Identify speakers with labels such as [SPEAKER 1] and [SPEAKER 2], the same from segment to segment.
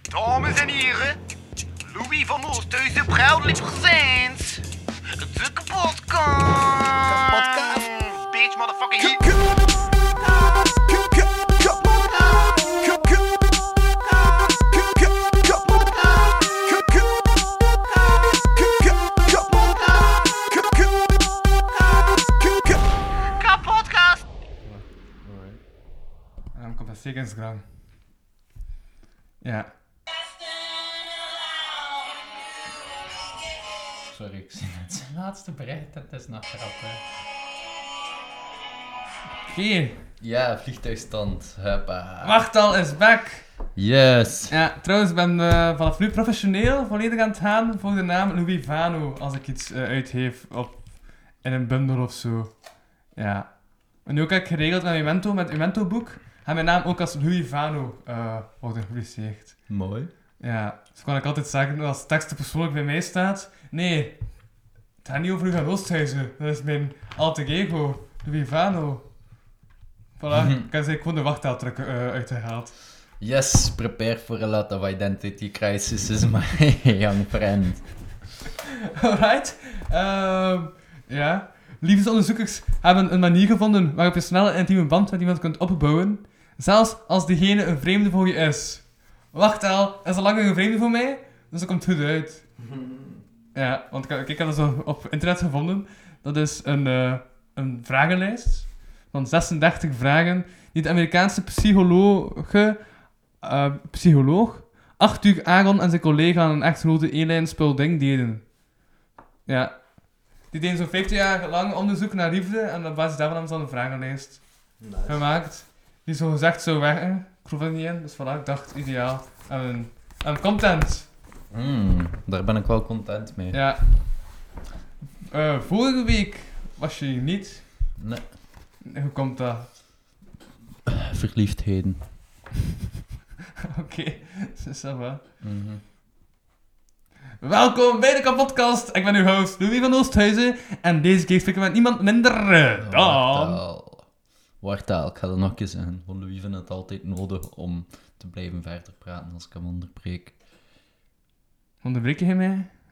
[SPEAKER 1] Dames en heren, Louis van Oosthuizen, proudly presents de kapotkast.
[SPEAKER 2] Kapotkast.
[SPEAKER 1] Bitch, motherfucking
[SPEAKER 2] K-
[SPEAKER 1] hit.
[SPEAKER 2] k- k- k- kapotkast. K- k- k- k- kapotkast. K- k- k- k- kapotkast. K- k- k- k-
[SPEAKER 1] Kapotkast.
[SPEAKER 3] Und dann kommt das Segensgram. Ja.
[SPEAKER 4] Sorry, ik zie net zijn laatste bericht. Dat is nog grappig.
[SPEAKER 3] Hier,
[SPEAKER 4] Ja, vliegtuigstand. Huppa.
[SPEAKER 3] wachtal is back.
[SPEAKER 4] Yes.
[SPEAKER 3] Ja, trouwens, ik ben eh, vanaf nu professioneel volledig aan het gaan voor de naam Louis Vano als ik iets eh, uitgeef op, in een bundel of zo. Ja. En nu ook heb ik geregeld met Memento, met Memento boek, gaat mijn naam ook als Louis Vano eh, worden gepubliceerd.
[SPEAKER 4] Mooi.
[SPEAKER 3] Ja, dus kan ik altijd zeggen als tekst persoonlijk bij mij staat. Nee, het gaat niet over Hugo Oosthuizen. Dat is mijn alter ego, Louis Vano. Voilà, ik heb ze gewoon de wachttaal trekken eh, uitgehaald.
[SPEAKER 4] Yes, prepare for a lot of identity crisis is my young friend.
[SPEAKER 3] Alright. Ehm, ja. Liefdesonderzoekers hebben een manier gevonden waarop je snel een intieme band met iemand kunt opbouwen, zelfs als diegene een vreemde voor je is. Wacht al, is al lang een vreemde voor mij, dus dat komt goed uit. Ja, want ik, ik ik had dat zo op internet gevonden. Dat is een, eh, een vragenlijst van 36 vragen die de Amerikaanse psychologe, eh, psycholoog Arthur Aron en zijn collega aan een echt rode eenlijn ding deden. Ja. Die deden zo'n 50 jaar lang onderzoek naar liefde en op basis daarvan hebben ze dan een vragenlijst gemaakt. Die zo gezegd zou werken. Ik geloof er niet in, dus voilà, ik dacht ideaal. En, en content.
[SPEAKER 4] Hmm, daar ben ik wel content mee.
[SPEAKER 3] Ja. Eh, vorige week was je hier niet.
[SPEAKER 4] Nee.
[SPEAKER 3] Hoe komt dat?
[SPEAKER 4] Verliefdheden.
[SPEAKER 3] Oké, dus ça va.
[SPEAKER 4] Mhm.
[SPEAKER 3] Welkom bij de kapotkast. Ik ben uw host Louis van Oosthuizen. En deze keer spreken we met niemand minder eh, dan...
[SPEAKER 4] Oh, Wartaal. Wartaal, ik ga dat nog een keer zeggen. Want Louis vindt het altijd nodig om te blijven verder praten als ik hem onderbreek.
[SPEAKER 3] Onderbreek je mij?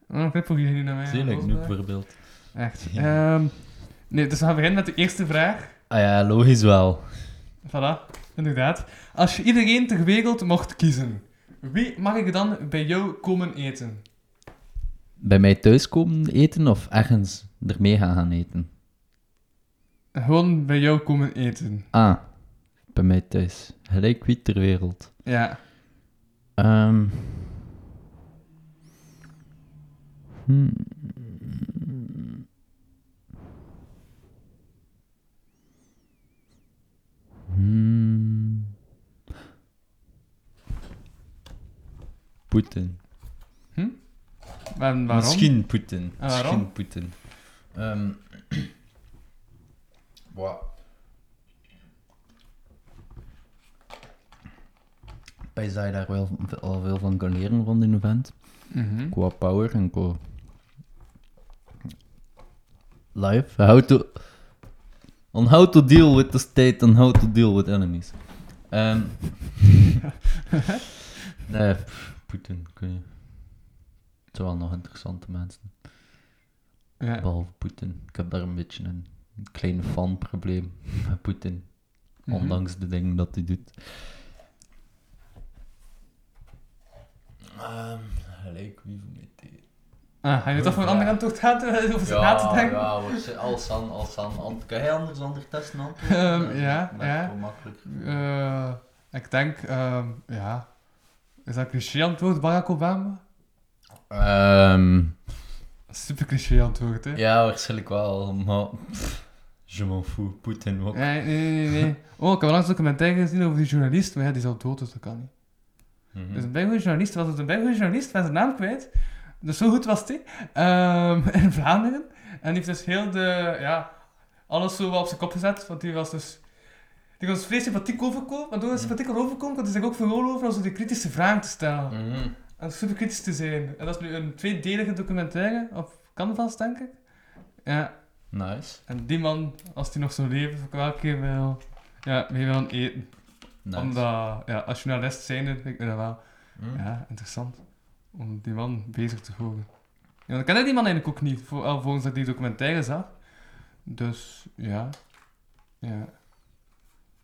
[SPEAKER 3] Oh, Waarom knippel je niet naar mij?
[SPEAKER 4] Zeker, nu
[SPEAKER 3] Volgens mij.
[SPEAKER 4] bijvoorbeeld.
[SPEAKER 3] Echt. Ehm, nee, dus we gaan beginnen met de eerste vraag.
[SPEAKER 4] Ah ja, logisch wel.
[SPEAKER 3] Voilà, inderdaad. Als je iedereen ter wereld mocht kiezen, wie mag ik dan bij jou komen eten?
[SPEAKER 4] Bij mij thuis komen eten of ergens ermee gaan gaan eten?
[SPEAKER 3] Gewoon bij jou komen eten.
[SPEAKER 4] Ah, bij mij thuis. Gelijk wie ter wereld.
[SPEAKER 3] Ja.
[SPEAKER 4] Ehm. Hmm. Hmm. Poetin.
[SPEAKER 3] En waarom?
[SPEAKER 4] Misschien Poetin.
[SPEAKER 3] En Ah, waarom?
[SPEAKER 4] Misschien Poetin. Ehm Boah. Ik denk dat je daar wel al veel van kan leren rond in de vent.
[SPEAKER 3] Mhm.
[SPEAKER 4] Qua power en qua... Life. How to... On how to deal with the state and how to deal with enemies. Ehm nee, pff, Poetin, kun je... Het zijn wel nog interessante mensen.
[SPEAKER 3] Ja.
[SPEAKER 4] Behalve Poetin. Ik heb daar een beetje een, een klein fanprobleem met Poetin.
[SPEAKER 3] Mhm.
[SPEAKER 4] Ondanks de dingen dat hij doet. Ehm, Gelijk wie van mij deed.
[SPEAKER 3] Ah, ga je toch voor een andere antwoord gaan terwijl eh, over na te denken?
[SPEAKER 4] ja, wordt ze- Alsan, Alsan. Ant- Kan jij anders ander testen, Ant?
[SPEAKER 3] Ehm,
[SPEAKER 4] Dat
[SPEAKER 3] ja,
[SPEAKER 4] maakt
[SPEAKER 3] ja.
[SPEAKER 4] wel makkelijker.
[SPEAKER 3] Eh, ik denk, ehm, ja... Is dat een cliché antwoord, Barack Obama?
[SPEAKER 4] Ehm,
[SPEAKER 3] Super cliché antwoord, hè?
[SPEAKER 4] ja, waarschijnlijk wel, maar... pff, je m'en fous, Poetin ook.
[SPEAKER 3] Nee, nee, nee, nee. Oh, ik heb langs een documentaire gezien over die journalist, maar ja, die is al dood, dus dat kan niet.
[SPEAKER 4] Mhm.
[SPEAKER 3] Dus een Belgische journalist was het een Belgische journalist, was zijn naam kwijt. Dus zo goed was hij. Ehm, in Vlaanderen. En die heeft dus heel de, ja, alles zo wel op zijn kop gezet. Want die was dus, die kon dus vrij sympathiek overkomen. Maar door hij sympathiek kon overkomen, kon hij zich ook veroorloven om zo die kritische vragen te stellen.
[SPEAKER 4] Mhm.
[SPEAKER 3] En super kritisch te zijn. En dat is nu een tweedelige documentaire, op Canvas denk ik. Ja,
[SPEAKER 4] Nice,
[SPEAKER 3] en die man, als die nog zo leeft, zou ik wel een keer wel, ja, mee willen eten.
[SPEAKER 4] nice.
[SPEAKER 3] Omdat, ja, als journalist zijn, ik denk dat wel. Ja, interessant. Om die man bezig te houden. Ja, dan kende die man eigenlijk ook niet, voor, al volgens dat ik die documentaire zag. Dus ja. Ja.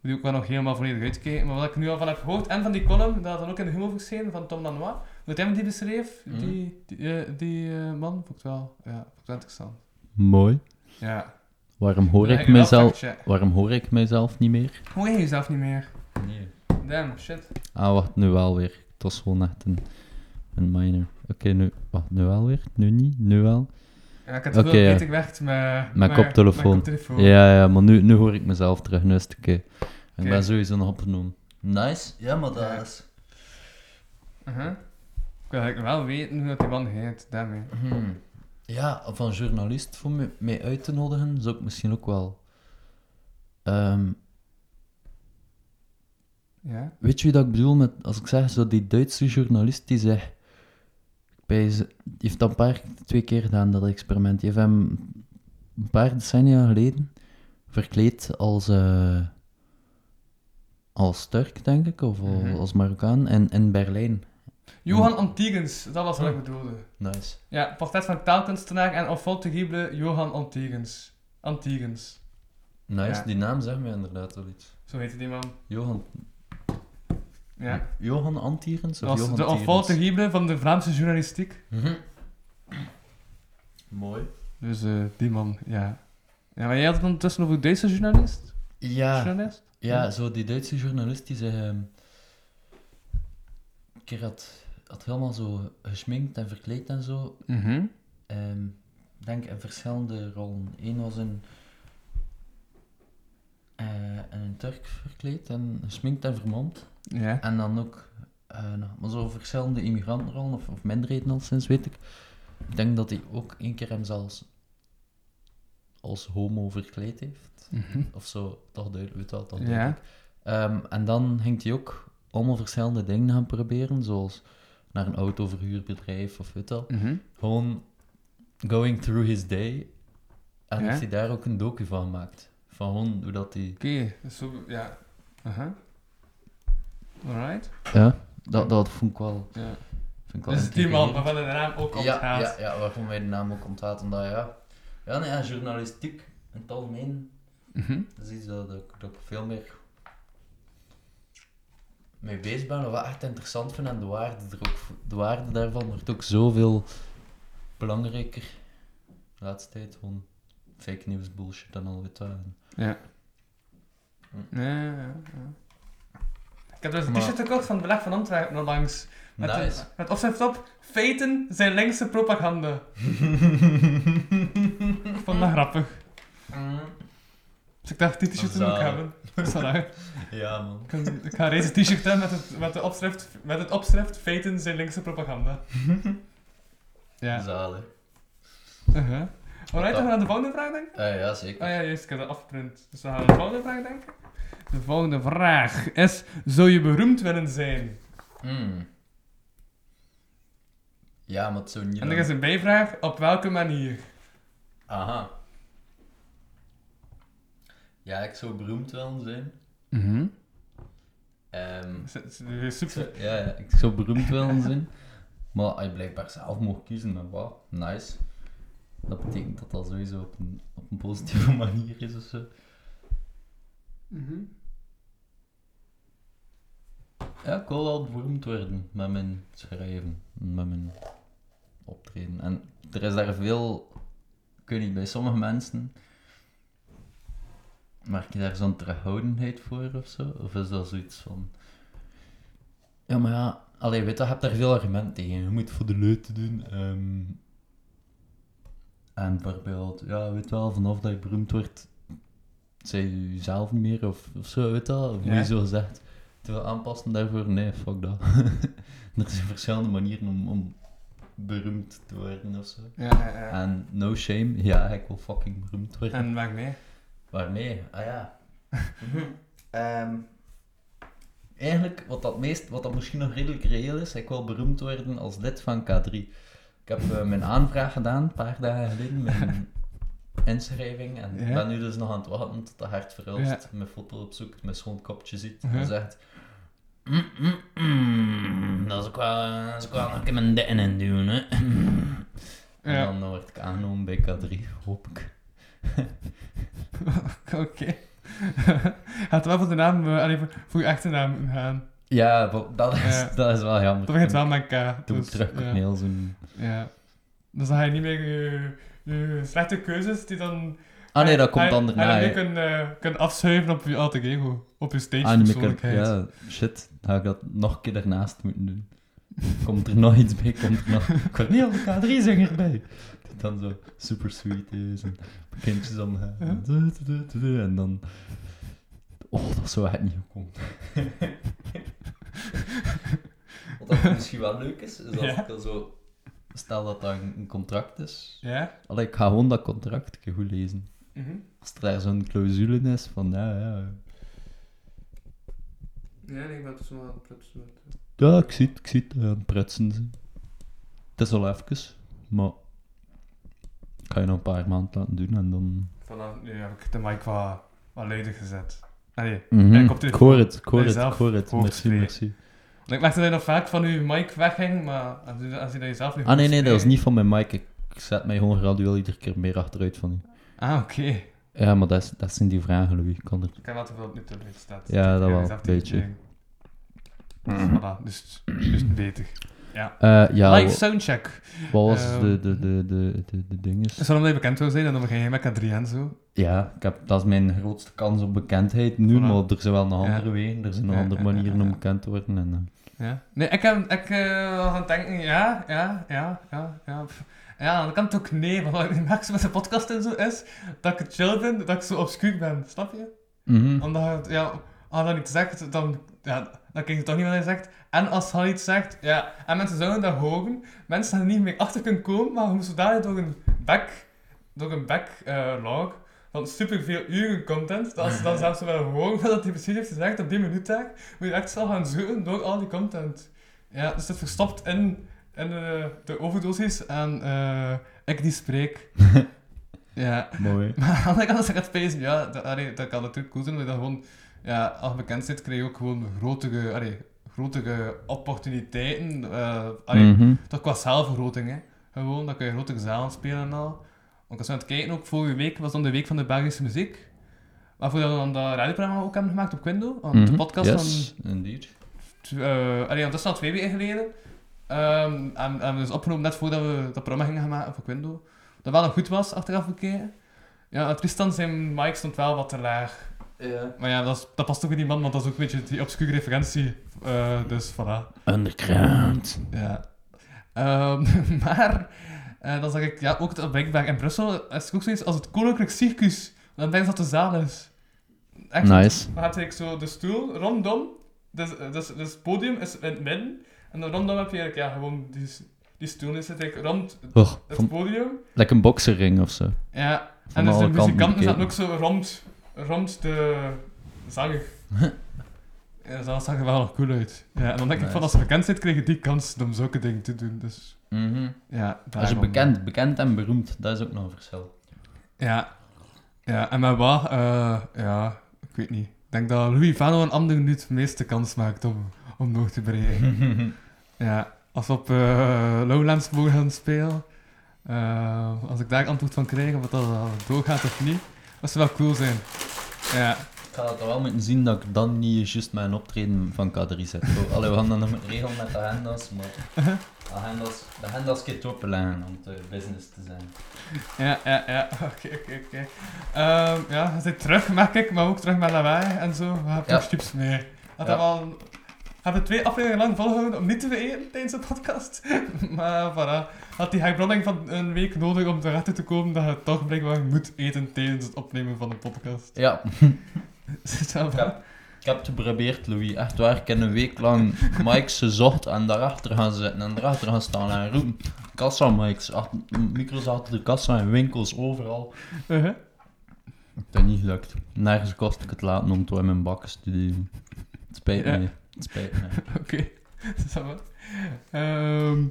[SPEAKER 3] Die ook wel nog helemaal volledig uitkijken. Maar wat ik nu al van heb gehoord, en van die column, dat had dan ook in de humor verschenen, van Tom Lanois, dat hem die beschreef,
[SPEAKER 4] Mhm.
[SPEAKER 3] die, die, eh, die eh, man, vond ik wel, ja, vond ik wel interessant.
[SPEAKER 4] Mooi.
[SPEAKER 3] Ja.
[SPEAKER 4] Waarom hoor
[SPEAKER 3] Dan
[SPEAKER 4] ik
[SPEAKER 3] heb je wel
[SPEAKER 4] mezelf...
[SPEAKER 3] fact-check.
[SPEAKER 4] Waarom hoor ik mezelf niet meer?
[SPEAKER 3] Hoor je jezelf niet meer?
[SPEAKER 4] Nee.
[SPEAKER 3] Damn, shit.
[SPEAKER 4] Ah, wacht, nu wel weer. Het was gewoon echt een, een minor. Oké, nu... Wacht, nu wel weer? Nu niet? Nu wel?
[SPEAKER 3] Ja, ik heb te
[SPEAKER 4] Oké,
[SPEAKER 3] veel
[SPEAKER 4] ja.
[SPEAKER 3] beter gewerkt met...
[SPEAKER 4] Mijn
[SPEAKER 3] met- Met
[SPEAKER 4] koptelefoon.
[SPEAKER 3] koptelefoon.
[SPEAKER 4] Ja, ja, maar nu, nu hoor ik mezelf terug. Nu is het oké. Ik
[SPEAKER 3] Oké.
[SPEAKER 4] ben sowieso nog opgenomen. Nice. Ja, maar
[SPEAKER 3] dat Ja.
[SPEAKER 4] is...
[SPEAKER 3] Uh-huh. Ik wil eigenlijk wel weten hoe dat die man heet, daarmee.
[SPEAKER 4] Hmm. Ja, of een journalist voor me, mij uit te nodigen, zou ik misschien ook wel. Ehm,
[SPEAKER 3] Ja?
[SPEAKER 4] weet je wat ik bedoel met, als ik zeg, zo die Duitse journalist die zegt, bij ze- die heeft dat een paar, twee keer gedaan, dat experiment. Die heeft hem een paar decennia geleden verkleed als, eh, als Turk, denk ik, of al-
[SPEAKER 3] Mhm.
[SPEAKER 4] als Marokkaan, en in Berlijn.
[SPEAKER 3] Johan Antigens, dat was wat ik bedoelde.
[SPEAKER 4] Nice.
[SPEAKER 3] Ja, portret van taalkunstenaar en enfant terrible Johan Antigens. Antigens.
[SPEAKER 4] Nice,
[SPEAKER 3] Ja.
[SPEAKER 4] die naam zegt mij inderdaad wel iets.
[SPEAKER 3] Zo heette die man.
[SPEAKER 4] Johan
[SPEAKER 3] Ja.
[SPEAKER 4] Johan Antierens
[SPEAKER 3] Dat
[SPEAKER 4] of
[SPEAKER 3] was
[SPEAKER 4] Johan
[SPEAKER 3] de enfant
[SPEAKER 4] Tierens?
[SPEAKER 3] terrible van de Vlaamse journalistiek.
[SPEAKER 4] Mhm. Mooi.
[SPEAKER 3] Dus eh, die man, ja. Ja, maar jij had het ondertussen over deze journalist?
[SPEAKER 4] Ja,
[SPEAKER 3] Journalist?
[SPEAKER 4] ja, zo die Duitse journalist die zei... ehm, een keer had, had helemaal zo geschminkt en verkleed en zo.
[SPEAKER 3] Mhm.
[SPEAKER 4] ehm, Ik denk in verschillende rollen. Eén was een, eh, een Turk verkleed en geschminkt en vermomd.
[SPEAKER 3] Ja.
[SPEAKER 4] En dan ook eh, nog- maar zo verschillende immigrantenrollen of, of minderheden al sinds, weet ik. Ik denk dat hij ook één keer hem zelfs als homo verkleed heeft.
[SPEAKER 3] Mhm.
[SPEAKER 4] Of zo, toch duidelijk, weet wel, toch
[SPEAKER 3] Ja.
[SPEAKER 4] duidelijk. Ehm, en dan ging hij ook allemaal verschillende dingen gaan proberen, zoals naar een autoverhuurbedrijf of weet wel.
[SPEAKER 3] Mhm.
[SPEAKER 4] Gewoon going through his day. En
[SPEAKER 3] Ja.
[SPEAKER 4] heeft hij daar ook een docu van gemaakt. Van gewoon hoe dat hij...
[SPEAKER 3] Oké, dus zo, ja. Aha. Alright.
[SPEAKER 4] Ja, dat, dat vond ik wel...
[SPEAKER 3] Ja.
[SPEAKER 4] Vind ik wel
[SPEAKER 3] Dus die man, waarvan
[SPEAKER 4] intrigerend.
[SPEAKER 3] de naam ook
[SPEAKER 4] Ja,
[SPEAKER 3] onthaalt.
[SPEAKER 4] ja, ja, waarvan wij de naam ook onthaalt, omdat ja... Ja, nee, ja, journalistiek in het algemeen
[SPEAKER 3] Mhm.
[SPEAKER 4] is iets dat, dat, ik- dat ik veel meer mee bezig ben, en wat ik echt interessant vind en de waarde, er ook, v- de waarde daarvan wordt ook zoveel belangrijker. De laatste tijd gewoon fake news bullshit en al weet wat. En-
[SPEAKER 3] Ja, ja, ja. Ik heb dus een
[SPEAKER 4] Maar-
[SPEAKER 3] t-shirt gekocht van het Beleg van Antwerpen onlangs. Met,
[SPEAKER 4] Nice.
[SPEAKER 3] met opschrift op, feiten zijn linkse propaganda. ik vond dat grappig. Dus ik dacht, die t-shirt wil ik
[SPEAKER 4] Zalig.
[SPEAKER 3] hebben. Dus voilà.
[SPEAKER 4] Ja, man.
[SPEAKER 3] Ik kan- Ik ga deze t-shirt hebben met het, met, de opschrift, met het opschrift, feiten zijn linkse propaganda. Ja.
[SPEAKER 4] Zalig.
[SPEAKER 3] Uh-huh. Alright, dan gaan we naar de volgende vraag denken.
[SPEAKER 4] Ah, ja, zeker.
[SPEAKER 3] Ah ja, juist, ik heb dat afgeprint. Dus dan gaan we naar de volgende vraag denken. De volgende vraag is, zou je beroemd willen zijn? Ah.
[SPEAKER 4] Hmm. Ja, maar het zou niet...
[SPEAKER 3] En er
[SPEAKER 4] lang-
[SPEAKER 3] is een bijvraag, op welke manier?
[SPEAKER 4] Aha. Ja, ik zou beroemd willen zijn.
[SPEAKER 3] Mhm.
[SPEAKER 4] Ehm,
[SPEAKER 3] Dus Super.
[SPEAKER 4] ik zou- ja, ja, ik zou beroemd willen zijn. Maar als je blijkbaar zelf mocht kiezen, dan wauw, nice. Dat betekent dat dat sowieso op een, op een positieve manier is of zo.
[SPEAKER 3] Mhm.
[SPEAKER 4] Ja, ik wil wel beroemd worden met mijn schrijven, met mijn optreden. En er is daar veel, ik weet niet, bij sommige mensen merk je daar zo'n terughoudendheid voor of zo? Of is dat zoiets van... Ja, maar ja, allee, weet je, je hebt daar veel argumenten tegen. Je moet het voor de leuten doen. ehm. en bijvoorbeeld, ja, weet wel, vanaf dat je beroemd wordt, zijn je jezelf niet meer of, of zo, weet je wel? Of hoe
[SPEAKER 3] Ja.
[SPEAKER 4] je zo zegt. Te veel aanpassen daarvoor? Nee, fuck dat. er zijn verschillende manieren om, om beroemd te worden of zo.
[SPEAKER 3] Ja, ja, ja.
[SPEAKER 4] En no shame, ja, ik wil fucking beroemd worden.
[SPEAKER 3] En waarmee?
[SPEAKER 4] Waarmee? Ah ja. Ehm, eigenlijk, wat dat, meest, wat dat misschien nog redelijk reëel is, ik wil beroemd worden als lid van K3. Ik heb eh, mijn aanvraag gedaan, een paar dagen geleden, mijn inschrijving. En ik
[SPEAKER 3] Ja.
[SPEAKER 4] ben nu dus nog aan het wachten tot de hart verhulst,
[SPEAKER 3] Ja.
[SPEAKER 4] mijn foto opzoekt, mijn schoon kopje ziet
[SPEAKER 3] Mhm.
[SPEAKER 4] en zegt... Mm, dat is ook wel, dat is ook wel een keer mijn dikken in doen, hè. En
[SPEAKER 3] Ja.
[SPEAKER 4] dan word ik aangenomen bij K3, hoop ik.
[SPEAKER 3] Oké. Gaat wel voor de naam, eh, allee, voor- voor je achternaam gaan.
[SPEAKER 4] Ja, bo- dat is,
[SPEAKER 3] Ja.
[SPEAKER 4] dat is wel jammer.
[SPEAKER 3] Dan begint het wel met K.
[SPEAKER 4] Toen
[SPEAKER 3] dus,
[SPEAKER 4] ik terug
[SPEAKER 3] ja.
[SPEAKER 4] kon heel zo'n...
[SPEAKER 3] Ja. Dus dan ga je niet meer je, je slechte keuzes die dan...
[SPEAKER 4] Ah nee, dat komt
[SPEAKER 3] hij-
[SPEAKER 4] dan
[SPEAKER 3] hij
[SPEAKER 4] daarna.
[SPEAKER 3] dan
[SPEAKER 4] hè.
[SPEAKER 3] weer kunnen, eh, kunnen afschuiven op je alter ego. Op je stage
[SPEAKER 4] Ah, niet meer kunnen-
[SPEAKER 3] persoonlijkheid.
[SPEAKER 4] Ja, shit. Dan ga ik dat nog een keer daarnaast moeten doen. Komt er nog iets bij, komt er nog... Ik word niet op de K3-zanger bij. Dat dan zo super sweet is en kindjes omgaan. En dan... Oh, dat zou echt niet goed komen. Wat dat misschien wel leuk is, is als
[SPEAKER 3] Ja.
[SPEAKER 4] ik dan zo... Stel dat dat een een contract is.
[SPEAKER 3] Ja?
[SPEAKER 4] Allee, ik ga gewoon dat contract goed lezen.
[SPEAKER 3] Mhm.
[SPEAKER 4] Als er daar zo'n clausule in is van... Ja, ja,
[SPEAKER 3] Ja, ik ben persoonlijk aan het dus prutsen.
[SPEAKER 4] Ja, ik zie het, ik zie het, eh, aan het pretsen ze. Het is al even, maar ik ga je nog een paar maanden laten doen en dan...
[SPEAKER 3] Vanaf nu heb ik de mic wat, wat luider gezet. Allee,
[SPEAKER 4] Mhm,
[SPEAKER 3] koptelefoon.
[SPEAKER 4] ik hoor het, ik hoor
[SPEAKER 3] Bij
[SPEAKER 4] het, ik
[SPEAKER 3] jezelf
[SPEAKER 4] hoor het. Merci,
[SPEAKER 3] hoogtevreden.
[SPEAKER 4] merci.
[SPEAKER 3] want ik merkte dat je nog vaak van je mic wegging, maar als je, als je dat jezelf nu
[SPEAKER 4] Ah nee,
[SPEAKER 3] goed
[SPEAKER 4] nee, dat is
[SPEAKER 3] spreekt-
[SPEAKER 4] niet van mijn mic. Ik ik zet mij gewoon gradueel iedere keer meer achteruit van u.
[SPEAKER 3] Ah, oké.
[SPEAKER 4] Ja, maar dat, is, dat zijn die vragen, Louis. Ik kan er...
[SPEAKER 3] Ik heb wel te veel op YouTube staat.
[SPEAKER 4] Ja, dat wel,
[SPEAKER 3] jezelf
[SPEAKER 4] een
[SPEAKER 3] tegen
[SPEAKER 4] beetje.
[SPEAKER 3] je ding. Dus voilà, dus, dus beter.
[SPEAKER 4] Eh, ja,
[SPEAKER 3] Live
[SPEAKER 4] wa-
[SPEAKER 3] soundcheck.
[SPEAKER 4] wat was
[SPEAKER 3] Ehm.
[SPEAKER 4] de, de, de, de, de, de dinges?
[SPEAKER 3] Zal omdat je bekend wil zijn, en dan begin je met K3 en zo.
[SPEAKER 4] Ja, ik heb, dat is mijn grootste kans op bekendheid nu,
[SPEAKER 3] Voilà.
[SPEAKER 4] maar er zijn wel nog
[SPEAKER 3] Ja.
[SPEAKER 4] andere wegen, er zijn nog
[SPEAKER 3] Ja,
[SPEAKER 4] andere
[SPEAKER 3] ja, ja,
[SPEAKER 4] manieren
[SPEAKER 3] ja.
[SPEAKER 4] om bekend te worden. En, eh,
[SPEAKER 3] Ja. Nee, ik, heb, ik eh, was aan het denken, ja, ja, ja, ja, ja. pff. Ja, dan kan het ook nee, maar wat ik merk met de podcast en zo is, dat ik chill ben, dat ik zo obscuur ben, snap je?
[SPEAKER 4] mhm.
[SPEAKER 3] Omdat het, ja, als dat niet zegt, dan, ja, dan klinkt het toch niet wat hij zegt. En als hij iets zegt, ja, en mensen zouden dat horen, mensen die er niet meer achter kunnen komen, maar hoe zodanig door een back, door een back eh, log van superveel uren content, dat als ze dan zelfs willen horen wat hij precies heeft gezegd op die minuut daar, moet je echt snel gaan zoeken door al die content. Ja, dus dat verstopt in, in eh, de overdosis aan eh, ik die spreek. ja.
[SPEAKER 4] Mooi.
[SPEAKER 3] Maar aan de andere kant, als ik het pees, ja, dat, allee, dat kan natuurlijk cool zijn, omdat je dat gewoon, ja, als je bekend zit, krijg je ook gewoon grotere, allee, grotere opportuniteiten. eh allee,
[SPEAKER 4] Mhm.
[SPEAKER 3] Toch qua zaalvergroting, hè. Gewoon, dan kun je grotere zalen spelen en al. Want als we aan het kijken, ook vorige week was dan de week van de Belgische muziek. Waarvoor we dan dat radioprogramma ook hebben gemaakt op Quindo, want de
[SPEAKER 4] Mhm.
[SPEAKER 3] podcast van
[SPEAKER 4] yes, indeed.
[SPEAKER 3] t- eh allee, want dat is al twee weken geleden. Ehm en, en dus opgenomen net voordat we dat programma gingen gaan maken voor Quindo. Dat wel nog goed was, achteraf gekeken. Ja, en Tristan zijn mic stond wel wat te laag. Maar ja, dat, is- dat past ook in die man, want dat is ook een beetje die obscure referentie. Eh, dus voilà.
[SPEAKER 4] Underground.
[SPEAKER 3] Ja. Ehm, maar, eh, dan zag ik ja, ook dat blijkbaar in Brussel is het ook zoiets als het Koninklijk Circus. Dan denk je dat de zaal is. Echt,
[SPEAKER 4] Nice.
[SPEAKER 3] dan had ik zo de stoel rondom. Dus, dus, dus het podium is in het midden. En dan rondom heb je eigenlijk ja, gewoon die, s- die stoel is zit eigenlijk rond
[SPEAKER 4] Oh,
[SPEAKER 3] het
[SPEAKER 4] van,
[SPEAKER 3] podium.
[SPEAKER 4] like een bokserring of zo.
[SPEAKER 3] Ja.
[SPEAKER 4] Van
[SPEAKER 3] En dus de
[SPEAKER 4] alle kanten
[SPEAKER 3] muzikanten zaten
[SPEAKER 4] bekeken.
[SPEAKER 3] ook zo rond, rond de zanger. ja, dus dat zag er wel nog cool uit. Ja, en dan denk ik van
[SPEAKER 4] Nice.
[SPEAKER 3] als ze bekend zit, krijg je die kans om zulke dingen te doen. Dus
[SPEAKER 4] Mhm.
[SPEAKER 3] ja,
[SPEAKER 4] Als je
[SPEAKER 3] daarom.
[SPEAKER 4] bekend, bekend en beroemd, dat is ook nog een verschil.
[SPEAKER 3] Ja. Ja, en met wat? eh, ja, ik weet niet. Ik denk dat Louis Vano een andere nu het meeste kans maakt om, om door te breken. ja, als we op eh, Lowlands mogen gaan spelen, eh, als ik daar antwoord van krijg of dat al doorgaat of niet, dat zou wel cool zijn. Ja,
[SPEAKER 4] Ik ga dat wel moeten zien dat ik dan niet juist mijn optreden van K3 zet. Oh, Allee, we gaan dan nog een regel met de agendas, maar de agendas, de agendas keer te openleggen om te business te zijn.
[SPEAKER 3] ja, ja, ja. Oké, oké, oké. Ehm, Ja, ze zijn terug, merk ik, maar ook terug met lawaai en zo. We hebben
[SPEAKER 4] Ja.
[SPEAKER 3] nog chips mee. Had dat
[SPEAKER 4] Ja.
[SPEAKER 3] wel... Hebben we twee afleveringen lang volgehouden om niet te eten tijdens de podcast. maar voilà. Had die herbranding van een week nodig om erachter te komen dat je toch blijkbaar moet eten tijdens het opnemen van de podcast.
[SPEAKER 4] Ja,
[SPEAKER 3] Zit wel
[SPEAKER 4] ik heb, ik heb het geprobeerd, Louis. Echt waar, ik heb een week lang mics gezocht en daarachter gaan zitten en daarachter gaan staan en roepen. Kassa mics, achter, micro's achter de kassa in winkels, overal.
[SPEAKER 3] Uh-huh.
[SPEAKER 4] Dat is niet gelukt. Nergens kost ik het laten om toe in mijn bakken te studeren. Het spijt
[SPEAKER 3] Ja.
[SPEAKER 4] me. Het spijt me.
[SPEAKER 3] Oké, ça va. Ehm,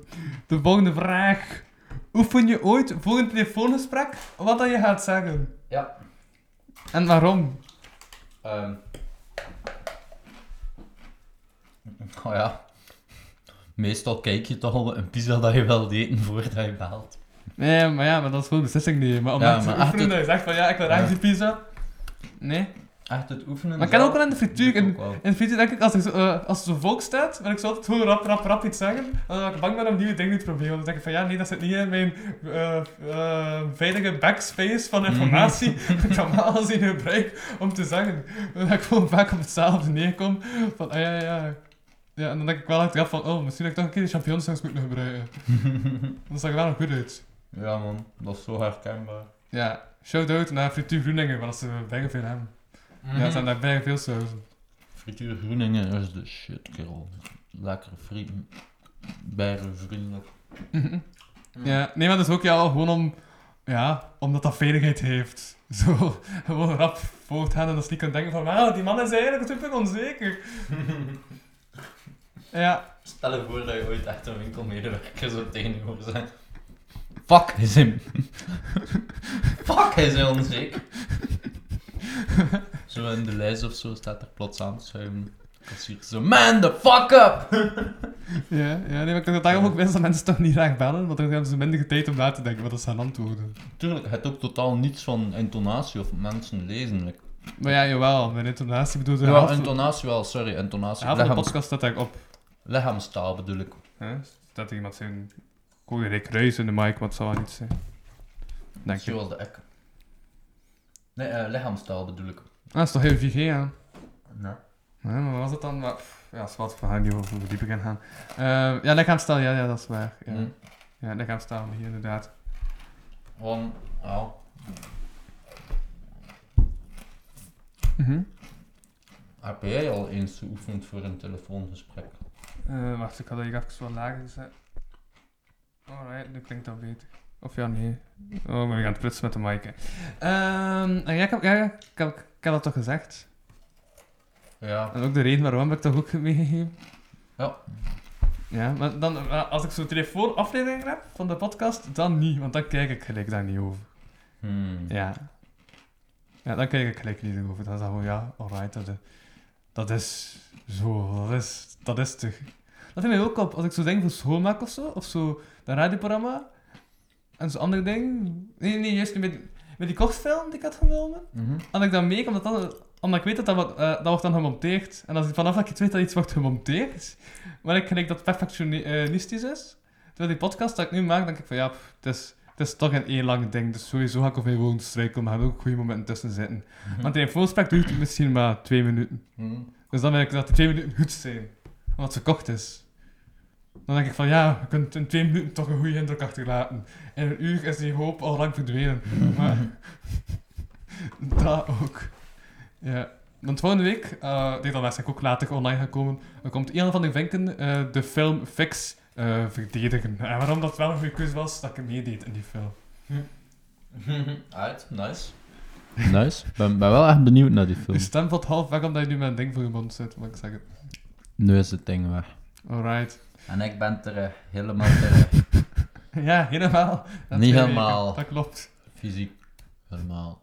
[SPEAKER 3] de volgende vraag. Oefen je ooit voor een telefoongesprek wat dat je gaat zeggen?
[SPEAKER 4] Ja.
[SPEAKER 3] En waarom?
[SPEAKER 4] ehm, Oh ja. Meestal kijk je toch al een pizza dat je wilt eten voordat je belt.
[SPEAKER 3] Nee, maar ja, maar dat is gewoon een beslissing die je... Maar
[SPEAKER 4] Ja,
[SPEAKER 3] omdat
[SPEAKER 4] maar
[SPEAKER 3] ja,
[SPEAKER 4] echt
[SPEAKER 3] oefenen, dat je
[SPEAKER 4] het-
[SPEAKER 3] zegt van ja, ik wil
[SPEAKER 4] Ja.
[SPEAKER 3] graag die pizza. Nee.
[SPEAKER 4] Echt het oefenen.
[SPEAKER 3] Maar ik kan
[SPEAKER 4] zelf
[SPEAKER 3] ook wel in de frituur.
[SPEAKER 4] doe ik
[SPEAKER 3] In,
[SPEAKER 4] ook wel.
[SPEAKER 3] in de frituur denk ik, als er, zo, eh, als er zo volk staat, wil ik zo altijd gewoon rap, rap, rap iets zeggen. Omdat ik bang ben om nieuwe dingen te proberen. Dan denk ik van ja, nee, dat zit niet in mijn eh, eh, veilige backspace
[SPEAKER 4] Mhm.
[SPEAKER 3] van informatie. dat ik normaal gezien gebruik om te zeggen. Dat ik gewoon vaak op hetzelfde neerkom. Van ah ja, ja, ja. Ja, en dan denk ik wel achteraf van, oh, misschien dat ik toch een keer de champignonsaus moet gebruiken. Dan zag ik wel nog goed uit.
[SPEAKER 4] Ja man, dat is zo herkenbaar.
[SPEAKER 3] Ja, shout-out naar Frituur Groeningen, want dat ze bijna veel hebben. Ja, ze
[SPEAKER 4] Mhm.
[SPEAKER 3] hebben daar bijna veel sauzen.
[SPEAKER 4] Frituur Groeningen is de shit, kerel. Lekker vrienden. Bijenvriendelijk.
[SPEAKER 3] Mhm. Ja, nee, maar dat is ook ja, gewoon om, ja, omdat dat veiligheid heeft. Zo, gewoon rap voortgaan en dat ze niet kunnen denken van, wauw, die man is eigenlijk super onzeker. ja,
[SPEAKER 4] Stel je voor dat je ooit echt een winkelmedewerker zo tegenover zijn. Fuck, hij is hem. Fuck, hij is onzeker. zo in de lijst of zo staat er plots aan te schuiven. Kassier zo, man, the fuck up!
[SPEAKER 3] ja, ja, nee, maar ik denk dat daarom ook best dat mensen toch niet graag bellen, want dan hebben ze minder tijd om na te denken wat dat ze gaan antwoorden.
[SPEAKER 4] Tuurlijk, het ook totaal niets van intonatie of mensen lezen. like.
[SPEAKER 3] Maar ja, jawel, mijn intonatie bedoelt de
[SPEAKER 4] Ja,
[SPEAKER 3] helft,
[SPEAKER 4] intonatie wel, sorry,
[SPEAKER 3] de
[SPEAKER 4] intonatie.
[SPEAKER 3] helft van de
[SPEAKER 4] Lichaam,
[SPEAKER 3] podcast staat daar op.
[SPEAKER 4] lichaamstaal bedoel ik.
[SPEAKER 3] Hè? Dat iemand zijn goede Rick Reus in de mic, wat zal wel niet zijn. Denk je.
[SPEAKER 4] Zoals de ek. Nee, eh, lichaamstaal bedoel ik.
[SPEAKER 3] Ah, dat is toch heel 4G aan.
[SPEAKER 4] Ja.
[SPEAKER 3] Nee, maar wat was het dan? Maar, pff, ja, is wat, we gaan niet over verdiepen gaan gaan. Eh, ja, lichaamstaal, ja, ja, dat is waar. Ja,
[SPEAKER 4] Mm.
[SPEAKER 3] ja lichaamstaal, hier inderdaad.
[SPEAKER 4] Gewoon, ja.
[SPEAKER 3] Mhm.
[SPEAKER 4] Heb jij al eens geoefend voor een telefoongesprek?
[SPEAKER 3] Eh, wacht, ik had dat hier even wat lager gezet. Alright, nu klinkt dat beter. Of ja, nee. Oh, maar we gaan het prutsen met de mic, hè. Ehm, ja, ik heb, ja, ik, heb, ik heb dat toch gezegd?
[SPEAKER 4] Ja.
[SPEAKER 3] En ook de reden waarom heb ik dat ook meegegeven.
[SPEAKER 4] Ja.
[SPEAKER 3] Ja, maar dan, eh, als ik zo'n telefoonaflevering heb van de podcast, dan niet, want dan kijk ik gelijk daar niet over.
[SPEAKER 4] Hmm.
[SPEAKER 3] Ja. Ja, dan kijk ik gelijk niet over. Dan is dat gewoon, ja, alright, dat, is- dat is zo, dat is, dat is te... Dat vind ik ook op, als ik zo denk voor schoonmaak of zo, of zo, dat radioprogramma, en zo'n andere ding. Nee, nee, juist met, met die kortfilm die ik had genomen,
[SPEAKER 4] Mhm.
[SPEAKER 3] had ik dat mee, omdat, dat, omdat ik weet dat dat, wat, eh, dat wordt dan gemonteerd. En als ik vanaf dat ik het weet dat iets wordt gemonteerd, maar ik gelijk dat het perfectionistisch is, terwijl die podcast dat ik nu maak, denk ik van ja, pff, het, is, het is toch een één lang ding, dus sowieso ga ik over gewoon strijken, maar er gaan ook goede momenten tussen zitten. Want een voorspraak duurt misschien maar twee minuten.
[SPEAKER 4] Hmm.
[SPEAKER 3] Dus dan denk ik dat die twee minuten goed zijn, omdat ze kort is. Dan denk ik van ja, je kunt in twee minuten toch een goede indruk achterlaten. In een uur is die hoop al lang verdwenen. Maar dat ook. Ja. Want volgende week, eh die dan waarschijnlijk ook later online gaan komen, dan komt Ian van den Venken eh, de film Fix eh, verdedigen. En waarom dat wel een goede keuze was, dat ik meedeed in die film.
[SPEAKER 4] Hm. Uit, nice.
[SPEAKER 5] Nice. Ben, ben wel echt benieuwd naar die
[SPEAKER 3] Je
[SPEAKER 5] film.
[SPEAKER 3] stem valt half weg omdat je nu met een ding voor je mond zit, moet ik zeggen.
[SPEAKER 5] Nu is het ding weg.
[SPEAKER 3] Alright.
[SPEAKER 4] En ik ben terug, helemaal terug.
[SPEAKER 3] Ja, helemaal. Dat is
[SPEAKER 4] Niet
[SPEAKER 3] twee
[SPEAKER 4] helemaal.
[SPEAKER 3] weken. Dat klopt.
[SPEAKER 4] Fysiek. Helemaal.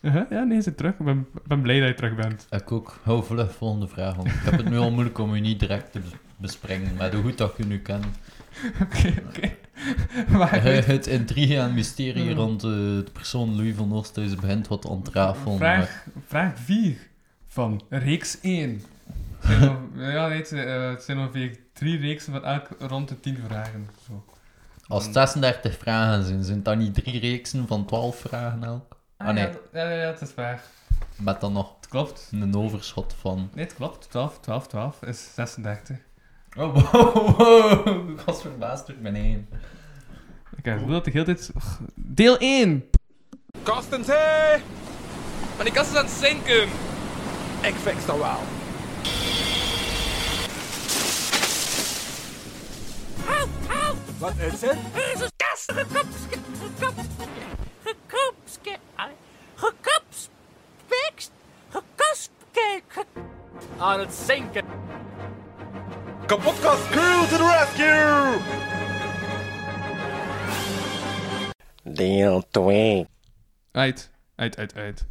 [SPEAKER 3] Uh-huh. Ja, nee, je zit terug. Ik ben, ik ben blij dat je terug bent.
[SPEAKER 4] Ik ook. Hou vlug volgende vraag, want ik heb het nu al moeilijk om u niet direct te bes- bespringen, maar hoe goed dat je nu kent.
[SPEAKER 3] Oké, oké. Maar ik
[SPEAKER 4] Eh,
[SPEAKER 3] weet-
[SPEAKER 4] Het intrigue en mysterie
[SPEAKER 3] Hmm.
[SPEAKER 4] rond eh, de persoon Louis van Oosthuizen begint wat te ontrafelen. maar-
[SPEAKER 3] Vraag, vraag 4 van reeks 1. Het zijn nog- ja, nee, het, eh, het zijn ongeveer drie reeksen van elk rond de 10 vragen. Zo.
[SPEAKER 4] Als het 36 vragen zijn, zijn dat niet drie reeksen van 12 vragen elk? Ah, nee.
[SPEAKER 3] ja, d- ja, ja, ja, het is waar.
[SPEAKER 4] Met dan nog
[SPEAKER 3] Het klopt.
[SPEAKER 4] een overschot van...
[SPEAKER 3] Nee, het klopt. 12, 12, 12 is 36.
[SPEAKER 4] Oh, wow, wow. Ik was verbaasd door mijn heen.
[SPEAKER 3] Ik heb het gevoel dat ik heel dit... Och, Deel 1!
[SPEAKER 1] Kastens, hé!
[SPEAKER 2] Maar die kast is aan het zinken.
[SPEAKER 1] Ik fix dat wel. Wat is het?
[SPEAKER 2] Er is een kast gekopske, gekopske, gekopske, gekopspikst, gekopske, aan het zinken.
[SPEAKER 1] Kapotkast crew to the rescue!
[SPEAKER 6] Deel 2.
[SPEAKER 3] Uit, uit, uit, uit.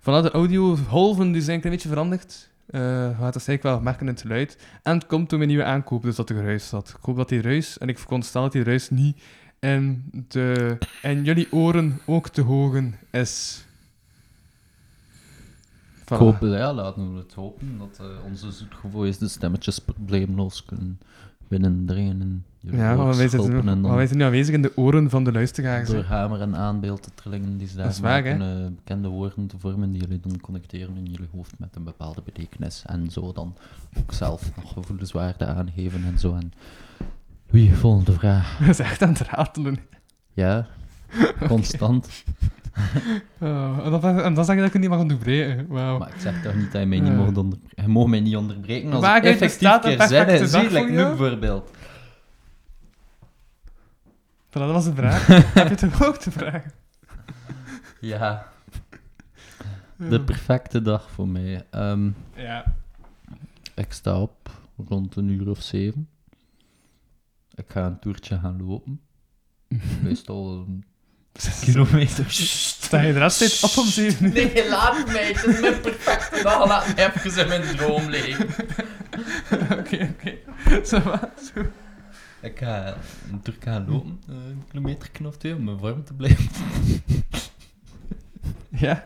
[SPEAKER 3] Vanuit de audio golven die zijn een klein beetje veranderd. Eh, gaat dat zeker wel merken in het geluid. En het komt door mijn nieuwe aankoop, dus dat er ruis zat. Ik hoop dat die ruis, en ik veronderstel dat die ruis niet in, de, in jullie oren ook te hogen is. Voilà.
[SPEAKER 4] Ik hoop, ja, laten we het hopen dat eh, onze zoetgevoelige stemmetjes probleemloos kunnen binnendringen in jullie
[SPEAKER 3] Ja, want wij,
[SPEAKER 4] oorschelpen
[SPEAKER 3] zitten,
[SPEAKER 4] en
[SPEAKER 3] want
[SPEAKER 4] dan
[SPEAKER 3] wij zijn nu aanwezig in de oren van de luisteraars. hè.
[SPEAKER 4] door hamer en aanbeeld te trillingen die ze
[SPEAKER 3] Dat is
[SPEAKER 4] daar
[SPEAKER 3] waar,
[SPEAKER 4] maken, eh, bekende woorden te vormen die jullie dan connecteren in jullie hoofd met een bepaalde betekenis en zo dan ook zelf nog gevoelenswaarde aangeven en zo. En wie volgende vraag?
[SPEAKER 3] Dat is echt aan het ratelen.
[SPEAKER 4] Ja, constant.
[SPEAKER 3] Oh, en, dan, en dan zeg je dat ik het niet mag onderbreken. Wauw.
[SPEAKER 4] Maar ik zeg toch niet dat je mij niet
[SPEAKER 3] Eh.
[SPEAKER 4] mocht onderbreken. Je mag mij niet onderbreken als
[SPEAKER 3] Maar
[SPEAKER 4] ik
[SPEAKER 3] kijk,
[SPEAKER 4] effectief
[SPEAKER 3] bestaat een
[SPEAKER 4] keer zin
[SPEAKER 3] perfecte
[SPEAKER 4] heb.
[SPEAKER 3] dag
[SPEAKER 4] Zie, like
[SPEAKER 3] voor
[SPEAKER 4] nu
[SPEAKER 3] jou?
[SPEAKER 4] bijvoorbeeld.
[SPEAKER 3] Voilà, dat was de vraag. Heb je het hem ook te vragen?
[SPEAKER 4] Ja. De perfecte dag voor mij. Ehm,
[SPEAKER 3] Ja.
[SPEAKER 4] ik sta op rond een uur of zeven. Ik ga een toertje gaan lopen. Meestal een kilometer.
[SPEAKER 3] Sta je er altijd op om zeven uur?
[SPEAKER 7] Nee, laat mij. Het is mijn perfecte dag. Laat mij even in mijn droom leven.
[SPEAKER 3] Oké, oké. Ça va, zo.
[SPEAKER 4] Ik ga een toer
[SPEAKER 3] Hm?
[SPEAKER 4] gaan lopen. eh, Een kilometer of twee om mijn vorm te blijven.
[SPEAKER 3] Ja.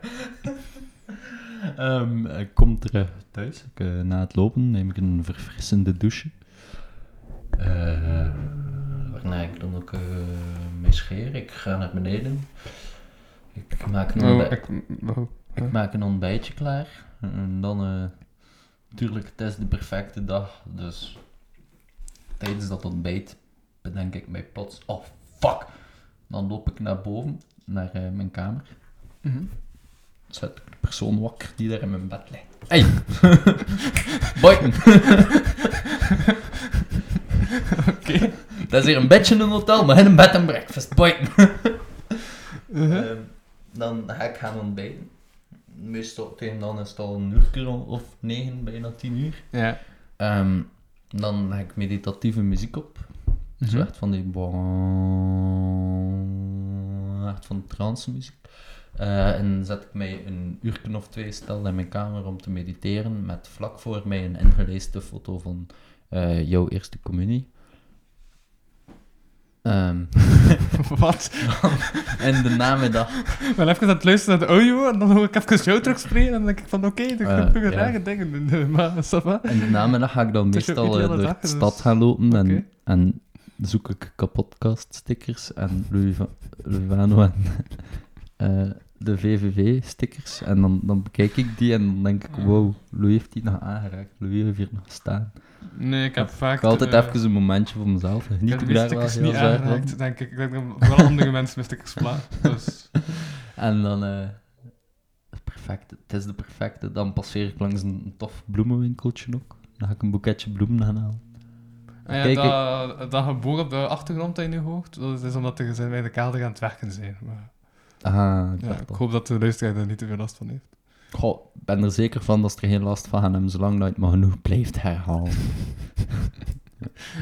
[SPEAKER 4] Ehm, ik kom terug thuis. Ik, eh, na het lopen neem ik een verfrissende douche. Eh, waarna ik dan ook eh mee scheer. Ik ga naar beneden. Ik maak een, ontbij-
[SPEAKER 3] Oh,
[SPEAKER 4] ik...
[SPEAKER 3] ik... Oh.
[SPEAKER 4] maak een ontbijtje klaar. En dan, eh natuurlijk, het is de perfecte dag. Dus tijdens dat ontbijt bedenk ik mij plots: oh fuck! Dan loop ik naar boven, naar eh, mijn kamer
[SPEAKER 3] Mhm.
[SPEAKER 4] zet ik de persoon wakker die daar in mijn bed ligt. Hey! Boyken!
[SPEAKER 3] Oké.
[SPEAKER 4] Dat is hier een bedje in een hotel, maar in een bed en breakfast. Boyken!
[SPEAKER 3] Uh-huh.
[SPEAKER 4] Ehm, dan ga ik gaan ontbijten. Meestal tegen dan is het al een uur of negen, bijna tien uur.
[SPEAKER 3] Ja.
[SPEAKER 4] Ehm, dan heb ik meditatieve muziek op. Zo echt van die... bon- Echt van trance muziek. Eh, en zet ik mij een uurtje of twee stel in mijn kamer om te mediteren. Met vlak voor mij een ingeleeste foto van eh, jouw eerste communie. Ehm,
[SPEAKER 3] Wat?
[SPEAKER 4] en de namiddag
[SPEAKER 3] Wel even aan het luisteren naar de audio en dan hoor ik even jou terugspringen en dan denk ik van oké, dan
[SPEAKER 4] Eh,
[SPEAKER 3] kan ik
[SPEAKER 4] ja.
[SPEAKER 3] er rare dingen doen. Maar, ça va.
[SPEAKER 4] En de namiddag ga ik dan
[SPEAKER 3] is jouw
[SPEAKER 4] meestal eh,
[SPEAKER 3] ideale
[SPEAKER 4] door
[SPEAKER 3] dag,
[SPEAKER 4] de
[SPEAKER 3] dus-
[SPEAKER 4] stad gaan lopen
[SPEAKER 3] Oké.
[SPEAKER 4] en, en zoek ik kapotcast-stickers en Louis Va- Louis Vano en eh, de VVV-stickers. En dan, dan bekijk ik die en dan denk ik, wow, Louis heeft die nog aangeraakt. Louis heeft hier nog staan.
[SPEAKER 3] Nee, ik heb vaak...
[SPEAKER 4] Ik heb altijd
[SPEAKER 3] eh,
[SPEAKER 4] even een momentje voor mezelf.
[SPEAKER 3] ik
[SPEAKER 4] Niet
[SPEAKER 3] heb
[SPEAKER 4] ik
[SPEAKER 3] die
[SPEAKER 4] daar wel heel
[SPEAKER 3] stickers niet
[SPEAKER 4] zwaar van.
[SPEAKER 3] aangeraakt, denk ik. Ik denk dat wel andere mensen mijn stickers plaat. Dus...
[SPEAKER 4] En dan... eh, het perfecte, het is de perfecte. Dan passeer ik langs een tof bloemenwinkeltje ook. Dan ga ik een boeketje bloemen gaan halen.
[SPEAKER 3] Ah ja,
[SPEAKER 4] Kijk,
[SPEAKER 3] dat, dat geboor op de achtergrond dat je nu hoort, dat is omdat de gezinnen bij de kader aan het werken zijn. Maar,
[SPEAKER 4] Ah, ik
[SPEAKER 3] ja,
[SPEAKER 4] dacht
[SPEAKER 3] ik
[SPEAKER 4] al.
[SPEAKER 3] hoop dat de luisteraar er niet te veel last van heeft.
[SPEAKER 4] Goh, ik ben er zeker van dat ze er geen last van gaan hebben, zolang dat je het maar genoeg blijft herhalen.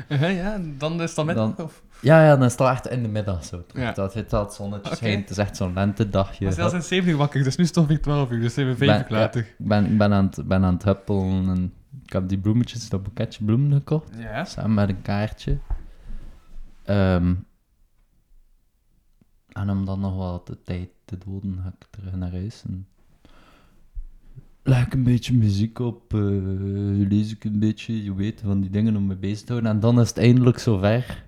[SPEAKER 3] Eh, ja, dan is dat met...
[SPEAKER 4] Dan-
[SPEAKER 3] of,
[SPEAKER 4] Ja, ja, dan is het al echt in de middag zo.
[SPEAKER 3] Ja.
[SPEAKER 4] Dat het al het zonnetje
[SPEAKER 3] Oké.
[SPEAKER 4] schijnt, het is echt zo'n lentedagje.
[SPEAKER 3] maar zelfs
[SPEAKER 4] Ik
[SPEAKER 3] in 7 uur wakker, dus nu is het toch weer 12 uur, dus zijn we 5
[SPEAKER 4] Ben-
[SPEAKER 3] uur later.
[SPEAKER 4] ben, ik ben, aan het, ben aan het huppelen en ik heb die bloemetjes, dat boeketje bloemen gekocht,
[SPEAKER 3] Ja.
[SPEAKER 4] samen met een kaartje. Ehm, en om dan nog wat de tijd te doden, ga ik terug naar huis en... Leg ik een beetje muziek op, eh, lees ik een beetje, je weet, van die dingen om me bezig te houden. En dan is het eindelijk zover.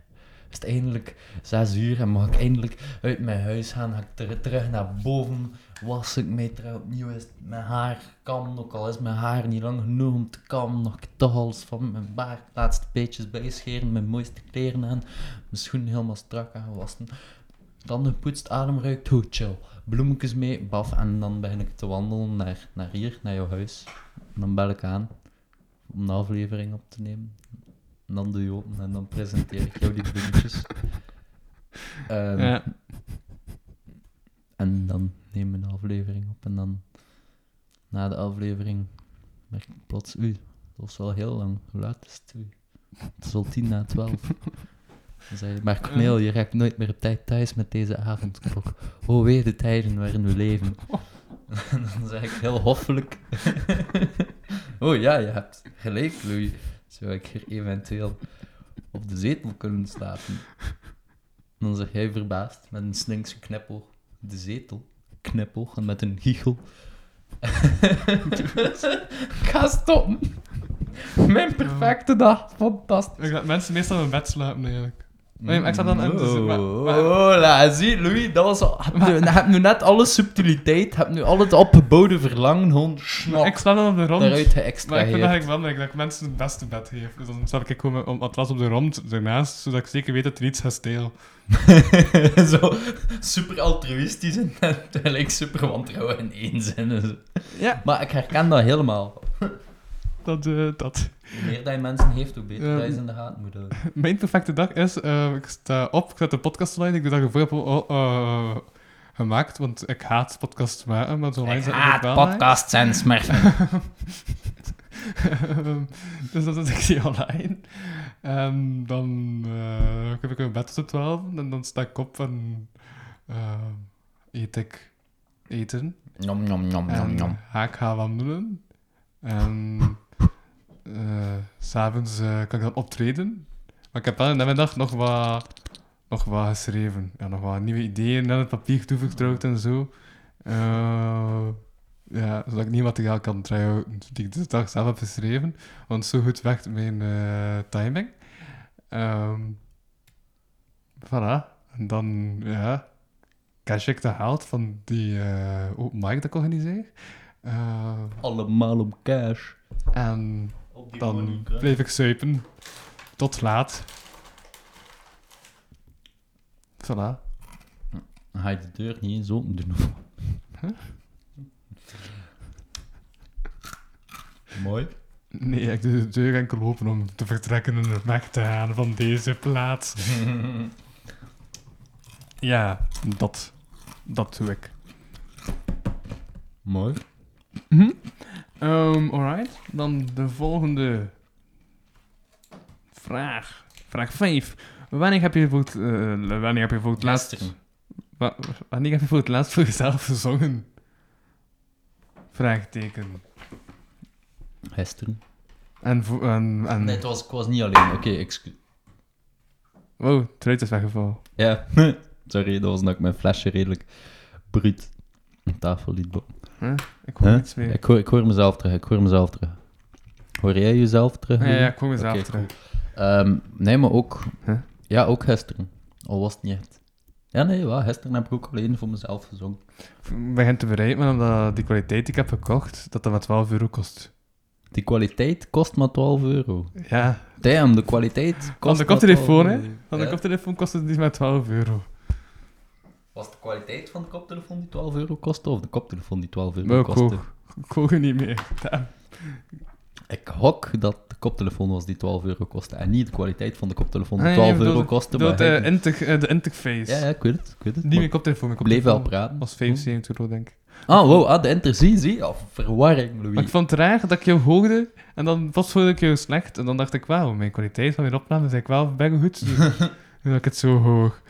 [SPEAKER 4] Is het eindelijk zes uur en mag ik eindelijk uit mijn huis gaan. Ga ik ter- terug naar boven, was ik mij terug opnieuw. Is mijn haar kam, ook al is mijn haar niet lang genoeg om te kammen. Nog de hals van mijn baard, laatste beetjes bijscheren, mijn mooiste kleren aan. Mijn schoenen helemaal strak aangewassen. Tanden gepoetst, adem ruikt, hoe chill. Bloemetjes mee, baf. En dan begin ik te wandelen naar, naar hier, naar jouw huis. En dan bel ik aan om een aflevering op te nemen. En dan doe je open en dan presenteer ik jou die bloemetjes. Ehm,
[SPEAKER 3] Ja.
[SPEAKER 4] En dan nemen we een aflevering op. En dan, na de aflevering, merk ik plots... Oei, dat was wel heel lang. Hoe laat is het? Oei, Het is al tien na twaalf. Dan zei je, maar Cornel, je raakt nooit meer op tijd thuis met deze avondklok. Oh, weer de tijden waarin we leven. En dan zei ik heel hoffelijk... Oh ja, je hebt gelijk, Louis. Zou ik hier eventueel op de zetel kunnen slapen? En dan zeg jij verbaasd met een slinkse knipoog. De zetel. Knipoog en met een giechel. Ga stoppen. Mijn perfecte dag. Fantastisch.
[SPEAKER 3] Ik laat mensen meestal in mijn bed slapen, eigenlijk.
[SPEAKER 4] Mm.
[SPEAKER 3] Maar ik zat dan aan te zitten, maar- maar-
[SPEAKER 4] Hola, zie, Oh. Louis, dat was al... Heb nu, heb nu net alle subtiliteit, heb nu al het opgeboden verlangen, gewoon
[SPEAKER 3] Maar Ik
[SPEAKER 4] snap,
[SPEAKER 3] slaap dan op de rond.
[SPEAKER 4] daaruit
[SPEAKER 3] Maar ik vind dat
[SPEAKER 4] geëxtraheerd.
[SPEAKER 3] eigenlijk belangrijk, dat ik mensen het beste bed geef. Dus dan slaap ik gewoon op matras op de rond daarnaast, zodat ik zeker weet dat er iets gaat stelen.
[SPEAKER 4] zo super altruïstisch en uiteindelijk super wantrouwen in één zin. en zo.
[SPEAKER 3] Ja.
[SPEAKER 4] Maar ik herken dat helemaal.
[SPEAKER 3] Dat, eh, dat.
[SPEAKER 4] Hoe meer dat je mensen heeft, hoe beter
[SPEAKER 3] Ja.
[SPEAKER 4] dat je ze in de gaten moet houden.
[SPEAKER 3] Mijn perfecte dag is, eh, ik sta op, ik zet de podcast online, ik doe dat gevoel heb oh, eh, gemaakt, want ik haat podcasts maken, maar zo online
[SPEAKER 4] Ik
[SPEAKER 3] zet
[SPEAKER 4] haat
[SPEAKER 3] wel online.
[SPEAKER 4] podcasts en smurfen.
[SPEAKER 3] Ehm, dus dan zet ik die online. En dan eh, heb ik mijn bed tot 12 en dan sta ik op en eh, eet ik eten.
[SPEAKER 4] Nom, nom, nom, nom,
[SPEAKER 3] En
[SPEAKER 4] nom.
[SPEAKER 3] ga ik gaan wandelen. En eh, s'avonds eh, kan ik dan optreden. Maar ik heb wel in de middag nog wat, nog wat geschreven. Ja, nog wat nieuwe ideeën aan het papier toevertrouwd en zo. Eh, ja, zodat ik niet materiaal kan trouwen die ik de dag zelf heb geschreven. Want zo goed werkt mijn eh, timing. Ehm voilà. En dan, ja, cash ik de haalt van die eh open mic dat ik organiseer. Eh,
[SPEAKER 4] Allemaal om cash.
[SPEAKER 3] en
[SPEAKER 7] Op die
[SPEAKER 3] dan bleef ik zuipen. Tot laat. Voilà.
[SPEAKER 4] Dan ga je de deur niet eens open doen. of wat? Mooi.
[SPEAKER 3] Nee, ik doe de deur enkel open om te vertrekken en weg te gaan van deze plaats. ja, dat. Dat doe ik.
[SPEAKER 4] Mooi.
[SPEAKER 3] Ehm, alright, dan de volgende vraag. Vraag 5. Wanneer heb je voor het, eh, wanneer heb je voor het laatst...
[SPEAKER 4] Gisteren.
[SPEAKER 3] Wa- wanneer heb je voor het laatst voor jezelf gezongen? Vraagteken.
[SPEAKER 4] Gisteren.
[SPEAKER 3] En... voor- en, en...
[SPEAKER 4] Nee, het was, ik was niet alleen. Oké, excuus.
[SPEAKER 3] Wow, truit is weggevallen.
[SPEAKER 4] Ja, sorry, dat was omdat ik mijn flesje redelijk bruut op tafel liet bo-
[SPEAKER 3] Ik hoor
[SPEAKER 4] Huh?
[SPEAKER 3] niets meer.
[SPEAKER 4] Ik hoor, ik hoor mezelf terug, ik hoor mezelf terug. Hoor jij jezelf terug?
[SPEAKER 3] Ja,
[SPEAKER 4] Louis?
[SPEAKER 3] ja, ik hoor mezelf
[SPEAKER 4] Oké,
[SPEAKER 3] terug.
[SPEAKER 4] Ehm, nee, maar ook...
[SPEAKER 3] Huh?
[SPEAKER 4] Ja, ook gisteren. Al was het niet echt. Ja, nee, wel, gisteren heb ik ook alleen voor mezelf gezongen.
[SPEAKER 3] Ik begin te bereid, maar omdat die kwaliteit die ik heb gekocht, dat dat maar 12 euro kost.
[SPEAKER 4] Die kwaliteit kost maar 12 euro.
[SPEAKER 3] Ja,
[SPEAKER 4] Damn, de kwaliteit kost
[SPEAKER 3] Van de
[SPEAKER 4] maar
[SPEAKER 3] koptelefoon,
[SPEAKER 4] 12
[SPEAKER 3] hè?
[SPEAKER 4] euro.
[SPEAKER 3] want de
[SPEAKER 4] Ja.
[SPEAKER 3] koptelefoon kost het niet maar 12 euro.
[SPEAKER 4] Was de kwaliteit van de koptelefoon die 12 euro kostte, of de koptelefoon die 12
[SPEAKER 3] Maar
[SPEAKER 4] euro
[SPEAKER 3] ik
[SPEAKER 4] kostte?
[SPEAKER 3] hoor, ik hoor je niet meer. Damn.
[SPEAKER 4] Ik hok dat de koptelefoon was die 12 euro kostte. En niet de kwaliteit van de koptelefoon
[SPEAKER 3] Ah,
[SPEAKER 4] die
[SPEAKER 3] ja,
[SPEAKER 4] 12
[SPEAKER 3] bedoelt-
[SPEAKER 4] euro kostte.
[SPEAKER 3] bedoelt,
[SPEAKER 4] maar
[SPEAKER 3] eh,
[SPEAKER 4] hij-
[SPEAKER 3] interg- eh, de interface.
[SPEAKER 4] ja, ja, ik weet het. Ik weet het.
[SPEAKER 3] Niet
[SPEAKER 4] maar
[SPEAKER 3] mijn koptelefoon, mijn
[SPEAKER 4] ik bleef wel
[SPEAKER 3] koptelefoon
[SPEAKER 4] praten.
[SPEAKER 3] was 75 euro, denk ik.
[SPEAKER 4] Ah, wow, ah, de enter, zie, zie. Ah, verwarring,
[SPEAKER 3] Maar
[SPEAKER 4] Louis.
[SPEAKER 3] ik vond het raar dat ik jou hoorde, en dan pas hoorde ik jou slecht, en dan dacht ik, wauw, mijn kwaliteit van mijn opname is eigenlijk wel bijna goed. Nu nu dat ik het zo hoog.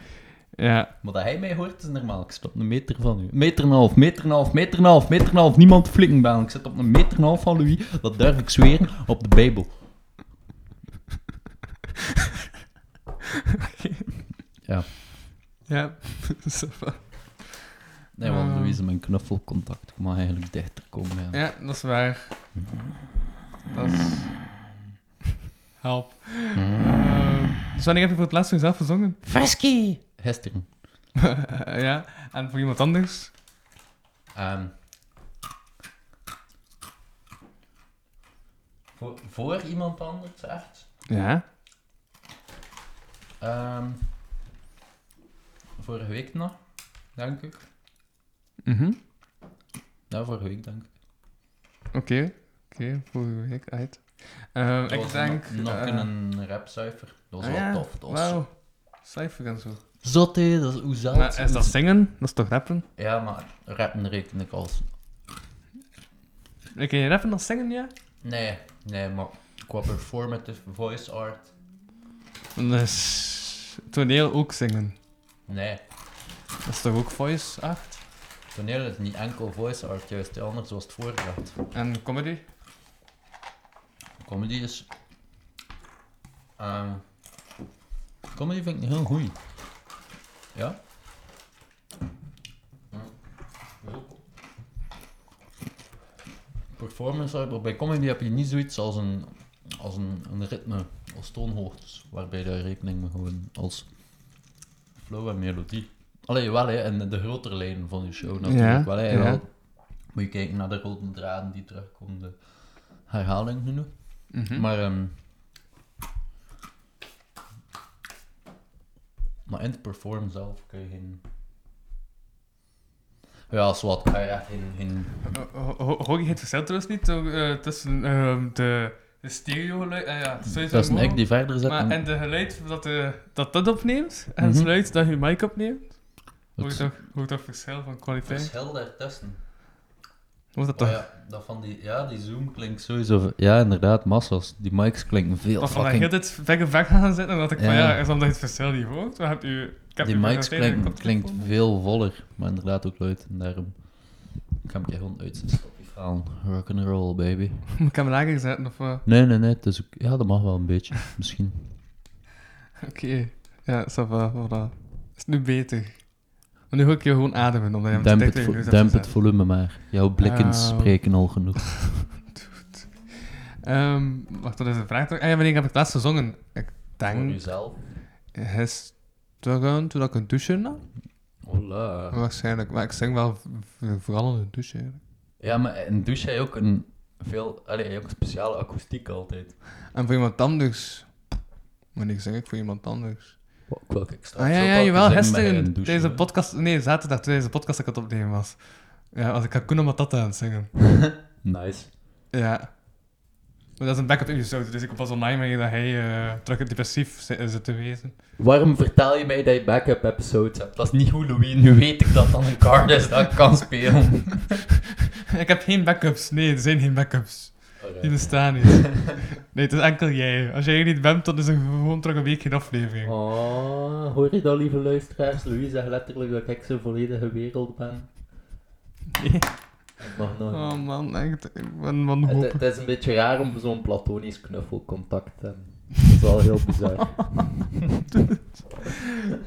[SPEAKER 3] Ja,
[SPEAKER 4] Maar dat hij mij hoort is normaal. Ik zit op een meter van u. Meter en een half, meter en een half, meter en een half, meter en een half. Niemand flikken ben. Ik zit op een meter en een half van Louis. Dat durf ik zweren op de Bijbel. Ja,
[SPEAKER 3] ja, ça va.
[SPEAKER 4] nee, want
[SPEAKER 3] Ah.
[SPEAKER 4] Louis is mijn knuffelcontact. Ik mag eigenlijk dichter komen. Ja.
[SPEAKER 3] Ja, dat is waar. Dat is... Help. Eh, dus wanneer heb je voor het laatst voor jezelf gezongen?
[SPEAKER 4] Frisky! Gisteren.
[SPEAKER 3] Eh, ja, en voor iemand anders?
[SPEAKER 4] Ehm. voor, voor iemand anders, echt?
[SPEAKER 3] Ja.
[SPEAKER 4] Ehm, vorige week nog, denk ik.
[SPEAKER 3] Mhm.
[SPEAKER 4] Ja, vorige week, denk ik.
[SPEAKER 3] Oké, oké, vorige week uit. Eh,
[SPEAKER 4] Dat
[SPEAKER 3] ik
[SPEAKER 4] was
[SPEAKER 3] denk.
[SPEAKER 4] Nog, nog
[SPEAKER 3] eh,
[SPEAKER 4] een rapcijfer. Dat was
[SPEAKER 3] ah
[SPEAKER 4] wel
[SPEAKER 3] ja,
[SPEAKER 4] tof. Dat was
[SPEAKER 3] Wauw, cijfer en zo.
[SPEAKER 4] Zot, hé, dat is hoe zelf.
[SPEAKER 3] Maar is dat zingen? Dat is toch rappen?
[SPEAKER 4] Ja, maar rappen reken ik als...
[SPEAKER 3] Oké, je rappen als zingen, ja?
[SPEAKER 4] Nee, nee, maar qua performative voice art,
[SPEAKER 3] Dus toneel ook zingen.
[SPEAKER 4] nee.
[SPEAKER 3] Dat is toch ook voice act?
[SPEAKER 4] Toneel is niet enkel voice art, juist. Anders was het voorgebracht.
[SPEAKER 3] En comedy?
[SPEAKER 4] Comedy is... ehm, comedy vind ik heel goed. Ja? Performance art, maar bij comedy heb je niet zoiets als een, als een, een ritme, als toonhoogtes, waarbij je rekening mee houden als flow en melodie. Allee, wel hè, en de grotere lijnen van je show natuurlijk
[SPEAKER 3] Ja,
[SPEAKER 4] wel hè.
[SPEAKER 3] ja.
[SPEAKER 4] Wel, moet je kijken naar de rode draden die terugkomen, de herhaling genoeg.
[SPEAKER 3] Mhm.
[SPEAKER 4] Maar, ehm maar in het perform zelf kun je geen... Ja, zwart, kan je echt geen... geen...
[SPEAKER 3] Ho- ho- Hoor je het verschil trouwens niet eh, tussen ehm, de, de stereo geluid... ah ja, het is sowieso
[SPEAKER 4] Dat is een
[SPEAKER 3] mooi.
[SPEAKER 4] ik die verder zit
[SPEAKER 3] Maar,
[SPEAKER 4] en
[SPEAKER 3] en de geluid dat, de, dat dat opneemt, en
[SPEAKER 4] Mhm.
[SPEAKER 3] het geluid dat je mic opneemt, hoor je
[SPEAKER 4] het
[SPEAKER 3] toch, hoor je toch verschil van kwaliteit?
[SPEAKER 4] verschil daartussen.
[SPEAKER 3] Hoe is dat
[SPEAKER 4] Oh
[SPEAKER 3] toch?
[SPEAKER 4] ja, dat van die, ja, die zoom klinkt sowieso... Ja, inderdaad, massas. Die mics klinken veel
[SPEAKER 3] Of van dat je
[SPEAKER 4] fucking...
[SPEAKER 3] heel dit ver en ver gaan zitten, omdat ik van
[SPEAKER 4] Ja.
[SPEAKER 3] ja, is omdat je het verschil niet hoort. Dan heb je, ik heb
[SPEAKER 4] Die
[SPEAKER 3] je
[SPEAKER 4] mics
[SPEAKER 3] tegen de
[SPEAKER 4] klinkt,
[SPEAKER 3] koptelefoon.
[SPEAKER 4] klinkt veel voller, maar inderdaad ook luid. En daarom kan ik je gewoon uitzetten. Stop je verhaal. Rock'n'roll, baby.
[SPEAKER 3] Moet ik hem lager zetten of eh? wat?
[SPEAKER 4] Nee, nee, nee. Het is ook, ja, dat mag wel een beetje, misschien.
[SPEAKER 3] Oké, ja, ça va, voilà. Is nu beter. Maar nu hoor ik je gewoon ademen, omdat je hem te
[SPEAKER 4] Demp
[SPEAKER 3] dicht
[SPEAKER 4] het,
[SPEAKER 3] tegen je neus
[SPEAKER 4] vo-
[SPEAKER 3] hebt
[SPEAKER 4] demp het
[SPEAKER 3] gezet.
[SPEAKER 4] volume maar. Jouw blikken
[SPEAKER 3] Ah.
[SPEAKER 4] spreken al genoeg.
[SPEAKER 3] Ehm, Wacht, dat is een vraag toch? Ah ja, wanneer heb ik het laatst gezongen? Ik denk
[SPEAKER 4] jezelf.
[SPEAKER 3] gisteren, toen ik een douche nam.
[SPEAKER 4] Hola.
[SPEAKER 3] Waarschijnlijk, maar ik zing wel v- v- vooral in de douche eigenlijk.
[SPEAKER 4] Ja, maar en douche jij ook een veel, allee, jij hebt ook een speciale akoestiek altijd.
[SPEAKER 3] En voor iemand anders... Wanneer zing ik voor iemand anders?
[SPEAKER 4] Welke ik straks
[SPEAKER 3] Ah ja,
[SPEAKER 4] ook
[SPEAKER 3] ja
[SPEAKER 4] al
[SPEAKER 3] jawel,
[SPEAKER 4] gezien met een
[SPEAKER 3] gisteren.
[SPEAKER 4] douche,
[SPEAKER 3] Deze
[SPEAKER 4] hè.
[SPEAKER 3] podcast, nee, zaterdag toen deze podcast dat ik aan het opnemen was. Ja, als ik Hakuna Matata aan het zingen.
[SPEAKER 4] Nice.
[SPEAKER 3] Ja. Maar dat is een backup episode, dus ik was online mee dat hij eh, terug depressief zi- eh, zit te wezen.
[SPEAKER 4] Waarom vertel je mij dat je backup episodes hebt? Dat is niet Halloween. Nu weet ik dat dan een card is dat ik kan spelen.
[SPEAKER 3] ik heb geen backups. Nee, er zijn geen backups. Die bestaan niet. nee, het is enkel jij. Als jij er niet bent, dan is er gewoon terug een week geen aflevering.
[SPEAKER 4] Oh, hoor je dat, lieve luisteraars? Louis zegt letterlijk dat ik zijn volledige wereld ben.
[SPEAKER 3] Nee.
[SPEAKER 4] Ik mag nog
[SPEAKER 3] Oh
[SPEAKER 4] niet.
[SPEAKER 3] man, echt. Ik ben
[SPEAKER 4] Het,
[SPEAKER 3] wanhopig.
[SPEAKER 4] het is een beetje raar om zo'n platonisch knuffelcontact te hebben. Dat is wel heel bizar.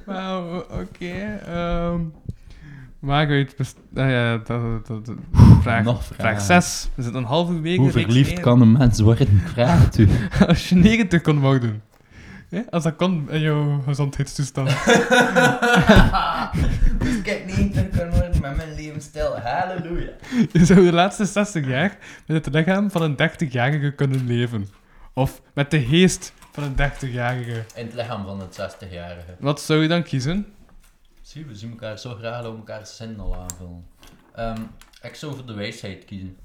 [SPEAKER 3] Wauw, oké. ehm. maak uit. best- Ah ja, dat, dat, dat- vraag,
[SPEAKER 4] nog
[SPEAKER 3] vraag
[SPEAKER 4] vragen.
[SPEAKER 3] 6. We zitten een halve week.
[SPEAKER 8] Hoe verliefd kan een mens worden? Ik Vraag het u.
[SPEAKER 3] Als je 90 kon mogen doen. Ja, als dat kon in jouw gezondheidstoestand.
[SPEAKER 4] dus ik heb niet kunnen worden met mijn levensstijl. Halleluja.
[SPEAKER 3] je zou de laatste 60 jaar met het lichaam van een 30-jarige kunnen leven. Of met de geest van een 30-jarige.
[SPEAKER 4] In het lichaam van het 60-jarige.
[SPEAKER 3] Wat zou je dan kiezen?
[SPEAKER 4] Zie, we zien elkaar zo graag dat we elkaar zin al aanvullen. Ehm, ik zou voor de wijsheid kiezen.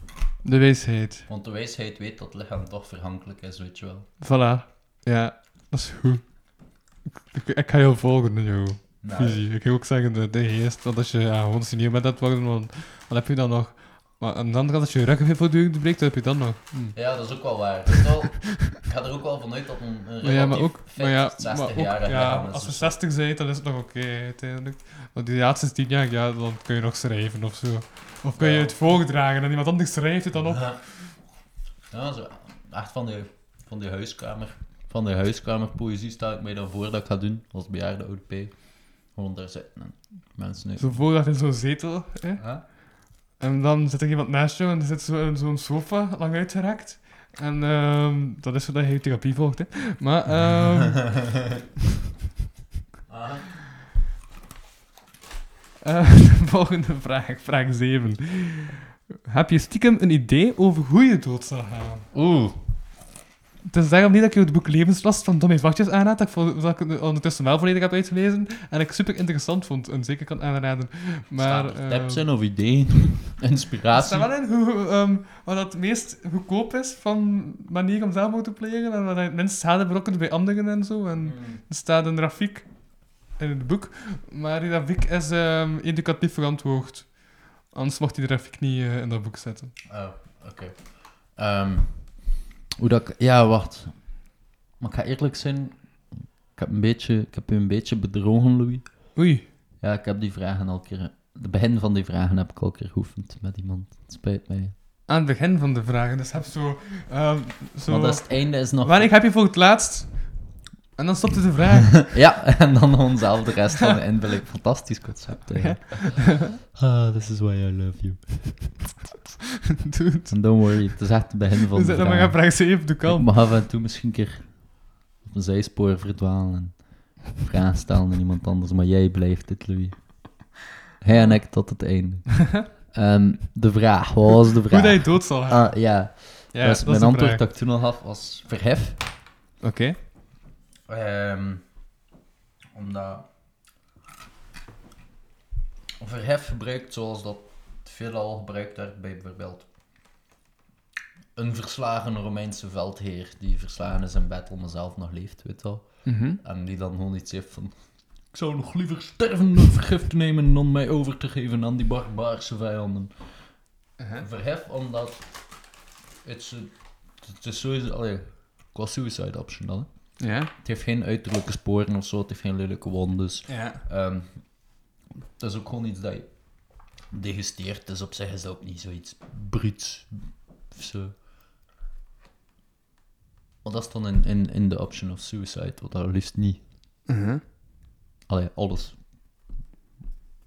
[SPEAKER 3] De wijsheid.
[SPEAKER 4] Want de wijsheid weet dat het lichaam toch verhankelijk is, weet je wel.
[SPEAKER 3] Voilà. Ja, dat is goed. Ik, ik, ik ga jou volgen in jouw
[SPEAKER 4] Nou,
[SPEAKER 3] visie. Ik ga ook zeggen de, de geest, want als je ja, gewoon senior bent aan het worden, want, wat heb je dan nog? Maar aan de andere kant, als je ruggenveel voortdurend breekt, wat heb je dan nog?
[SPEAKER 4] Ja, dat is ook wel waar. Dat is wel- ik ga er ook wel vanuit dat een, een
[SPEAKER 3] Maar ja, maar
[SPEAKER 4] relatief
[SPEAKER 3] ook,
[SPEAKER 4] fit
[SPEAKER 3] maar ja, maar
[SPEAKER 4] 60
[SPEAKER 3] ook
[SPEAKER 4] jarige
[SPEAKER 3] ja,
[SPEAKER 4] lichaam is.
[SPEAKER 3] als je
[SPEAKER 4] dus-
[SPEAKER 3] 60 bent, dan is het nog oké uiteindelijk. Want die laatste 10 jaar, ja, dan kun je nog schrijven of zo. Of kun je
[SPEAKER 4] Ja.
[SPEAKER 3] het voordragen en iemand anders schrijft het dan op.
[SPEAKER 4] Ja, zo, echt van die, van die huiskamer. Van die huiskamerpoëzie stel ik mij dan voor dat ik ga doen als bejaarde ODP. Gewoon daar zitten en mensen uit.
[SPEAKER 3] Zo voordat in zo'n zetel. Hè?
[SPEAKER 4] Ja.
[SPEAKER 3] En dan zit er iemand naast jou en er zit zo- zo'n sofa lang uitgerekt. En ehm, dat is zo dat je therapie volgt. Hè? Maar ehm,
[SPEAKER 4] Ah,
[SPEAKER 3] Eh, de volgende vraag, vraag 7. Heb je stiekem een idee over hoe je dood zal gaan?
[SPEAKER 4] Oeh.
[SPEAKER 3] Het is daarom niet dat ik jou het boek Levenslast van Tommy Vachtjes aanraad, dat ik, vol- dat ik het ondertussen wel volledig heb uitgelezen en ik super interessant vond en zeker kan aanraden. Maar,
[SPEAKER 4] staan er
[SPEAKER 3] eh,
[SPEAKER 4] tips in of ideeën?
[SPEAKER 3] er
[SPEAKER 4] Inspiratie?
[SPEAKER 3] staat wel in hoe, ehm, wat dat het meest goedkoop is van manier om zelfmoord te plegen en wat dat mensen schade berokkent bij anderen en zo. En er staat een grafiek in het boek, maar die grafiek is ehm, educatief verantwoord. Anders mocht die grafiek niet eh, in dat boek zetten.
[SPEAKER 4] Oh, oké. Ehm,
[SPEAKER 8] Hoe dat ik... Ja, wacht. Maar ik ga eerlijk zijn. Ik heb, een beetje, ik heb u een beetje bedrogen, Louis.
[SPEAKER 3] Oei.
[SPEAKER 8] Ja, ik heb die vragen al keer... De begin van die vragen heb ik al keer geoefend met iemand. Het spijt mij.
[SPEAKER 3] aan het begin van de vragen. Dus heb zo... ehm, zo...
[SPEAKER 9] Want dat is het einde is nog...
[SPEAKER 3] Wanneer heb je voor het laatst? En dan stopte de vraag.
[SPEAKER 9] Ja, en dan onszelf de rest van de inbeelding. Fantastisch concept. eigenlijk. Ah, this is why I love you.
[SPEAKER 3] Dude.
[SPEAKER 9] And don't worry, het is echt het begin van
[SPEAKER 3] Dus
[SPEAKER 9] de
[SPEAKER 3] dan maar gaan
[SPEAKER 9] vraag.
[SPEAKER 3] vraag 7, doe
[SPEAKER 9] Ik
[SPEAKER 3] kalm.
[SPEAKER 9] mag af en toe misschien een keer op een zijspoor verdwalen en vragen stellen aan iemand anders, maar jij blijft dit, Louis. Hij en ik tot het einde. Ehm, de vraag, wat was de
[SPEAKER 3] Hoe dat je
[SPEAKER 9] vraag?
[SPEAKER 3] dood zal gaan.
[SPEAKER 9] Ah, ja,
[SPEAKER 3] ja,
[SPEAKER 9] dus
[SPEAKER 3] dat is
[SPEAKER 9] mijn
[SPEAKER 3] de
[SPEAKER 9] antwoord
[SPEAKER 3] vraag.
[SPEAKER 9] dat ik toen al gaf was verhef.
[SPEAKER 3] Oké.
[SPEAKER 4] Ehm, omdat verhef gebruikt zoals dat veelal gebruikt werd bij bijvoorbeeld een verslagen Romeinse veldheer die verslagen is in battle maar zelf nog leeft, weet je wel.
[SPEAKER 3] Mhm.
[SPEAKER 4] En die dan gewoon iets heeft van... Ik zou nog liever sterven dan vergif te nemen dan mij over te geven aan die barbaarse vijanden.
[SPEAKER 3] Uh-huh.
[SPEAKER 4] Verhef omdat... Het is, het is sowieso... Allee, qua suicide option dan, hè.
[SPEAKER 3] Ja.
[SPEAKER 4] Het heeft geen uiterlijke sporen of zo, het heeft geen lelijke wondes.
[SPEAKER 3] Ja.
[SPEAKER 4] Ehm het is ook gewoon iets dat je degusteert, dus op zich is dat ook niet zoiets bruuts of zo. Maar dat is dan in, in, in de option of suicide, wat daar liefst niet. Allee, alles.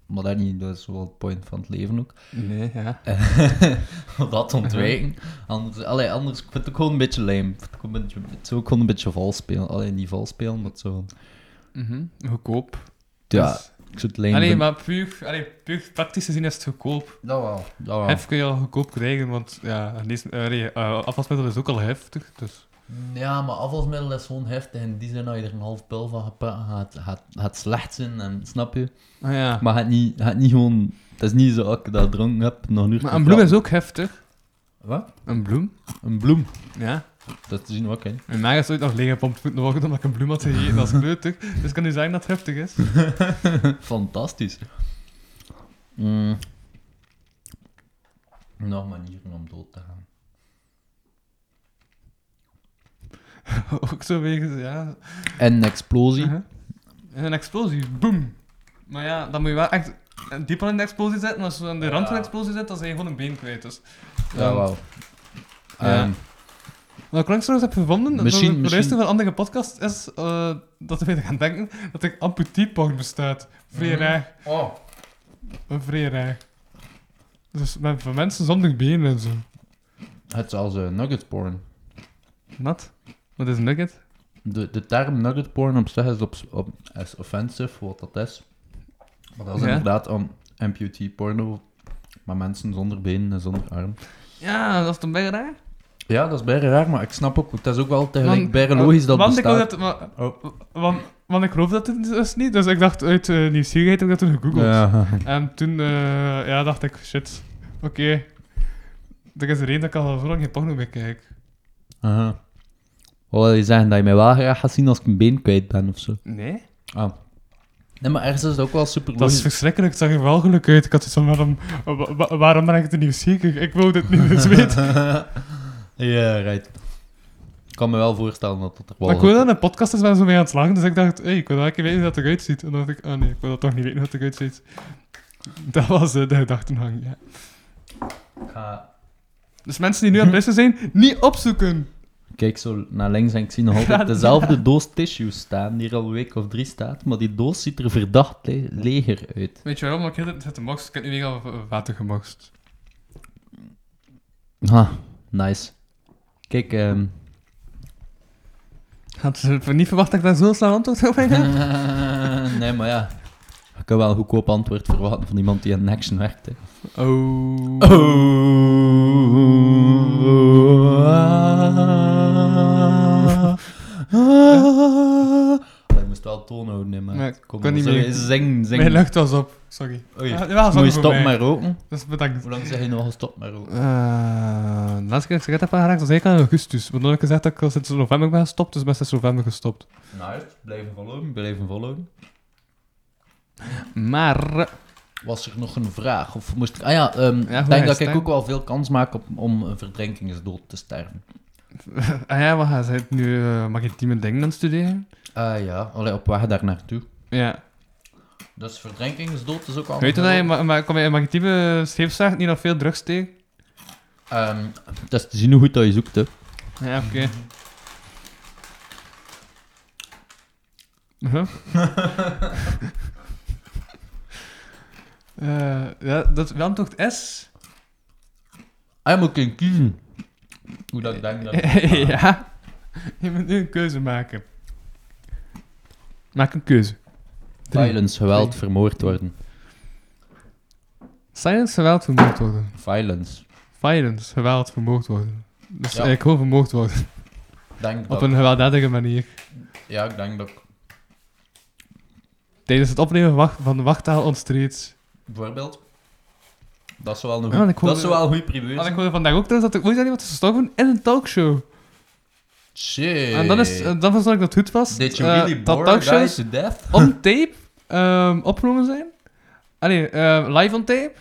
[SPEAKER 4] Maar dat niet, dat is wel het point van het leven ook.
[SPEAKER 3] Nee, ja.
[SPEAKER 4] Om dat te ontwijken. Anders, allee, anders ik vind het ook gewoon een beetje lame. Ik vind het ook een beetje- Het zou ook gewoon een beetje vals spelen. Allee, niet vals spelen, maar zo. van-
[SPEAKER 3] Mhm. Goedkoop.
[SPEAKER 4] Ja,
[SPEAKER 3] Dus-
[SPEAKER 4] ik zou het lame
[SPEAKER 3] Allee,
[SPEAKER 4] vinden.
[SPEAKER 3] maar puur, allee, puur praktisch gezien is het goedkoop.
[SPEAKER 4] Dat wel. Dat wel.
[SPEAKER 3] Hef kun je al goedkoop krijgen, want ja, deze, eh, nee, eh, afwasmiddel is ook al heftig. Dus.
[SPEAKER 4] Ja, maar afvalsmiddel is gewoon heftig. In die zin dat je er een half pil van gepakt gaat, gaat, gaat slecht zijn. En, snap je?
[SPEAKER 3] Ah, ja. Maar,
[SPEAKER 4] Maar het niet, gaat niet gewoon... Het is niet zo dat ik dat dronken heb, nog nu.
[SPEAKER 3] een bloem is ook heftig.
[SPEAKER 4] Wat?
[SPEAKER 3] Een bloem?
[SPEAKER 4] Een bloem.
[SPEAKER 3] Ja.
[SPEAKER 4] Dat zien we ook, hè.
[SPEAKER 3] Mijn maag is ooit nog leeggepompt moeten worden omdat ik een bloem had gegeten als kleuter. Dus ik kan nu zeggen dat het heftig is.
[SPEAKER 4] Fantastisch. Mm. Nog manieren om dood te gaan.
[SPEAKER 3] ook zo wegens, ja.
[SPEAKER 4] En een explosie.
[SPEAKER 3] Mhm. En een explosie, boom. Maar ja, dan moet je wel echt dieper in de explosie zetten. Als je aan de rand van de explosie zit, dan zijn je gewoon een been kwijt. Dus.
[SPEAKER 4] Ja,
[SPEAKER 3] Ehm,
[SPEAKER 4] wauw.
[SPEAKER 3] Ja.
[SPEAKER 4] Ehm,
[SPEAKER 3] Wat ik langs trouwens heb gevonden,
[SPEAKER 4] Misschien-
[SPEAKER 3] misschien, het
[SPEAKER 4] misschien-
[SPEAKER 3] luisteren van andere podcast is eh, dat we gaan denken dat er amputeeporn bestaat. Vrij raar.
[SPEAKER 4] Oh.
[SPEAKER 3] Vrij raar. Dus met, van mensen zonder benen en zo.
[SPEAKER 4] Het is als eh, nugget porn.
[SPEAKER 3] Wat? Wat is een nugget?
[SPEAKER 4] De, de term nugget porn op zich is, op, op, is offensive, wat dat is. Maar dat is
[SPEAKER 3] Ja.
[SPEAKER 4] inderdaad om amputee porno, maar mensen zonder benen en zonder arm.
[SPEAKER 3] Ja, dat is toch bijna raar?
[SPEAKER 4] Ja, dat is bijna raar, maar ik snap ook, het is ook wel tegelijk
[SPEAKER 3] Want-
[SPEAKER 4] bijna logisch dat
[SPEAKER 3] want
[SPEAKER 4] bestaat.
[SPEAKER 3] Ik wou dat, wa-
[SPEAKER 4] Oh.
[SPEAKER 3] want, want ik geloof dat het dus niet, dus ik dacht uit eh, nieuwsgierigheid heb ik dat toen gegoogeld.
[SPEAKER 4] Ja.
[SPEAKER 3] En toen eh, ja, dacht ik, shit, oké. Er is een reden dat ik al zo lang geen porno meer kijk.
[SPEAKER 4] Aha. Wat wil je zeggen, dat je mij wel graag gaat zien als ik een been kwijt ben of zo?
[SPEAKER 3] Nee?
[SPEAKER 4] Ah. Nee, maar ergens is het ook wel super
[SPEAKER 3] Dat is
[SPEAKER 4] logisch.
[SPEAKER 3] verschrikkelijk, het zag er wel geluk uit. Ik had zoiets van, waarom, wa- wa- waarom ben ik er nieuwsgierig? Ik wil dit niet eens weten.
[SPEAKER 4] ja, right. Ik kan me wel voorstellen dat dat er wel...
[SPEAKER 3] Maar ik hoorde dat in een podcast is waar zo mee aan het slagen, dus ik dacht, hey, ik wil wel een keer weten hoe dat eruit ziet. En dan dacht ik, ah nee, ik wil dat toch niet weten hoe dat eruit ziet. Dat was eh, de gedachtenhang, ja.
[SPEAKER 4] Ik ga-
[SPEAKER 3] Dus mensen die nu aan het luisteren zijn, niet opzoeken!
[SPEAKER 4] kijk zo naar links en ik zie nog altijd dezelfde doos tissues staan, die er al een week of drie staat, maar die doos ziet er verdacht le- leger uit.
[SPEAKER 3] Weet je waarom? Want ik heb het gemokst, ik heb nu weer al water gemokst.
[SPEAKER 4] Ah, nice. Kijk, ehm,
[SPEAKER 3] Had ze niet verwacht dat ik daar zo snel antwoord op heb?
[SPEAKER 4] nee, maar ja. Ik kan wel een goedkoop antwoord verwachten van iemand die in Action werkt. Hè.
[SPEAKER 3] Oh.
[SPEAKER 4] Hij moest wel toon houden, hè, maar...
[SPEAKER 3] Maar ik
[SPEAKER 4] Kom,
[SPEAKER 3] kon niet
[SPEAKER 4] sorry,
[SPEAKER 3] meer.
[SPEAKER 4] Zing, zing.
[SPEAKER 3] Mijn lucht was op, sorry.
[SPEAKER 4] Oei,
[SPEAKER 3] Ah, ja,
[SPEAKER 4] Moet
[SPEAKER 3] sorry voor
[SPEAKER 4] je stoppen
[SPEAKER 3] mij.
[SPEAKER 4] met roken?
[SPEAKER 3] Dus bedankt.
[SPEAKER 4] Hoe lang zeg je nog gestopt met roken?
[SPEAKER 3] Eh, de laatste keer dat ik sigaret heb aangeraakt was eigenlijk al in augustus. Want dan heb ik gezegd dat ik al sinds november ben gestopt, dus ik ben sinds november gestopt.
[SPEAKER 4] Nou, blijven volgen, blijven volgen.
[SPEAKER 3] Maar...
[SPEAKER 4] Was er nog een vraag? Of moest ik... Ah ja, ehm, ik
[SPEAKER 3] goed,
[SPEAKER 4] denk
[SPEAKER 3] hij
[SPEAKER 4] dat
[SPEAKER 3] is
[SPEAKER 4] ik
[SPEAKER 3] sterk.
[SPEAKER 4] ook wel veel kans maak op, om een verdrinkingsdood te sterven.
[SPEAKER 3] Ah ja, wat ga je nu? eh, mag je team dingen aan het studeren?
[SPEAKER 4] Ah ja, allee, op weg daar naartoe.
[SPEAKER 3] Ja.
[SPEAKER 4] Dus verdrinkingsdood is ook al...
[SPEAKER 3] Weet je dat je, ma ma kom je in maritieme scheepsvaart niet nog veel drugs tegen?
[SPEAKER 4] Ehm, het is te zien hoe goed dat je zoekt, hè.
[SPEAKER 3] Ja, oké. Mhm. Huh? Eh, ja, dat Wantocht S.
[SPEAKER 4] Ah, je moet kunnen kiezen. Hoe dat ik denk dat...
[SPEAKER 3] ja. Je moet nu een keuze maken. Maak een keuze. Drie.
[SPEAKER 4] Violence, geweld, vermoord worden.
[SPEAKER 3] Silence, geweld, vermoord worden.
[SPEAKER 4] Violence.
[SPEAKER 3] Violence, geweld, vermoord worden. Dus
[SPEAKER 4] Ja.
[SPEAKER 3] ik gewoon vermoord worden.
[SPEAKER 4] Ik Denk
[SPEAKER 3] Op
[SPEAKER 4] dat,
[SPEAKER 3] een gewelddadige manier.
[SPEAKER 4] Ja, ik denk dat ik...
[SPEAKER 3] Tijdens het opnemen van wacht- van de wachttaal ontstreeds.
[SPEAKER 4] Bijvoorbeeld... Dat is wel een
[SPEAKER 3] Ah,
[SPEAKER 4] goeie-
[SPEAKER 3] ik hoor-
[SPEAKER 4] dat is wel een goede primeur.
[SPEAKER 3] Want ik hoorde vandaag ook trouwens dat er ooit al iemand is gestorven in een talkshow.
[SPEAKER 4] Shit.
[SPEAKER 3] En dan, is, eh, dan verstond ik dat het goed was.
[SPEAKER 4] Did you
[SPEAKER 3] eh,
[SPEAKER 4] really bore a guy
[SPEAKER 3] talkshows
[SPEAKER 4] to death?
[SPEAKER 3] on tape ehm, opgenomen zijn. Allee, eh, live on tape.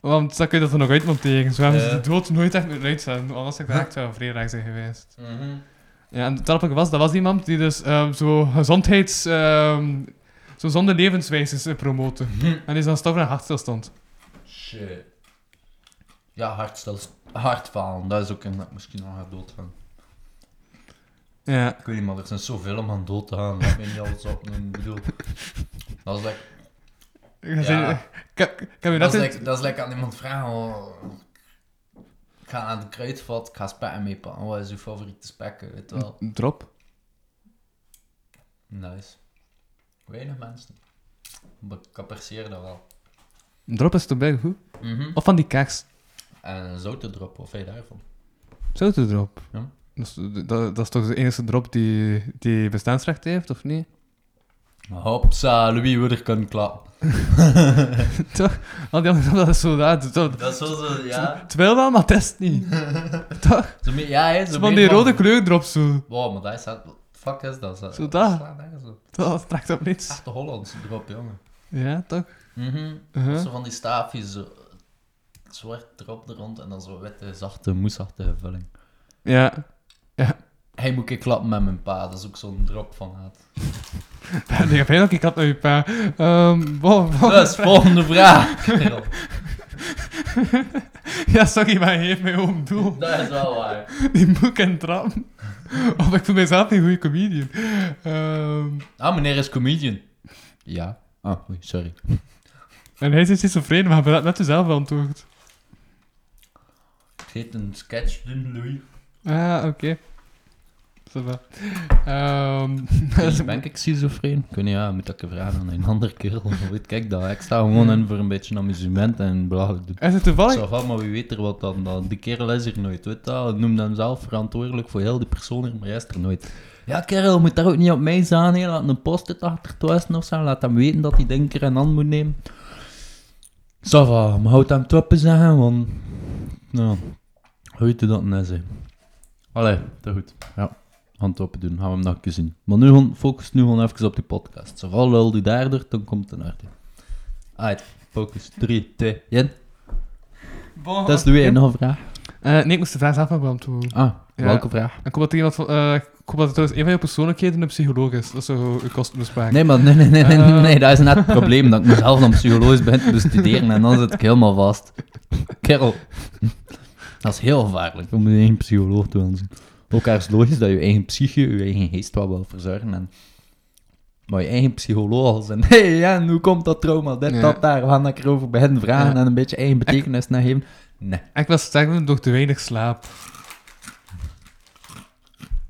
[SPEAKER 3] Want dan kun je dat er nog uitmonteren. Dus we hebben ze
[SPEAKER 4] Ja.
[SPEAKER 3] de dood nooit echt moeten uitzenden. Anders ik daar echt wel vrijdag zijn geweest.
[SPEAKER 4] Mhm.
[SPEAKER 3] Ja, en het grappige was, dat was iemand die dus ehm, zo gezondheids... ehm, zo zonde levenswijzes eh, promoten. En die is dan stof aan hartstilstand.
[SPEAKER 4] Shit. Ja, hartstel, hartfalen, dat is ook een dat ik misschien nog ga doodgaan.
[SPEAKER 3] Ja.
[SPEAKER 4] Ik weet niet, maar er zijn zoveel om aan dood te gaan. Dat weet niet alles op. Ik bedoel, dat is lekker.
[SPEAKER 3] Ik,
[SPEAKER 4] Ja.
[SPEAKER 3] ik, heb- ik heb je
[SPEAKER 4] Dat
[SPEAKER 3] net...
[SPEAKER 4] is lekker dat is lekker aan iemand vragen. oh, Ik ga aan de kruidvat, ik ga spekken meepakken. Wat is uw favoriete spekken, weet je wel?
[SPEAKER 3] Drop.
[SPEAKER 4] Nice. Weinig mensen. Maar Ik apprecieer dat wel.
[SPEAKER 3] Drop is toch bij goed?
[SPEAKER 4] Mhm.
[SPEAKER 3] Of van die kaars.
[SPEAKER 4] En een zoute drop, wat vind je daarvan?
[SPEAKER 3] Zouterdrop?
[SPEAKER 4] Ja.
[SPEAKER 3] Dat is, dat, dat is toch de enige drop die, die bestaansrecht heeft, of niet?
[SPEAKER 4] Hopsa, Louis Wurder kan klappen.
[SPEAKER 3] toch? Al die andere dat is zo dat. dat-
[SPEAKER 4] Dat is wel zo, ja.
[SPEAKER 3] het wil wel, maar het is het niet. toch?
[SPEAKER 4] Zo meer- ja, hè, zo
[SPEAKER 3] Zo van
[SPEAKER 4] meer
[SPEAKER 3] die rode kleurdrop zo.
[SPEAKER 4] Wow, maar dat is dat. Fuck is dat?
[SPEAKER 3] Zo dat.
[SPEAKER 4] slaat nergens op.
[SPEAKER 3] Dat trekt op niets.
[SPEAKER 4] Echte Hollandse drop, jongen.
[SPEAKER 3] Ja, toch?
[SPEAKER 4] Mhm.
[SPEAKER 3] Uh-huh.
[SPEAKER 4] Zo van die staafjes, zo zwart erop er rond en dan zo witte, zachte, moesachtige vulling.
[SPEAKER 3] Ja.
[SPEAKER 4] Hij moet ik klappen met mijn pa, dat is ook zo'n drop van haat.
[SPEAKER 3] Ik heb heel ik had naar je pa. Ehm, wow, wow.
[SPEAKER 4] Dus, volgende vraag. Kerel,
[SPEAKER 3] Ja, sorry, maar hij heeft mij oom doel.
[SPEAKER 4] dat is wel waar.
[SPEAKER 3] Die moet en trap. Of ik voel mijzelf een goede comedian. Ehm,
[SPEAKER 4] Ah, meneer is comedian. Ja. Ah, oei, sorry.
[SPEAKER 3] en hij is schizofreen, maar hij had net zelf beantwoord.
[SPEAKER 4] Ik zit een sketch doen, Louis.
[SPEAKER 3] Ah, oké. Ça va. Ehm,
[SPEAKER 4] Ben ik schizofreen? Kun je, ja, moet dat ik vragen aan een ander kerel. Weet, kijk dat, ik sta gewoon in voor een beetje amusement en belachelijk doen.
[SPEAKER 3] is het toevallig?
[SPEAKER 4] Zo van, maar wie weet er wat dan, dan. Die kerel is er nooit, weet je wel. Noem hem zelf verantwoordelijk voor heel die persoon hier, maar hij is er nooit. Ja, kerel, moet daar ook niet op mij zijn, hè. Laat een post-it achter het westen of zo. Laat hem weten dat hij denker en hand moet nemen. Sava, maar houd hem toppen zeggen, want... Nou, hoe weet je dat nou zeggen? Allee, dat goed. Ja, hand open doen. Gaan we hem nog even zien. Maar nu gewoon, focus nu gewoon even op die podcast. Zo van, lul die daardoor, dan komt het naar Uit, focus. 3, 2, 1.
[SPEAKER 3] Bon,
[SPEAKER 4] Dat is de weer nog een vraag.
[SPEAKER 3] Eh, nee, ik moest de vraag zelf maar beantwoorden.
[SPEAKER 4] Ah,
[SPEAKER 3] Ja.
[SPEAKER 4] welke vraag?
[SPEAKER 3] Ik hoop dat er iemand van... eh, ik hoop dat het trouwens een van je persoonlijkheden een psycholoog is. Dat is zo een kostenbesparing.
[SPEAKER 4] Nee, maar nee, nee, nee, nee, nee,
[SPEAKER 3] Eh.
[SPEAKER 4] nee, dat is net het probleem dat ik mezelf dan psycholoog ben te bestuderen en dan zit ik helemaal vast. Kerel, dat is heel gevaarlijk. Je moet je eigen psycholoog toe aanzien. Ook al is het logisch dat je eigen psyche, je eigen geest wel wil verzorgen. En... Maar je eigen psycholoog al zijn. Hé, hey, ja, en hoe komt dat trauma? Dit,
[SPEAKER 3] Ja.
[SPEAKER 4] dat, daar. We gaan dat erover bij hen vragen
[SPEAKER 3] Ja.
[SPEAKER 4] en een beetje eigen betekenis naar geven. Nee,
[SPEAKER 3] Ik was sterven door te weinig slaap.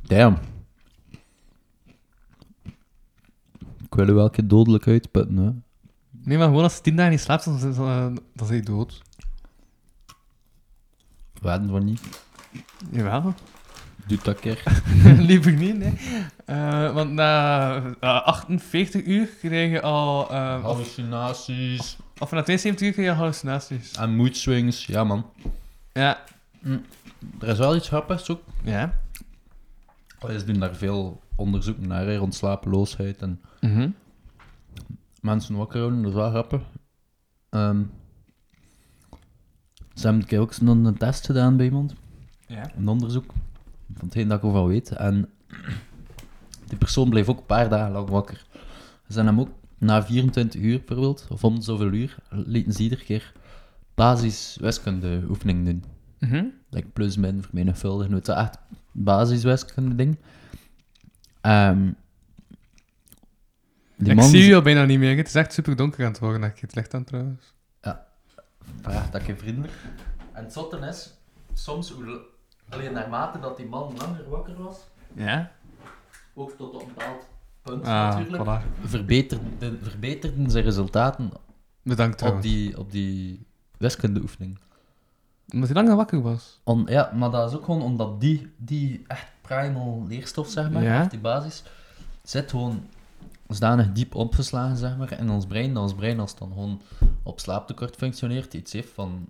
[SPEAKER 4] damn. Ik wil u wel een keer dodelijk uitputten, hè.
[SPEAKER 3] Nee, maar gewoon als je tien dagen niet slaapt, dan, dan, dan, dan ben je dood.
[SPEAKER 4] Waarden van niet.
[SPEAKER 3] Jawel.
[SPEAKER 4] Doet dat keer.
[SPEAKER 3] Liever niet, nee. Eh, want na eh, 48 uur kreeg je al... eh, of,
[SPEAKER 4] Hallucinaties.
[SPEAKER 3] of na 72 uur kreeg je al hallucinaties.
[SPEAKER 4] En mood swings. Ja, man.
[SPEAKER 3] Ja.
[SPEAKER 4] Er is wel iets grappigs ook.
[SPEAKER 3] Ja.
[SPEAKER 4] Ze doen daar veel onderzoek naar, hè, rond slapeloosheid en
[SPEAKER 3] Mhm.
[SPEAKER 4] mensen wakker houden. Dat is wel grappig. Ehm, ze hebben een keer ook zo'n een test gedaan bij iemand.
[SPEAKER 3] Ja.
[SPEAKER 4] Een onderzoek. Van hetgeen dat ik ervan weet. En die persoon bleef ook een paar dagen lang wakker. Ze zijn hem ook na 24 uur bijvoorbeeld, of om zoveel uur, lieten ze iedere keer basiswiskundeoefening doen.
[SPEAKER 3] Mhm.
[SPEAKER 10] like plus min vermenigvuldigen. Het is echt basiswiskunde ding. Ehm die
[SPEAKER 3] Ik
[SPEAKER 10] man
[SPEAKER 3] zie je al bijna niet meer. Het is echt super donker aan het worden. Ik het licht aan trouwens.
[SPEAKER 4] Vraag dat je vriendelijk. En het zotte is, soms, hoe l- alleen naarmate dat die man langer wakker was,
[SPEAKER 3] Ja?
[SPEAKER 4] ook tot een bepaald punt
[SPEAKER 3] Ah,
[SPEAKER 4] natuurlijk,
[SPEAKER 3] voilà.
[SPEAKER 4] verbeterden, verbeterden zijn resultaten
[SPEAKER 3] Bedankt
[SPEAKER 4] op
[SPEAKER 3] trouwens.
[SPEAKER 4] die, op die wiskundeoefening.
[SPEAKER 3] Omdat hij langer wakker was.
[SPEAKER 4] Om- ja, maar dat is ook gewoon omdat die, die echt primal leerstof, zeg maar,
[SPEAKER 3] Ja.
[SPEAKER 4] of die basis, zit gewoon zodanig diep opgeslagen, zeg maar, in ons brein, dat ons brein als het dan gewoon op slaaptekort functioneert, iets heeft van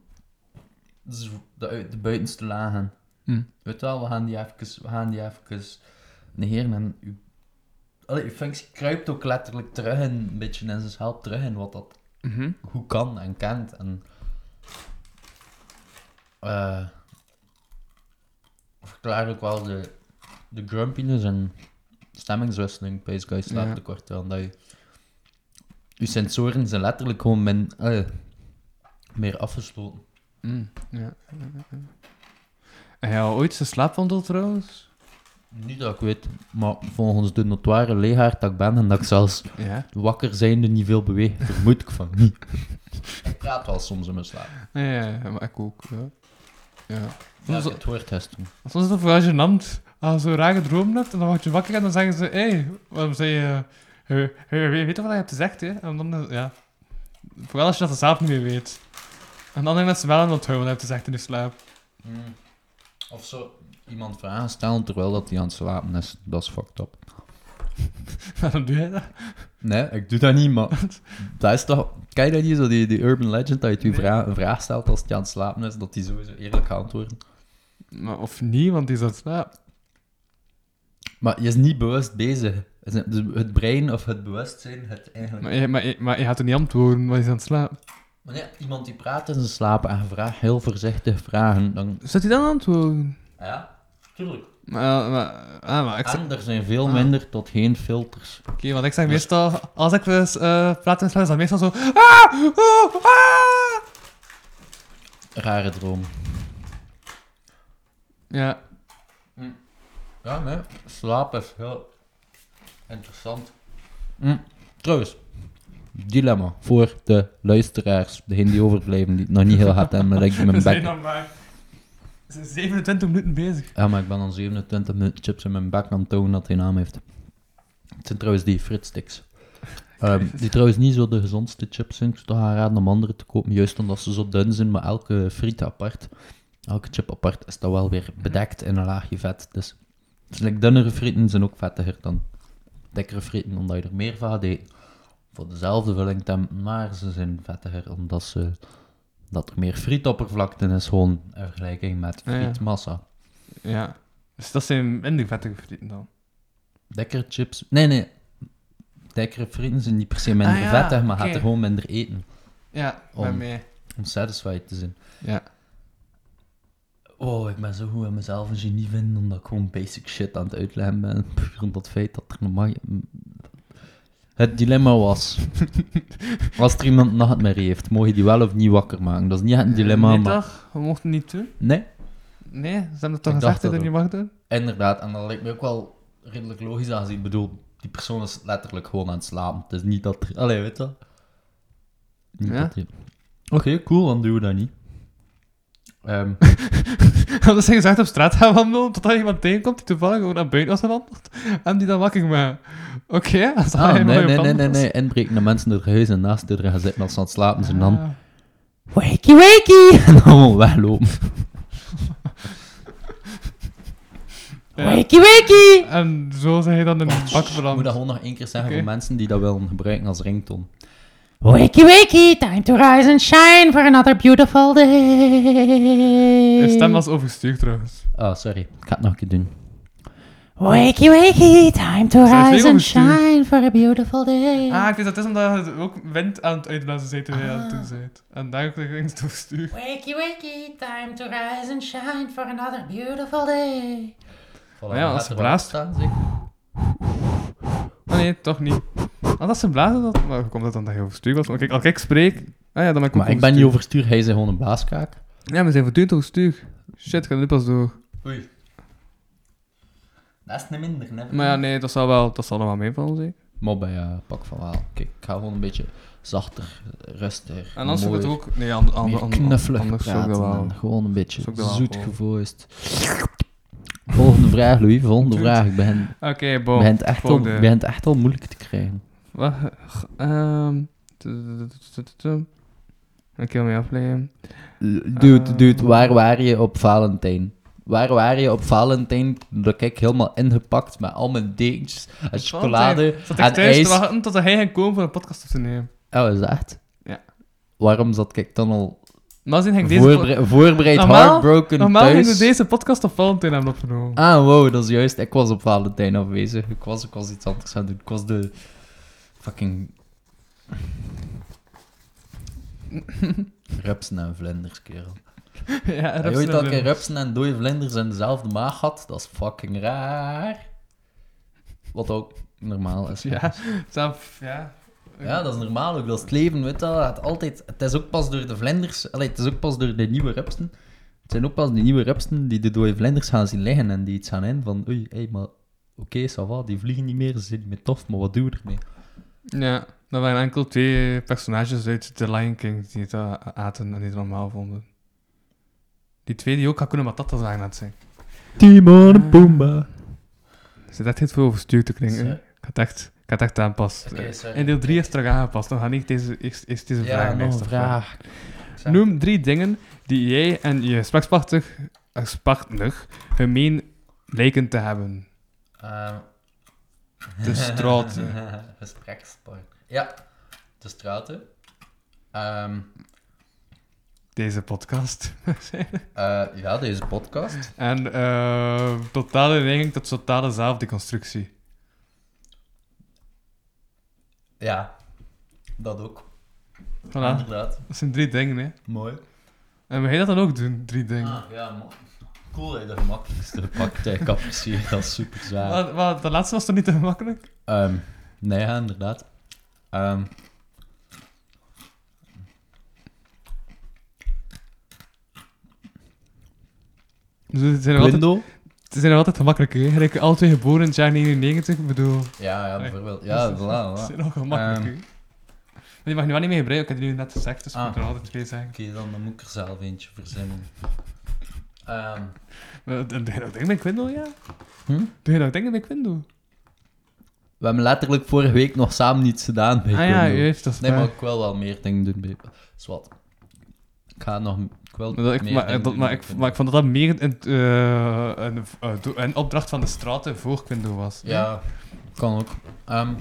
[SPEAKER 4] z- de, uit- de buitenste lagen.
[SPEAKER 3] Hm.
[SPEAKER 4] Weet wel, we gaan die even, we gaan die even negeren en uw, allee, uw functie kruipt ook letterlijk terug in, een beetje in zijn helpt terug in wat dat
[SPEAKER 3] Mhm.
[SPEAKER 4] hoe kan en kent. En, eh verklaar ook wel de, de grumpiness en stemmingswisseling bij Guy
[SPEAKER 3] Ja.
[SPEAKER 4] slaaptekort. Ja. Dat je, je sensoren zijn letterlijk gewoon min, eh, meer afgesloten.
[SPEAKER 3] Mm, Ja. Heb je al ooit zijn slaapwandel trouwens?
[SPEAKER 4] Niet dat ik weet, maar volgens de notoire leegaard dat ik ben en dat ik zelfs
[SPEAKER 3] Ja.
[SPEAKER 4] wakker zijnde niet veel beweeg, vermoed ik van niet. ik praat wel soms in mijn slaap.
[SPEAKER 3] Ja, ja, ja, maar ik ook. Ja. ja.
[SPEAKER 4] Ja,
[SPEAKER 3] Soms,
[SPEAKER 4] het hoort juist toen.
[SPEAKER 3] soms is het vooral gênant. Als je zo'n rare droom hebt en dan word je wakker en dan zeggen ze: Hé, hey, waarom zei je. Je weet toch wat je hebt gezegd, hè? En dan, eh, ja. Vooral als je dat zelf niet meer weet. En dan hebben mensen wel aan het houden wat je hebt gezegd in je slaap.
[SPEAKER 4] Hmm. Of zo iemand vragen stellen terwijl dat hij aan het slapen is. Dat is fucked up.
[SPEAKER 3] Waarom doe je dat?
[SPEAKER 4] Nee, ik doe dat niet, maar dat is toch... Kijk dat niet, zo die, die urban legend, dat je twee vra- een vraag stelt als hij aan het slapen is, dat hij sowieso eerlijk gaat antwoorden.
[SPEAKER 3] Maar of niet, want die is aan het slaap.
[SPEAKER 4] Maar je is niet bewust bezig. Het is- dus Het brein of het bewustzijn, het eigenlijk...
[SPEAKER 3] Maar je, maar, je, maar je gaat er niet antwoorden, want die is aan het slaap.
[SPEAKER 4] Maar nee, iemand die praat in zijn slaap en vraagt heel voorzichtig vragen, dan... Ah
[SPEAKER 3] Zou hij dan antwoorden?
[SPEAKER 4] Ja, tuurlijk.
[SPEAKER 3] Maar, maar, ah, maar ik zeg, Ah.
[SPEAKER 4] En er zijn veel minder tot geen filters.
[SPEAKER 3] oké, want ik zeg meestal, als ik dus, eh praat in slaap, is dat meestal zo... Ah, oh, ah.
[SPEAKER 4] Rare droom.
[SPEAKER 3] Ja,
[SPEAKER 4] Ja, nee. Slaap is heel interessant. Hm. Trouwens, dilemma voor de luisteraars. Degenen die overblijven, die het nog niet heel hard hebben, maar ik in
[SPEAKER 3] we
[SPEAKER 4] mijn
[SPEAKER 3] zijn
[SPEAKER 4] bek.
[SPEAKER 3] dan maar... we zijn 27 minuten bezig.
[SPEAKER 4] Ja, maar ik ben al 27 minuten chips in mijn bek aan het tonen dat hij naam heeft. Het zijn trouwens die fritsticks. Ehm, die trouwens niet zo de gezondste chips zijn. Ik zou toch aanraden om andere te kopen, juist omdat ze zo dun zijn. Maar elke friet apart, elke chip apart, is dat wel weer bedekt in een laagje vet. Dus dus like, dunnere frieten zijn ook vettiger dan dikkere frieten, omdat je er meer van gaat eten. Voor dezelfde vulling, temp, maar ze zijn vettiger omdat ze, dat er meer frietoppervlakte is, gewoon in vergelijking met
[SPEAKER 3] Ja, ja.
[SPEAKER 4] frietmassa.
[SPEAKER 3] Ja. Dus dat zijn minder vettige frieten dan.
[SPEAKER 4] Dekkere chips. Nee, nee. Dekkere frieten zijn niet per se minder
[SPEAKER 3] Ah, ja,
[SPEAKER 4] vettig, maar gaat
[SPEAKER 3] oké.
[SPEAKER 4] er gewoon minder eten.
[SPEAKER 3] Ja,
[SPEAKER 4] Om.
[SPEAKER 3] bij mij.
[SPEAKER 4] Om satisfied te zijn.
[SPEAKER 3] Ja.
[SPEAKER 4] Oh, ik ben zo goed aan mezelf een genie vinden, omdat ik gewoon basic shit aan het uitleggen ben. Puur omdat het feit dat er nog maar... Het dilemma was... Als er iemand nachtmerrie heeft, mogen die wel of niet wakker maken. Dat is niet echt een dilemma,
[SPEAKER 3] nee,
[SPEAKER 4] maar...
[SPEAKER 3] toch? We mochten het niet doen.
[SPEAKER 4] Nee?
[SPEAKER 3] Nee, ze hebben het toch
[SPEAKER 4] Ik dacht
[SPEAKER 3] gezegd dat
[SPEAKER 4] dat
[SPEAKER 3] je het niet mag doen?
[SPEAKER 4] Inderdaad, en dat lijkt me ook wel redelijk logisch aangezien. Ik bedoel, die persoon is letterlijk gewoon aan het slapen. Het is niet dat er... Allee, weet je wel. Niet
[SPEAKER 3] Ja.
[SPEAKER 4] dat die- Oké, cool, dan doen we dat niet. Ehm,
[SPEAKER 3] Ah, Anders zijn gezegd op straat gaan wandelen, totdat je iemand tegenkomt die toevallig gewoon naar buiten was gewandeld. En die dan wakker maakt. Oké, als dat
[SPEAKER 4] ah,
[SPEAKER 3] hij
[SPEAKER 4] nee,
[SPEAKER 3] maar
[SPEAKER 4] nee,
[SPEAKER 3] op
[SPEAKER 4] nee, nee,
[SPEAKER 3] wandel
[SPEAKER 4] nee,
[SPEAKER 3] was.
[SPEAKER 4] Inbreken naar mensen door huis en naast deur gaan zitten als ze aan het slapen zijn. Dan...
[SPEAKER 3] Ah.
[SPEAKER 4] Wakey, wakey! En dan gewoon weglopen.
[SPEAKER 3] Ja.
[SPEAKER 4] wakey!
[SPEAKER 3] En zo zijn je dan in het pak
[SPEAKER 4] Ik Oh, moet
[SPEAKER 3] veranderd.
[SPEAKER 4] dat gewoon nog één keer zeggen
[SPEAKER 3] Oké.
[SPEAKER 4] voor mensen die dat willen gebruiken als ringtoon.
[SPEAKER 11] Wakey, wakey, time to rise and shine for another beautiful day.
[SPEAKER 3] Je stem was overstuurd trouwens.
[SPEAKER 4] Ah, sorry. Ik ga het nog een keer doen.
[SPEAKER 11] Wakey, wakey, time
[SPEAKER 3] Zijn
[SPEAKER 11] to
[SPEAKER 3] het
[SPEAKER 11] rise
[SPEAKER 3] weer
[SPEAKER 11] and
[SPEAKER 3] overstuurd?
[SPEAKER 11] shine for a beautiful day.
[SPEAKER 3] Ah, ik weet dat het is omdat je ook wind aan het uitblazen zei terwijl je aan het doen bent. En daar ging het overstuurd.
[SPEAKER 11] Wakey, wakey, time to rise and shine for another beautiful day.
[SPEAKER 4] Voilà,
[SPEAKER 3] ja, als
[SPEAKER 4] gaat
[SPEAKER 3] ze
[SPEAKER 4] er wel
[SPEAKER 3] blaast.
[SPEAKER 4] staan, zeg.
[SPEAKER 3] Ah nee, toch niet. Ah, dat is een blazen. Dat... Maar hoe komt dat dan dat je overstuurd was? Want kijk, als ik spreek... Ah ja, dan ben ik ook
[SPEAKER 4] Maar ik ben niet overstuur, hij is gewoon een blaaskaak.
[SPEAKER 3] overstuurd. Ja, maar ze zijn voortdurend overstuurd. Shit, gaat nu pas door.
[SPEAKER 4] Oei. Dat is niet minder, never.
[SPEAKER 3] Maar ja, nee, dat zal wel, dat zal nog wel meevallen, zeker.
[SPEAKER 4] Mobben, ja, pak van wel. Kijk, ik ga gewoon een beetje zachter, rustiger.
[SPEAKER 3] En anders zou ik
[SPEAKER 4] mooier,
[SPEAKER 3] het ook... Nee, ander, ander,
[SPEAKER 4] meer
[SPEAKER 3] ander,
[SPEAKER 4] knuffelig
[SPEAKER 3] anders zou ik
[SPEAKER 4] praten
[SPEAKER 3] dat wel...
[SPEAKER 4] en gewoon een beetje
[SPEAKER 3] zou ik dat wel
[SPEAKER 4] zoet
[SPEAKER 3] gewoon-
[SPEAKER 4] gevoist. Volgende vraag, Louis. Volgende
[SPEAKER 3] Doet.
[SPEAKER 4] vraag. Ik ben,
[SPEAKER 3] Oké,
[SPEAKER 4] ik
[SPEAKER 3] bon.
[SPEAKER 4] ben, het echt al,
[SPEAKER 3] volgende.
[SPEAKER 4] ik ben het echt al moeilijk te krijgen.
[SPEAKER 3] Wat? Ehm... tu- tu- tu- tu- tu. Ik wil mee afleiden. Eh,
[SPEAKER 4] Dude, dude, waar waren je op Valentijn? Waar waren je op Valentijn? Dat kijk ik helemaal ingepakt met al mijn dekens en chocolade
[SPEAKER 3] Valentijn, Zat ik
[SPEAKER 4] en
[SPEAKER 3] thuis
[SPEAKER 4] ijs.
[SPEAKER 3] te wachten tot hij ging komen voor een podcast op te nemen.
[SPEAKER 4] Oh, is dat echt?
[SPEAKER 3] Ja.
[SPEAKER 4] Waarom zat ik dan al
[SPEAKER 3] Maar zien ging deze... po-
[SPEAKER 4] voorbere- voorbereid
[SPEAKER 3] Normaal-
[SPEAKER 4] heartbroken
[SPEAKER 3] Normaal
[SPEAKER 4] thuis?
[SPEAKER 3] gingen we deze podcast op Valentijn hebben opgenomen.
[SPEAKER 4] Ah, wow, dat is juist. Ik was op Valentijn afwezig. Ik was, ik was iets anders aan het doen. Ik was de fucking... Rupsen en vlinders, kerel.
[SPEAKER 3] ja,
[SPEAKER 4] Heb je ooit dat ik rupsen en dode vlinders in dezelfde maag had? Dat is fucking raar. Wat ook normaal is.
[SPEAKER 3] Ja, zelf, ja.
[SPEAKER 4] Ja, dat is normaal ook. Dat is het leven, weet je wel. Het, altijd, het is ook pas door de vlinders... Allee, het is ook pas door de nieuwe rupsen. Het zijn ook pas die nieuwe rupsen die de dode vlinders gaan zien liggen en die iets gaan in van... Oei, hé, maar... Oké, ça va, die vliegen niet meer, ze zijn niet meer tof, maar wat doen we ermee?
[SPEAKER 3] Ja, dat waren enkel twee personages uit The Lion King die het eh, aten en die het normaal vonden. Die twee die ook Hakuna Matata zagen aan het zijn.
[SPEAKER 4] Timon en Pumba.
[SPEAKER 3] Zit echt heel veel overstuurd te klinken. hè?
[SPEAKER 4] Zo.
[SPEAKER 3] Ik had echt, ik had echt aanpast.
[SPEAKER 4] Oké, sorry.
[SPEAKER 3] In deel 3 is het terug aangepast. Dan ga ik deze, eerst, eerst deze
[SPEAKER 4] Ja,
[SPEAKER 3] vraag
[SPEAKER 4] nog een
[SPEAKER 3] meestal
[SPEAKER 4] vraag. Zeg.
[SPEAKER 3] Noem drie dingen die jij en je gesprekspartner gesprekspartner gemeen lijken te hebben. Dus
[SPEAKER 4] Ehm,
[SPEAKER 3] De straten.
[SPEAKER 4] Gesprekspark. Ja, de straten. Ehm,
[SPEAKER 3] Deze podcast.
[SPEAKER 4] eh, ja, deze podcast.
[SPEAKER 3] en eh totale neiging tot totale zelfdeconstructie.
[SPEAKER 4] Ja, dat ook.
[SPEAKER 3] Voilà,
[SPEAKER 4] Inderdaad.
[SPEAKER 3] dat zijn drie dingen, hè.
[SPEAKER 4] Mooi.
[SPEAKER 3] En we gaan dat dan ook doen, drie dingen.
[SPEAKER 4] Ah, ja, mo- cool dat je de gemakkelijkste pakt. Ik apprecieer dat super zwaar.
[SPEAKER 3] Wat, wat, de laatste was toch niet te gemakkelijk?
[SPEAKER 4] Ehm, nee, ja, inderdaad. Ehm.
[SPEAKER 3] Dus het zijn nog altijd,
[SPEAKER 4] Plindo?
[SPEAKER 3] het zijn nog altijd gemakkelijk, hè. Gelijk alle twee geboren in het jaar 99, ik bedoel...
[SPEAKER 4] Ja, ja, bijvoorbeeld. Ja,
[SPEAKER 3] Het
[SPEAKER 4] voilà,
[SPEAKER 3] zijn
[SPEAKER 4] voilà.
[SPEAKER 3] nog gemakkelijk, hè. Maar die mag je nu wel niet meer gebruiken, ik heb die nu net gezegd, dus ik
[SPEAKER 4] Ah.
[SPEAKER 3] moet er altijd twee zeggen.
[SPEAKER 4] Oké, dan, dan moet ik er zelf eentje verzinnen. Ehm,
[SPEAKER 3] Maar eh, Doe je nog dingen bij Quindo, ja?
[SPEAKER 4] Hm?
[SPEAKER 3] Doe je nog dingen bij Quindo?
[SPEAKER 4] we hebben letterlijk vorige week nog samen niets gedaan bij
[SPEAKER 3] Ah ja,
[SPEAKER 4] Quindo.
[SPEAKER 3] juist, dat is
[SPEAKER 4] Nee,
[SPEAKER 3] waar.
[SPEAKER 4] maar ik wil wel meer dingen doen bij... Zwat. Ik ga nog... Ik wil
[SPEAKER 3] Maar, dat ik,
[SPEAKER 4] meer
[SPEAKER 3] maar,
[SPEAKER 4] dingen
[SPEAKER 3] dat,
[SPEAKER 4] doen
[SPEAKER 3] maar,
[SPEAKER 4] bij
[SPEAKER 3] ik,
[SPEAKER 4] Quindo.
[SPEAKER 3] maar ik vond dat dat meer een, eh, een, eh, do- een opdracht van de straten voor Quindo was.
[SPEAKER 4] Ja, kan ook. Ehm,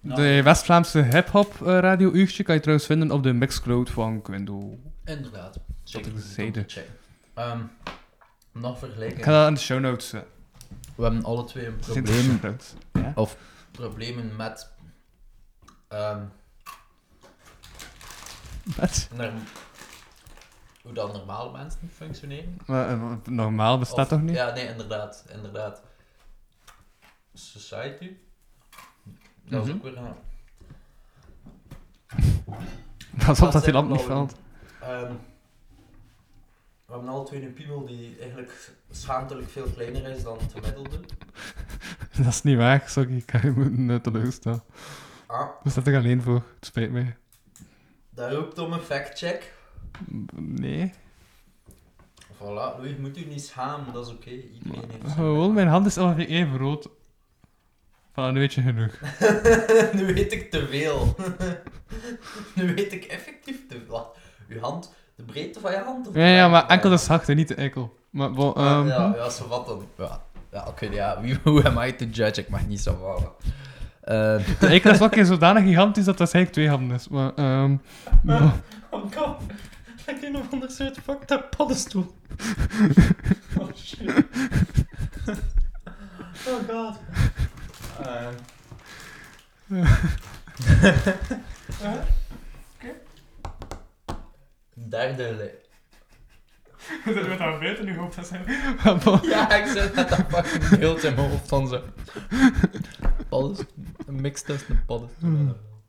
[SPEAKER 3] De West-Vlaamse hip-hop eh, radio-uurtje kan je trouwens vinden op de Mixcloud van Quindo.
[SPEAKER 4] inderdaad. Check.
[SPEAKER 3] ik zeide.
[SPEAKER 4] Check. Ehm, nog vergelijken.
[SPEAKER 3] Ik ga dat in de show notes zetten.
[SPEAKER 4] We hebben alle twee een
[SPEAKER 3] Het is in de
[SPEAKER 4] probleem,
[SPEAKER 3] show notes.
[SPEAKER 4] problemen met... ehm,
[SPEAKER 3] Wat?
[SPEAKER 4] norm- hoe dan normale mensen functioneren.
[SPEAKER 3] Maar, eh, normaal bestaat
[SPEAKER 4] Of-
[SPEAKER 3] toch niet?
[SPEAKER 4] Ja, nee, inderdaad. Inderdaad. Society. Dat is
[SPEAKER 3] Mhm.
[SPEAKER 4] ook weer een...
[SPEAKER 3] Dat is
[SPEAKER 4] dat
[SPEAKER 3] omdat die
[SPEAKER 4] zijn
[SPEAKER 3] lamp niet
[SPEAKER 4] blauwe
[SPEAKER 3] valt.
[SPEAKER 4] Ehm, we hebben alle twee een piemel die eigenlijk schaamtelijk veel kleiner is dan het gemiddelde.
[SPEAKER 3] Dat is niet waar, sorry. Ik kan je moeten eh, teleurstellen.
[SPEAKER 4] Ah,
[SPEAKER 3] We staat er alleen voor. Het spijt mij.
[SPEAKER 4] daar roept om een factcheck.
[SPEAKER 3] Nee.
[SPEAKER 4] Voilà, Louis, je moet u niet schamen, dat is oké. Iedereen heeft zijn
[SPEAKER 3] Gewoon, mijn hand is ongeveer even rood. Van een beetje genoeg.
[SPEAKER 4] weg. nu weet ik te veel. nu weet ik effectief te veel. Uw hand, de breedte van je hand? of de
[SPEAKER 3] Ja, ja,
[SPEAKER 4] lengte
[SPEAKER 3] maar
[SPEAKER 4] van je
[SPEAKER 3] enkel
[SPEAKER 4] hand?
[SPEAKER 3] is zacht en niet de enkel. Maar bon,
[SPEAKER 4] Ah,
[SPEAKER 3] ehm,
[SPEAKER 4] ja, ja, zo wat dan. Ja, ja oké, ja. Wie, who am I to judge? Ik mag niet zo vallen. Eh,
[SPEAKER 3] de enkel is ook een zodanig gigantisch dat dat eigenlijk twee handen is. Maar, ehm, bon.
[SPEAKER 4] Oh god, lijkt een of ander soort fucked up paddenstoel. oh shit. oh god. Eh. Derde le-
[SPEAKER 3] Dat moet dan beter nu hoofd zijn. Maar bon.
[SPEAKER 4] Ja, ik zit met dat fucking beeld in mijn hoofd van zo. Paddenstoel. Een mix tussen een paddenstoel
[SPEAKER 3] Hmm.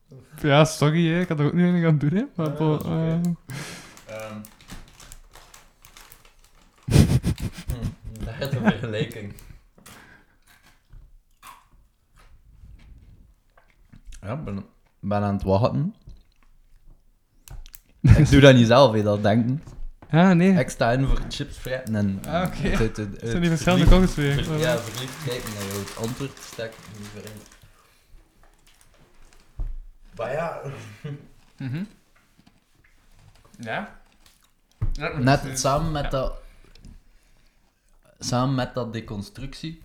[SPEAKER 4] en een-
[SPEAKER 3] Ja, sorry, ehm, hè. ik had er ook niet aan gaan doen, hè. Maar
[SPEAKER 4] Ja,
[SPEAKER 3] bon,
[SPEAKER 4] dat is oké.
[SPEAKER 3] ehm,
[SPEAKER 4] Ehm, Hm, Daar gaat een vergelijking. Ja, ik ben, ben aan het wachten. Ik doe dat niet zelf, hè, dat denken.
[SPEAKER 3] Ah, nee.
[SPEAKER 4] Ik sta in voor chips fretten en... eh,
[SPEAKER 3] Ah, oké.
[SPEAKER 4] het- het- het-
[SPEAKER 3] Het zijn die
[SPEAKER 4] het
[SPEAKER 3] verschillende kogels
[SPEAKER 4] verliefd-
[SPEAKER 3] weer. eh,
[SPEAKER 4] ver- Ja, verliefd kijken naar jou. Het antwoord stek niet meer in. Maar ja...
[SPEAKER 3] Mhm. Ja. Ja,
[SPEAKER 4] Net
[SPEAKER 3] dus-
[SPEAKER 4] samen met
[SPEAKER 3] ja.
[SPEAKER 4] dat... Samen met dat deconstructie...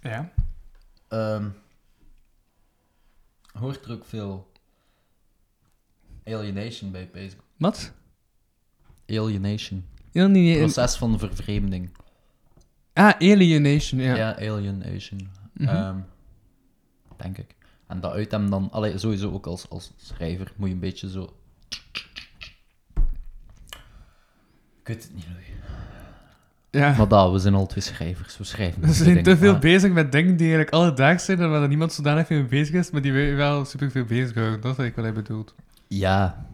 [SPEAKER 3] Ja.
[SPEAKER 4] ehm, hoort er ook veel... Alienation bij bezig.
[SPEAKER 3] Wat?
[SPEAKER 4] Alienation.
[SPEAKER 3] Heel niet.
[SPEAKER 4] Proces van vervreemding.
[SPEAKER 3] Ah, alienation, ja. Mhm.
[SPEAKER 4] Ja, alienation. Ehm, denk ik. En dat uit hem dan... Allee, sowieso ook als, als schrijver moet je een beetje zo... Ik weet het niet, Louis.
[SPEAKER 3] Ja.
[SPEAKER 4] Maar dat, we zijn al twee schrijvers. We schrijven
[SPEAKER 3] We
[SPEAKER 4] onze
[SPEAKER 3] zijn
[SPEAKER 4] dingen.
[SPEAKER 3] te veel
[SPEAKER 4] Ah.
[SPEAKER 3] bezig met dingen die eigenlijk alledaags zijn en waar dan niemand zodanig veel mee bezig is, maar die wij wel super veel bezighouden. Dat is eigenlijk wat hij bedoelt.
[SPEAKER 4] Ja,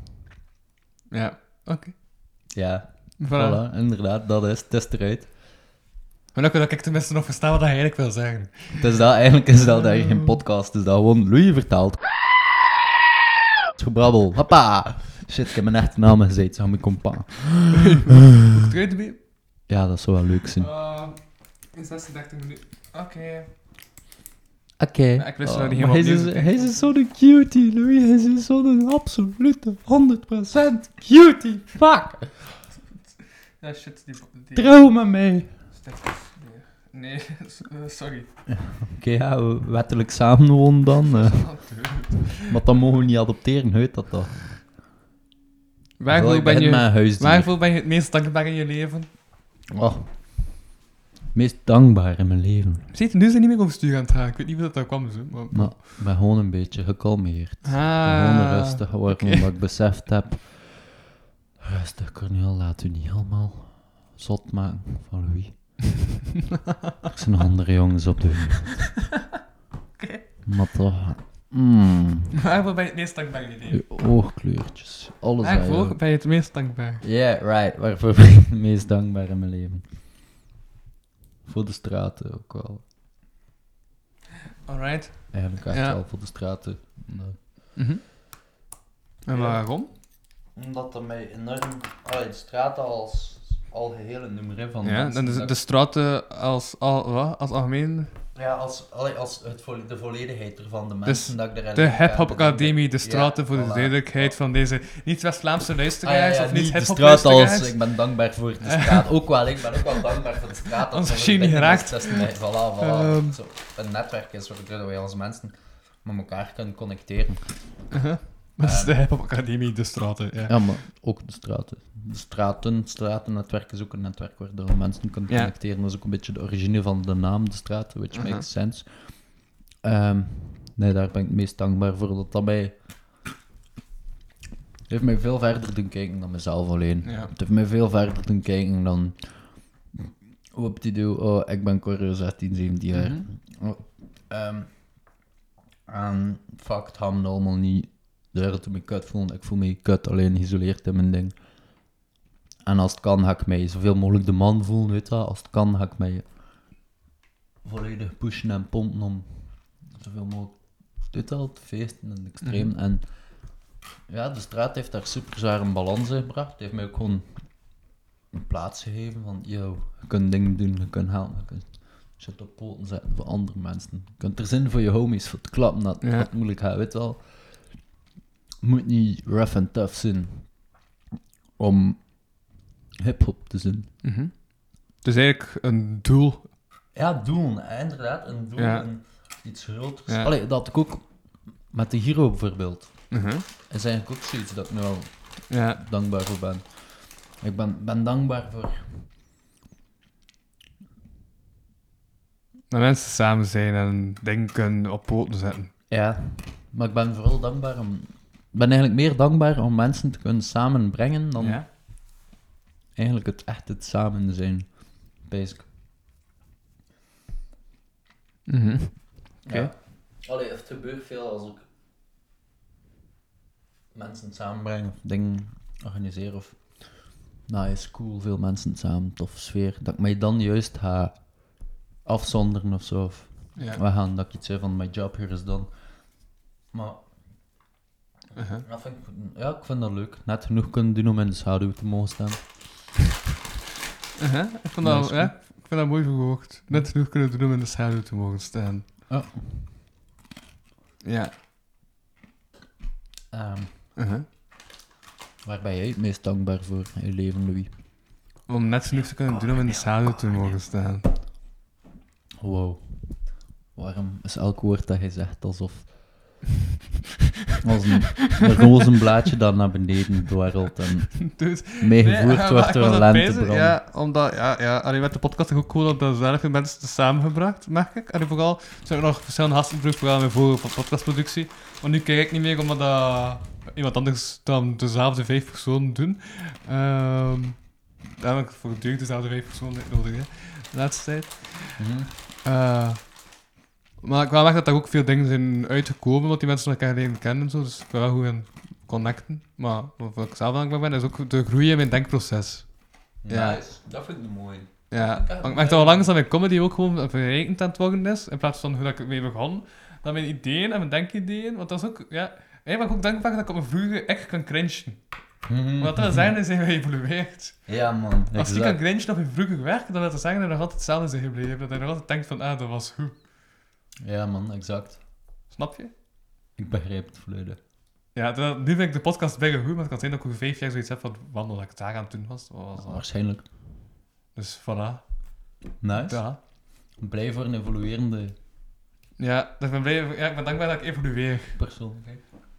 [SPEAKER 3] Ja. Oké.
[SPEAKER 4] ja.
[SPEAKER 3] Voilà.
[SPEAKER 4] Voilà, inderdaad. Dat is, het is eruit.
[SPEAKER 3] Maar dan kan ik tenminste nog verstaan wat hij eigenlijk wil zeggen.
[SPEAKER 4] Het is dat, eigenlijk is dat daar geen podcast. Het is dat gewoon Louis vertaalt. Het gebrabbel. Hoppa. Shit, ik heb mijn echte naam gezegd. Zeg mijn compa.
[SPEAKER 3] Goed, eruit ermee?
[SPEAKER 4] Ja, dat zou wel leuk zijn.
[SPEAKER 3] Uh, in 36 minuten. Oké.
[SPEAKER 4] Oké.
[SPEAKER 3] Ja, ik wist er nog niet
[SPEAKER 4] maar
[SPEAKER 3] helemaal
[SPEAKER 4] Hij
[SPEAKER 3] opnieuw.
[SPEAKER 4] is, dus- hij is zo'n cutie, Louis. Hij is zo'n absolute 100% cutie. Fuck.
[SPEAKER 3] Ja, shit. Die, die
[SPEAKER 4] Trouw met mij.
[SPEAKER 3] stickers. Nee, nee eh, sorry.
[SPEAKER 4] Oké, ja, we- wettelijk samenwonen dan. eh. maar dat mogen we niet adopteren, uit dat toch?
[SPEAKER 3] Waarvoor
[SPEAKER 4] Ik
[SPEAKER 3] ben,
[SPEAKER 4] begin met
[SPEAKER 3] je,
[SPEAKER 4] een huisdier.
[SPEAKER 3] waarvoor ben je het meest dankbaar in je leven?
[SPEAKER 4] Oh. Meest dankbaar in mijn leven.
[SPEAKER 3] Ziet, nu zijn niet meer over stuur aan het gaan. Ik weet niet hoe dat daar kwam, zo, maar...
[SPEAKER 4] Maar ik ben gewoon een beetje gekalmeerd. Gewoon
[SPEAKER 3] Ah.
[SPEAKER 4] rustig geworden,
[SPEAKER 3] oké.
[SPEAKER 4] omdat ik beseft heb... Rustig, Cornel, laat u niet helemaal zot maken van Louis. er zijn andere jongens op de wereld. Maar toch... mm,
[SPEAKER 3] Waarvoor ben je het meest dankbaar in je leven?
[SPEAKER 4] je oogkleurtjes, alles aan jou.
[SPEAKER 3] Waarvoor ben je het meest dankbaar?
[SPEAKER 4] Yeah, right. Waarvoor ben ik het meest dankbaar in mijn leven? Voor de straten ook wel.
[SPEAKER 3] Alright.
[SPEAKER 4] Eigenlijk echt
[SPEAKER 3] Ja.
[SPEAKER 4] wel voor de straten. Nou. Nee. Mhm.
[SPEAKER 3] En waarom?
[SPEAKER 4] Omdat dat mij enorm... Allee, de straten als algeheel een nummer van
[SPEAKER 3] Ja,
[SPEAKER 4] mensen.
[SPEAKER 3] dan dus- de,
[SPEAKER 4] Dat-
[SPEAKER 3] de straten als, al, wat? als algemeen.
[SPEAKER 4] Ja, als, allee, als het volle- de volledigheid ervan, de
[SPEAKER 3] Dus
[SPEAKER 4] mensen dat ik erin...
[SPEAKER 3] De Hip Hop
[SPEAKER 4] heb, dat ik-
[SPEAKER 3] Academie, de
[SPEAKER 4] Ja,
[SPEAKER 3] straten voor de
[SPEAKER 4] voilà.
[SPEAKER 3] duidelijkheid van deze niet-West-Vlaamse
[SPEAKER 4] Ah, ja,
[SPEAKER 3] luisteraars
[SPEAKER 4] ja,
[SPEAKER 3] of
[SPEAKER 4] niet de
[SPEAKER 3] niet-hip-hop
[SPEAKER 4] straat als...
[SPEAKER 3] luisteraars.
[SPEAKER 4] Ik ben dankbaar voor de straat. ook wel, ik ben ook wel dankbaar voor de straat.
[SPEAKER 3] Ons
[SPEAKER 4] er
[SPEAKER 3] genie
[SPEAKER 4] een ding
[SPEAKER 3] geraakt.
[SPEAKER 4] is tussen mij. Voilà, voilà.
[SPEAKER 3] Ehm.
[SPEAKER 4] Zo, een netwerk is waardoor wij als mensen met elkaar kunnen connecteren.
[SPEAKER 3] Dat is de Hip Hop Academie, de straten. Ja.
[SPEAKER 4] Ja, maar ook de straten. De straten, stratennetwerk is ook een netwerk waar door mensen kunnen
[SPEAKER 3] Ja.
[SPEAKER 4] connecteren. Dat is ook een beetje de origine van de naam, de straten, which
[SPEAKER 3] Mhm.
[SPEAKER 4] makes sense. Ehm, nee, daar ben ik het meest dankbaar voor, dat dat mij... Het heeft mij veel verder doen kijken dan mezelf alleen.
[SPEAKER 3] Ja.
[SPEAKER 4] Het heeft mij veel verder doen kijken dan... Op die doe, oh, ik ben Correo 16, 17 jaar.
[SPEAKER 3] Mhm.
[SPEAKER 4] Oh, ehm, en fuck, het gaat me allemaal niet daar toen ik kut voelde. Ik voel me kut, alleen geïsoleerd in mijn ding. En als het kan, ga ik mij zoveel mogelijk de man voelen, weet dat. Als het kan, ga ik mij volledig pushen en pompen om zoveel mogelijk, weet dat, te feesten en extreem. En ja, de straat heeft daar super zwaar een balans in gebracht. Het heeft mij ook gewoon een plaats gegeven van, yo, je kunt dingen doen, je kunt helpen, je kunt shit op poten zetten voor andere mensen. Je kunt er zin voor je homies, voor het klappen, dat
[SPEAKER 3] Ja.
[SPEAKER 4] dat het moeilijk gaat, weet wel. Het moet niet rough en tough zijn om hip-hop te zijn.
[SPEAKER 3] Dus eigenlijk een doel.
[SPEAKER 4] Ja, doen, eh, inderdaad. Een doen,
[SPEAKER 3] Ja.
[SPEAKER 4] een- iets groters.
[SPEAKER 3] Ja.
[SPEAKER 4] Allee, dat had ik ook met de Hero bijvoorbeeld.
[SPEAKER 3] Mhm.
[SPEAKER 4] is eigenlijk ook zoiets dat ik nu wel
[SPEAKER 3] Ja.
[SPEAKER 4] dankbaar voor ben. Ik ben, ben dankbaar voor...
[SPEAKER 3] Dat mensen samen zijn en dingen kunnen op poten zetten.
[SPEAKER 4] Ja. Maar ik ben vooral dankbaar om... Ik ben eigenlijk meer dankbaar om mensen te kunnen samenbrengen dan
[SPEAKER 3] Ja.
[SPEAKER 4] eigenlijk het echt het samen zijn. Basic.
[SPEAKER 3] Mhm.
[SPEAKER 4] Oké.
[SPEAKER 3] Ja.
[SPEAKER 4] Allee, het gebeurt veel als ik mensen samenbreng of dingen organiseren of Nice, cool, veel mensen samen, tof sfeer. Dat ik mij dan juist ga afzonderen of zo. Of
[SPEAKER 3] Ja.
[SPEAKER 4] we gaan dat ik iets zei van mijn job hier is dan. Maar
[SPEAKER 3] Uh-huh.
[SPEAKER 4] dat vind ik, ja, ik vind dat leuk. Net genoeg kunnen doen om in de schaduw te mogen staan.
[SPEAKER 3] Uh-huh. Ik, vond
[SPEAKER 4] Ja,
[SPEAKER 3] dat,
[SPEAKER 4] is
[SPEAKER 3] ja, ik vind dat mooi verwoord. Net genoeg kunnen doen om in de schaduw te mogen staan.
[SPEAKER 4] Ja.
[SPEAKER 3] Ja.
[SPEAKER 4] Ehm,
[SPEAKER 3] uh-huh.
[SPEAKER 4] waar ben jij het meest dankbaar voor in je leven, Louis?
[SPEAKER 3] Om net genoeg te kunnen doen om in de schaduw te mogen staan.
[SPEAKER 4] Wow. Waarom is elk woord dat je zegt alsof... als een, een rozenblaadje dat naar beneden dwarrelt en
[SPEAKER 3] Dus,
[SPEAKER 4] meegevoerd
[SPEAKER 3] ja, maar
[SPEAKER 4] wordt
[SPEAKER 3] ik
[SPEAKER 4] door
[SPEAKER 3] was aan
[SPEAKER 4] een
[SPEAKER 3] het peinzen,
[SPEAKER 4] lentebrand.
[SPEAKER 3] Ja, omdat, ja, ja. Allee, met de podcast is ook cool dat er zelf veel mensen te samengebracht, merk ik. En vooral zijn er nog verschillende gasten terug, vooral mijn vorige van podcastproductie. Maar nu kijk ik niet meer, omdat dat iemand anders dan dezelfde vijf personen doen. Ehm daarom heb ik voortdurend dezelfde vijf personen nodig, hè, de laatste tijd.
[SPEAKER 7] Mhm.
[SPEAKER 3] Eh, maar ik wel merken dat er ook veel dingen zijn uitgekomen, want die mensen elkaar leren kennen en zo. Dus ik ben wel goed in connecten. Maar wat ik zelf dankbaar ben, is ook de groei in mijn denkproces. Ja.
[SPEAKER 7] Nice, dat vind ik mooi.
[SPEAKER 3] Ja, want ik merk dat al langs dat mijn comedy ook gewoon verrijkend aan het worden is, in plaats van hoe dat ik ermee begon. Dat mijn ideeën en mijn denkideeën, want dat is ook, ja... Ik ben ook dankbaar dat ik op mijn vroege echt kan cringen.
[SPEAKER 7] Mhm.
[SPEAKER 3] Wat dat wil zeggen, is dat je geëvolueerd.
[SPEAKER 7] Ja, man.
[SPEAKER 3] Als je
[SPEAKER 7] exact.
[SPEAKER 3] kan cringen op je vroege werk, dan wil dat zeggen dat je nog altijd hetzelfde is gebleven. Dat je nog altijd denkt van, ah, dat was goed.
[SPEAKER 7] Ja, man, exact.
[SPEAKER 3] Snap je?
[SPEAKER 7] Ik begrijp het volledig.
[SPEAKER 3] Ja, dat- nu vind ik de podcast bijna goed, maar het kan zijn dat ik over vijf jaar zoiets heb van wandel dat ik daar aan het doen was. Wat was dat?
[SPEAKER 4] Waarschijnlijk.
[SPEAKER 3] Dus voilà.
[SPEAKER 7] Nice.
[SPEAKER 3] Ja,
[SPEAKER 7] Blij voor een evoluerende
[SPEAKER 3] ja, ik, ben blij, ja, ik ben dankbaar dat ik evolueer.
[SPEAKER 7] persoon.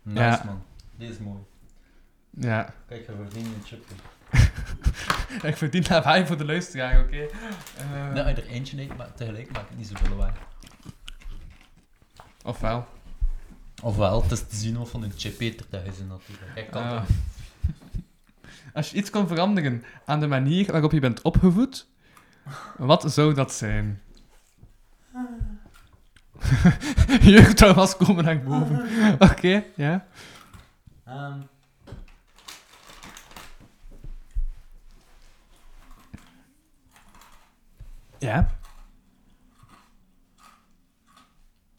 [SPEAKER 7] Nice,
[SPEAKER 3] Ja.
[SPEAKER 7] man. Dit is mooi.
[SPEAKER 3] Ja.
[SPEAKER 7] Kijk, we verdienen een chipje.
[SPEAKER 3] Ik verdien lawaai voor de luisteraar, oké? Eh,
[SPEAKER 7] Nou, er eentje neemt, maar tegelijk maakt het niet zoveel lawaai.
[SPEAKER 3] Ofwel.
[SPEAKER 7] Ofwel, het is te zien of van een chip eter dat is in natuurlijk. Ik kan
[SPEAKER 3] Eh,
[SPEAKER 7] dat.
[SPEAKER 3] als je iets kon veranderen aan de manier waarop je bent opgevoed, wat zou dat zijn? Jeugdtrauma's komen naar boven. Oké, ja.
[SPEAKER 7] Ehm.
[SPEAKER 3] Ja.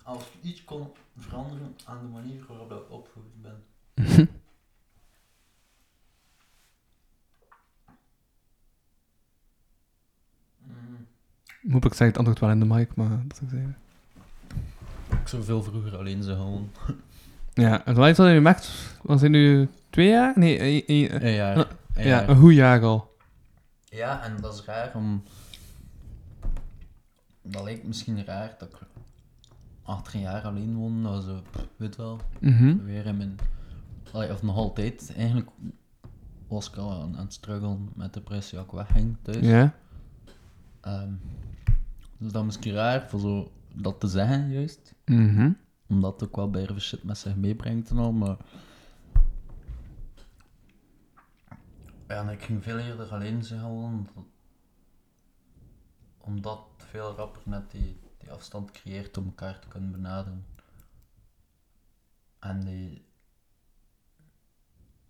[SPEAKER 7] als ik iets kon veranderen aan de manier waarop dat ik opgevoed ben. Mm,
[SPEAKER 3] Moet ik zeggen, het antwoord wel in de mic, maar dat zou ik zeggen.
[SPEAKER 7] Ik zou veel vroeger alleen zijn gewoon.
[SPEAKER 3] Ja, het was wat je maakt, was in nu twee jaar? Nee, één- één-
[SPEAKER 7] Een jaar.
[SPEAKER 3] Ah,
[SPEAKER 7] Een
[SPEAKER 3] ja,
[SPEAKER 7] jaar.
[SPEAKER 3] een goed jaar al.
[SPEAKER 7] Ja, en dat is raar om. Dat lijkt misschien raar dat ik achter een jaar alleen woon, nou zo, pff, weet wel.
[SPEAKER 3] Mhm.
[SPEAKER 7] Weer in mijn. Allee, of nog altijd. Eigenlijk was ik al aan, aan het struggelen met depressie als ik wegging thuis.
[SPEAKER 3] Ja.
[SPEAKER 7] Ehm, dus dat is misschien raar voor zo dat te zeggen, juist.
[SPEAKER 3] Mhm.
[SPEAKER 7] Omdat het ook wel bij shit met zich meebrengt en al, maar... Ja, en ik ging veel eerder alleen zijn gewoon. dat- Omdat het veel rapper net die, die afstand creëert om elkaar te kunnen benaderen. En die...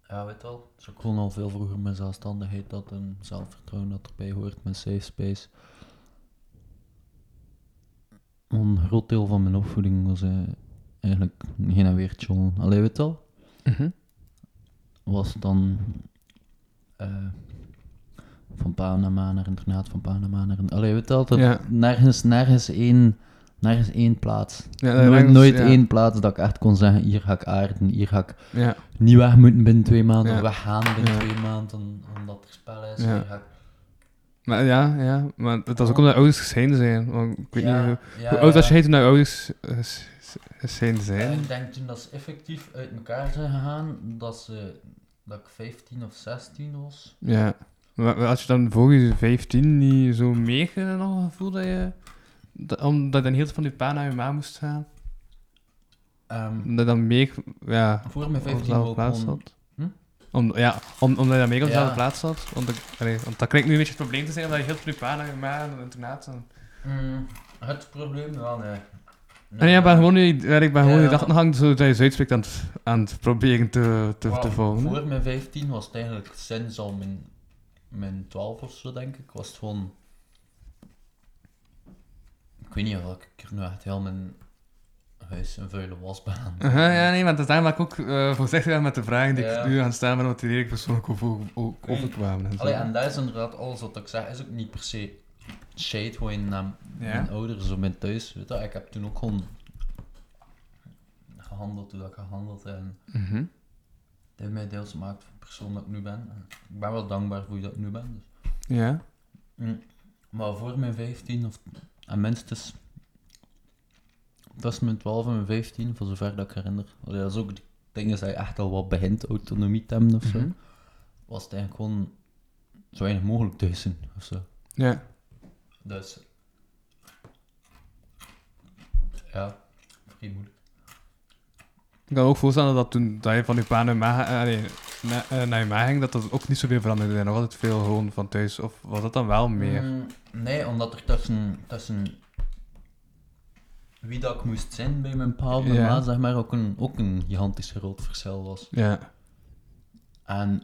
[SPEAKER 7] Ja, weet wel.
[SPEAKER 4] Dus ik kon al veel vroeger mijn zelfstandigheid dat en zelfvertrouwen dat erbij hoort, mijn safe space. Een groot deel van mijn opvoeding was eh, eigenlijk geen en weer chillen. Allee, weet je wel?
[SPEAKER 3] Mhm.
[SPEAKER 4] was dan eh, van Panama naar internaat, van Panama naar... Allee, weet je altijd,
[SPEAKER 3] Ja.
[SPEAKER 4] nergens, nergens, één, nergens één plaats.
[SPEAKER 3] Ja,
[SPEAKER 4] nooit
[SPEAKER 3] Eh, ergens,
[SPEAKER 4] nooit
[SPEAKER 3] ja.
[SPEAKER 4] één plaats dat ik echt kon zeggen, hier ga ik aarden, hier ga ik
[SPEAKER 3] Ja.
[SPEAKER 4] niet weg moeten binnen twee maanden,
[SPEAKER 3] Ja.
[SPEAKER 4] weggaan binnen
[SPEAKER 3] Ja.
[SPEAKER 4] twee maanden, omdat er spel is.
[SPEAKER 3] Ja.
[SPEAKER 4] Hier ga ik...
[SPEAKER 3] Maar, ja, ja, maar dat is ook omdat ouders gescheiden zijn. Want ik weet niet hoe,
[SPEAKER 7] ja,
[SPEAKER 3] hoe oud was
[SPEAKER 7] ja.
[SPEAKER 3] je heet toen dat ouders eh, ges- gescheiden
[SPEAKER 7] Ja,
[SPEAKER 3] zijn?
[SPEAKER 7] ik denk toen dat ze effectief uit elkaar zijn gegaan, dat, ze, dat ik 15 of 16 was.
[SPEAKER 3] Ja. Maar had je dan voor je 15 niet zo meer nog gevoel dat je... Dat, omdat je dan heel van je pa naar je ma moest gaan?
[SPEAKER 7] Ehm,
[SPEAKER 3] Omdat je dan meer... Ja,
[SPEAKER 7] voor mijn
[SPEAKER 3] Nou, op
[SPEAKER 7] 15
[SPEAKER 3] dezelfde
[SPEAKER 7] ook
[SPEAKER 3] plaats
[SPEAKER 7] gewoon
[SPEAKER 3] zat?
[SPEAKER 7] Hm?
[SPEAKER 3] Om, ja, om, omdat je dan meer op
[SPEAKER 7] Ja.
[SPEAKER 3] dezelfde plaats zat. Want, ik, allee, want dat klinkt nu een beetje het probleem te zijn, omdat je heel veel pa naar je ma en het internaat... En,
[SPEAKER 7] Mm, het probleem wel, nee.
[SPEAKER 3] En ja, ik ben gewoon nu, ja, ik ben gewoon
[SPEAKER 7] Ja.
[SPEAKER 3] die dag nog hangt, zodat je ze uitspreekt aan het, aan het proberen te, te,
[SPEAKER 7] Wel,
[SPEAKER 3] te volgen. hè.
[SPEAKER 7] Voor mijn 15 was het eigenlijk sinds al mijn
[SPEAKER 4] mijn 12 of zo, denk ik, was het gewoon. Ik weet niet of ik er nu echt heel mijn huis een vuile was ben. aan het
[SPEAKER 3] Aha, ja, nee, want dat is daarom dat ik ook eh voorzichtig ben met de vragen die
[SPEAKER 4] Ja.
[SPEAKER 3] ik nu ga stellen, maar wat die eigenlijk persoonlijk over, o-
[SPEAKER 4] weet niet.
[SPEAKER 3] overkwamen. En zo.
[SPEAKER 4] Allee, en dat is inderdaad alles wat ik zeg, is ook niet per se shade gewoon naar
[SPEAKER 3] ja.
[SPEAKER 4] mijn ouders of mijn thuis. Weet je, ik heb toen ook gewoon gehandeld hoe dat ik gehandeld heb. En
[SPEAKER 3] Mhm.
[SPEAKER 4] het heeft mij deels gemaakt voor de persoon dat ik nu ben. En Ik ben wel dankbaar voor wie dat ik nu ben. dus. Mm.
[SPEAKER 3] ja.
[SPEAKER 4] Maar voor mijn 15 of en minstens tussen mijn 12 en mijn 15, voor zover dat ik herinner. Allee, dat is ook dingen dat je echt al wat begint autonomie te hebben of zo.
[SPEAKER 3] Mhm.
[SPEAKER 4] Was het eigenlijk gewoon zo weinig mogelijk thuis doen of zo.
[SPEAKER 3] Ja.
[SPEAKER 4] Dus. Ja, vrij moeilijk.
[SPEAKER 3] Ik kan me ook voorstellen dat toen dat je van je pa naar je ma, eh, nee, na- eh, naar je ma ging, dat dat ook niet zoveel veranderde. Er was altijd veel gewoon van thuis. Of was dat dan wel meer?
[SPEAKER 4] Mm, nee, omdat er tussen, tussen wie dat ik moest zijn bij mijn pa of mijn
[SPEAKER 3] Ja.
[SPEAKER 4] ma, zeg maar, ook een, ook een gigantisch groot verschil was.
[SPEAKER 3] Ja.
[SPEAKER 4] En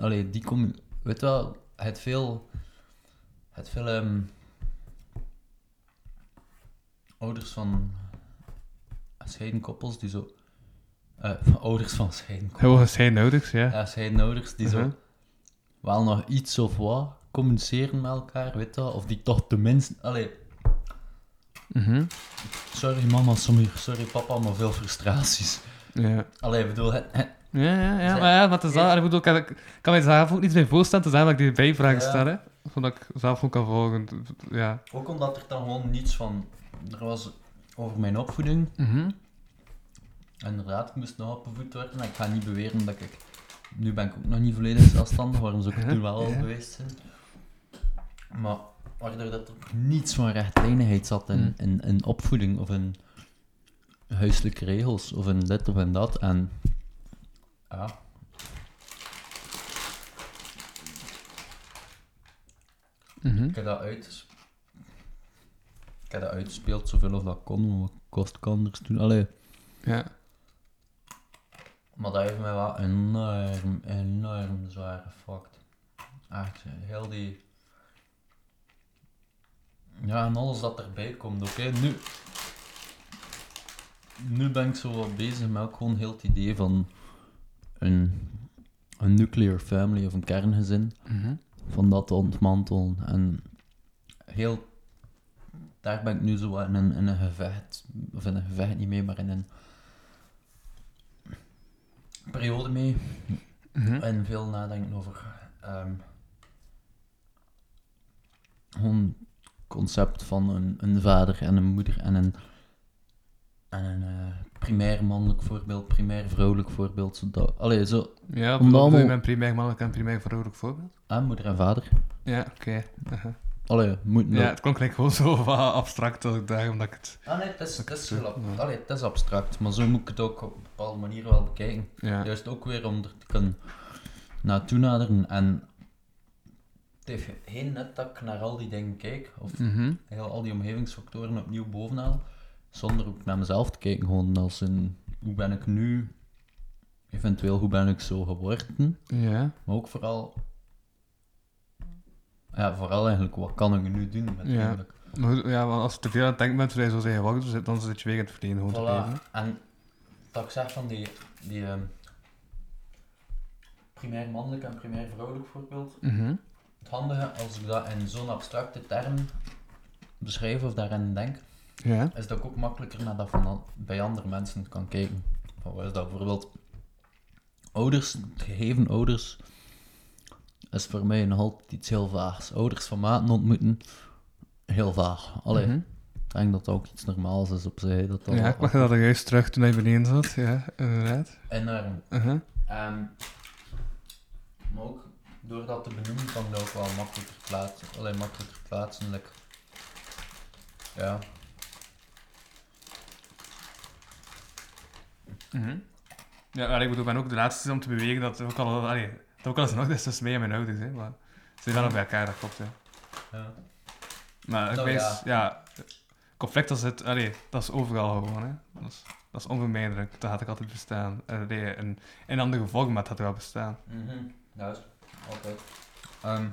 [SPEAKER 4] allee, die kom, weet wel, het veel, het veel ehm, ouders van scheiden koppels die zo, eh, van ouders van scheiden koppels.
[SPEAKER 3] Heel was hij nodig, ja.
[SPEAKER 4] Ja, scheidenouders die
[SPEAKER 3] Mhm.
[SPEAKER 4] zo wel nog iets of wat communiceren met elkaar, weet je wel, Of die toch tenminste... Allee,
[SPEAKER 3] Mhm.
[SPEAKER 4] sorry mama, sommige, sorry papa, maar veel frustraties.
[SPEAKER 3] ja.
[SPEAKER 4] Allee, ik bedoel, het, het-
[SPEAKER 3] Ja, ja, ja,
[SPEAKER 4] Zij-
[SPEAKER 3] maar ja, wat is dat? Ik bedoel, ik kan, ik kan mij zelf ook niet meer voorstellen, te zijn dat ik die bijvragen
[SPEAKER 4] Ja.
[SPEAKER 3] stel, hè. Zodat ik zelf ook kan volgen. Ja.
[SPEAKER 4] ook omdat er dan gewoon niets van... Er was over mijn opvoeding,
[SPEAKER 3] Mhm.
[SPEAKER 4] inderdaad, ik moest nog opgevoed worden. En ik ga niet beweren dat ik... Nu ben ik ook nog niet volledig zelfstandig, waarom zou ik het toen wel al
[SPEAKER 3] Ja.
[SPEAKER 4] geweest zijn? Maar waardoor dat er niets van rechtlijnigheid zat in,
[SPEAKER 3] Mm.
[SPEAKER 4] in, in opvoeding of in huiselijke regels of in dit of in dat. En ja.
[SPEAKER 3] Mhm.
[SPEAKER 4] Ik heb dat uit. Ik heb dat uitgespeeld zoveel of dat kon, want wat kost ik anders doen? Allee.
[SPEAKER 3] Ja.
[SPEAKER 4] Maar dat heeft mij wel enorm, enorm zwaar gefokt. Echt, heel die... Ja, en alles dat erbij komt, oké? Nu... Nu ben ik zo wat bezig met ook gewoon heel het idee van... Een, een nuclear family of een kerngezin.
[SPEAKER 3] Mhm.
[SPEAKER 4] Van dat te ontmantelen. En heel... Daar ben ik nu zo wat in een, in een gevecht... Of in een gevecht niet mee, maar in een... Periode mee.
[SPEAKER 3] Mhm.
[SPEAKER 4] En veel nadenken over ehm, gewoon het concept van een, een vader en een moeder en een, en een eh, primair mannelijk voorbeeld, primair vrouwelijk voorbeeld. Zodat, allee, zo,
[SPEAKER 3] Ja,
[SPEAKER 4] Om
[SPEAKER 3] bedoel,
[SPEAKER 4] dan
[SPEAKER 3] bedoel je
[SPEAKER 4] al-
[SPEAKER 3] mijn primair mannelijk en primair vrouwelijk voorbeeld?
[SPEAKER 4] ah, moeder en vader.
[SPEAKER 3] Ja, oké. Aha.
[SPEAKER 4] Allee, moet
[SPEAKER 3] Ja, het klonk gelijk gewoon zo wat abstract dat ik dacht, omdat ik het...
[SPEAKER 4] Ah nee, het is, het, is
[SPEAKER 3] zo-
[SPEAKER 4] gelap-
[SPEAKER 3] ja.
[SPEAKER 4] allee, het is abstract, maar zo moet ik het ook op een bepaalde manier wel bekijken.
[SPEAKER 3] Ja.
[SPEAKER 4] Juist ook weer om er te kunnen naartoe naderen en het heeft geen net dat ik naar al die dingen kijk, of
[SPEAKER 3] Mhm.
[SPEAKER 4] heel al die omgevingsfactoren opnieuw bovenaan. Zonder ook naar mezelf te kijken, gewoon als een hoe ben ik nu, eventueel hoe ben ik zo geworden.
[SPEAKER 3] Ja.
[SPEAKER 4] Maar ook vooral, ja, vooral eigenlijk wat kan ik nu doen met
[SPEAKER 3] Ja.
[SPEAKER 4] eigenlijk.
[SPEAKER 3] Maar goed, ja, want als je te veel aan het denken bent, zoals je zou zeggen, wacht, dan zit- dan zit je weer in het verleden gewoon te
[SPEAKER 4] Voilà.
[SPEAKER 3] leven.
[SPEAKER 4] En dat ik zeg van die, die ehm, primair mannelijk en primair vrouwelijk voorbeeld,
[SPEAKER 3] Mhm.
[SPEAKER 4] het handige als ik dat in zo'n abstracte term beschrijf of daarin denk,
[SPEAKER 3] Ja.
[SPEAKER 4] is dat ik ook makkelijker naar dat van an- bij andere mensen kan kijken. Van wat is dat bijvoorbeeld? Ouders, het gegeven ouders, is voor mij nog altijd iets heel vaags. Ouders van maten ontmoeten, heel vaag. Allee,
[SPEAKER 3] Mhm.
[SPEAKER 4] ik denk dat dat ook iets normaals is op zich. Dat dat
[SPEAKER 3] Ja, ik mag dat er juist terug toen hij beneden zat. Ja, inderdaad. Mhm.
[SPEAKER 4] enorm.
[SPEAKER 3] Aha.
[SPEAKER 4] Ehm, maar ook door dat te benoemen kan ik dat ook wel makkelijker plaatsen. Alleen makkelijker plaatsen. like, ja.
[SPEAKER 3] Mhm. Ja, maar ik bedoel, ik ben ook de laatste om te bewegen dat ook al, allee, dat ook al is nog eens tussen mij en mijn ouders, hè. Maar ze zijn wel nog bij elkaar, dat klopt, ja.
[SPEAKER 4] ja.
[SPEAKER 3] Maar Nou, ik
[SPEAKER 4] Oh,
[SPEAKER 3] weet, ja. conflict dat zit, allee, dat is overal gewoon, hè. Dat is, dat is onvermijdelijk, dat had ik altijd bestaan. Allee, in, in andere vorm, maar dat had wel bestaan.
[SPEAKER 4] Mhm, juist.
[SPEAKER 7] Altijd. Ehm,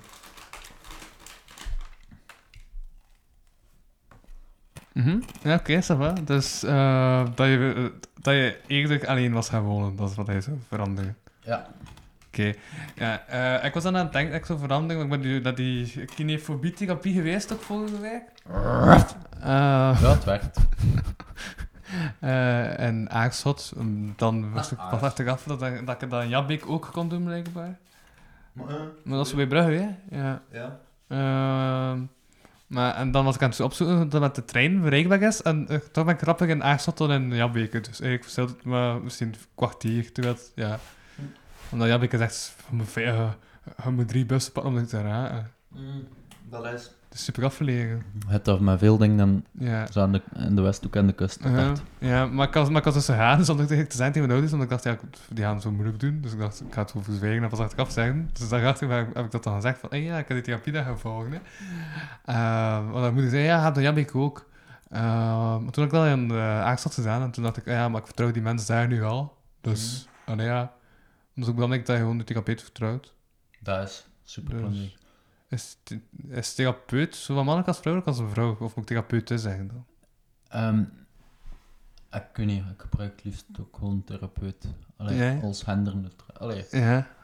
[SPEAKER 3] Mhm. Ja, oké, ça va. Dus eh, dat, je, eh, dat je eerder alleen was gaan wonen, dat is wat hij zou veranderen.
[SPEAKER 7] ja.
[SPEAKER 3] Oké. Ja, eh, ik was dan aan het denken dat ik zou veranderen, want ik ben nu naar die kinefobietherapie geweest ook vorige week. Eh,
[SPEAKER 7] ja, het werkt.
[SPEAKER 3] eh, en aarschot. En Dan was ik
[SPEAKER 7] Ah,
[SPEAKER 3] pas achteraf dat, dat ik dat in Jabbeek ook kon doen, blijkbaar. Maar dat is bij Brugge, hè? Ja.
[SPEAKER 7] Ja.
[SPEAKER 3] Ehm, maar, en dan was ik aan het dus opzoeken dat het met de trein bereikbaar is. En eh, toch ben ik grappig in Aarschot tot in Jabbeke. Dus eigenlijk verschilt het maar misschien een kwartier. Terwijl, het- ja. Omdat Jabbeke zegt, je moet, vij- eh, je moet drie bussen pakken om dit te raken.
[SPEAKER 7] dat is.
[SPEAKER 3] Het is super afgelegen.
[SPEAKER 4] Het dat met veel dingen dan
[SPEAKER 3] Ja.
[SPEAKER 4] zo aan de, in de westhoek aan de kust.
[SPEAKER 3] Eh,
[SPEAKER 4] gedacht.
[SPEAKER 3] ja, maar ik had, maar ik had dus gegaan zonder tegen te zijn tegen mijn ouders, want ik dacht, ja, ik- die gaan het zo moeilijk doen, dus ik dacht, ik ga het gewoon verzwijgen en pas achteraf zeggen. Dus daarachter heb ik- heb ik dat dan gezegd, van, hé ja, ik heb die therapie daar gaan volgen, hè. Eh, want dan moet ik zeggen, ja, gaat dat Jabik ook. Eh, maar toen had ik dat in de Aagstad gedaan, en toen dacht ik, ah ja, maar ik vertrouw die mensen daar nu al, dus, allee, ja, Dus dat is ook belangrijk dat je gewoon de therapeut vertrouwt.
[SPEAKER 7] Dat is super
[SPEAKER 3] Dus, is, th- is therapeut zowel mannelijk als vrouwelijk als een vrouw, of moet ik therapeut zeggen dan?
[SPEAKER 7] Ehm, ik weet niet, ik gebruik het liefst ook gewoon therapeut. Allee,
[SPEAKER 3] Ja.
[SPEAKER 7] als genderneutraal. Allee, ik
[SPEAKER 3] Ja,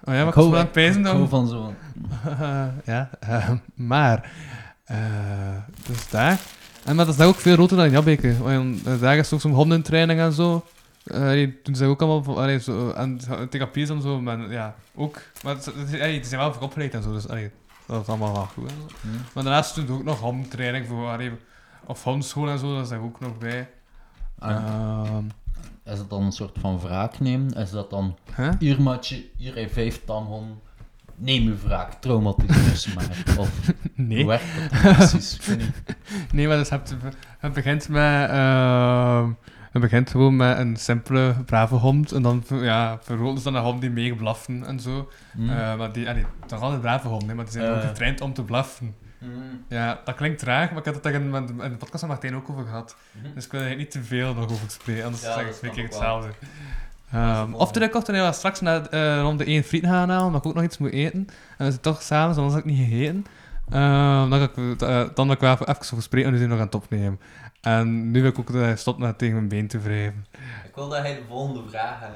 [SPEAKER 3] oh ja, maar ik, was
[SPEAKER 7] hou-
[SPEAKER 3] wel aan het pijzen
[SPEAKER 7] ik
[SPEAKER 3] dan.
[SPEAKER 7] hou van zo'n...
[SPEAKER 3] Eh, ja, eh, maar. eh, dus daar. En maar dat is daar ook veel roter dan in Jabbeke. Want eh, daar is ook zo'n hondentraining en zo. Eh, die doen ze ook allemaal. van- allee, zo, en therapie is dan zo. Maar ja, ook. Maar het, het- allee, die zijn wel voor opgeleid en zo. Dus allee, dat is allemaal wel goed. en zo.
[SPEAKER 7] Hm.
[SPEAKER 3] Maar daarnaast doen ze ook nog hondentraining voor. Allee, of hondschool en zo, dat is daar ook nog bij.
[SPEAKER 7] Ah,
[SPEAKER 3] Ehm,
[SPEAKER 7] Is dat dan een soort van wraak nemen? Is dat dan,
[SPEAKER 3] hè?
[SPEAKER 7] hier matje, hier heeft vijf tamhon, neem uw wraak, traumatiseer ze maar. Of
[SPEAKER 3] Nee.
[SPEAKER 7] hoe werkt dat dan precies? Ik weet niet.
[SPEAKER 3] Nee, maar dus je hebt- het begint met... ehm, het begint gewoon met een simpele, brave hond. En dan ver- ja, verroten ze dan een hond die mee blaffen en zo.
[SPEAKER 7] Hm.
[SPEAKER 3] Eh, maar die... Allee, toch altijd brave honden, maar die zijn
[SPEAKER 7] Ja,
[SPEAKER 3] wel
[SPEAKER 7] ja.
[SPEAKER 3] getraind om te blaffen.
[SPEAKER 7] Hm.
[SPEAKER 3] Ja, dat klinkt traag, maar ik had het daar in, in de podcast van Martijn ook over gehad.
[SPEAKER 7] Mhm.
[SPEAKER 3] Dus ik wil er niet te veel nog over spreken, anders
[SPEAKER 7] Ja,
[SPEAKER 3] zeg ik
[SPEAKER 7] dat
[SPEAKER 3] twee keer
[SPEAKER 7] snap ik
[SPEAKER 3] hetzelfde.
[SPEAKER 7] Dat
[SPEAKER 3] Ehm
[SPEAKER 7] is
[SPEAKER 3] of toen ik kocht, toen was straks naar, eh rond de één friet gaan halen, omdat ik ook nog iets moet eten. En we zijn toch samen, anders had ik niet gegeten. Ehm, dan, ga ik, eh, dan wil ik wel even, even over spreken, want nu zijn we nog aan het opnemen. En nu wil ik ook eh, stoppen met tegen mijn been te wrijven.
[SPEAKER 7] Ik wil dat hij de volgende vraag... eh,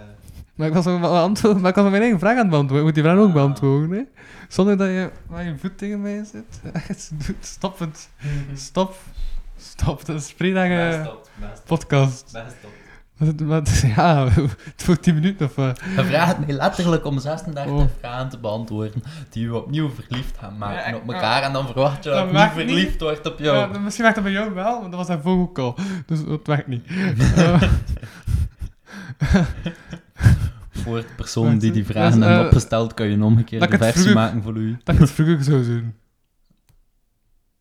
[SPEAKER 3] Maar ik was nog wel antwoord, maar ik was nog mijn eigen vraag aan het beantwoorden. Ik moet die vraag ook
[SPEAKER 7] Ah.
[SPEAKER 3] beantwoorden, hè. Zonder dat je met je voet tegen mij zit. Echt, doe het. Stop het. Stop. Stop. Dat is
[SPEAKER 7] Best
[SPEAKER 3] vrijdag
[SPEAKER 7] op, best op,
[SPEAKER 3] podcast.
[SPEAKER 7] best op.
[SPEAKER 3] Maar het- maar het- ja, het wordt 10 minuten of wat.
[SPEAKER 7] Hij vraagt mij letterlijk om 36
[SPEAKER 3] Oh.
[SPEAKER 7] vragen te beantwoorden die we opnieuw verliefd gaan maken
[SPEAKER 3] Ja, ik-
[SPEAKER 7] op elkaar. En dan verwacht je
[SPEAKER 3] Dat
[SPEAKER 7] dat ik niet
[SPEAKER 3] mag niet.
[SPEAKER 7] verliefd wordt op jou.
[SPEAKER 3] Ja, dan- misschien werkt dat bij jou wel, want dat was daarvoor ook al. Dus dat werkt niet. Eh,
[SPEAKER 7] Voor de persoon die die
[SPEAKER 3] Dus,
[SPEAKER 7] vragen
[SPEAKER 3] eh,
[SPEAKER 7] heeft opgesteld, kan je een omgekeerde
[SPEAKER 3] dat ik het
[SPEAKER 7] versie
[SPEAKER 3] vroeger-
[SPEAKER 7] maken voor u.
[SPEAKER 3] dat ik het vroeger zou doen.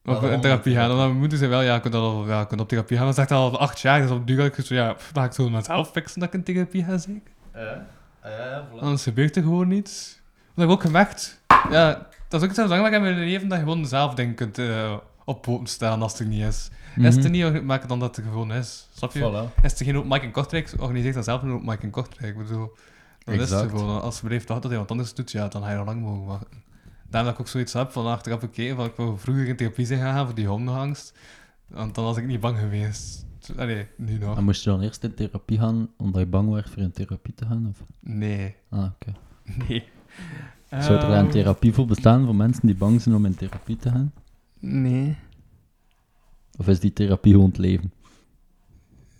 [SPEAKER 3] Of
[SPEAKER 7] Ja,
[SPEAKER 3] in therapie gaan. Dan mijn moeder zei wel, ja, je kunt, al, ja, je kunt op therapie gaan. Dat zegt al acht jaar. Dus op duur had ik zo, ja, pff, dan ga ik zo mezelf fixen dat ik in therapie ga, zeker. Anders gebeurt er gewoon niets. Dat heb ik ook gemerkt. Ja, dat is ook iets heel belangrijk in mijn leven, dat je gewoon zelf dingen kunt eh op poten staan als het er niet is. Is het er niet, maak het dan dat het er gewoon is. Snap je?
[SPEAKER 7] Voilà.
[SPEAKER 3] Is er geen openmaak in Kortrijk, organiseer dan zelf een openmaak in Kortrijk. Ik bedoel, dat is het
[SPEAKER 7] Exact.
[SPEAKER 3] gewoon. Als je blijft wachten dat iemand anders doet, ja, dan ga je nog lang mogen wachten. Daarom dat ik ook zoiets heb van achteraf gekeken, van ik wil vroeger in therapie zijn gegaan voor die hondenangst. Want dan was ik niet bang geweest. Allee, nu nog.
[SPEAKER 4] Dan moest je dan eerst in therapie gaan, omdat je bang werd voor in therapie te gaan? Of?
[SPEAKER 3] Nee.
[SPEAKER 4] Ah, oké.
[SPEAKER 3] Nee.
[SPEAKER 4] Zou er
[SPEAKER 3] Ehm,
[SPEAKER 4] een therapie voor bestaan, voor mensen die bang zijn om in therapie te gaan?
[SPEAKER 3] Nee.
[SPEAKER 4] Of is die therapie gewoon het leven?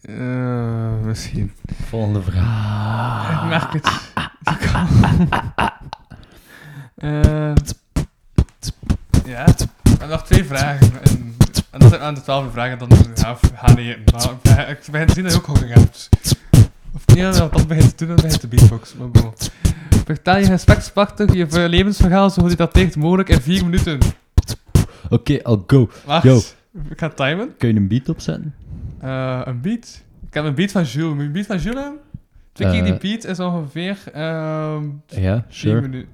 [SPEAKER 3] Eh, misschien.
[SPEAKER 4] Volgende vraag.
[SPEAKER 3] Ik merk het. Eh, ja, en nog twee vragen. En, en dat zijn aan de twaalf vragen, dan gaan we gaan eten. Maar ik begin- ik begin te zien dat je ook honger hebt. Dus- Of niet, dat je dat begint te doen, dan begint te beatbox. Maar bon. Vertel je gespreksprachtig je ver- levensverhaal zo goed je dat tegen mogelijk in vier minuten.
[SPEAKER 4] Oké, I'll go.
[SPEAKER 3] Wacht,
[SPEAKER 4] Yo.
[SPEAKER 3] ik ga timen.
[SPEAKER 4] Kun je een beat opzetten?
[SPEAKER 3] Eh, een beat. Ik heb een beat van Jules. Moet je een beat van Jules hebben? Twee keer die
[SPEAKER 4] Eh.
[SPEAKER 3] beat is ongeveer... ehm,
[SPEAKER 4] Ja,
[SPEAKER 3] 10
[SPEAKER 4] sure.
[SPEAKER 3] minuten.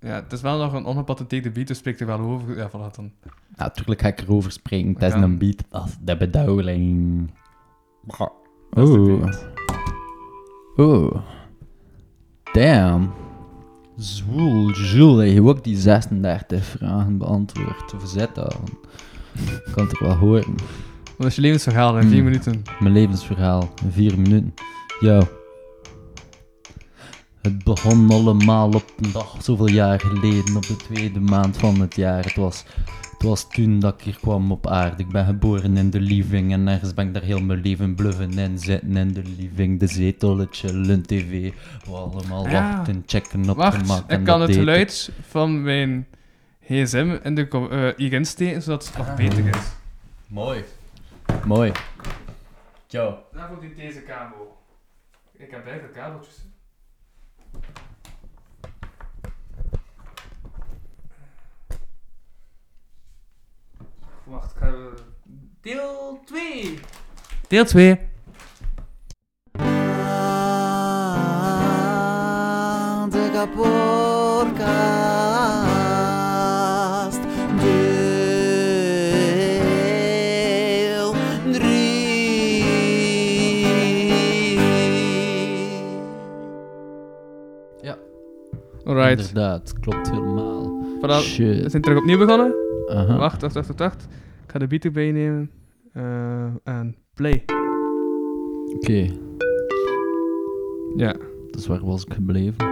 [SPEAKER 3] Ja, het is wel nog een ongepatenteerde beat, dus spreek er wel over. Ja, voilà dan.
[SPEAKER 4] Natuurlijk ga ik erover spreken. Dat is
[SPEAKER 3] Ja.
[SPEAKER 4] een beat als de bedoeling.
[SPEAKER 3] Dat is de
[SPEAKER 4] Oeh.
[SPEAKER 3] beat.
[SPEAKER 4] Oeh. Damn. Zwoel, Jules, dat je ook die 36 vragen beantwoord. Verzet dat. Ik kan het er wel horen.
[SPEAKER 3] Wat is je levensverhaal in
[SPEAKER 4] Hmm.
[SPEAKER 3] 4 minuten?
[SPEAKER 4] Mijn levensverhaal in vier minuten. Yo. Het begon allemaal op een dag zoveel jaar geleden, op de tweede maand van het jaar. Het was, het was toen dat ik hier kwam op aarde. Ik ben geboren in de living en ergens ben ik daar heel mijn leven bluffen en zitten in de living. De zetelletje, lun tv, we allemaal
[SPEAKER 3] Ja.
[SPEAKER 4] wachten, checken op de
[SPEAKER 3] Wacht,
[SPEAKER 4] mat en
[SPEAKER 3] ik kan
[SPEAKER 4] dat
[SPEAKER 3] het
[SPEAKER 4] deed ik.
[SPEAKER 3] geluid van mijn gsm in de, co- eh, hierin steken, zodat het nog
[SPEAKER 4] Ah.
[SPEAKER 3] beter is.
[SPEAKER 7] Mooi.
[SPEAKER 4] Mooi.
[SPEAKER 7] Ciao.
[SPEAKER 3] Daar komt in deze kabel. Ik heb bijna kabeltjes. Wacht, gaan we... Deel 2! Deel 2.
[SPEAKER 12] De kapotkast. Deel drie.
[SPEAKER 3] Alright.
[SPEAKER 4] Inderdaad, klopt helemaal.
[SPEAKER 3] Voilà. We
[SPEAKER 4] Shit.
[SPEAKER 3] zijn terug opnieuw begonnen.
[SPEAKER 4] Aha.
[SPEAKER 3] Wacht, wacht, wacht, wacht, wacht. Ik ga de beat erbij nemen. Eh, en play.
[SPEAKER 4] Oké.
[SPEAKER 3] Ja.
[SPEAKER 4] Dus waar was ik gebleven?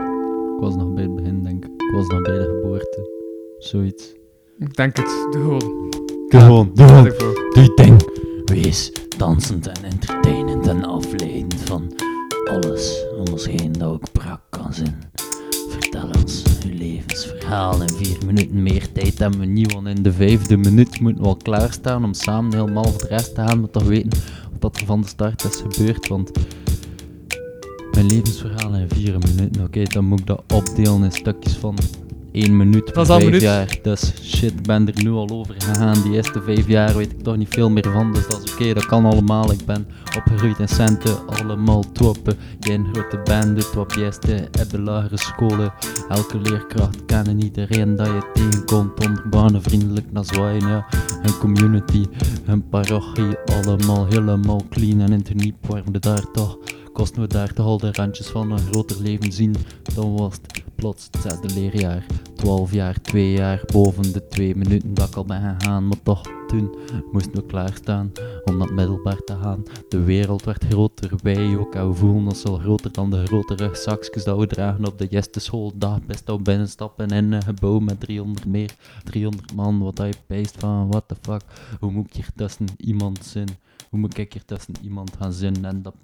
[SPEAKER 4] Ik was nog bij het begin, denk ik. Ik was nog bij de geboorte. Zoiets.
[SPEAKER 3] Ik denk het. Doe gewoon.
[SPEAKER 4] Gewoon,
[SPEAKER 3] Daar
[SPEAKER 4] doe
[SPEAKER 3] zit ik
[SPEAKER 4] het,
[SPEAKER 3] voor.
[SPEAKER 4] doe je ding. Wees dansend en entertainend en afleidend van alles om ons heen dat ook brak kan zijn. Vertel ons uw levensverhaal in vier minuten meer tijd hebben we niet, want in de vijfde minuut moeten we al klaarstaan om samen helemaal voor de rest te gaan, maar toch weten wat er van de start is gebeurd, want mijn levensverhaal in vier minuten, oké, dan moet ik dat opdelen in stukjes van één minuut per
[SPEAKER 3] is al een
[SPEAKER 4] vijf
[SPEAKER 3] minuut.
[SPEAKER 4] jaar. Dus shit, ik ben er nu al over gegaan. Die eerste vijf jaar weet ik toch niet veel meer van, dus dat is oké, dat kan allemaal. Ik ben opgegroeid in centen, allemaal twappen. Jij een grote bende, twapjesten, heb de lagere scholen. Elke leerkracht kennen iedereen dat je tegenkomt. Onderbanen, vriendelijk naar zwaaien, ja. Een community, een parochie, allemaal helemaal clean en interniep. Waarom we daar toch, kosten we daar toch al de randjes van een groter leven zien. Dan was het plots het zesde leerjaar. 12 jaar, 2 jaar, boven de 2 minuten dat ik al ben gegaan. Maar toch, toen moesten we klaarstaan om naar het middelbaar te gaan. De wereld werd groter, wij ook. En we voelen ons al groter dan de grotere zakjes dat we dragen op de jesteschool. Dag best al binnenstappen in een gebouw met 300 meer. 300 man, wat hij peest van, what the fuck. Hoe moet ik hier tussen iemand zijn? Hoe moet ik hier tussen iemand gaan zijn? En dat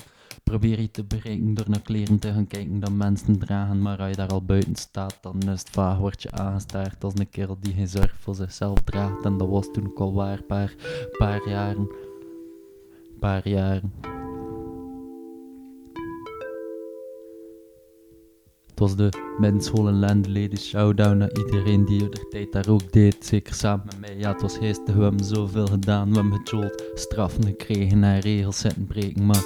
[SPEAKER 4] probeer je te bereiken door naar kleren te gaan kijken dat mensen dragen, maar als je daar al buiten staat, dan is het vaag, word je aangestaard als een kerel die geen zorg voor zichzelf draagt. En dat was toen ook al waar, paar, paar jaren. Paar jaren. Het was de middenschool en landeleden showdown naar iedereen die er de tijd daar ook deed. Zeker samen met mij. Ja, het was geestig. We hebben zoveel gedaan. We hebben gejold, straffen gekregen en regels zitten breken. Maar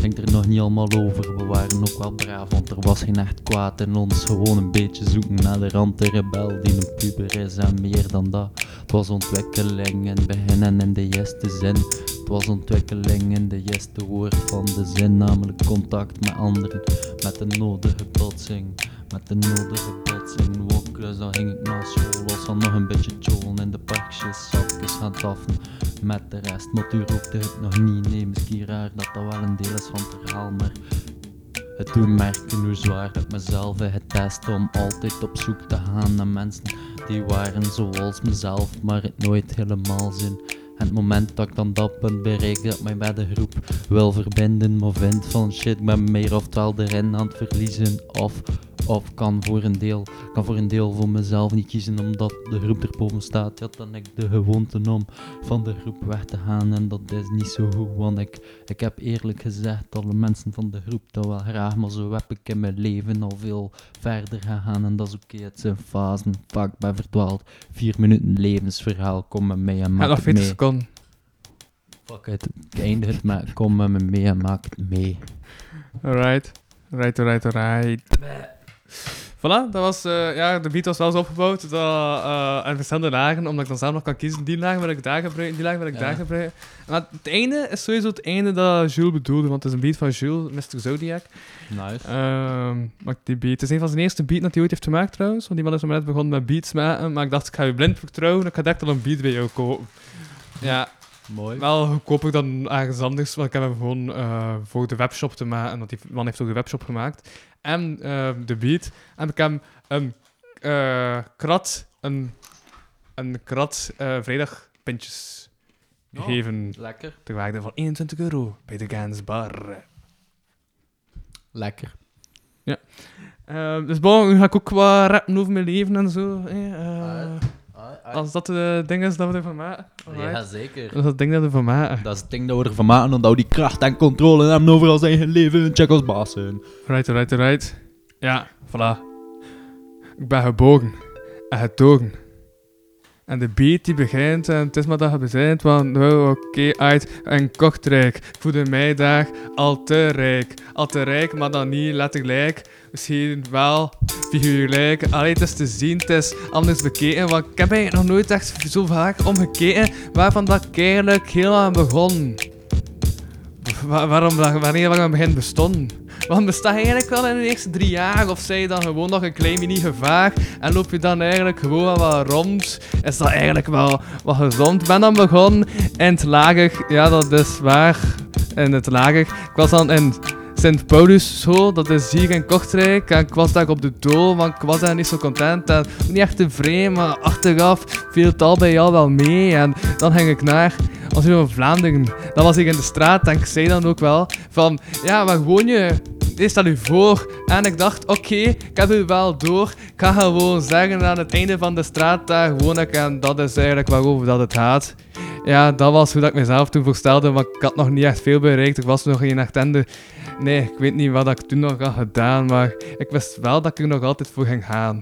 [SPEAKER 4] denk er nog niet allemaal over. We waren ook wel braaf, want er was geen echt kwaad in ons. Gewoon een beetje zoeken naar de rand, de rebel die een puber is en meer dan dat. Het was ontwikkeling in het begin en in de juiste zin. Het was ontwikkeling in de juiste woord van de zin, namelijk contact met anderen. Met de nodige botsing, met de nodige botsing. Ook dus dan ging ik naar school, was dan nog een beetje jollen in de parkjes, sapjes gaan taffen met de rest. Maar toen rookte ik nog niet, nee, misschien raar dat dat wel een deel is van het verhaal, maar het doet merken hoe zwaar ik mezelf heb getest om altijd op zoek te gaan naar mensen die waren zoals mezelf, maar het nooit helemaal zijn. En het moment dat ik dan dat punt bereik dat mij bij de groep wil verbinden, maar vind van shit, ik ben meer oftewel de ren aan het verliezen of, of kan, voor een deel, kan voor een deel voor mezelf niet kiezen omdat de groep erboven staat. Ja, dan heb ik de gewoonte om van de groep weg te gaan en dat is niet zo goed, want ik ik heb eerlijk gezegd alle mensen van de groep dat wel graag, maar zo heb ik in mijn leven al veel verder gegaan en dat is oké, het zijn fasen. Fuck, ik ben verdwaald. Vier minuten levensverhaal, kom met mij en
[SPEAKER 3] Gaat
[SPEAKER 4] maak
[SPEAKER 3] nog
[SPEAKER 4] het
[SPEAKER 3] 40
[SPEAKER 4] mee.
[SPEAKER 3] seconden.
[SPEAKER 4] Fuck it, ik eindig het, maar kom met me mee en maak het mee.
[SPEAKER 3] Alright. Alright, alright, alright. Voilà, dat was, eh, ja, de beat was wel zo opgebouwd dat, eh, aan verschillende lagen, omdat ik dan zelf nog kan kiezen, die laag wil ik daar gebruiken, die laag wil ik daar
[SPEAKER 7] Ja.
[SPEAKER 3] gebruiken. Maar het einde is sowieso het einde dat Jules bedoelde, want het is een beat van Jules, Mr. Zodiac.
[SPEAKER 7] Nice.
[SPEAKER 3] Ehm maakt die beat. Het is een van zijn eerste beat dat hij ooit heeft gemaakt trouwens, want die man is maar net begonnen met beats maken, maar ik dacht, ik ga je blind vertrouwen, ik ga direct al een beat bij jou kopen. Ja,
[SPEAKER 7] Mooi.
[SPEAKER 3] wel goedkoper dan ergens anders, want ik heb hem gewoon eh, voor de webshop te maken. Want die man heeft ook de webshop gemaakt. En eh, de beat. En ik heb hem een eh, krat, een, een krat eh, vrijdag pintjes
[SPEAKER 7] Oh.
[SPEAKER 3] gegeven.
[SPEAKER 7] Lekker.
[SPEAKER 3] Ter waarde van 21 euro bij de Gaans Bar.
[SPEAKER 7] Lekker.
[SPEAKER 3] Eh, dus bon, nu ga ik ook wat rappen over mijn leven en zo. eh, eh,
[SPEAKER 7] Ah,
[SPEAKER 3] als dat het ding is dat we ervan maken.
[SPEAKER 7] Ja,
[SPEAKER 3] alright.
[SPEAKER 7] zeker.
[SPEAKER 3] Als dat het ding dat we ervan maken.
[SPEAKER 7] Dat is het ding dat we ervan maken, omdat we die kracht en controle hebben over ons eigen leven. Check ons baas zijn.
[SPEAKER 3] Right, right, right. Ja, voilà. Ik ben gebogen en getogen. En de beat die begint, en het is maar dat je bezint, want oh, oké, uit en kochtrijk. Ik voelde mij daar al te rijk. Al te rijk, maar dan niet letterlijk. Misschien wel figuurlijk. Allee, het is te zien, het is anders bekeken. Want ik heb eigenlijk nog nooit echt zo vaak omgekeken waarvan dat ik eigenlijk heel aan begon. Wa- waarom, dat- wanneer we aan het begin bestonden. Want bestaat eigenlijk wel in de eerste drie jaar? Of zij dan gewoon nog een klein mini gevaar? En loop je dan eigenlijk gewoon wel wat rond? Is dat eigenlijk wel wat gezond? Ik ben dan begonnen in het lager. Ja, dat is waar. In het lager. Ik was dan in Sint Paulus school, dat is hier in Kortrijk. En ik was daar op de dool, want ik was daar niet zo content. En niet echt tevreden, maar achteraf viel het al bij jou wel mee. En dan ging ik naar als in Vlaanderen. Dan was ik in de straat en ik zei dan ook wel van, ja, waar woon je? Dit staat u voor. En ik dacht, oké, ik heb u wel door. Ik ga gewoon zeggen aan het einde van de straat, daar woon ik. En dat is eigenlijk waarover dat het gaat. Ja, dat was hoe dat ik mezelf toen voorstelde, want ik had nog niet echt veel bereikt. Ik was nog geen agenda. Nee, ik weet niet wat ik toen nog had gedaan, maar ik wist wel dat ik er nog altijd voor ging gaan.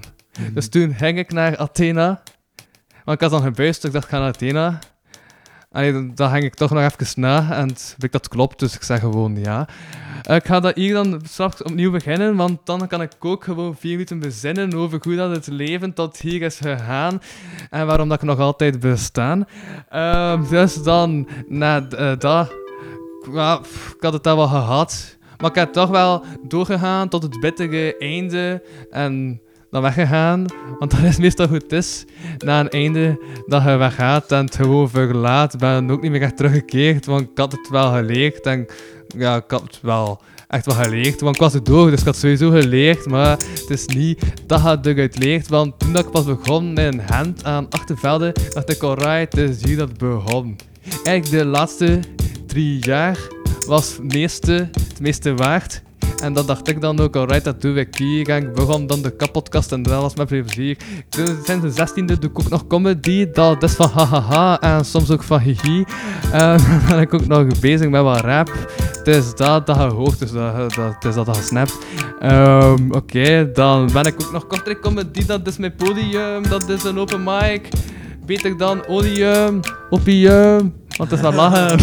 [SPEAKER 3] Dus toen ging ik naar Athena. Want ik had dan gebuist, dus ik dacht, ik ga naar Athena. Allee, dan, dan hang ik toch nog even na en t- weet ik dat het klopt, dus ik zeg gewoon ja. Eh, ik ga dat hier dan straks opnieuw beginnen, want dan kan ik ook gewoon vier minuten bezinnen over hoe dat het leven tot hier is gegaan en waarom dat ik nog altijd bestaan. Ehm, dus dan, na d- eh, dat, ja, pff, ik had het daar wel gehad, maar ik heb toch wel doorgegaan tot het bittere einde en dan weggegaan, want dat is meestal hoe het is na een einde dat je weggaat en het gewoon verlaat. Ik ben ook niet meer echt teruggekeerd, want ik had het wel geleerd. En ja, ik had het wel echt wel geleerd, want ik was er door, dus ik had sowieso geleerd. Maar het is niet dat je eruit leert, want toen dat ik pas begon in Gent aan Achtervelde, dacht ik, alright, het is hier dat het begon. Eigenlijk de laatste drie jaar was het meeste, het meeste waard. En dat dacht ik dan ook, alright, dat doe ik hier. En ik begon dan de kapotkast en dat was mijn plezier. Toen Sinds de 16e doe ik ook nog comedy. Dat is van hahaha en soms ook van hihi. En dan ben ik ook nog bezig met wat rap. Het is dat dat je hoort, dus dat, dat, het is dat dat je snapt. Ehm, Oké, dan ben ik ook nog kortrijk comedy. Dat is mijn podium, dat is een open mic. Beter dan odium, opium, want het is wel lachen.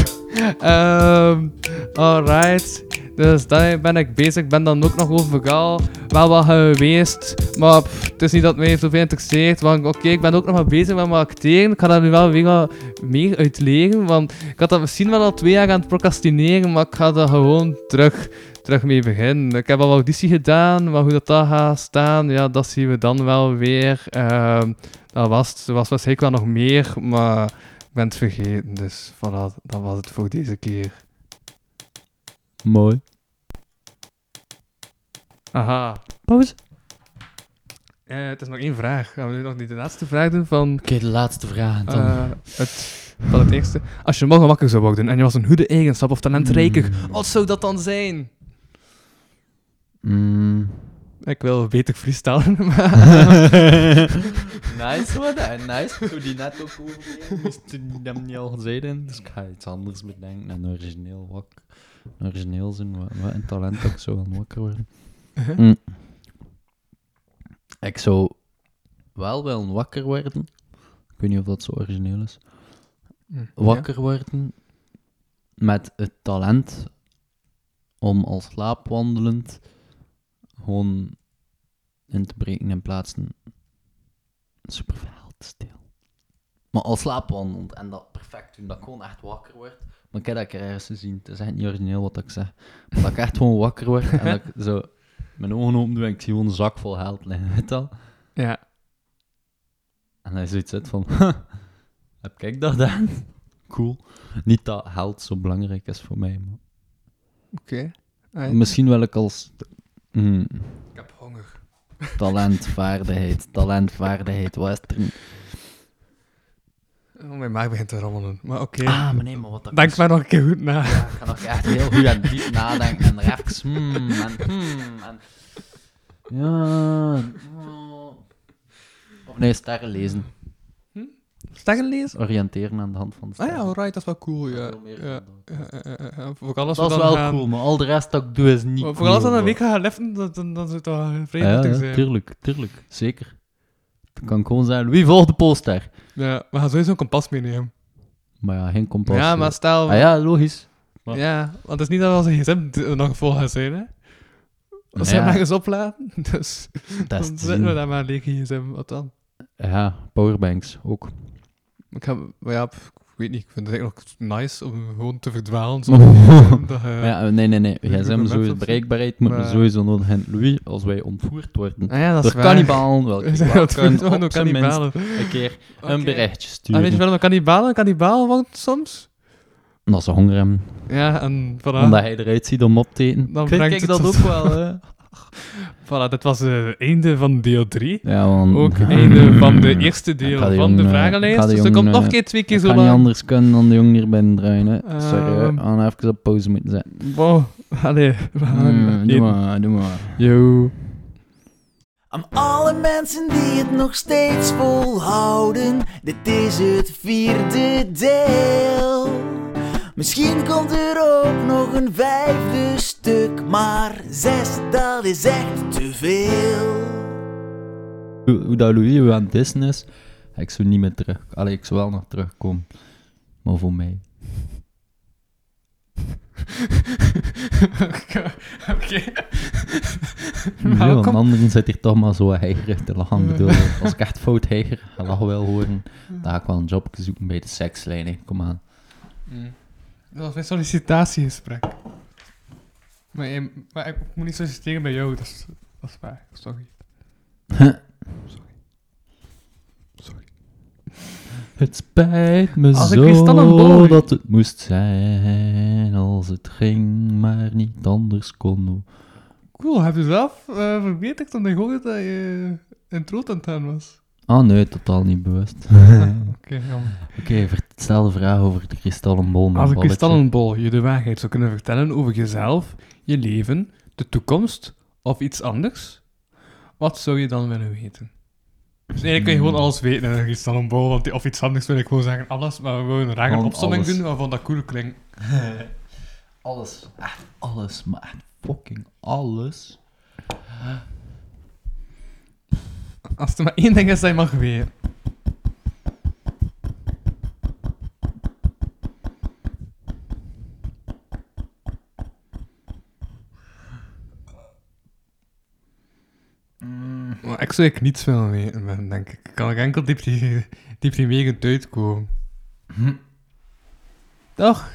[SPEAKER 3] Ehm, alright. Dus daar ben ik bezig. Ik ben dan ook nog overal wel wat geweest. Maar pff, het is niet dat het mij zoveel interesseert. Want oké, ik ben ook nog maar bezig met mijn acteren. Ik ga daar nu wel weer wat meer uit leren. Want ik had dat misschien wel al twee jaar aan het procrastineren. Maar ik ga daar gewoon terug, terug mee beginnen. Ik heb al auditie gedaan. Maar hoe dat daar gaat staan, ja, dat zien we dan wel weer. Ehm, dat was het. Er was waarschijnlijk wel nog meer. Maar ik ben het vergeten. Dus voilà, dat was het voor deze keer.
[SPEAKER 4] Mooi.
[SPEAKER 3] Aha.
[SPEAKER 4] Pauze.
[SPEAKER 3] Eh, het is nog één vraag. Gaan we nu nog niet de laatste vraag doen van,
[SPEAKER 4] Oké, de laatste vraag. Dan.
[SPEAKER 3] eh, het, van het eerste? Als je morgen wakker zou worden en je was een goede eigenschap of talentrijker,
[SPEAKER 4] Hmm.
[SPEAKER 3] wat zou dat dan zijn?
[SPEAKER 7] Eh.
[SPEAKER 4] Mm.
[SPEAKER 3] Ik wil beter freestylen, maar...
[SPEAKER 7] Nice, wat hè? Nice. Ik doe die net ook over. Dus die hebben niet al gezeten. Dus ik ga iets anders bedenken. En origineel wak.
[SPEAKER 4] origineel zijn, wat, wat een talent ook zo van wakker worden.
[SPEAKER 3] Uh-huh.
[SPEAKER 4] Mm. Ik zou wel willen wakker worden. Ik weet niet of dat zo origineel is. Wakker worden met het talent om als slaapwandelend gewoon in te breken in plaatsen super stil. Maar al slaapwandelend en dat perfect doen, dat ik gewoon echt wakker word. Maar ik heb dat een keer ergens gezien, het is echt niet origineel wat ik zeg. Maar dat ik echt gewoon wakker word en dat ik zo mijn ogen open doe en ik zie gewoon een zak vol geld liggen, weet je wel.
[SPEAKER 3] Ja.
[SPEAKER 4] En hij zoiets uit van, "Ha, heb ik dat gedaan? Cool. Niet dat geld zo belangrijk is voor mij, maar
[SPEAKER 3] Oké.
[SPEAKER 4] misschien wel ik als mm,
[SPEAKER 3] Ik heb honger.
[SPEAKER 4] talent, vaardigheid, talent, vaardigheid, wat is er?
[SPEAKER 3] Oh, mijn maag begint te rammelen. Maar oké.
[SPEAKER 4] Ah, maar nee, maar wat dat
[SPEAKER 3] Denk maar nog een keer goed na.
[SPEAKER 4] Ja, ik kan ook echt heel goed en diep nadenken en er even hmm, en hmm, en... Ja... oh. Of nee, sterren lezen.
[SPEAKER 3] Sterren lezen?
[SPEAKER 4] Oriënteren aan de hand van de
[SPEAKER 3] Ah
[SPEAKER 4] sterren.
[SPEAKER 3] ja, alright, dat is wel cool, ja. Eh,
[SPEAKER 4] Veel meer
[SPEAKER 3] ja.
[SPEAKER 4] dan
[SPEAKER 3] ja, ja, ja, ja. Vooral als
[SPEAKER 4] Dat
[SPEAKER 3] we
[SPEAKER 4] is
[SPEAKER 3] dan
[SPEAKER 4] wel
[SPEAKER 3] gaan...
[SPEAKER 4] cool, maar al de rest dat ik doe is niet
[SPEAKER 3] Maar
[SPEAKER 4] cool,
[SPEAKER 3] vooral als we dan een
[SPEAKER 4] hoor.
[SPEAKER 3] week gaan liften, dan, dan, dan zou het wel vrij
[SPEAKER 4] Ah Ja,
[SPEAKER 3] nuttig
[SPEAKER 4] ja,
[SPEAKER 3] zijn.
[SPEAKER 4] tuurlijk, tuurlijk. Zeker. Dan
[SPEAKER 3] Hmm.
[SPEAKER 4] kan ik gewoon zeggen, wie volgt de poster?
[SPEAKER 3] Ja, we gaan sowieso een kompas meenemen.
[SPEAKER 4] Maar ja, geen kompas.
[SPEAKER 3] ja,
[SPEAKER 4] eh.
[SPEAKER 3] maar stel...
[SPEAKER 4] Ah ja, logisch.
[SPEAKER 3] ja. want het is niet dat we als een gsm d- nog vol gaan zijn, hè.
[SPEAKER 4] Nou
[SPEAKER 3] Als ze hem
[SPEAKER 4] ja.
[SPEAKER 3] ergens opladen, dus
[SPEAKER 4] Dat is
[SPEAKER 3] dan
[SPEAKER 4] te
[SPEAKER 3] zetten we
[SPEAKER 4] zien.
[SPEAKER 3] daar maar een lege gsm, wat dan?
[SPEAKER 4] Ja, powerbanks ook.
[SPEAKER 3] Ik heb, maar ja, pff, ik weet niet, ik vind het eigenlijk nog nice om gewoon te verdwalen. Zo, dat, eh,
[SPEAKER 4] Maar ja, nee, nee, nee.
[SPEAKER 3] je hoeveel
[SPEAKER 4] GSM, sowieso,
[SPEAKER 3] mensen-
[SPEAKER 4] bereikbaarheid moet
[SPEAKER 3] Maar-
[SPEAKER 4] sowieso nodig hebben. Louis, als wij ontvoerd worden,
[SPEAKER 3] Ah ja, dat is
[SPEAKER 4] door
[SPEAKER 3] waar.
[SPEAKER 4] kannibalen, wel
[SPEAKER 3] We zijn dat
[SPEAKER 4] kunnen
[SPEAKER 3] gewoon door
[SPEAKER 4] op zijn minst
[SPEAKER 3] kannibalen.
[SPEAKER 4] een keer
[SPEAKER 3] Oké.
[SPEAKER 4] een berichtje
[SPEAKER 3] Ah, weet je
[SPEAKER 4] sturen.
[SPEAKER 3] wel, een kannibalen, een kannibaal wordt soms.
[SPEAKER 4] Omdat ze honger hebben.
[SPEAKER 3] Ja, en voilà.
[SPEAKER 4] Omdat hij eruit ziet om op te eten.
[SPEAKER 3] Dan
[SPEAKER 4] Ik weet,
[SPEAKER 3] brengt
[SPEAKER 4] kijk
[SPEAKER 3] het
[SPEAKER 4] dat ook
[SPEAKER 3] tot-
[SPEAKER 4] wel, hè.
[SPEAKER 3] Voilà, dat was eh, het einde van deel 3.
[SPEAKER 4] Ja, want...
[SPEAKER 3] Ook het einde van de eerste
[SPEAKER 4] Mm-hmm. Ik ga
[SPEAKER 3] deel
[SPEAKER 4] die
[SPEAKER 3] van de
[SPEAKER 4] jongen, eh, ik
[SPEAKER 3] vragenlijst.
[SPEAKER 4] ga die
[SPEAKER 3] Dus er komt
[SPEAKER 4] jongen,
[SPEAKER 3] nog een
[SPEAKER 4] eh,
[SPEAKER 3] keer twee keer
[SPEAKER 4] Ik
[SPEAKER 3] zo
[SPEAKER 4] kan niet
[SPEAKER 3] lang.
[SPEAKER 4] anders kunnen dan de jongen hier binnen draaien, hè. Sorry,
[SPEAKER 3] Ehm.
[SPEAKER 4] we gaan even op pauze moeten zetten.
[SPEAKER 3] Wow, allee. we gaan
[SPEAKER 4] Mm, Doe
[SPEAKER 3] eten.
[SPEAKER 4] maar, doe maar.
[SPEAKER 3] Yo.
[SPEAKER 12] Aan alle mensen die het nog steeds volhouden, dit is het vierde deel. Misschien komt er ook nog een vijfde stuk, maar zes, dat is echt te veel.
[SPEAKER 4] Hoe hoe dat Louis weer aan het dissen is, ga ik zo niet meer terug. Allee, ik zou wel nog terugkomen. Maar voor mij.
[SPEAKER 3] Oké.
[SPEAKER 4] Nee,
[SPEAKER 3] Welkom.
[SPEAKER 4] want anderen zit hier toch maar zo heigerig te lachen. Ik bedoel, als ik echt fout heiger ga lachen wil horen, dan ga ik wel een job zoeken bij de sekslijn. hè. Kom aan.
[SPEAKER 3] Dat was mijn sollicitatiegesprek. Maar, je- maar ik moet niet solliciteren bij jou, dat is, dat is waar. Sorry.
[SPEAKER 4] Het spijt me
[SPEAKER 3] Als ik kristallen
[SPEAKER 4] zo
[SPEAKER 3] boog-
[SPEAKER 4] dat het moest zijn, als het ging, maar niet anders kon.
[SPEAKER 3] Cool, heb je zelf eh, verbeterd dan ik hoorde dat je intro aan het gaan was?
[SPEAKER 4] Ah nee, totaal niet bewust.
[SPEAKER 3] Oké, jammer.
[SPEAKER 4] Oké, ver- stel de vraag over de kristallenbol.
[SPEAKER 3] Als een kristallenbol je de waarheid zou kunnen vertellen over jezelf, je leven, de toekomst of iets anders, wat zou je dan willen weten? Dus eigenlijk kun je
[SPEAKER 4] Hmm.
[SPEAKER 3] gewoon alles weten in een kristallenbol, want die- of iets anders wil ik gewoon zeggen, alles, maar we willen een rare
[SPEAKER 4] Gewoon
[SPEAKER 3] opzomming
[SPEAKER 4] alles.
[SPEAKER 3] doen waarvan dat cool klinkt.
[SPEAKER 4] Alles, echt alles, maar echt fucking alles.
[SPEAKER 3] Als er maar één ding is dat je mag weten. Maar ik zou eigenlijk niets willen weten, ben, denk ik. Ik kan ik enkel depri- deprimerend uitkomen. Toch?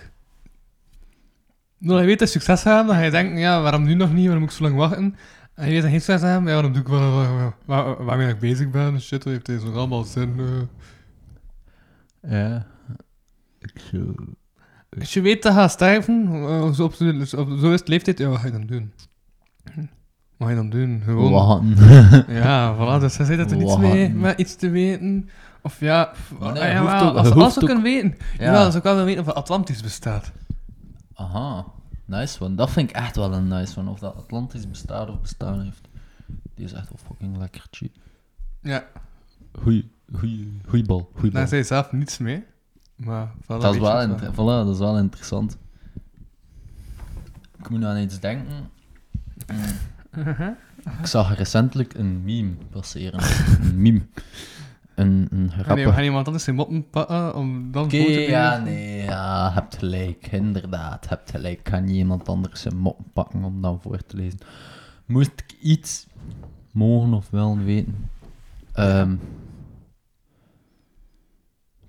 [SPEAKER 3] Nou, je weet dat je succes gaat, dan ga je denken, ja, waarom nu nog niet, waarom moet ik zo lang wachten? En je weet dat geen succes hebben, ja, waarom doe ik wel waar, waar, waar- waarmee ik bezig ben? Shit, wat heeft deze nog allemaal zin? eh.
[SPEAKER 4] Ja. Ik zo...
[SPEAKER 3] Als je weet dat je gaat sterven, eh, zo, op, de- op zo is het leeftijd, ja, wat ga je dan doen? Hm? Wat ga je dan doen? Gewoon...
[SPEAKER 4] Lachen.
[SPEAKER 3] Ja, voilà, dus hij zei dat er niets
[SPEAKER 4] Lachen.
[SPEAKER 3] mee, maar iets te weten. Of ja, pff,
[SPEAKER 4] Maar nee,
[SPEAKER 3] ah,
[SPEAKER 4] je
[SPEAKER 3] jawel,
[SPEAKER 4] hoeft ook-
[SPEAKER 3] als
[SPEAKER 4] je
[SPEAKER 3] we
[SPEAKER 4] hoeft
[SPEAKER 3] alles ook
[SPEAKER 4] ook-
[SPEAKER 3] kunnen weten. Ja,
[SPEAKER 4] Ja.
[SPEAKER 3] jawel, als ik wel wil weten of Atlantis bestaat.
[SPEAKER 4] Aha, nice one. Dat vind ik echt wel een nice one. Of dat Atlantis bestaat of bestaan heeft. Die is echt wel fucking lekker cheap.
[SPEAKER 3] Ja,
[SPEAKER 4] Goeie, goeie, goeie bal. Goeie bal.
[SPEAKER 3] daar zei je zelf niets mee. Maar voilà,
[SPEAKER 4] Dat is,
[SPEAKER 3] weet je
[SPEAKER 4] wel
[SPEAKER 3] het
[SPEAKER 4] int- voilà, dat is wel interessant. Ik moet aan iets denken. Mm. Ik zag recentelijk een meme passeren. een meme. Een, een
[SPEAKER 3] Ah, nee, we
[SPEAKER 4] grappig...
[SPEAKER 3] gaan iemand anders zijn moppen pakken om dan
[SPEAKER 4] Oké,
[SPEAKER 3] voor te
[SPEAKER 4] ja,
[SPEAKER 3] krijgen.
[SPEAKER 4] nee, ja, hebt gelijk, inderdaad, hebt gelijk. Ik Kan niet iemand anders zijn mop pakken om dan voor te lezen. Moest ik iets mogen of willen weten. Ehm,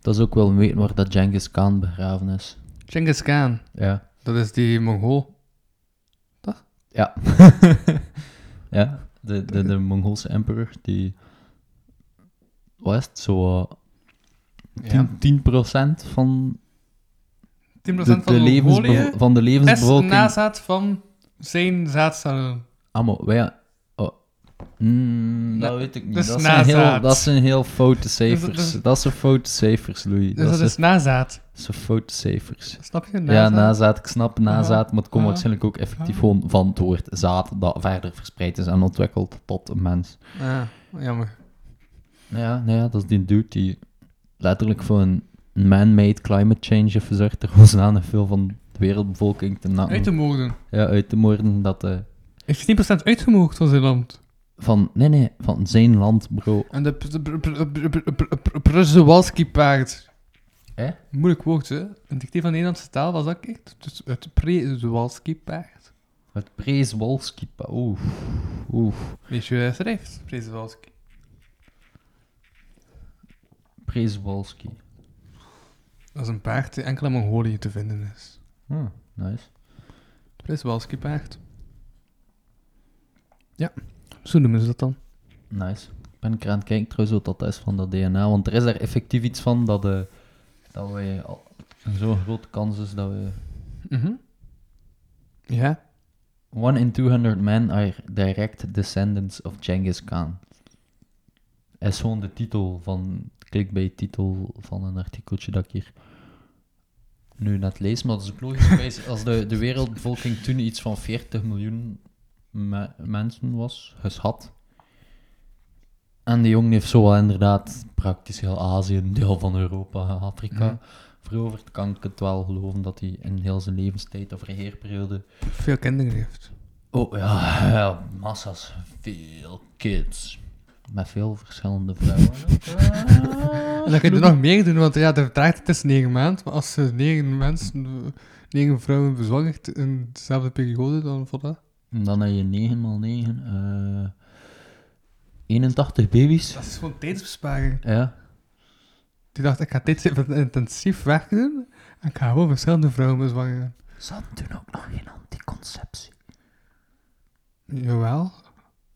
[SPEAKER 4] dat is ook wel weten waar dat Genghis Khan begraven is.
[SPEAKER 3] Genghis Khan.
[SPEAKER 4] Ja.
[SPEAKER 3] Dat is die Mongool.
[SPEAKER 4] Ja. ja, de, de, de Mongoolse emperor die. Wat is het, Zo. eh, 10%, 10 van,
[SPEAKER 3] 10%
[SPEAKER 4] de,
[SPEAKER 3] van de,
[SPEAKER 4] de levensbe-
[SPEAKER 3] Mongolië
[SPEAKER 4] van de
[SPEAKER 3] is een
[SPEAKER 4] levensbevolking.
[SPEAKER 3] nazaat van zijn zaadcellen.
[SPEAKER 4] Ah, maar wij... Oh. Mm, dat weet ik niet.
[SPEAKER 3] dus
[SPEAKER 4] dat, zijn heel,
[SPEAKER 3] nazaad.
[SPEAKER 4] dat zijn heel foute cijfers.
[SPEAKER 3] Dus- dus-
[SPEAKER 4] dat zijn foute cijfers, Louis.
[SPEAKER 3] Dus dat is nazaad.
[SPEAKER 4] dat zijn foute cijfers.
[SPEAKER 3] Snap je?
[SPEAKER 4] Ja,
[SPEAKER 3] Nazaad.
[SPEAKER 4] nazaad. Ik snap nazaad, maar het komt
[SPEAKER 3] Ah.
[SPEAKER 4] waarschijnlijk ook effectief
[SPEAKER 3] Ah.
[SPEAKER 4] gewoon van het woord zaad dat verder verspreid is en ontwikkeld tot een mens.
[SPEAKER 3] Ja, jammer.
[SPEAKER 4] Ja, nou ja, dat is die dude die letterlijk voor een man-made climate change heeft gezorgd. Er was aan veel van de wereldbevolking te nakken.
[SPEAKER 3] Uit te moorden.
[SPEAKER 4] ja, uit te moorden. Dat, eh,
[SPEAKER 3] Is 10% uitgemoord van zijn land?
[SPEAKER 4] van, nee, nee, van zijn land, bro.
[SPEAKER 3] En de pr- pr- pr- pr- pr- pr- pr- Przewalski-paard.
[SPEAKER 4] Hè?
[SPEAKER 3] Moeilijk woord, hè? Een dictee van de Nederlandse taal was dat echt? Dus het Przewalski-paard.
[SPEAKER 4] Het Preeswolski. Oeh. Oeh.
[SPEAKER 3] Weet je hoe hij schrijft? Przewalski.
[SPEAKER 4] Preeswolski.
[SPEAKER 3] Dat is een paard die enkel in Mongolië te vinden is.
[SPEAKER 4] Hm, nice.
[SPEAKER 3] Przewalski-paard. Ja, zo noemen ze dat dan.
[SPEAKER 4] Nice. Ik ben er aan het kijken trouwens wat dat is van dat DNA. Want er is daar effectief iets van dat, eh dat wij al- zo'n grote kans is dat we.
[SPEAKER 3] Mhm. Ja.
[SPEAKER 4] One in 200 men are direct descendants of Genghis Khan. Is gewoon de titel van. Klik bij de titel van een artikeltje dat ik hier nu net lees. Maar dat is ook logisch. geweest. Als de, de wereldbevolking toen iets van 40 miljoen me- mensen was, geschat. En die jongen heeft zo wel inderdaad praktisch heel Azië, een deel van Europa, Afrika veroverd. Kan ik het wel geloven dat hij in heel zijn levenstijd of regeerperiode
[SPEAKER 3] Veel kinderen heeft.
[SPEAKER 4] Oh ja, ja, massa's. Veel kids. Met veel verschillende vrouwen.
[SPEAKER 3] En dan kun je er nog meer doen, want ja, de vertraagdheid is 9 maanden. Maar als je 9 mensen, eh, negen vrouwen bezwangert in dezelfde periode, dan voilà.
[SPEAKER 4] En dan heb je 9 x 9. eh 81 baby's.
[SPEAKER 3] Dat is gewoon tijdsbesparing.
[SPEAKER 4] Ja.
[SPEAKER 3] Die dacht, ik ga dit even intensief wegdoen en ik ga gewoon verschillende vrouwen bezwangeren.
[SPEAKER 4] Ze hadden toen ook nog geen anticonceptie.
[SPEAKER 3] Jawel,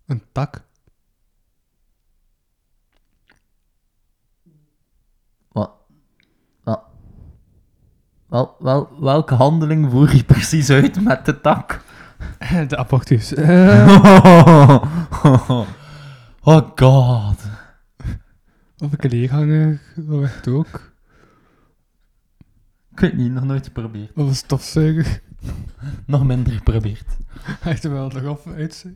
[SPEAKER 3] een tak.
[SPEAKER 4] Wat? Wat? Wel, wel, welke handeling voer je precies uit met de tak?
[SPEAKER 3] De abortus. Eh,
[SPEAKER 4] Oh, god.
[SPEAKER 3] of een leeghanger, dat werkt ook.
[SPEAKER 4] Ik weet niet, nog nooit geprobeerd.
[SPEAKER 3] Of een stofzuiger.
[SPEAKER 4] Nog minder geprobeerd.
[SPEAKER 3] Echt wel, toch af uit.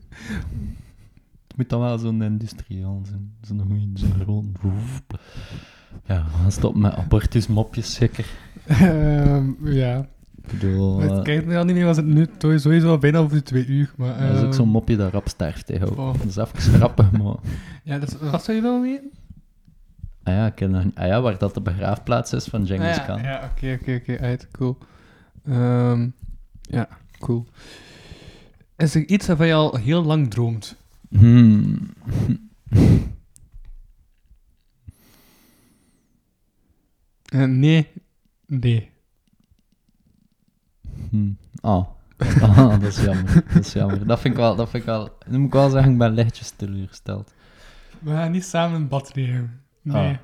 [SPEAKER 4] Het moet dan wel zo'n industrieel zijn. Zo'n goeie, zo'n groot... Ja, we gaan stoppen met abortusmopjes, zeker.
[SPEAKER 3] Ehm, ja,
[SPEAKER 4] Ik bedoel...
[SPEAKER 3] het
[SPEAKER 4] eh,
[SPEAKER 3] kijkt me al niet meer, was het nu sowieso al bijna over de twee uur. Maar,
[SPEAKER 4] dat is ook
[SPEAKER 3] ehm,
[SPEAKER 4] zo'n mopje dat rap sterft, hè, ook.
[SPEAKER 3] oh.
[SPEAKER 4] Dat is even grappig, maar...
[SPEAKER 3] Ja, dat is, wat zou je willen weten?
[SPEAKER 4] Ah ja, ik ken nog niet- ah ja, waar dat de begraafplaats is van Genghis
[SPEAKER 3] Ah, ja,
[SPEAKER 4] Khan.
[SPEAKER 3] Ja, oké, oké, oké, uit, cool. Ehm, ja, cool. Is er iets waarvan je al heel lang droomt?
[SPEAKER 4] Hmm.
[SPEAKER 3] Eh, nee, nee.
[SPEAKER 4] Hmm. Ah. Ah, dat is jammer. Dat is jammer. Dat vind ik wel... Dat vind ik wel... Nu moet ik wel zeggen, ik ben lichtjes teleurgesteld.
[SPEAKER 3] We gaan niet samen een bad nemen. Nee.
[SPEAKER 4] Ah.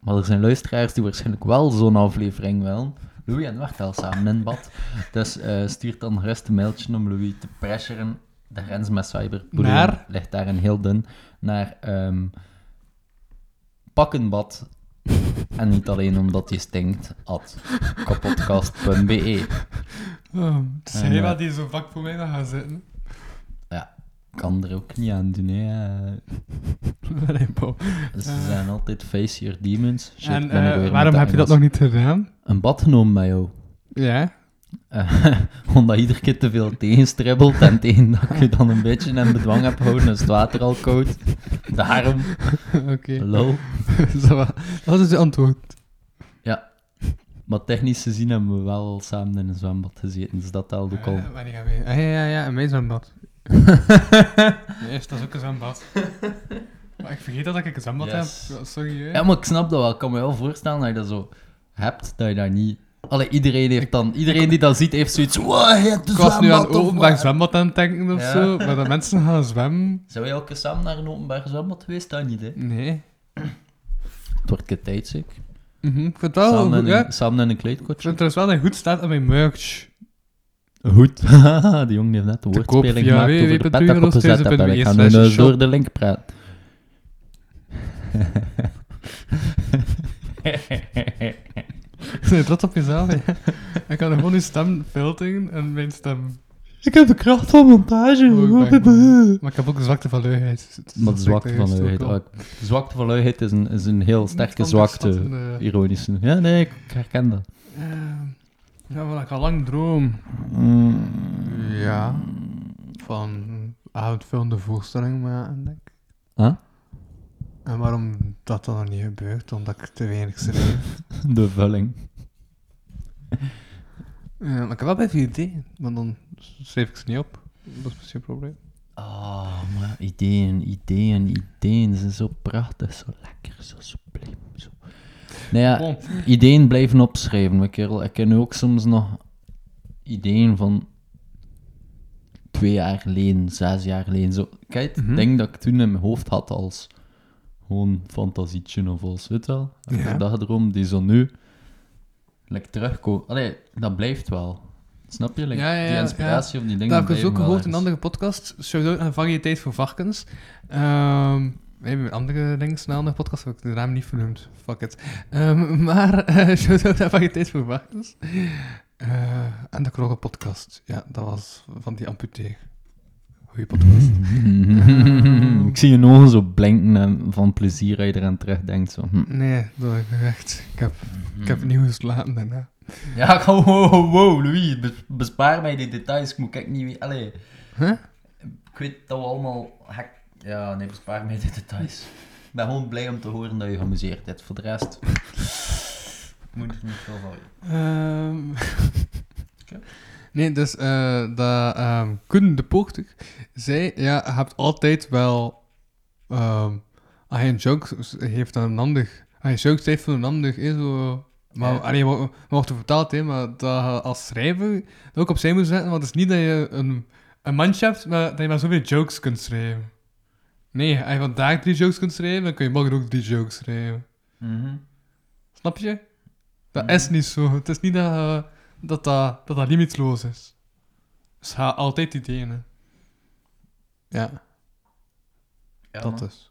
[SPEAKER 4] Maar er zijn luisteraars die waarschijnlijk wel zo'n aflevering willen. Louis en wacht wel samen in bad. Dus eh stuurt dan gerust een mailtje om Louis te pressuren. De grens met cyberbullying
[SPEAKER 3] Naar?
[SPEAKER 4] ligt daarin heel dun. Naar ehm, pak een bad. en niet alleen omdat hij stinkt. At kapotkast.be.
[SPEAKER 3] Oh, het is
[SPEAKER 4] En,
[SPEAKER 3] hij
[SPEAKER 4] eh,
[SPEAKER 3] wel die zo vak voor mij nog gaan zitten.
[SPEAKER 4] Kan er ook niet aan doen, hè.
[SPEAKER 3] nee, Bo.
[SPEAKER 4] Dus ze
[SPEAKER 3] Eh.
[SPEAKER 4] zijn altijd face your demons. Shit,
[SPEAKER 3] en
[SPEAKER 4] ben ik
[SPEAKER 3] eh,
[SPEAKER 4] weer met
[SPEAKER 3] waarom
[SPEAKER 4] de
[SPEAKER 3] heb je dat
[SPEAKER 4] Engels.
[SPEAKER 3] nog niet gedaan?
[SPEAKER 4] Een bad genomen bij jou.
[SPEAKER 3] Ja.
[SPEAKER 4] Eh, omdat iedere keer te veel tegenstribbelt en tegen dat ik je dan een beetje in bedwang heb gehouden, is het water al koud. Daarom,
[SPEAKER 3] oké.
[SPEAKER 4] lol.
[SPEAKER 3] Is dat wel- dat is je antwoord.
[SPEAKER 4] Maar technisch gezien hebben we wel al samen in een zwembad gezeten, dus dat telde ook al.
[SPEAKER 3] Eh, wanneer gaan we- Ah, ja, ja, ja, in mijn zwembad. Yes, dat is ook een zwembad. maar ik vergeet dat ik een zwembad
[SPEAKER 7] Yes.
[SPEAKER 3] heb. Ja, Sorry, hè.
[SPEAKER 4] Ja, maar ik snap dat wel. Ik kan me wel voorstellen dat je dat zo hebt, dat je dat niet... Allee, iedereen heeft dan... Iedereen die dat ziet, heeft zoiets... Wow, je hebt een
[SPEAKER 3] ik was nu aan
[SPEAKER 4] zwembad,
[SPEAKER 3] een
[SPEAKER 4] of
[SPEAKER 3] openbaar
[SPEAKER 4] wat?"
[SPEAKER 3] zwembad aan het denken of
[SPEAKER 7] Ja.
[SPEAKER 3] zo. Maar dat mensen gaan zwemmen.
[SPEAKER 4] Zijn wij ook eens samen naar een openbaar zwembad geweest? Dat niet, hè?
[SPEAKER 3] Nee.
[SPEAKER 4] Het wordt een keer tijd, zeker.
[SPEAKER 3] Mhm, Ik vind het wel
[SPEAKER 4] samen,
[SPEAKER 3] goed,
[SPEAKER 4] in,
[SPEAKER 3] ja. Ik
[SPEAKER 4] samen in een
[SPEAKER 3] vind
[SPEAKER 4] kleedkotje.
[SPEAKER 3] trouwens wel dat het goed staat aan mijn merch.
[SPEAKER 4] Goed. Haha, die jongen heeft net de
[SPEAKER 3] Te koop
[SPEAKER 4] woordspeling
[SPEAKER 3] via
[SPEAKER 4] gemaakt over de pet op de
[SPEAKER 3] www.eurostezen.be
[SPEAKER 4] zettap. Ik ga
[SPEAKER 3] slash
[SPEAKER 4] nu dus
[SPEAKER 3] shop.
[SPEAKER 4] door de link praten.
[SPEAKER 3] Nee, trots op jezelf. hè. ik kan gewoon uw stem filteren en mijn stem.
[SPEAKER 4] Ik heb de kracht van montage.
[SPEAKER 3] Oh, ik ben- maar ik heb ook een zwakte van luiheid.
[SPEAKER 4] Maar de zwakte van luiheid.
[SPEAKER 3] ook.
[SPEAKER 4] ook. De zwakte van luiheid is een, is een heel sterke zwakte.
[SPEAKER 3] eh,
[SPEAKER 4] Ironische. Ja, nee, ik herken dat.
[SPEAKER 3] Ja, maar ik had lang droom.
[SPEAKER 4] Mm,
[SPEAKER 3] Ja. Van uitvullende voorstellingen maken, denk ik.
[SPEAKER 4] Huh?
[SPEAKER 3] En waarom dat dan nog niet gebeurt? Omdat ik te weinig schreef.
[SPEAKER 4] de vulling.
[SPEAKER 3] Ja, Eh, maar ik heb wel bij veel ideeën, maar dan schreef ik ze niet op. Dat is misschien een probleem.
[SPEAKER 4] Oh, maar ideeën, ideeën, ideeën. Ze zijn zo prachtig, zo lekker, zo subliem. Zo. Nou ja,
[SPEAKER 3] Bon.
[SPEAKER 4] ideeën blijven opschrijven, mijn kerel. Ik ken nu ook soms nog ideeën van twee jaar geleden, zes jaar geleden. Zo. Kijk, ik
[SPEAKER 3] Mhm.
[SPEAKER 4] denk dat ik toen in mijn hoofd had als gewoon fantasietje of als, weet je wel?
[SPEAKER 3] Ja.
[SPEAKER 4] Ja. Dat droom die zo nu lekker terugkomen. Allee, dat blijft wel. Snap je? Like,
[SPEAKER 3] Ja, ja,
[SPEAKER 4] die
[SPEAKER 3] ja,
[SPEAKER 4] inspiratie of die dingen
[SPEAKER 3] Dat heb ik dus
[SPEAKER 4] blijven
[SPEAKER 3] ook
[SPEAKER 4] wel
[SPEAKER 3] gehoord in een
[SPEAKER 4] ergens.
[SPEAKER 3] andere podcast. Shout-out aan Variëteit voor Varkens. Ehm we hebben een andere ding snel naar podcast, heb ik de naam niet vernoemd. Fuck it. Ehm, maar eh shout-out aan Variëteit voor Varkens. Eh, en de Krogen podcast. Ja, dat was van die amputeer. Goeie podcast.
[SPEAKER 4] Mhm. ik zie je ogen zo blinken en van plezier dat je eraan terugdenkt. Zo. Hm.
[SPEAKER 3] Nee, dat heb ik echt. Ik heb, ik heb nieuw geslapen daarna.
[SPEAKER 4] Ja, ik- wow, wow, wow, Louis, bes- bespaar mij die details. Ik moet kijk niet wie. Allee.
[SPEAKER 3] Huh?
[SPEAKER 4] Ik weet dat we allemaal. hek- Ja, nee, bespaar mij die details. Ik ben gewoon blij om te horen dat je geamuseerd hebt. Voor de rest. moet ik niet veel van weten.
[SPEAKER 3] Ehm.
[SPEAKER 4] Oké.
[SPEAKER 3] Nee, dus eh dat ehm Koen de Poorter zei, ja, je hebt altijd wel, ehm als je een joke heeft aan een ander, als je een joke schrijft van een ander, is zo... Maar,
[SPEAKER 4] Ja.
[SPEAKER 3] allee, maar, maar wordt er vertaald, hè, maar dat je als schrijver dat ook opzij moet zetten, want het is niet dat je een, een mandje hebt, maar dat je maar zoveel jokes kunt schrijven. Nee, als je vandaag drie jokes kunt schrijven, dan kun je morgen ook drie jokes schrijven.
[SPEAKER 4] Mhm.
[SPEAKER 3] Snap je? Dat is niet zo. Het is niet dat eh, dat, dat, dat, dat limietloos is. Dus ga altijd ideeën. hè. Ja,
[SPEAKER 7] Ja,
[SPEAKER 3] dat
[SPEAKER 7] man.
[SPEAKER 3] dus.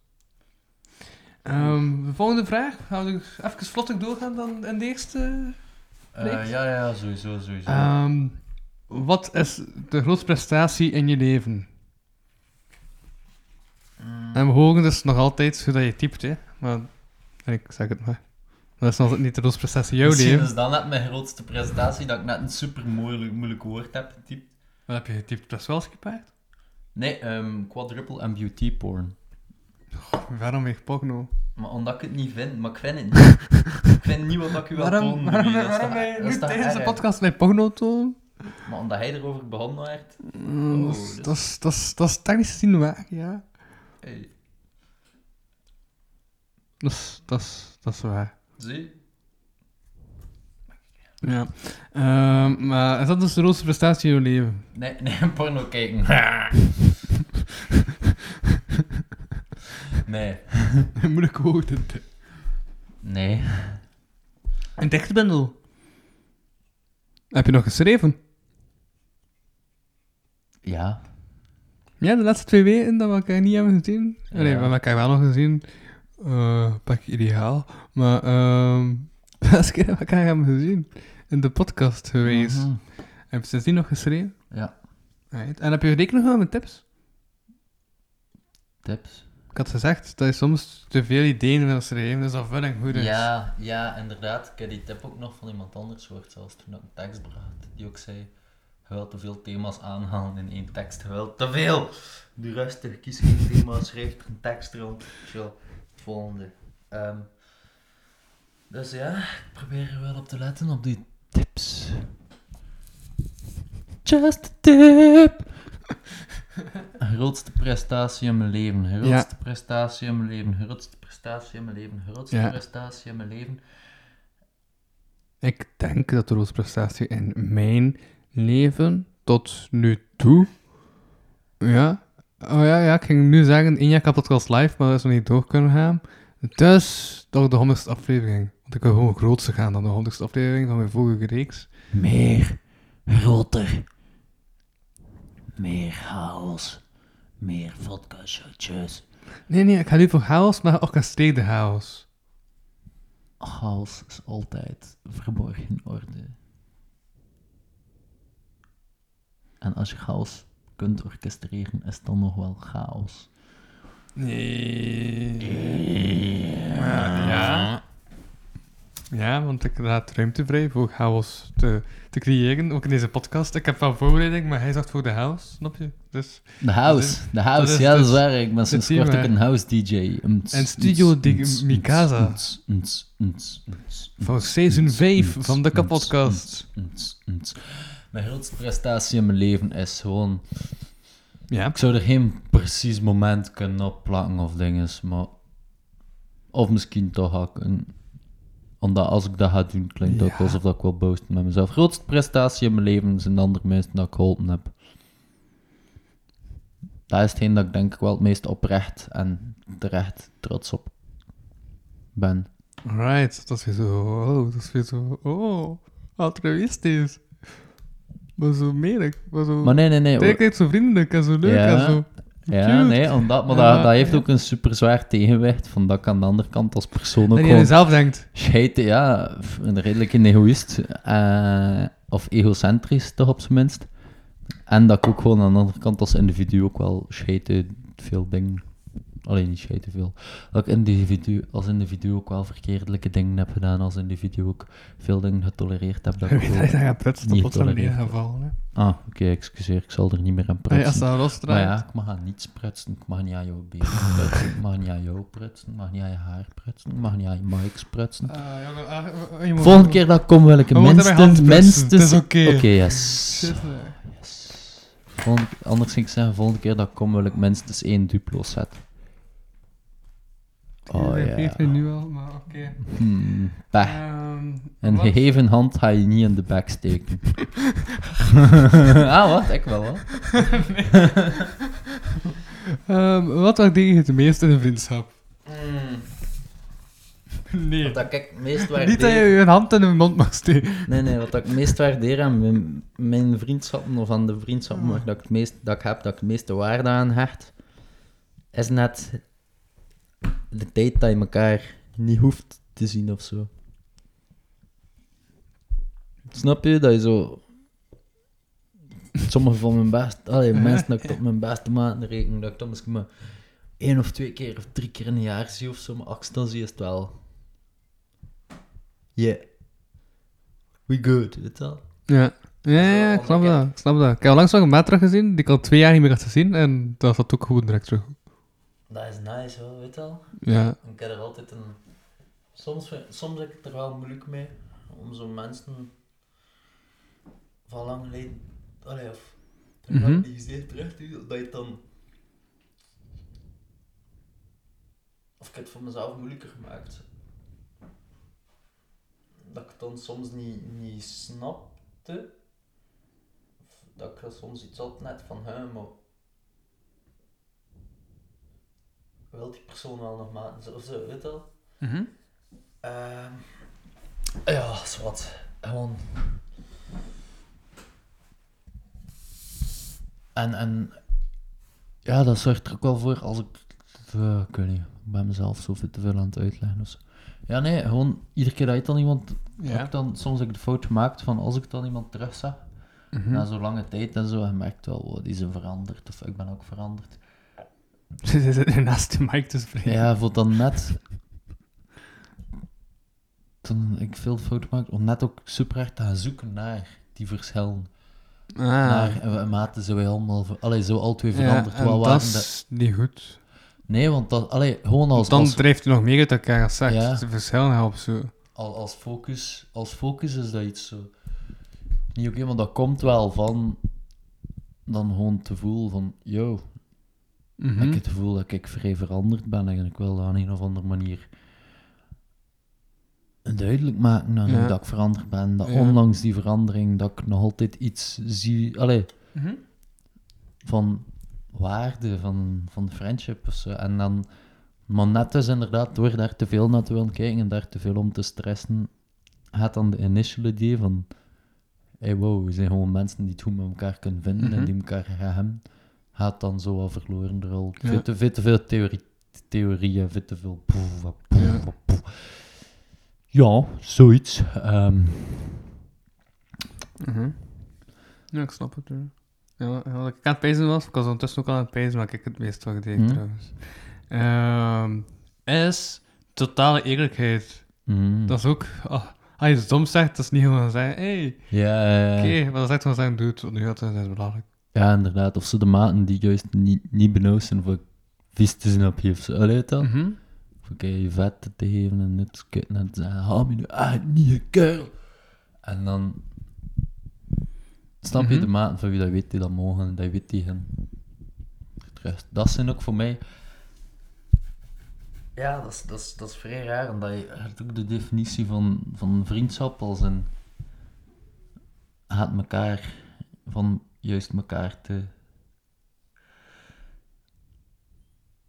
[SPEAKER 3] Ehm, de volgende vraag. Gaan we even vlottig doorgaan dan in de eerste.
[SPEAKER 7] Eh,
[SPEAKER 3] Niks?
[SPEAKER 7] ja, ja, sowieso, sowieso.
[SPEAKER 3] Ehm, wat is de grootste prestatie in je leven? En we horen dus nog altijd hoe dat je typt, hè. Maar ik zeg het maar. Dat is nog niet de grootste prestatie in jouw
[SPEAKER 7] Misschien
[SPEAKER 3] leven.
[SPEAKER 7] is dat net mijn grootste presentatie, dat ik net een super moeilijk, moeilijk woord heb getypt.
[SPEAKER 3] Wat heb je getypt? Best wel gepaard?
[SPEAKER 7] Nee, ehm, quadruple en beauty porn.
[SPEAKER 3] Waarom weer porno?
[SPEAKER 7] Maar omdat ik het niet vind, maar ik vind het niet. ik vind niet wat ik u wil
[SPEAKER 3] Waarom,
[SPEAKER 7] tonen.
[SPEAKER 3] waarom,
[SPEAKER 7] Louis. Dat is
[SPEAKER 3] waarom
[SPEAKER 7] toch-
[SPEAKER 3] ben je
[SPEAKER 7] dat is
[SPEAKER 3] nu
[SPEAKER 7] toch
[SPEAKER 3] tijdens de
[SPEAKER 7] erg?
[SPEAKER 3] podcast mijn porno toon?
[SPEAKER 7] Maar omdat hij erover begonnen werd.
[SPEAKER 3] Mm, dat is-
[SPEAKER 7] dus-
[SPEAKER 3] dat is- dat is- Dat is technisch gezien waar, ja.
[SPEAKER 7] Hey,
[SPEAKER 3] Dat is, dat is, dat is waar.
[SPEAKER 7] zie?
[SPEAKER 3] Ja. Ehm, maar is dat dus de grootste prestatie in je leven?
[SPEAKER 7] Nee, nee, porno kijken. nee,
[SPEAKER 3] Moeilijk woord. het.
[SPEAKER 7] nee.
[SPEAKER 3] Een tekstbundel. Heb je nog geschreven?
[SPEAKER 7] Ja.
[SPEAKER 3] Ja, de laatste twee weken dat we elkaar niet hebben gezien. Nee, we
[SPEAKER 7] Ja.
[SPEAKER 3] hebben elkaar wel nog gezien. Eh, pak ideaal. Maar ehm de laatste keer dat we elkaar hebben gezien. In de podcast geweest.
[SPEAKER 7] Mhm.
[SPEAKER 3] Heb je sindsdien nog geschreven?
[SPEAKER 7] Ja.
[SPEAKER 3] Right. En heb je rekening gehouden met tips?
[SPEAKER 7] Tips?
[SPEAKER 3] Ik had gezegd dat je soms te veel ideeën wil schrijven, dus dat vulling goed is.
[SPEAKER 7] Ja, ja, inderdaad. Ik heb die tip ook nog van iemand anders gehoord, zelfs toen ik een tekst bracht, die ook zei... Je wilt te veel thema's aanhalen in één tekst. Je wilt te veel! Doe rustig, kies geen thema, schrijf er een tekst rond. Chill. Het volgende. Ehm, dus ja, ik probeer er wel op te letten, op die tips.
[SPEAKER 4] Just a tip. grootste prestatie in mijn leven. Grootste prestatie in mijn leven. Grootste prestatie in mijn leven. Grootste
[SPEAKER 13] Ja.
[SPEAKER 4] prestatie in mijn leven.
[SPEAKER 13] Ik denk dat de grootste prestatie in mijn leven tot nu toe. Ja. Oh ja, ja ik ging nu zeggen: één jaar Kapotkast Live, maar dat is nog niet door kunnen gaan. Dus toch de 100 aflevering. Want ik wil gewoon grootste gaan dan de 100 aflevering van mijn vorige reeks.
[SPEAKER 12] Meer, groter, meer chaos, meer vodka shotjes.
[SPEAKER 13] Nee, nee, ik ga nu voor chaos, maar orkestreerde chaos.
[SPEAKER 4] Chaos is altijd verborgen orde. En als je chaos kunt orchestreren, is het dan nog wel chaos.
[SPEAKER 13] Ja, want ik laat ruimte vrij voor chaos te, te creëren, ook in deze podcast. Ik heb wel voorbereiding, maar hij zorgt voor de chaos, snap je? Dus,
[SPEAKER 4] De house, de house,
[SPEAKER 13] is-
[SPEAKER 4] ja, dat
[SPEAKER 13] dat
[SPEAKER 4] is
[SPEAKER 13] is
[SPEAKER 4] waar. Ik ben sinds
[SPEAKER 13] team,
[SPEAKER 4] kort ook
[SPEAKER 13] hè.
[SPEAKER 4] een house DJ.
[SPEAKER 13] En Studio Dig- Mikasa. voor seizoen 5 van de kapotcast.
[SPEAKER 4] Mijn grootste prestatie in mijn leven is gewoon...
[SPEAKER 13] Ja.
[SPEAKER 4] Ik zou er geen precies moment kunnen opplakken of dingen, maar... Of misschien toch ga ik een... Omdat als ik dat ga doen, klinkt dat ook alsof dat ik wil boasten met mezelf. Grootste prestatie in mijn leven zijn de andere mensen dat ik geholpen heb. Dat is hetgeen dat ik denk ik wel het meest oprecht en terecht trots op ben.
[SPEAKER 13] Right, dat is weer zo, oh, dat is weer zo, oh, altruïstisch. Maar zo meerlijk, maar zo...
[SPEAKER 4] Maar nee, nee, nee. hoor.
[SPEAKER 13] Tegelijkertijd zo vriendelijk en zo leuk
[SPEAKER 4] Ja.
[SPEAKER 13] en zo.
[SPEAKER 4] Ja,
[SPEAKER 13] Cute.
[SPEAKER 4] nee, omdat, maar
[SPEAKER 13] Ja,
[SPEAKER 4] dat, dat heeft
[SPEAKER 13] ja.
[SPEAKER 4] ook een super zwaar tegenwicht. Van dat ik aan de andere kant als persoon ook
[SPEAKER 13] Dat je aan
[SPEAKER 4] gewoon
[SPEAKER 13] jezelf denkt.
[SPEAKER 4] Schijt, ja, f- een redelijk een egoïst. eh, of egocentrisch, toch op zijn minst. En dat ik ook gewoon aan de andere kant als individu ook wel scheite veel dingen... Alleen niet scheite veel. Dat ik individu, als individu ook wel verkeerdelijke dingen heb gedaan. Als individu ook veel dingen getolereerd heb. Dat ik
[SPEAKER 13] Ik weet dat je
[SPEAKER 4] gewoon-
[SPEAKER 13] daar gaat prutsen, dat
[SPEAKER 4] niet
[SPEAKER 13] plots naar beneden
[SPEAKER 4] tolereren.
[SPEAKER 13] gaat vallen. hè.
[SPEAKER 4] Ah, oké, excuseer. Ik zal er niet meer aan
[SPEAKER 13] Hey,
[SPEAKER 4] prutsen.
[SPEAKER 13] Als dat los
[SPEAKER 4] Maar
[SPEAKER 13] draait.
[SPEAKER 4] Nou ja, ik mag aan niets prutsen. Ik mag niet aan jouw benen prutsen. Ik mag niet aan jou prutsen. Ik mag niet aan je haar prutsen. Ik mag niet aan je mics prutsen.
[SPEAKER 13] Ah, jongen, ah, je moet-
[SPEAKER 4] Volgende keer dat ik kom, wil ik
[SPEAKER 13] We moeten bij hand
[SPEAKER 4] minstens...
[SPEAKER 13] prutsen. Het
[SPEAKER 4] minstens
[SPEAKER 13] is oké.
[SPEAKER 4] Oké, yes.
[SPEAKER 13] Shit, nee.
[SPEAKER 4] yes. Volgende, anders ging ik zeggen, volgende keer dat ik kom, wil ik minstens dus één duplo set. Oh
[SPEAKER 13] ik
[SPEAKER 4] ja.
[SPEAKER 13] weet het nu al, maar oké.
[SPEAKER 4] Hmm, pech.
[SPEAKER 13] Ehm,
[SPEAKER 4] Een
[SPEAKER 13] wat?
[SPEAKER 4] gegeven hand ga je niet in de bek steken. ah, wat? Ik wel, hoor.
[SPEAKER 13] Ehm, wat waardeer je het meest in een vriendschap? Nee.
[SPEAKER 4] Dat ik het meest
[SPEAKER 13] Niet dat je
[SPEAKER 4] waardeer...
[SPEAKER 13] je hand in hun mond mag steken.
[SPEAKER 4] Nee, nee, wat ik het meest waardeer aan mijn, mijn vriendschappen of aan de vriendschappen waar dat ik, het meest, dat ik heb, dat ik het meeste waarde aan hecht, is net de tijd dat je elkaar niet hoeft te zien of zo. Snap je dat je zo. Sommige van mijn best, allee, mensen dat ik tot mijn beste maanden reken, dat ik dan misschien maar één of twee keer of drie keer in een jaar zie of zo, maar als ik ze dan zie is het wel. Yeah. We good, weet je wel?
[SPEAKER 13] Ja. Ja, ja, ik snap dat. Ik snap dat. Ik heb langs nog een maat teruggezien die ik al twee jaar niet meer had gezien. En dat zat ook goed direct terug.
[SPEAKER 4] Dat is nice hoor, weet je wel?
[SPEAKER 13] Ja.
[SPEAKER 4] Ik heb er altijd een. Soms, vind- soms heb ik het er wel moeilijk mee om zo mensen van lang geleden. Allee, of terwijl
[SPEAKER 13] Mhm.
[SPEAKER 4] die zeer terug te doen, dat je het dan. Of ik heb het voor mezelf moeilijker gemaakt. Dat ik het dan soms niet, niet snapte. Of dat ik er soms iets had net van hem, maar wil die persoon wel nog maken, zo- of zo, weet je wel. Ehm, ja, zwart. Gewoon. En, en ja, dat zorgt er ook wel voor als ik. eh, ik weet niet, ik ben mezelf zo veel te veel aan het uitleggen. Dus. Ja, nee, gewoon iedere keer dat je dan iemand.
[SPEAKER 13] Ja.
[SPEAKER 4] ook dan, soms heb ik de fout gemaakt van als ik dan iemand terugzag. Na zo'n lange tijd en zo, en je merkt wel, wow, die zijn veranderd, of ik ben ook veranderd.
[SPEAKER 13] Ze zit nu naast de mic te spreken.
[SPEAKER 4] Ja, voor dan net. Toen ik veel fouten maakte, om net ook super hard te gaan zoeken naar die verschillen.
[SPEAKER 13] Ah.
[SPEAKER 4] Naar eh, en mate zijn wij allemaal. ver- Allee, zo al twee
[SPEAKER 13] Ja,
[SPEAKER 4] veranderd.
[SPEAKER 13] en
[SPEAKER 4] wel
[SPEAKER 13] dat
[SPEAKER 4] waren de-
[SPEAKER 13] is niet goed.
[SPEAKER 4] Nee, want dat, allee, gewoon als,
[SPEAKER 13] Dan
[SPEAKER 4] als,
[SPEAKER 13] drijft u nog meer uit elkaar als seks.
[SPEAKER 4] Ja.
[SPEAKER 13] Ze verschillen helpen zo.
[SPEAKER 4] al- als, focus, als focus is dat iets zo. Niet oké, maar dat komt wel van. Dan gewoon te voelen van, yo,
[SPEAKER 3] Mhm.
[SPEAKER 4] Heb Ik heb het gevoel dat ik vrij veranderd ben en ik wil dat aan een of andere manier duidelijk maken aan
[SPEAKER 3] Ja.
[SPEAKER 4] hoe dat ik veranderd ben. Dat
[SPEAKER 3] Ja.
[SPEAKER 4] ondanks die verandering dat ik nog altijd iets zie, allee,
[SPEAKER 3] Mhm.
[SPEAKER 4] van waarde, van, van friendship of zo. En dan, maar net dus inderdaad, door daar te veel naar te willen kijken en daar te veel om te stressen, gaat dan de initial idee van, hey wow, we zijn gewoon mensen die het goed met elkaar kunnen vinden
[SPEAKER 3] Mhm.
[SPEAKER 4] en die elkaar gaan hebben, gaat dan zo al verloren de rol.
[SPEAKER 3] Ja.
[SPEAKER 4] Veel, te, veel te veel theorie, theorieën, veel te veel poef, wat poef,
[SPEAKER 3] Ja.
[SPEAKER 4] wat poef. Ja, zoiets. Ehm,
[SPEAKER 3] Mhm. Ja, ik snap het. Ja. Ja, wat- wat ik aan het pezen was, ik was ondertussen ook al aan het pezen, maar ik het meest wat deed
[SPEAKER 13] Mhm.
[SPEAKER 4] Hmm.
[SPEAKER 3] trouwens. Ehm, is totale eerlijkheid.
[SPEAKER 4] mm,
[SPEAKER 3] Dat is ook... ah, als je het soms zegt, dat is niet gewoon zeggen, hey,
[SPEAKER 4] ja, ja, ja.
[SPEAKER 3] oké, maar dat is echt gewoon zeggen, doe het, want nu gaat het, dat is belachelijk.
[SPEAKER 4] Ja, inderdaad. Of zo de maten die juist niet, niet benodigd zijn voor vies te zijn op je of zo. Allee, weet dat?
[SPEAKER 3] Mhm.
[SPEAKER 4] Voor kei je vet te geven en dit kut en te zeggen, haal me nu uit, niet je kerel. En dan snap je
[SPEAKER 3] Mhm.
[SPEAKER 4] de maten van wie dat weet die dat mogen en dat weet die hen. terug. Dat zijn ook voor mij... Ja, dat is, dat is, dat is vrij raar. En dat je je hebt ook de definitie van, van vriendschap als een... Haat elkaar van juist elkaar te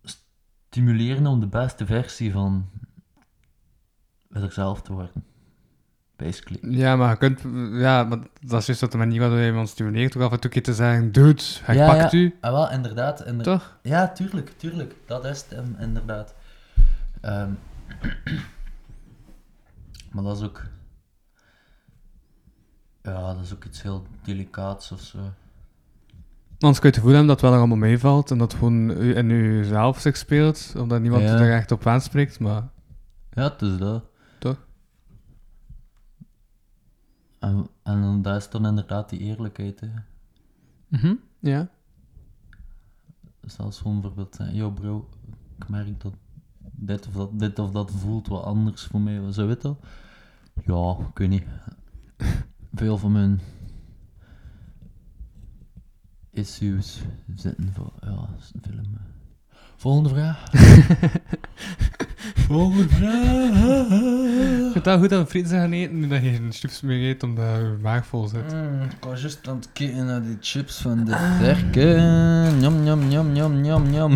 [SPEAKER 4] stimuleren om de beste versie van zichzelf te worden. Basically.
[SPEAKER 3] Ja, maar je kunt... Ja, maar dat is juist op de manier waarop je iemand stimuleert, ook af en toe een keer te zeggen, dude, hij
[SPEAKER 4] Ja,
[SPEAKER 3] pakt
[SPEAKER 4] ja.
[SPEAKER 3] u.
[SPEAKER 4] Ah, wel, inderdaad. inder-
[SPEAKER 3] Toch?
[SPEAKER 4] Ja, tuurlijk, tuurlijk. Dat is het, em, inderdaad. Ehm, maar dat is ook... Ja, dat is ook iets heel delicaats of zo.
[SPEAKER 3] Anders kun je het gevoel hebben dat het wel nog allemaal meevalt en dat het gewoon u- in jezelf zich speelt, omdat niemand
[SPEAKER 4] Ja.
[SPEAKER 3] er echt op aanspreekt, maar...
[SPEAKER 4] Ja, het is dat.
[SPEAKER 3] Toch?
[SPEAKER 4] En, en dan- daar is dan inderdaad die eerlijkheid, hè.
[SPEAKER 3] Mhm, Ja.
[SPEAKER 4] Zelfs gewoon bijvoorbeeld zeggen, yo bro, ik merk dat dit of dat, dit of dat voelt wat anders voor mij, zo weet dat. Ja, ik weet niet. Veel van mijn issues zitten voor, ja, is een film. eh. Volgende vraag. Volgende vraag.
[SPEAKER 3] Ik vind het wel goed dat we frieten zijn gaan eten, nu dat je geen chips meer eet, omdat je maag vol zit.
[SPEAKER 4] Mm, ik was juist aan het kijken naar die chips van de verken. Njam, njam, njam, njam, njam, njam.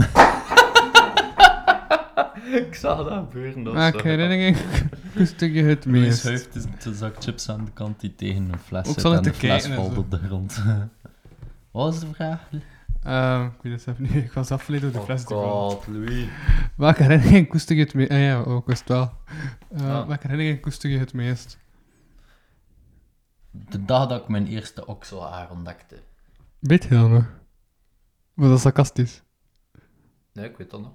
[SPEAKER 4] ik zag dat gebeuren. Dat
[SPEAKER 3] Maar ik herinner me een stukje het
[SPEAKER 4] Louis
[SPEAKER 3] meest.
[SPEAKER 4] heeft dus de zak chips aan de kant die tegen een fles
[SPEAKER 3] Ook
[SPEAKER 4] zit
[SPEAKER 3] zal ik
[SPEAKER 4] en de
[SPEAKER 3] te
[SPEAKER 4] fles
[SPEAKER 3] kijken en
[SPEAKER 4] valt
[SPEAKER 3] zo.
[SPEAKER 4] op de grond. Wat was de vraag?
[SPEAKER 3] Ehm, ik weet het zelf niet, ik was afgeleid door de
[SPEAKER 4] Oh,
[SPEAKER 3] fles die kwam.
[SPEAKER 4] Louis.
[SPEAKER 3] Maar ik herinner me een koestukje het meest. Ah ja, ook ik wist het wel. Eh,
[SPEAKER 4] Ah.
[SPEAKER 3] Maar ik herinner me een koestukje het meest.
[SPEAKER 4] De dag dat ik mijn eerste okselhaar ontdekte.
[SPEAKER 3] Weet je dat nog? Maar dat is sarcastisch.
[SPEAKER 4] Nee, ik weet dat nog.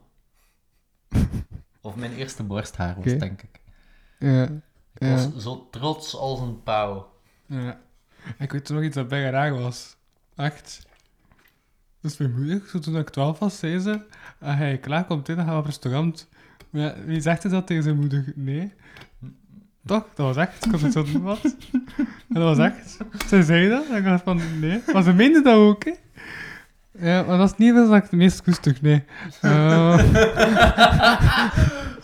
[SPEAKER 4] of mijn eerste borsthaar was,
[SPEAKER 3] Oké.
[SPEAKER 4] denk ik.
[SPEAKER 3] Ja.
[SPEAKER 4] Ik
[SPEAKER 3] Ja.
[SPEAKER 4] was zo trots als een pauw.
[SPEAKER 3] Ja. Ik weet toen nog iets dat bij raar was. Echt. Dat is mijn moeder, zo toen ik 12 was, zei ze: Als hij klaar komt in, dan gaan we op restaurant. Maar ja, wie zegt er dat tegen zijn moeder? Nee. Toch? Dat was echt. Ik had het zo doen, wat. En dat was echt. Ze zei dat. En ik dacht van, nee. Maar ze meende dat ook, hè. Ja, maar dat is niet wat ik het meest koester, nee. Eh,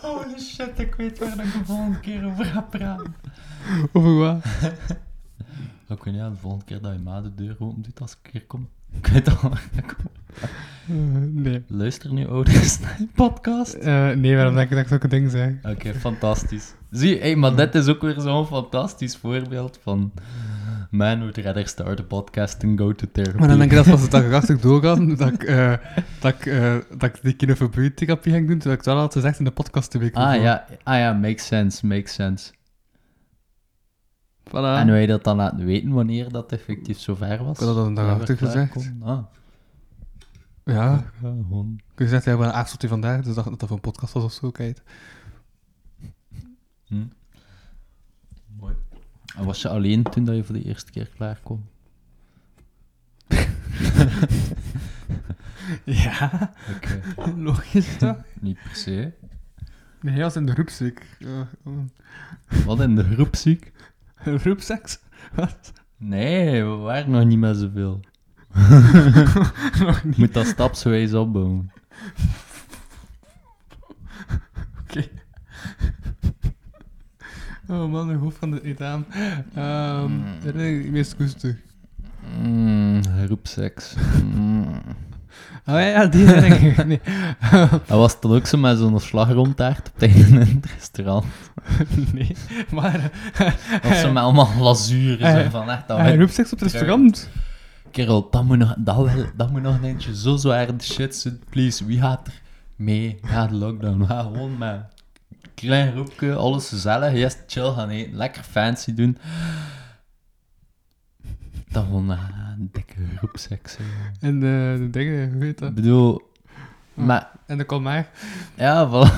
[SPEAKER 4] Holy shit, ik weet waar ik de volgende keer over ga praten.
[SPEAKER 3] over wat?
[SPEAKER 4] Ik weet niet, ja, de volgende keer dat je ma de deur open doet als ik hier kom. Ik weet al waar ik kom.
[SPEAKER 3] Eh, nee.
[SPEAKER 4] Luister nu, ouders, naar je podcast.
[SPEAKER 3] Eh, nee, waarom denk ik dat ik zulke dingen zeg?
[SPEAKER 4] Oké, fantastisch. Zie je, hey, maar dit is ook weer zo'n fantastisch voorbeeld van... Man would rather start a podcast than go to therapy.
[SPEAKER 3] Maar dan denk ik dat als het dat ik achter doorgaan, dat ik, eh, dat ik, eh, dat ik die kinofobie-therapie ging doen, terwijl ik het wel had gezegd in de podcast de week
[SPEAKER 4] Ah
[SPEAKER 3] ervoor.
[SPEAKER 4] ja, ah ja, makes sense, makes sense.
[SPEAKER 3] Voilà.
[SPEAKER 4] En wil je dat dan laten weten wanneer dat effectief zover was?
[SPEAKER 3] Ik had dat een dag
[SPEAKER 4] Ja,
[SPEAKER 3] achter
[SPEAKER 4] klaar
[SPEAKER 3] gezegd.
[SPEAKER 4] kon. Ah,
[SPEAKER 3] Ja,
[SPEAKER 4] ja, gewoon.
[SPEAKER 3] ik heb gezegd, ja, we hebben een avondje vandaag, dus ik dacht dat dat voor een podcast was of zo, kijk.
[SPEAKER 4] Mooi. En was je alleen toen dat je voor de eerste keer klaar kwam?
[SPEAKER 3] Ja,
[SPEAKER 4] Oké,
[SPEAKER 3] logisch toch?
[SPEAKER 4] niet per se.
[SPEAKER 3] Nee, hij was in de roepziek. Ja, mm.
[SPEAKER 4] Wat in de groep ziek?
[SPEAKER 3] Roepseks? Wat?
[SPEAKER 4] Nee, we waren nog niet met zoveel.
[SPEAKER 3] Nog
[SPEAKER 4] Je moet dat stapsgewijs opbouwen.
[SPEAKER 3] Oké. Oh man, de hoofd van de etaan. Ehm dat is het meest koester.
[SPEAKER 4] Mm, groepseks. Mm.
[SPEAKER 3] Oh ja, ja, die ben ik. Nee.
[SPEAKER 4] Dat was dan ook zo met zo'n slagroomtaart op het einde in het restaurant.
[SPEAKER 3] nee. Maar
[SPEAKER 4] Dat ze met allemaal lazuur
[SPEAKER 3] Ah,
[SPEAKER 4] zo
[SPEAKER 3] ja.
[SPEAKER 4] van echt. Dat
[SPEAKER 3] hij
[SPEAKER 4] we-
[SPEAKER 3] roept seks op het restaurant.
[SPEAKER 4] Kerel, dat moet nog, dat wel, dat moet nog een eentje zo zwaar de shit zijn. Please, wie gaat er mee na de lockdown? We gaan gewoon met een klein groepje, alles gezellig, eerst chill gaan eten, lekker fancy doen. Dan gewoon eh, een dikke groepseks. hè.
[SPEAKER 3] En de, de dingen, hoe heet dat?
[SPEAKER 4] Ik bedoel, maar
[SPEAKER 3] En de kalmaar.
[SPEAKER 4] ja, voilà.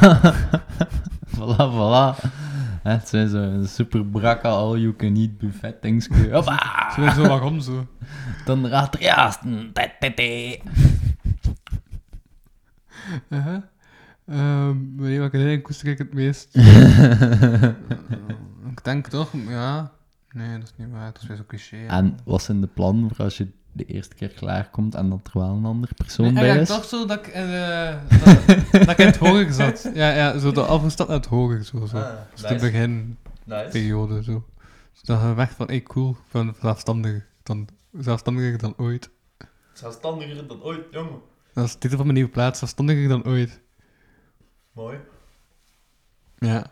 [SPEAKER 4] voilà, voilà. Hè, Het zijn zo'n super brakke all-you-can-eat buffet things. Hoppa!
[SPEAKER 3] Zo weer zo waarom zo.
[SPEAKER 4] Dan raad er juist. Mm, tee, tee, tee.
[SPEAKER 3] Uh-huh. Ehm, maar nee, welke dingen koester ik het meest? ik denk toch, ja. Nee, dat is niet waar. Dat is weer zo'n cliché. hè.
[SPEAKER 4] En wat zijn de plannen voor als je de eerste keer klaarkomt en dat er wel een andere persoon
[SPEAKER 3] Nee,
[SPEAKER 4] bij
[SPEAKER 3] eigenlijk
[SPEAKER 4] is?
[SPEAKER 3] toch zo dat ik, in, eh, dat, dat ik in het hoger zat. Ja, ja zo de afgestapt naar het hoger. Zo, zo.
[SPEAKER 7] Ah,
[SPEAKER 3] dus de beginperiode.
[SPEAKER 7] Nice.
[SPEAKER 3] Zo. Dus dan gaan we weg van, hey, cool, ik ben zelfstandiger dan, zelfstandiger dan ooit.
[SPEAKER 7] Zelfstandiger dan ooit, jongen.
[SPEAKER 3] Dat is de titel van mijn nieuwe plaats, zelfstandiger dan ooit.
[SPEAKER 7] Mooi.
[SPEAKER 3] Ja.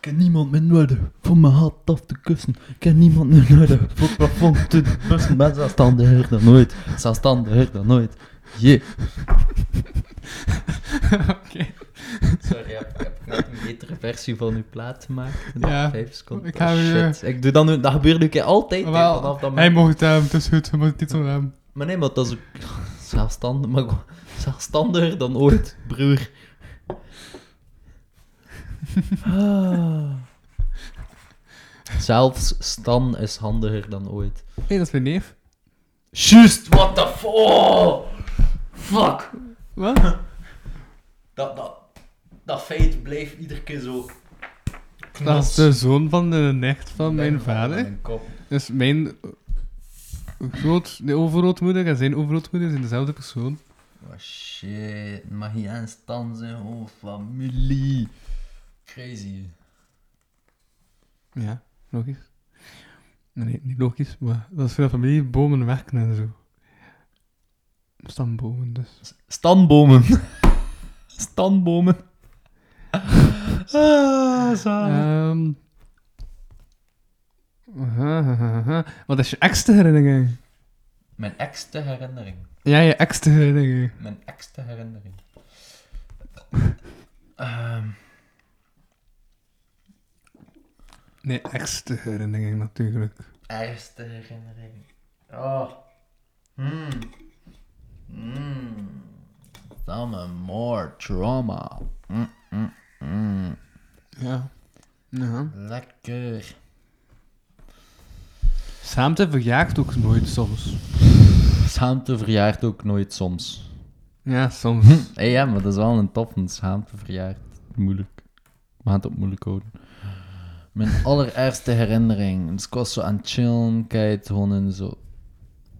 [SPEAKER 4] Ik heb niemand meer nodig voor mijn hart af te kussen. Ik heb niemand meer nodig voor het plafond te bussen. Ben zelfstandiger dan nooit. Zelfstandiger dan nooit. Je.
[SPEAKER 7] Sorry, ik heb, ik heb net een betere
[SPEAKER 4] Versie van uw plaat maken.
[SPEAKER 3] Ja,
[SPEAKER 4] Vijf seconden.
[SPEAKER 3] ik
[SPEAKER 4] Ik
[SPEAKER 3] ga weer-
[SPEAKER 4] Shit. Ik doe dat nu. Dat gebeurt nu een keer altijd. hè,
[SPEAKER 3] Wel,
[SPEAKER 4] vanaf dat
[SPEAKER 3] hij
[SPEAKER 4] moment.
[SPEAKER 3] mocht het hebben, het is goed, hij mocht de titel hebben.
[SPEAKER 4] Maar nee, maar dat is ook zelfstandig, maar gewoon zelfstandiger dan ooit, broer. Ah. Zelfs Stan is handiger dan ooit.
[SPEAKER 3] Hé, dat is mijn neef.
[SPEAKER 4] Juist, what the fuck? Oh, fuck.
[SPEAKER 3] Wat?
[SPEAKER 4] Dat, dat, dat feit blijft iedere keer zo.
[SPEAKER 3] Dat is de zoon van de nicht van mijn vader.
[SPEAKER 7] Mijn kop.
[SPEAKER 3] Dus mijn groot, de overgrootmoeder en zijn overgrootmoeder zijn dezelfde persoon.
[SPEAKER 4] Oh shit, mag je aan Stan zijn gewoon familie?
[SPEAKER 7] Crazy.
[SPEAKER 3] Ja, logisch. Nee, niet logisch, maar dat is voor de familie bomen werken en zo. Stambomen dus.
[SPEAKER 4] Standbomen. Standbomen. Ah, zalig.
[SPEAKER 3] Ehm. Wat is je extra herinnering?
[SPEAKER 7] Mijn exte herinnering.
[SPEAKER 3] Ja, je extra herinnering.
[SPEAKER 7] Mijn exte herinnering.
[SPEAKER 3] Nee, extra herinnering natuurlijk.
[SPEAKER 7] Eerste herinnering. Oh. Mm. Mm.
[SPEAKER 4] Some more trauma. Mm,
[SPEAKER 3] Ja. ja.
[SPEAKER 7] Lekker.
[SPEAKER 3] Samen verjaagt ook nooit soms.
[SPEAKER 4] Schaamte verjaart ook nooit soms.
[SPEAKER 3] Ja, soms.
[SPEAKER 4] Hé, ja, maar dat is wel een top, want schaamte verjaart moeilijk. We gaan het op moeilijk houden. Mijn allereerste herinnering. Dus ik was zo aan het chillen, kijk, gewoon in zo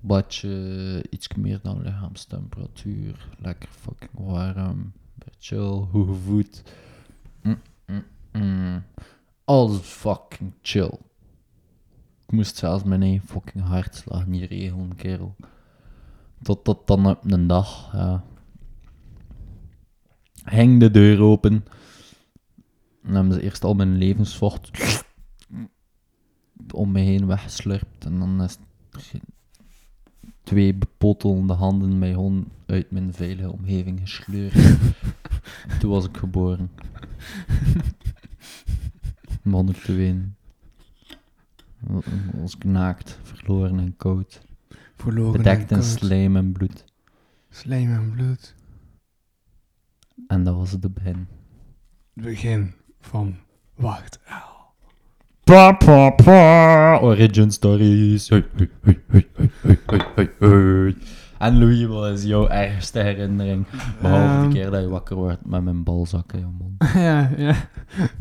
[SPEAKER 4] badje, iets meer dan lichaamstemperatuur. Lekker fucking warm. Beetje chill, goed gevoed. Mm, mm, mm. Alles fucking chill. Ik moest zelfs mijn eigen fucking hartslag niet regelen, kerel. Tot dat dan op een dag, ja heng de deur open. En hebben ze eerst al mijn levensvocht om me heen weggeslurpt. En dan is er geen- twee bepottelende handen mij gewoon uit mijn veilige omgeving gesleurd. Toen was ik geboren. Begon ik te wenen. Was ik naakt, verloren en koud.
[SPEAKER 3] Verloren.
[SPEAKER 4] Bedekt
[SPEAKER 3] en
[SPEAKER 4] in
[SPEAKER 3] koud.
[SPEAKER 4] slijm en bloed.
[SPEAKER 3] Slijm en bloed.
[SPEAKER 4] En dat was het de begin.
[SPEAKER 3] Het begin van Wacht L.
[SPEAKER 4] Pa, pa, pa. Origin Stories. Hey, hey, hey, hey, hey, hey, hey, hey, hey. En Louis, wat is jouw ergste herinnering? Behalve
[SPEAKER 3] Ehm.
[SPEAKER 4] de keer dat je wakker wordt met mijn balzakken, joh, man.
[SPEAKER 3] ja, ja.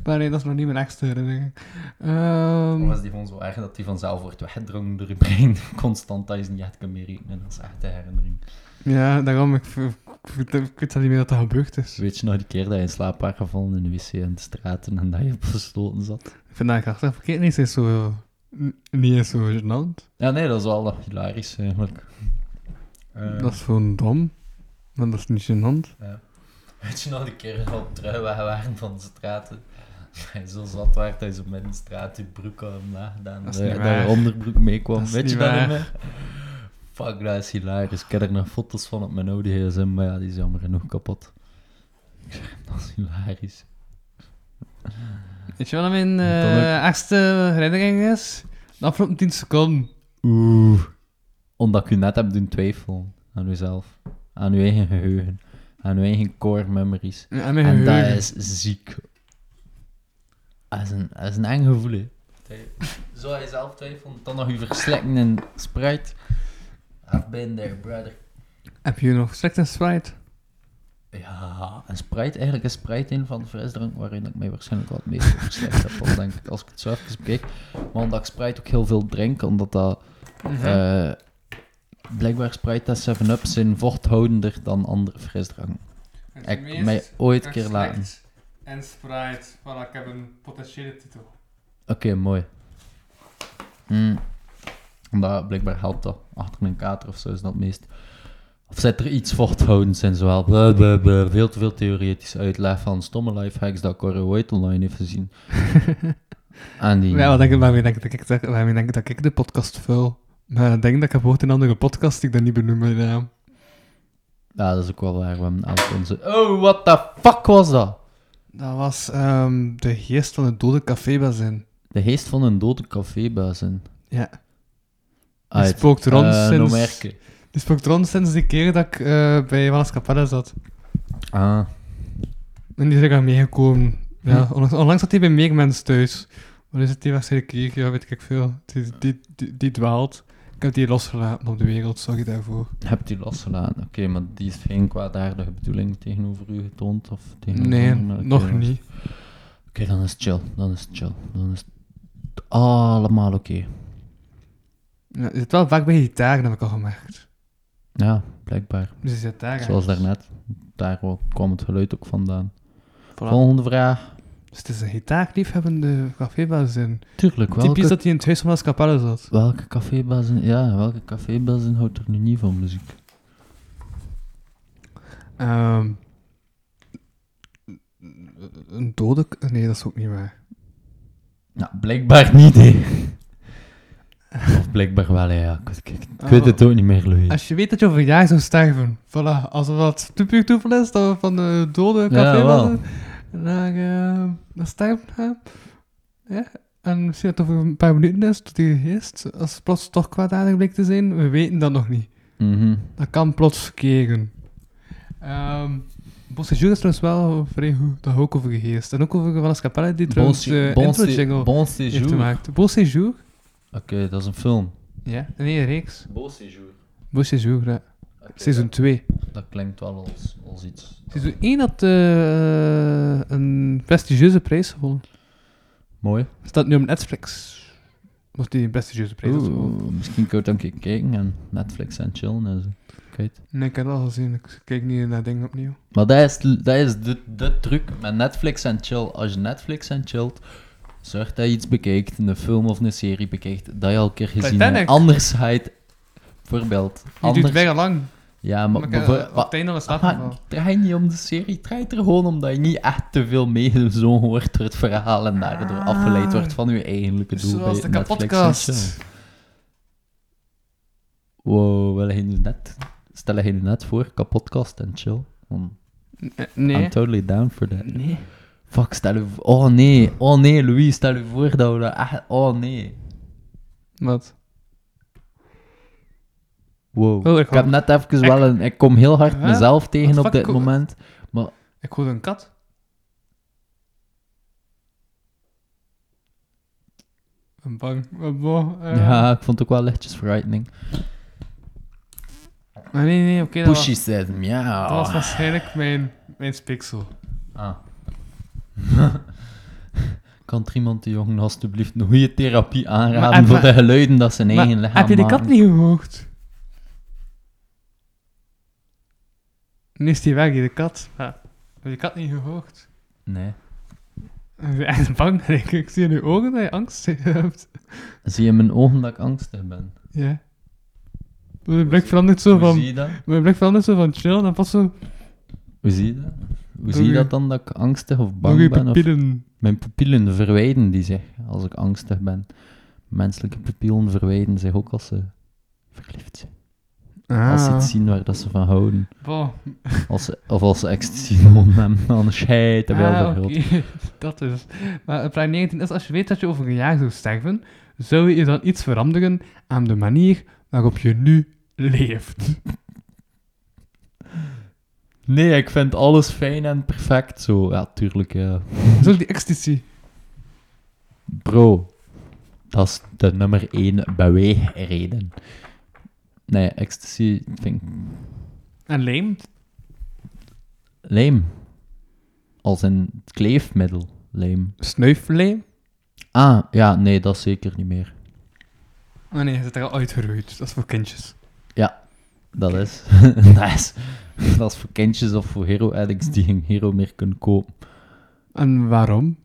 [SPEAKER 3] Maar nee, dat is nog niet mijn extra herinnering.
[SPEAKER 7] Of
[SPEAKER 3] Ehm
[SPEAKER 7] was die gewoon zo erg dat die vanzelf wordt weggedrongen door je brein? Constant, dat je ze niet echt kan meer rekenen. Dat is echt de herinnering.
[SPEAKER 3] ja, daarom ik ver- Ik weet- Ik weet zelf niet meer wat dat gebeurd is.
[SPEAKER 14] Weet je nog die keer dat je in slaap was gevallen in de wc in de straten en dat je op gesloten zat?
[SPEAKER 3] Ik vind dat ik achteraf verkeerd niet eens zo... n- Niet eens zo gênant.
[SPEAKER 14] Ja, nee, dat is wel nog hilarisch eigenlijk. Eh,
[SPEAKER 3] Dat is gewoon dom. Maar dat is niet gênant.
[SPEAKER 4] Weet je nog de keer dat we op trui weg waren van de straten? Hij zo zat werd, hij zo met de straat die broek had omlaag gedaan.
[SPEAKER 3] Dat is
[SPEAKER 14] dat-
[SPEAKER 3] niet
[SPEAKER 14] dat
[SPEAKER 3] waar.
[SPEAKER 14] je onderbroek meekwam.
[SPEAKER 3] Dat is
[SPEAKER 14] Weet
[SPEAKER 3] niet
[SPEAKER 14] je dat
[SPEAKER 3] waar.
[SPEAKER 14] niet meer? Fuck, dat is hilarisch. Ik heb er nog foto's van op mijn oude gsm, maar ja, die is jammer genoeg kapot. Ik zeg, Dat is hilarisch.
[SPEAKER 3] Weet je wat mijn
[SPEAKER 14] Dat ook.
[SPEAKER 3] eh achtste herinnering is? De afgelopen 10 seconden.
[SPEAKER 14] Oeh. Omdat ik u net heb doen twijfelen aan uzelf. Aan uw eigen geheugen. Aan uw eigen core memories.
[SPEAKER 3] En mijn
[SPEAKER 14] En dat
[SPEAKER 3] geheugen.
[SPEAKER 14] is ziek. Dat is een, dat is een eng gevoel, hè.
[SPEAKER 4] Zo hij zelf twijfelt, dan nog u verslekken en Sprite. I've been there, brother.
[SPEAKER 3] Heb je nog strekt een Sprite?
[SPEAKER 4] Ja, en Sprite, eigenlijk is Sprite een van de frisdrank waarin ik mij waarschijnlijk wel het meest op verslecht heb, al denk ik, als ik het zo even bekijk. Maar omdat ik Sprite ook heel veel drink, omdat dat... eh, blijkbaar Sprite en 7-Up zijn vochthoudender dan andere frisdranken. Ik mij ooit keer laten.
[SPEAKER 3] En Sprite. Voilà, ik heb een potentiële titel.
[SPEAKER 4] Oké, mooi. Hmm. Omdat blijkbaar helpt dat. Achter een kater of zo is dat het meest. Of zit er iets vochthoudends in, zowel blah, blah, blah, veel te veel theoretisch uitleg van stomme lifehacks dat Corey White online heeft gezien. en die...
[SPEAKER 3] Ja, wat denk je, waarmee, denk je dat ik, dat- waarmee denk je dat ik de podcast vul? Maar ik denk dat ik heb gehoord in een andere podcast die ik dat niet benoemen. Ja.
[SPEAKER 4] Ja, dat is ook wel waar. We hebben elk onze... Oh, what the fuck was dat?
[SPEAKER 3] Dat was ehm, de geest van het dode cafébazin.
[SPEAKER 4] De geest van een dode cafébaas in.
[SPEAKER 3] Ja. Die
[SPEAKER 4] Uit.
[SPEAKER 3] spookt rond
[SPEAKER 4] eh,
[SPEAKER 3] sinds...
[SPEAKER 4] Nomerke.
[SPEAKER 3] Die spookt rond sinds die keer dat ik eh, bij Wallace Capella zat.
[SPEAKER 4] Ah.
[SPEAKER 3] En die is er aan meegekomen. Ja,
[SPEAKER 4] Hm.
[SPEAKER 3] onlangs, onlangs zat hij bij meer mensen thuis. Maar is het die waarschijnlijk hier? Ja, weet ik veel. Die, die, die, die dwaalt. Ik heb die losgelaten op de wereld, sorry daarvoor.
[SPEAKER 4] Hebt u losgelaten? Oké, maar die is geen kwaadaardige bedoeling tegenover u getoond? Of tegenover
[SPEAKER 3] Nee,
[SPEAKER 4] anderen?
[SPEAKER 3] nog
[SPEAKER 4] Oké,
[SPEAKER 3] niet.
[SPEAKER 4] Oké, dan is het chill. Dan is het chill. Dan is het allemaal oké.
[SPEAKER 3] Ja, je zit wel vaak bij gitaar, heb ik al gemerkt.
[SPEAKER 4] Ja, blijkbaar.
[SPEAKER 3] Dus je zit daar.
[SPEAKER 4] Zoals
[SPEAKER 3] ergens.
[SPEAKER 4] daarnet. Daar wel- kwam het geluid ook vandaan.
[SPEAKER 3] Voilà.
[SPEAKER 4] Volgende vraag.
[SPEAKER 3] Dus het is een gitaarliefhebbende cafébazin.
[SPEAKER 4] Tuurlijk, welke,
[SPEAKER 3] Typisch dat hij in het huis van Wallace Capella zat.
[SPEAKER 4] welke cafébazen... Ja, welke cafébazen houdt er nu niet van muziek?
[SPEAKER 3] Ehm, een dode... k- Nee, dat is ook niet waar.
[SPEAKER 4] Nou, blijkbaar niet, hè. Of blijkbaar wel, hè, ja. Ik, ik- ik- ik weet het ook niet meer, Louis.
[SPEAKER 3] Als je weet dat je over Ah. een jaar zou sterven, voilà, als dat te puur toeval is, dat we van de dode café
[SPEAKER 4] Ja, wel.
[SPEAKER 3] waren, naar, eh, naar sterven gaan, ja, en misschien dat het over een paar minuten is, tot die geest, als het plots toch kwaadaardig bleek te zijn, we weten dat nog niet.
[SPEAKER 4] Mhm.
[SPEAKER 3] Dat kan plots keren. Ehm Bonsejour is trouwens wel vrij goed, dat gaat ook over de geest. En ook over Van Escapelle, die
[SPEAKER 4] Bon
[SPEAKER 3] trouwens de bon
[SPEAKER 4] si- bon
[SPEAKER 3] eh, intro
[SPEAKER 4] si-
[SPEAKER 3] jingle
[SPEAKER 4] bon
[SPEAKER 3] heeft
[SPEAKER 4] séjour. Oké,
[SPEAKER 3] gemaakt. Bonsejour?
[SPEAKER 4] dat is een film.
[SPEAKER 3] Ja, nee, een reeks.
[SPEAKER 4] Bon séjour.
[SPEAKER 3] Bonsejour, ja. Seizoen 2.
[SPEAKER 4] Dat klinkt wel als, als iets.
[SPEAKER 3] Seizoen 1 had eh, een prestigieuze prijs gewonnen.
[SPEAKER 4] Mooi.
[SPEAKER 3] Staat nu op Netflix. Was die een prestigieuze prijs had gewonnen?
[SPEAKER 4] Oeh, misschien kan ik dan een keer kijken en Netflix en chillen en zo. Kijk.
[SPEAKER 3] Nee, ik heb dat al gezien. Ik kijk niet naar dingen opnieuw.
[SPEAKER 4] Maar dat is, dat is de, de truc met Netflix en chill. Als je Netflix en chillt, zorg dat je iets bekijkt, een film of een serie bekijkt, dat je al een keer gezien
[SPEAKER 3] Titanic.
[SPEAKER 4] hebt. Anders ga je het... Bijvoorbeeld.
[SPEAKER 3] Die duurt
[SPEAKER 4] Anders,
[SPEAKER 3] bijna lang.
[SPEAKER 4] ja,
[SPEAKER 3] Maar
[SPEAKER 4] maar...
[SPEAKER 3] ik heb
[SPEAKER 4] bijvoor-
[SPEAKER 3] eh, op
[SPEAKER 4] wa- Ah,
[SPEAKER 3] het einde al een
[SPEAKER 4] maar
[SPEAKER 3] slaap
[SPEAKER 4] het draait niet om de serie, het draait er gewoon om dat je niet echt te veel meegezogen wordt door het verhaal en daardoor afgeleid wordt van je eigenlijke doel
[SPEAKER 3] Zoals
[SPEAKER 4] bij
[SPEAKER 3] de
[SPEAKER 4] Netflix en chill.
[SPEAKER 3] kapotkast.
[SPEAKER 4] Wow, wil je nu net... Stel je nu net voor, kapotkast en chill. Hmm,
[SPEAKER 3] Eh,
[SPEAKER 4] I'm
[SPEAKER 3] Nee.
[SPEAKER 4] totally down for that.
[SPEAKER 3] Nee.
[SPEAKER 4] Fuck, stel je... voor- Oh nee, oh nee, Louis, stel je voor dat we dat echt... Oh nee.
[SPEAKER 3] Wat?
[SPEAKER 4] Wow.
[SPEAKER 3] Oh, ik
[SPEAKER 4] ik heb
[SPEAKER 3] hoor-
[SPEAKER 4] net even
[SPEAKER 3] ik-
[SPEAKER 4] wel een... Ik kom heel hard
[SPEAKER 3] Huh?
[SPEAKER 4] mezelf tegen
[SPEAKER 3] Wat
[SPEAKER 4] op
[SPEAKER 3] fuck
[SPEAKER 4] dit
[SPEAKER 3] ko-
[SPEAKER 4] moment.
[SPEAKER 3] Ik hoorde een kat. Ik ben bang. Ik ben bang. Eh,
[SPEAKER 4] Ja, ik vond het ook wel lichtjes frightening.
[SPEAKER 3] Maar nee, nee, oké. dat,
[SPEAKER 4] Pushy
[SPEAKER 3] was-
[SPEAKER 4] said
[SPEAKER 3] dat
[SPEAKER 4] meow.
[SPEAKER 3] was waarschijnlijk mijn, mijn spiksel.
[SPEAKER 4] Ah. kan er iemand de jongen alstublieft een goede therapie
[SPEAKER 3] Maar
[SPEAKER 4] aanraden
[SPEAKER 3] heb-
[SPEAKER 4] voor de geluiden dat zijn eigen
[SPEAKER 3] Maar
[SPEAKER 4] lichaam
[SPEAKER 3] Heb je die kat
[SPEAKER 4] maken?
[SPEAKER 3] niet gehoord? Nu is die weg, hier, de kat. Ja. Heb je de kat niet gehoord?
[SPEAKER 4] Nee.
[SPEAKER 3] Ik ben echt bang, denk ik. Ik zie in je ogen dat je angst hebt.
[SPEAKER 4] Zie je in mijn ogen dat ik angstig ben?
[SPEAKER 3] Ja. Mijn blik verandert zo
[SPEAKER 4] Hoe zie
[SPEAKER 3] van...
[SPEAKER 4] je dat?
[SPEAKER 3] Mijn blik verandert zo van chill, dan pas zo...
[SPEAKER 4] Hoe zie je dat? Hoe
[SPEAKER 3] Door
[SPEAKER 4] zie je
[SPEAKER 3] je-
[SPEAKER 4] dat dan dat ik angstig of
[SPEAKER 3] Nog je
[SPEAKER 4] bang ben? Of
[SPEAKER 3] pupillen.
[SPEAKER 4] mijn pupillen verwijden die zich als ik angstig ben. Menselijke pupillen verwijden zich ook als ze verliefd zijn. Als
[SPEAKER 3] Ah.
[SPEAKER 4] ze iets zien waar dat ze van houden.
[SPEAKER 3] Boah.
[SPEAKER 4] Als ze, of als ze ecstasy genomen hebben, dan scheidt en wel
[SPEAKER 3] Ah,
[SPEAKER 4] vergroot.
[SPEAKER 3] oké. dat is. Maar eh, vraag 19 is, als je weet dat je over een jaar zou sterven, zou je dan iets veranderen aan de manier waarop je nu leeft?
[SPEAKER 4] Nee, ik vind alles fijn en perfect zo. Ja, tuurlijk. Ja.
[SPEAKER 3] Zo die ecstasy.
[SPEAKER 4] Bro, dat is de nummer één beweegreden. Nee, ecstasy vind ik
[SPEAKER 3] En leemt.
[SPEAKER 4] lijm. Als een kleefmiddel, lijm.
[SPEAKER 3] Snuifleem.
[SPEAKER 4] Ah, ja, nee, dat zeker niet meer.
[SPEAKER 3] Oh nee, je zit er al uitgeroeid. Dat is voor kindjes.
[SPEAKER 4] Dat is. dat is. Dat is voor kindjes of voor hero addicts die geen hero meer kunnen kopen.
[SPEAKER 3] En waarom?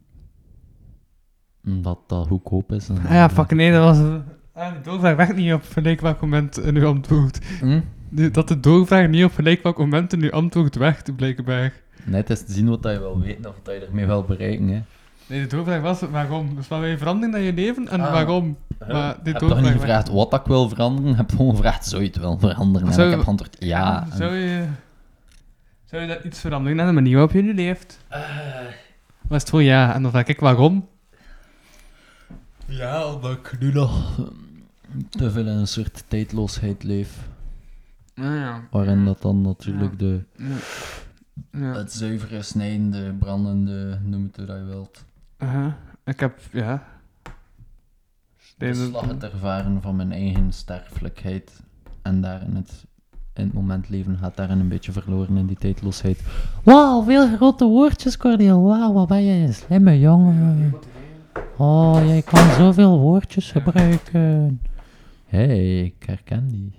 [SPEAKER 4] Omdat dat goedkoop is. en- eh,
[SPEAKER 3] Ah ja, fuck nee, dat was... Ah, de doorvraag werkt niet op gelijk welk moment in uw antwoord.
[SPEAKER 4] Hm?
[SPEAKER 3] De- Dat de doorvraag niet op gelijk welk moment in uw antwoord werkt, blijkbaar.
[SPEAKER 4] Nee, het is te zien wat dat je wil weten of wat dat je ermee wil bereiken. Hè.
[SPEAKER 3] Nee, de doorvraag was waarom. Dus wat wil je veranderen aan je leven en
[SPEAKER 4] Ah.
[SPEAKER 3] waarom? Maar dit
[SPEAKER 4] Ik heb toch niet
[SPEAKER 3] doorvraag werkt-
[SPEAKER 4] gevraagd wat dat ik wil veranderen, ik heb gewoon gevraagd, zou je het wel veranderen? En
[SPEAKER 3] Zou-
[SPEAKER 4] ik heb geantwoord, ja. En-
[SPEAKER 3] Zou je, zou je dat iets veranderen aan de manier waarop je nu leeft? Was het gewoon ja, en dan vraag ik waarom?
[SPEAKER 4] Ja, omdat ik nu nog ehm, te veel in een soort tijdloosheid leef.
[SPEAKER 3] ja.
[SPEAKER 4] Waarin dat dan natuurlijk de,
[SPEAKER 3] ja.
[SPEAKER 4] het zuivere, snijdende, brandende, noem het hoe dat je wilt,
[SPEAKER 3] Ik heb, ja.
[SPEAKER 4] de slag Dus het ervaren van mijn eigen sterfelijkheid. En daar in het, in het moment leven gaat daarin een beetje verloren in die tijdloosheid.
[SPEAKER 11] Wauw, veel grote woordjes, Cornel. Wauw, wat ben jij een slimme jongen. Oh, jij kan zoveel woordjes gebruiken.
[SPEAKER 4] Hé, hey, ik herken die.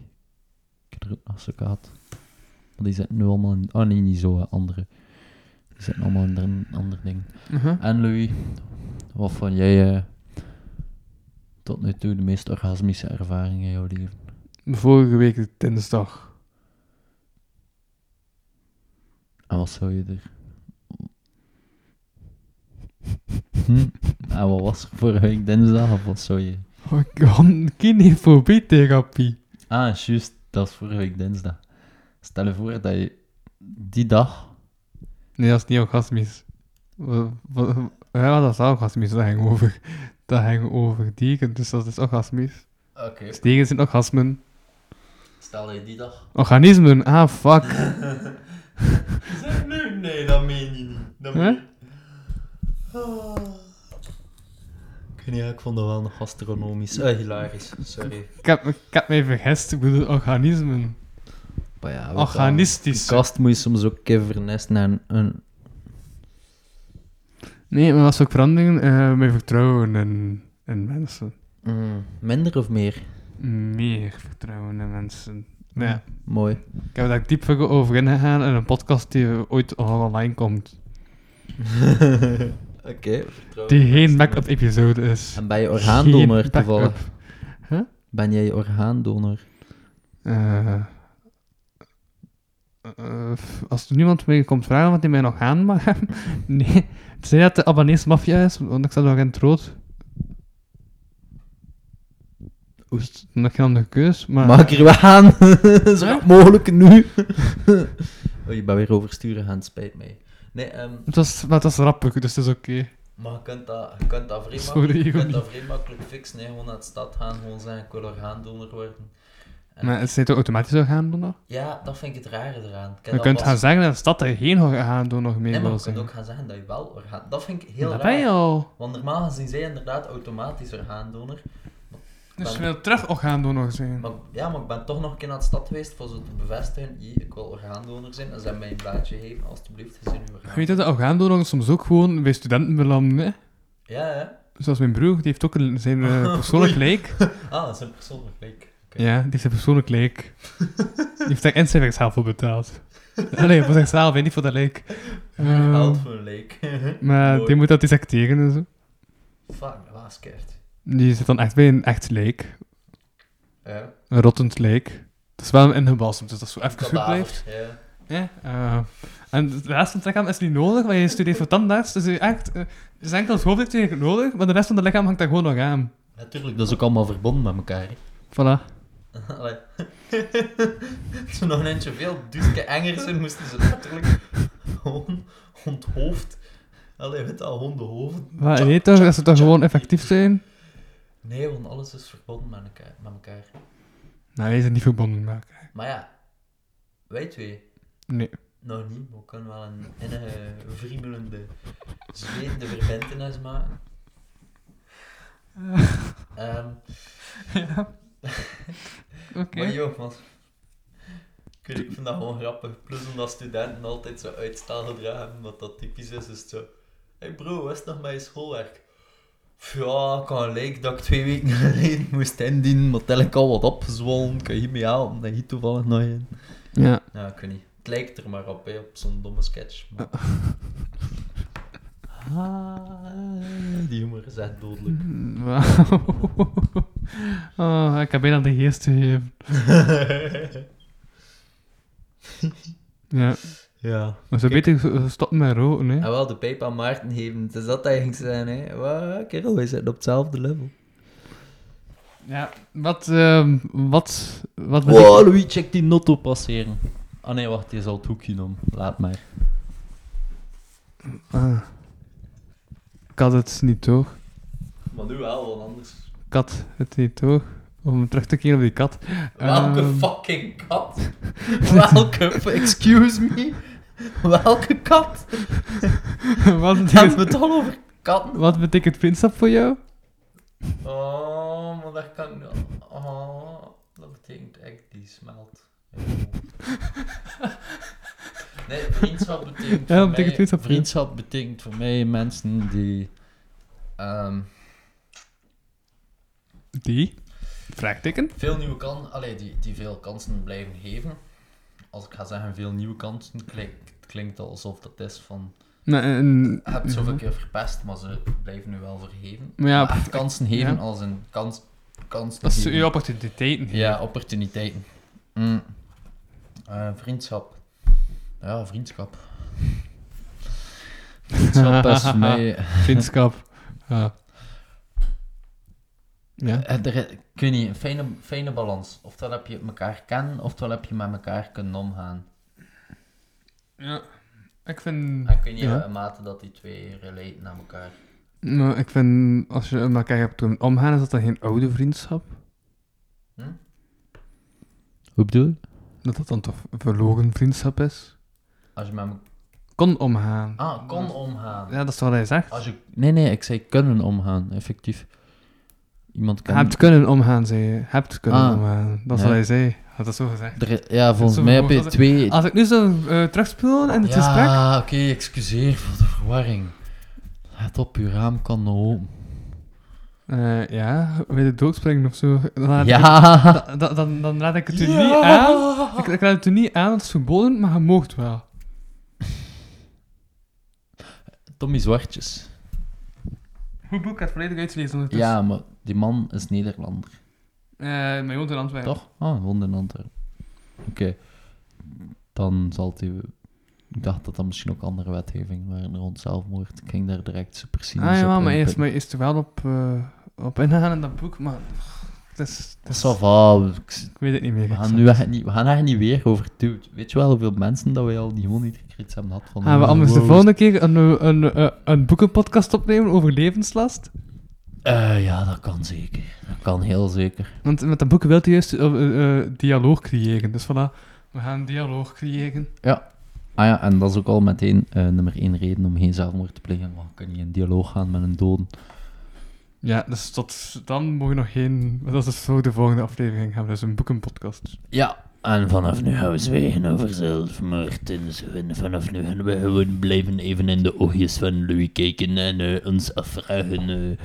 [SPEAKER 4] Ik heb er ook nog zulke gehad. Maar die zitten nu allemaal in... Oh nee, niet zo, hè, andere. Die zitten allemaal in een ander ding.
[SPEAKER 3] Mhm.
[SPEAKER 4] En Louis, wat vond jij eh, tot nu toe de meest orgasmische ervaring in jouw leven?
[SPEAKER 3] Vorige week dinsdag.
[SPEAKER 4] En wat zou je er... Hm? En wat was er vorige week dinsdag? Of wat zou je...
[SPEAKER 3] Oh, ik had kinefobie-therapie.
[SPEAKER 4] Ah, juist, dat is vorige week dinsdag. Stel je voor dat je die dag...
[SPEAKER 3] Nee, dat is niet orgasmisch. Wa- wa- Ja, dat is wel orgasmisch, dat ging over. Dat ging over dieren, dus dat is orgasmisch.
[SPEAKER 4] Oké.
[SPEAKER 3] Dus dieren zijn orgasmen.
[SPEAKER 4] Stel dat je die dag...
[SPEAKER 3] Organismen, ah fuck.
[SPEAKER 4] Zeg nu, nee, dat meen je niet. Dat
[SPEAKER 3] Huh?
[SPEAKER 4] Ik weet niet, ja, ik vond dat wel nog astronomisch. Eh, hilarisch, sorry.
[SPEAKER 3] Ik heb, ik heb mij vergist, ik bedoel organismen.
[SPEAKER 4] Maar ja, we gaan-
[SPEAKER 3] Organistisch.
[SPEAKER 4] Een kast moet je soms ook kevernest naar een, een...
[SPEAKER 3] Nee, maar dat is ook veranderingen. eh mijn vertrouwen in, in mensen.
[SPEAKER 4] mm, minder of meer.
[SPEAKER 3] Meer vertrouwen in mensen. Ja.
[SPEAKER 4] Mooi.
[SPEAKER 3] Ik heb daar diep over ingegaan in een podcast die ooit al online komt.
[SPEAKER 4] Oké. vertrouwen.
[SPEAKER 3] Die geen backup episode is.
[SPEAKER 4] En ben je orgaandonor
[SPEAKER 3] Geen backup.
[SPEAKER 4] toevallig?
[SPEAKER 3] Huh?
[SPEAKER 4] Ben jij orgaandonor?
[SPEAKER 3] Eh, eh, als er niemand meer komt vragen wat hij mij nog aan mag hebben. Nee, het zei dat de abonnees maffia is, want ik zat nog in het rood. Oest. Dan heb je een andere keus, maar...
[SPEAKER 4] Maak er wel aan. Zo rap mogelijk nu. oh, je bent weer oversturen gaan, spijt mij. Nee, ehm,
[SPEAKER 3] Het was, maar het was rappig, dus het is oké.
[SPEAKER 4] maar je kunt dat, je kunt dat, vrij,
[SPEAKER 3] Sorry,
[SPEAKER 4] makkelijk, je kunt
[SPEAKER 3] Johnny.
[SPEAKER 4] dat vrij makkelijk fixen. Hè. Gewoon naar de stad gaan, gewoon zeggen ik wil orgaandonor worden. En-
[SPEAKER 3] Maar het zit automatisch orgaandonor.
[SPEAKER 4] Ja, dat vind ik het rare eraan. Ik heb
[SPEAKER 3] Je
[SPEAKER 4] dat
[SPEAKER 3] kunt
[SPEAKER 4] pas-
[SPEAKER 3] gaan zeggen dat de stad er geen orgaandonor mee
[SPEAKER 4] Nee, maar
[SPEAKER 3] wil
[SPEAKER 4] je kunt
[SPEAKER 3] zijn.
[SPEAKER 4] ook gaan zeggen dat je wel orgaan... Dat vind ik heel
[SPEAKER 3] Dat
[SPEAKER 4] raar.
[SPEAKER 3] ben je al.
[SPEAKER 4] Want normaal gezien zijn zij inderdaad automatisch orgaandonor.
[SPEAKER 3] Dus je wil terug orgaandonor zijn.
[SPEAKER 4] Maar, ja, maar ik ben toch nog een keer naar de stad geweest voor zo te bevestigen. "Jee, ik wil orgaandonor zijn. En ze hebben mij een blaadje gegeven. Alsjeblieft, gezien uw
[SPEAKER 3] Je
[SPEAKER 4] orgaan.
[SPEAKER 3] weet dat de orgaandonoren soms ook gewoon bij studenten belanden, hè?
[SPEAKER 4] Ja, ja.
[SPEAKER 3] Zoals mijn broer, die heeft ook een, zijn eh, persoonlijk leek.
[SPEAKER 4] Ah, dat is een persoonlijk leek. Oké.
[SPEAKER 3] Ja, die heeft een persoonlijk leek. die heeft daar inschrijvingsgeld voor betaald. Allee, voor zichzelf, hè, niet voor dat lijk. Ehm,
[SPEAKER 4] Geld voor een leek.
[SPEAKER 3] maar
[SPEAKER 4] Mooi.
[SPEAKER 3] die moet dat dissecteren en zo.
[SPEAKER 4] Fuck, dat was keert.
[SPEAKER 3] Die zit dan echt bij een echt lijk.
[SPEAKER 4] Ja.
[SPEAKER 3] Een rottend lijk. Het is wel een gebalsemd, dus dat zo even goed
[SPEAKER 4] Kadaver,
[SPEAKER 3] blijft.
[SPEAKER 4] Ja.
[SPEAKER 3] Ja. eh, en de rest van het lichaam is niet nodig, want je studeert voor tandarts. Dus je echt, eh, het is enkel het hoofd eigenlijk nodig, maar de rest van het lichaam hangt daar gewoon nog aan.
[SPEAKER 4] Natuurlijk, dat is ook allemaal verbonden met elkaar. hè.
[SPEAKER 3] Voilà.
[SPEAKER 4] Allee. Toen nog een eentje veel duske enger zijn, moesten ze natuurlijk gewoon onthoofd. Allee, weet je al, hondenhoofd.
[SPEAKER 3] Maar je weet toch dat ze toch gewoon effectief zijn?
[SPEAKER 4] Nee, want alles is verbonden met elkaar. Met elkaar.
[SPEAKER 3] Nou, wij zijn niet verbonden met elkaar.
[SPEAKER 4] Maar ja, wij twee
[SPEAKER 3] Nee.
[SPEAKER 4] nog niet. maar We kunnen wel een innige, vriemelende, zwetende verbintenis maken. Ehm,
[SPEAKER 3] Oké.
[SPEAKER 4] Maar joh, man. Ik, weet, ik vind dat gewoon grappig. Plus omdat studenten altijd zo uitstelgedrag hebben, wat dat typisch is, is het zo... Hé hey bro, wat is nog met je schoolwerk? Pff, Ja, ik had gelijk dat ik twee weken geleden moest indienen, maar tel ik al wat opgezwollen. Kan je hiermee helpen? Dat hier toevallig nog in.
[SPEAKER 3] Ja.
[SPEAKER 4] Ja, ik weet niet. Het lijkt er maar op, hè, op zo'n domme sketch. Maar... Ah, die humor is echt dodelijk.
[SPEAKER 3] Wauw. Oh, ik heb bijna de geest gegeven. Ja,
[SPEAKER 4] ja.
[SPEAKER 3] we zouden beter zo- stoppen met roken, hè.
[SPEAKER 4] En wel de pijp aan Maarten geven. Het is dat eigenlijk zijn, hè. Wow, kerel, wij zitten op hetzelfde level.
[SPEAKER 3] Ja, wat, ehm, wat, wat
[SPEAKER 4] Wow, Louis, check die notto passeren. Ah nee, wacht, die is al het hoekje om. Laat maar.
[SPEAKER 3] Ah. Ik had het niet toch?
[SPEAKER 4] Maar nu wel, want anders...
[SPEAKER 3] Ik had het niet toch? Om terug te keren op die kat.
[SPEAKER 4] Welke
[SPEAKER 3] Ehm,
[SPEAKER 4] fucking kat? Welke... Excuse me? Welke kat?
[SPEAKER 3] wat,
[SPEAKER 4] Hebben we
[SPEAKER 3] betekent,
[SPEAKER 4] het al over katten?
[SPEAKER 3] wat betekent vriendschap voor jou?
[SPEAKER 4] Oh, maar dat kan... Oh, dat betekent echt die smelt. Nee, vriendschap betekent
[SPEAKER 3] Ja,
[SPEAKER 4] voor
[SPEAKER 3] dat betekent
[SPEAKER 4] mij-
[SPEAKER 3] vriendschap.
[SPEAKER 4] vriendschap betekent voor mij mensen die... ehm,
[SPEAKER 3] Die? Vraagteken?
[SPEAKER 4] veel nieuwe kansen... Allee, die, die veel kansen blijven geven. Als ik ga zeggen veel nieuwe kansen, klinkt, klinkt dat alsof dat is van... "Ah,
[SPEAKER 3] Nee, en-
[SPEAKER 4] Je hebt zoveel keer verpest, maar ze blijven nu wel vergeven.
[SPEAKER 3] Maar Mhm. ja,
[SPEAKER 4] Maar echt kansen geven
[SPEAKER 3] ja.
[SPEAKER 4] als een kans... kans
[SPEAKER 3] dat is
[SPEAKER 4] geven.
[SPEAKER 3] je opportuniteiten.
[SPEAKER 4] Ja, opportuniteiten. Mm. Eh, vriendschap. Ja, vriendschap. Vriendschap is voor mij...
[SPEAKER 3] Vriendschap. Ja. Ja.
[SPEAKER 4] eh, er is- ik weet niet, een fijne, fijne balans. Oftewel heb je elkaar kennen, oftewel heb je met elkaar kunnen omgaan.
[SPEAKER 3] Ja. Ik vind...
[SPEAKER 4] En kun je
[SPEAKER 3] Ja.
[SPEAKER 4] eh, mate dat die twee relaten naar elkaar.
[SPEAKER 3] Nou, ik vind... Als je met elkaar hebt kunnen omgaan, is dat dan geen oude vriendschap?
[SPEAKER 13] Hoe bedoel je?
[SPEAKER 3] Dat dat dan toch een verlogen vriendschap is?
[SPEAKER 4] Als je met me-
[SPEAKER 3] Kon omgaan.
[SPEAKER 4] Ah, kon omgaan.
[SPEAKER 3] Ja, dat is wat hij zegt.
[SPEAKER 4] Als je...
[SPEAKER 13] Nee, nee, ik zei kunnen omgaan, effectief. Iemand kan...
[SPEAKER 3] Hebt kunnen omgaan, zei je. Hebt kunnen
[SPEAKER 13] Ah.
[SPEAKER 3] omgaan. Dat is
[SPEAKER 13] Ja.
[SPEAKER 3] wat hij zei. Had dat zo gezegd.
[SPEAKER 13] Er- ja, volgens
[SPEAKER 3] Zo
[SPEAKER 13] mij heb je
[SPEAKER 3] verwoord-
[SPEAKER 13] twee...
[SPEAKER 3] Als ik nu zou eh, terugspoelen in het gesprek...
[SPEAKER 13] Ja, oké, excuseer voor de verwarring. Let op, uw raam kan nog open.
[SPEAKER 3] eh, ja, weet je doodspringen of zo. Dan laat ik,
[SPEAKER 13] Ja!
[SPEAKER 3] da- da- dan, dan raad ik het u niet aan. Ik, ik raad het u niet aan, het is verboden, maar je moogt wel.
[SPEAKER 13] Tommy Zwartjes.
[SPEAKER 3] Goed boek, ik had het volledig uitgelezen ondertussen.
[SPEAKER 13] Ja, maar die man is Nederlander,
[SPEAKER 3] Eh, maar je woont in Antwerpen.
[SPEAKER 13] toch? Ah, woont in Antwerpen. Oké. Dan zal hij... Ik dacht dat dat misschien ook andere wetgeving waren rond zelfmoord. Ik ging daar direct super cynisch
[SPEAKER 3] Ah
[SPEAKER 13] op
[SPEAKER 3] ja, maar
[SPEAKER 13] inpikken.
[SPEAKER 3] eerst, maar eerst er wel op, eh, op ingaan in dat boek, maar... Het is, het is-
[SPEAKER 13] Ça va, ik-
[SPEAKER 3] ik weet het niet meer.
[SPEAKER 13] we gaan, nu echt niet, we gaan echt niet weer over dude. Weet je wel hoeveel mensen dat wij al die gewoon niet gekregen hebben gehad van...
[SPEAKER 4] Ah,
[SPEAKER 3] Gaan Ah, we
[SPEAKER 13] oh,
[SPEAKER 3] anders de
[SPEAKER 13] wow.
[SPEAKER 3] volgende keer een, eh, een, eh, een boekenpodcast opnemen over levenslast?
[SPEAKER 13] Eh, ja, dat kan zeker. Dat kan heel zeker.
[SPEAKER 3] Want met dat boek wil je juist eh, eh, eh, dialoog creëren. Dus voilà, we gaan dialoog creëren.
[SPEAKER 13] Ah ja, en dat is ook al meteen eh, nummer één reden om geen zelfmoord te plegen. Want je kan niet in dialoog gaan met een doden.
[SPEAKER 3] Ja, dus tot dan mogen we nog geen... Dat is dus voor de volgende aflevering gaan we dus een boekenpodcast.
[SPEAKER 13] Ja, en vanaf nu gaan we zwegen over zelfmoord. En zo. En vanaf nu gaan we gewoon blijven even in de oogjes van Louis kijken en eh, ons afvragen... eh,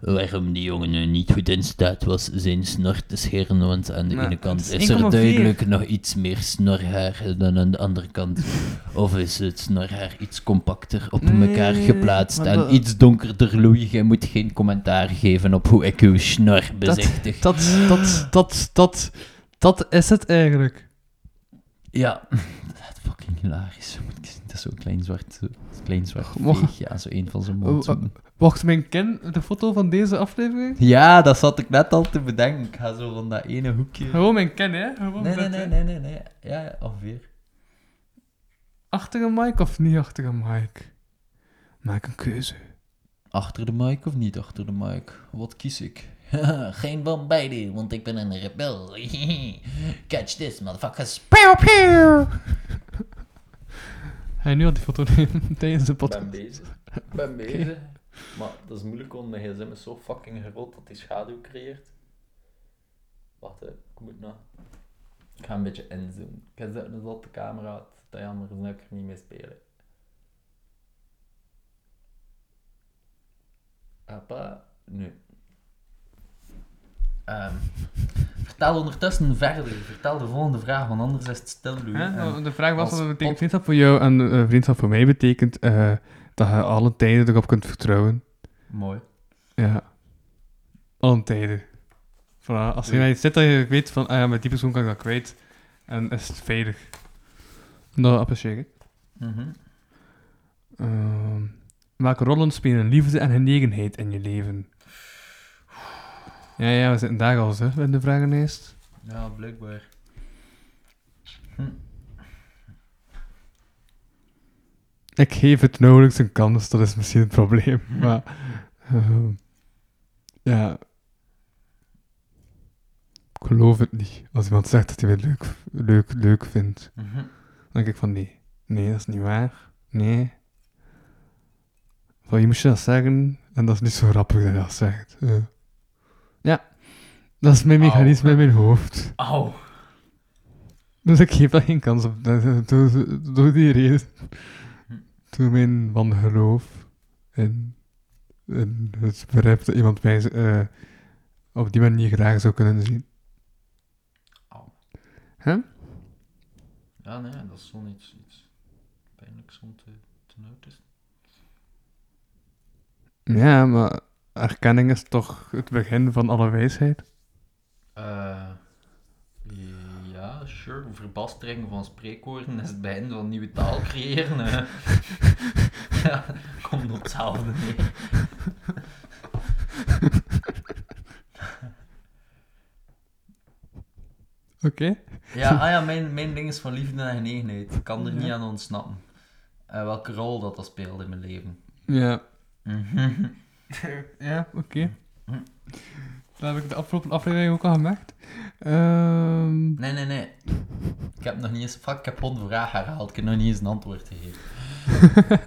[SPEAKER 4] waarom die jongen nu niet goed in staat was zijn snor te scheren, want aan de
[SPEAKER 3] Maar Nou,
[SPEAKER 4] ene
[SPEAKER 3] het
[SPEAKER 4] kant
[SPEAKER 3] is
[SPEAKER 4] is er
[SPEAKER 3] 1,4.
[SPEAKER 4] duidelijk nog iets meer snorhaar dan aan de andere kant. Of is het snorhaar iets compacter op elkaar geplaatst en iets donkerder, Louis? Jij moet geen commentaar geven op hoe ik uw snor bezichtig.
[SPEAKER 3] Dat, dat, dat, dat, dat is het eigenlijk.
[SPEAKER 4] Ja, dat is fucking hilarisch. Moet ik zien, Dat is zo'n klein zwart, eh, klein zwart
[SPEAKER 3] Mo-
[SPEAKER 4] veeg, ja, zo een van zijn
[SPEAKER 3] Oh,
[SPEAKER 4] mond.
[SPEAKER 3] eh. Wacht, mijn kin, de foto van deze aflevering?
[SPEAKER 4] Ja, dat zat ik net al te bedenken. Ik ga zo van dat ene hoekje...
[SPEAKER 3] Gewoon mijn kin, hè? Gewoon eh,
[SPEAKER 4] Nee, nee,
[SPEAKER 3] dat,
[SPEAKER 4] nee,
[SPEAKER 3] hè.
[SPEAKER 4] nee, nee, nee. Ja, ja, ongeveer.
[SPEAKER 3] Achter een mic of niet achter een mic? Maak een keuze.
[SPEAKER 4] Achter de mic of niet achter de mic? Wat kies ik?
[SPEAKER 7] Geen van beide, want ik ben een rebel. Catch this, motherfuckers.
[SPEAKER 3] Ga je nu al die foto nemen tijdens de podcast?
[SPEAKER 7] bezig. Ik ben bezig. Maar dat is moeilijk, want mijn gsm is zo fucking groot dat die schaduw creëert. Wacht, hè. ik moet nou... Ik ga een beetje inzoomen. Ik zet een zotte camera uit, dat jammer is dat ik er niet mee spelen. Appa, nu.
[SPEAKER 4] Ehm, vertel ondertussen verder. Vertel de volgende vraag, want anders is het stil, Louis.
[SPEAKER 3] Hè?
[SPEAKER 7] Ehm,
[SPEAKER 4] En-
[SPEAKER 3] Nou, De vraag was
[SPEAKER 4] als
[SPEAKER 3] wat betekent
[SPEAKER 4] pod-
[SPEAKER 3] vriendschap voor jou en eh, vriendschap voor mij betekent eh, dat je alle tijden erop kunt vertrouwen.
[SPEAKER 4] Mooi.
[SPEAKER 3] Ja. Alle tijden. Voilà. Als je naar iets zit dat je weet van, ah ja, met die persoon kan ik dat kwijt. En is het veilig. Dat apprecieer ik.
[SPEAKER 4] Mhm.
[SPEAKER 3] Ehm, welke rollen spelen liefde en genegenheid in je leven? Ja, ja, we zitten daar al eens, hè, in de vragenlijst.
[SPEAKER 4] Ja, blijkbaar.
[SPEAKER 3] Ik geef het nauwelijks een kans, dat is misschien het probleem. Maar, ehm, ja. Ik geloof het niet. Als iemand zegt dat hij het leuk, leuk, leuk vindt,
[SPEAKER 4] Mhm.
[SPEAKER 3] dan denk ik van nee. Nee, dat is niet waar. Nee. Van je moest je dat zeggen, en dat is niet zo grappig dat je dat zegt. Ja. Ja, dat is mijn
[SPEAKER 4] Au.
[SPEAKER 3] mechanisme in mijn hoofd.
[SPEAKER 4] Au.
[SPEAKER 3] Dus ik geef dat geen kans op. Dat- dat- Door, door die reden. Door mijn wangeloof. En, en het begrip dat Dus iemand mij eh, op die manier graag zou kunnen zien.
[SPEAKER 7] Ja, nee, dat is zo'n iets, iets pijnlijks om te, te notice.
[SPEAKER 3] Ja, maar erkenning is toch het begin van alle wijsheid?
[SPEAKER 7] Eh, ja, sure. Verbastering van spreekwoorden is het begin van nieuwe taal creëren. hè. ja, komt op hetzelfde neer.
[SPEAKER 3] Oké.
[SPEAKER 7] Ja, ah ja mijn, mijn ding is van liefde en genegenheid. Ik kan er niet aan ontsnappen. Eh, welke rol dat dat speelt in mijn leven.
[SPEAKER 3] Ja. ja, oké. Dat heb ik de afgelopen aflevering ook al gemerkt. Ehm,
[SPEAKER 7] Nee, nee, nee. Ik heb nog niet eens... Fuck, ik heb gewoon de vraag herhaald. Ik heb nog niet eens een antwoord gegeven.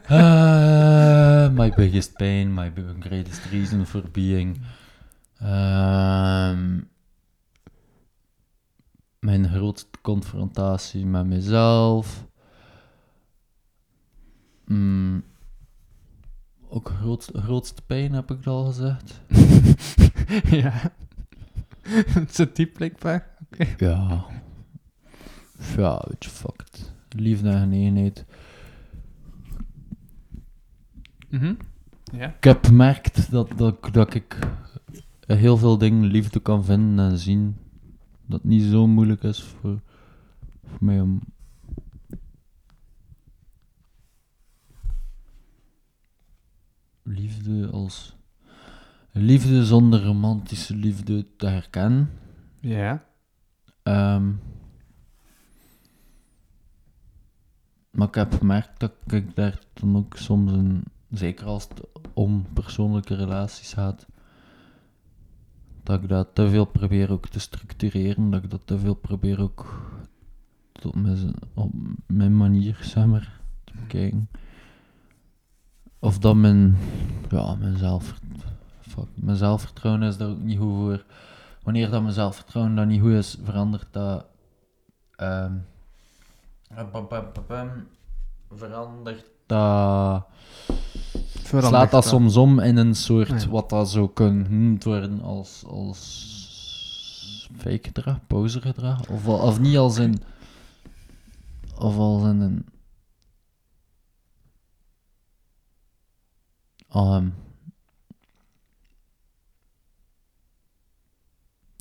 [SPEAKER 4] Eh, my biggest pain, my bi- greatest reason for being. Ehm, mijn grootste confrontatie met mezelf. Mm, ook groot, grootste pijn heb ik al gezegd.
[SPEAKER 3] ja. het zit diep blijkbaar.
[SPEAKER 4] Ja. Ja, weet je, fuck it. Liefde en genegenheid.
[SPEAKER 3] Mhm.
[SPEAKER 4] Ik heb gemerkt dat, dat, ik- dat ik heel veel dingen liefde kan vinden en zien. Dat het niet zo moeilijk is voor, voor mij om. Liefde als. Liefde zonder romantische liefde te herkennen.
[SPEAKER 3] Ja.
[SPEAKER 4] Ehm, maar ik heb gemerkt dat ik daar dan ook soms een, zeker als het om persoonlijke relaties gaat, dat ik dat te veel probeer ook te structureren, dat ik dat te veel probeer ook te- op mijn, z- op mijn manier, zeg maar, te bekijken. Of dat mijn, ja, mijn, zelfvert- fuck, mijn zelfvertrouwen is daar ook niet goed voor wanneer dat mijn zelfvertrouwen dan niet goed is, verandert dat. ehm,
[SPEAKER 7] Eh, pam, pam, pam, pam. Verandert
[SPEAKER 4] dat
[SPEAKER 3] veranderd.
[SPEAKER 4] slaat dat
[SPEAKER 3] dan.
[SPEAKER 4] soms om in een soort
[SPEAKER 3] Ja.
[SPEAKER 4] wat dat zou kunnen genoemd worden als, als fake gedrag, pauzegedrag. Of, wel- of niet als in. Of als in een. Ehm.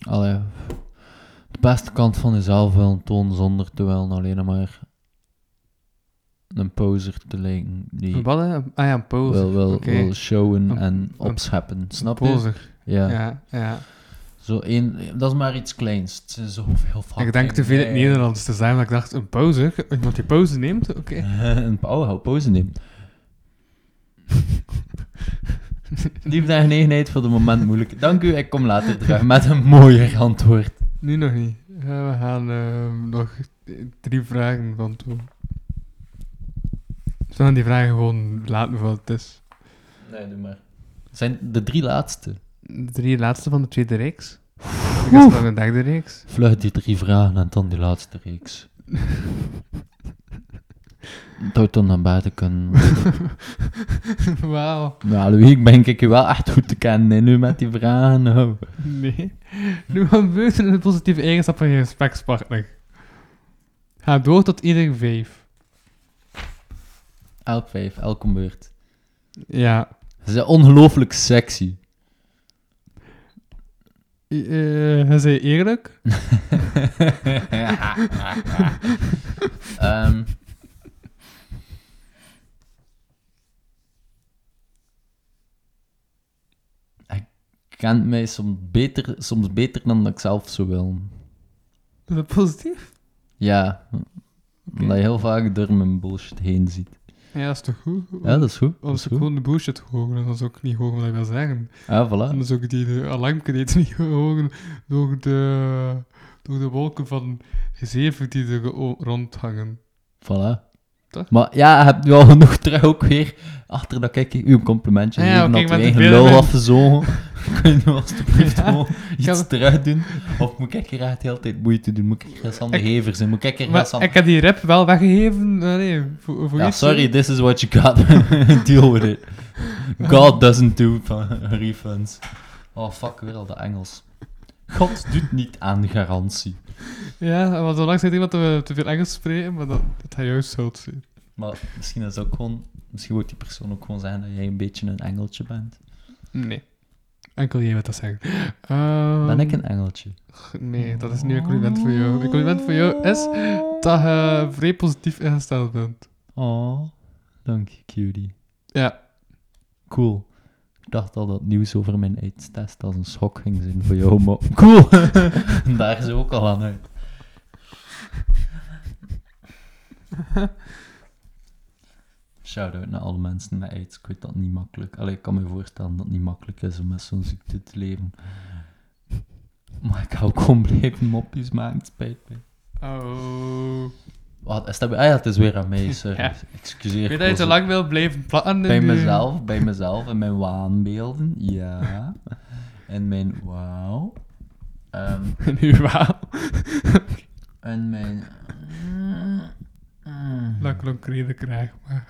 [SPEAKER 4] allee, de beste kant van jezelf willen tonen zonder te willen alleen maar een poser te lijken die
[SPEAKER 3] Wat, hè? Ah ja, een pose.
[SPEAKER 4] wil, wil,
[SPEAKER 3] Oké.
[SPEAKER 4] wil showen
[SPEAKER 3] Een-
[SPEAKER 4] en opscheppen. Snap je?
[SPEAKER 3] Poser.
[SPEAKER 4] Ja.
[SPEAKER 3] Ja, ja.
[SPEAKER 4] Zo één, dat is maar iets kleins. Het is zo heel vaak.
[SPEAKER 3] Ik denk te veel in het Nederlands te zijn, dat ik dacht, een poser? Iemand die pose neemt? Oké.
[SPEAKER 4] Een pauwhouw pose neemt. Liefde en genegenheid voor de moment moeilijk. Dank u, ik kom later terug met een mooier antwoord.
[SPEAKER 3] Nu nog niet. Ja, we gaan ehm, nog drie vragen van toe. Zullen we die vragen gewoon laten voor wat het is?
[SPEAKER 4] Nee, doe maar. Het zijn de drie laatste.
[SPEAKER 3] De drie laatste van de tweede reeks. Ik heb nog een derde reeks.
[SPEAKER 4] Vlug die drie vragen en dan die laatste reeks. Tot dan naar buiten kunnen.
[SPEAKER 3] Wauw.
[SPEAKER 4] Nou, Louis, ik ben ik je wel echt goed te kennen hè, nu met die vragen. nou.
[SPEAKER 3] Nee. Nu wat gebeurt er in de positieve eigenschap van je gesprekspartner? Ga door tot ieder vijf.
[SPEAKER 4] Elk vijf, elke beurt.
[SPEAKER 3] Ja.
[SPEAKER 4] Ze zijn ongelooflijk sexy.
[SPEAKER 3] Eh, Hij zei eerlijk.
[SPEAKER 4] Ehm. Hij kent mij soms beter, soms beter dan dat ik zelf zou willen.
[SPEAKER 3] Is dat positief?
[SPEAKER 4] Ja, omdat je heel vaak door mijn bullshit heen ziet.
[SPEAKER 3] Ja, dat is toch goed?
[SPEAKER 4] Ja, dat is goed. Oh, Dat
[SPEAKER 3] Als
[SPEAKER 4] is
[SPEAKER 3] ik
[SPEAKER 4] goed.
[SPEAKER 3] gewoon de bullshit horen, dan is ook niet horen wat ik wil zeggen.
[SPEAKER 4] Ja, voilà.
[SPEAKER 3] Anders ook die de alarmkreet niet horen door de, door de wolken van gezeven die er o- rondhangen.
[SPEAKER 4] Voilà.
[SPEAKER 3] Toch?
[SPEAKER 4] Maar ja, je hebt nu al genoeg terug ook weer. Achter dat ik u een complimentje
[SPEAKER 3] Ah ja,
[SPEAKER 4] geef,
[SPEAKER 3] oké,
[SPEAKER 4] dat
[SPEAKER 3] ik
[SPEAKER 4] we
[SPEAKER 3] ben
[SPEAKER 4] eigen
[SPEAKER 3] tevreden
[SPEAKER 4] lul
[SPEAKER 3] met-
[SPEAKER 4] afgezogen. Kun je nu alstublieft gewoon iets
[SPEAKER 3] heb-
[SPEAKER 4] terug doen? Of moet ik hier echt heel de tijd moeite doen? Moet ik hier Sander
[SPEAKER 3] Ik-
[SPEAKER 4] Hevers zijn? Moet ik hier
[SPEAKER 3] Maar
[SPEAKER 4] Sander...
[SPEAKER 3] ik heb die rap wel weggegeven. eh, Nee, voor, voor
[SPEAKER 4] Ja,
[SPEAKER 3] iets,
[SPEAKER 4] sorry, this is what you got. Deal with it. God doesn't do refunds. Oh, fuck, weer al de Engels. God doet niet aan garantie.
[SPEAKER 3] Ja, want zo lang zei iemand dat we te veel Engels spreken, maar dat, dat hij juist zult zijn.
[SPEAKER 4] Maar misschien is dat ook gewoon... Misschien wordt die persoon ook gewoon zeggen dat jij een beetje een engeltje bent.
[SPEAKER 3] Nee. Enkel jij wilt dat zeggen. Ehm,
[SPEAKER 4] Ben ik een engeltje?
[SPEAKER 3] Nee, dat is niet een compliment voor jou. Een compliment voor jou is dat je vrij positief ingesteld bent.
[SPEAKER 4] Oh, dank je, cutie.
[SPEAKER 3] Ja.
[SPEAKER 4] Cool. Ik dacht al dat nieuws over mijn AIDS-test als een schok ging zijn voor jou, maar... Cool! Daar is ook al aan uit. Shout-out naar alle mensen met AIDS. Ik weet dat niet makkelijk... Allee, ik kan me voorstellen dat het niet makkelijk is om met zo'n ziekte te leven. Maar ik hou gewoon blijven mopjes maken, het spijt me.
[SPEAKER 3] Oh.
[SPEAKER 4] Wat is dat? bij- Ah ja, het is weer aan mij, sorry.
[SPEAKER 3] Ja.
[SPEAKER 4] Excuseer.
[SPEAKER 3] Ik weet dat je te
[SPEAKER 4] voor-
[SPEAKER 3] lang wil blijven platten. in
[SPEAKER 4] bij
[SPEAKER 3] die-
[SPEAKER 4] mezelf, bij mezelf en mijn waanbeelden, ja. En mijn wauw. Ehm,
[SPEAKER 3] Nu wel.
[SPEAKER 4] en mijn...
[SPEAKER 3] Dat klonk redelijk raar, maar...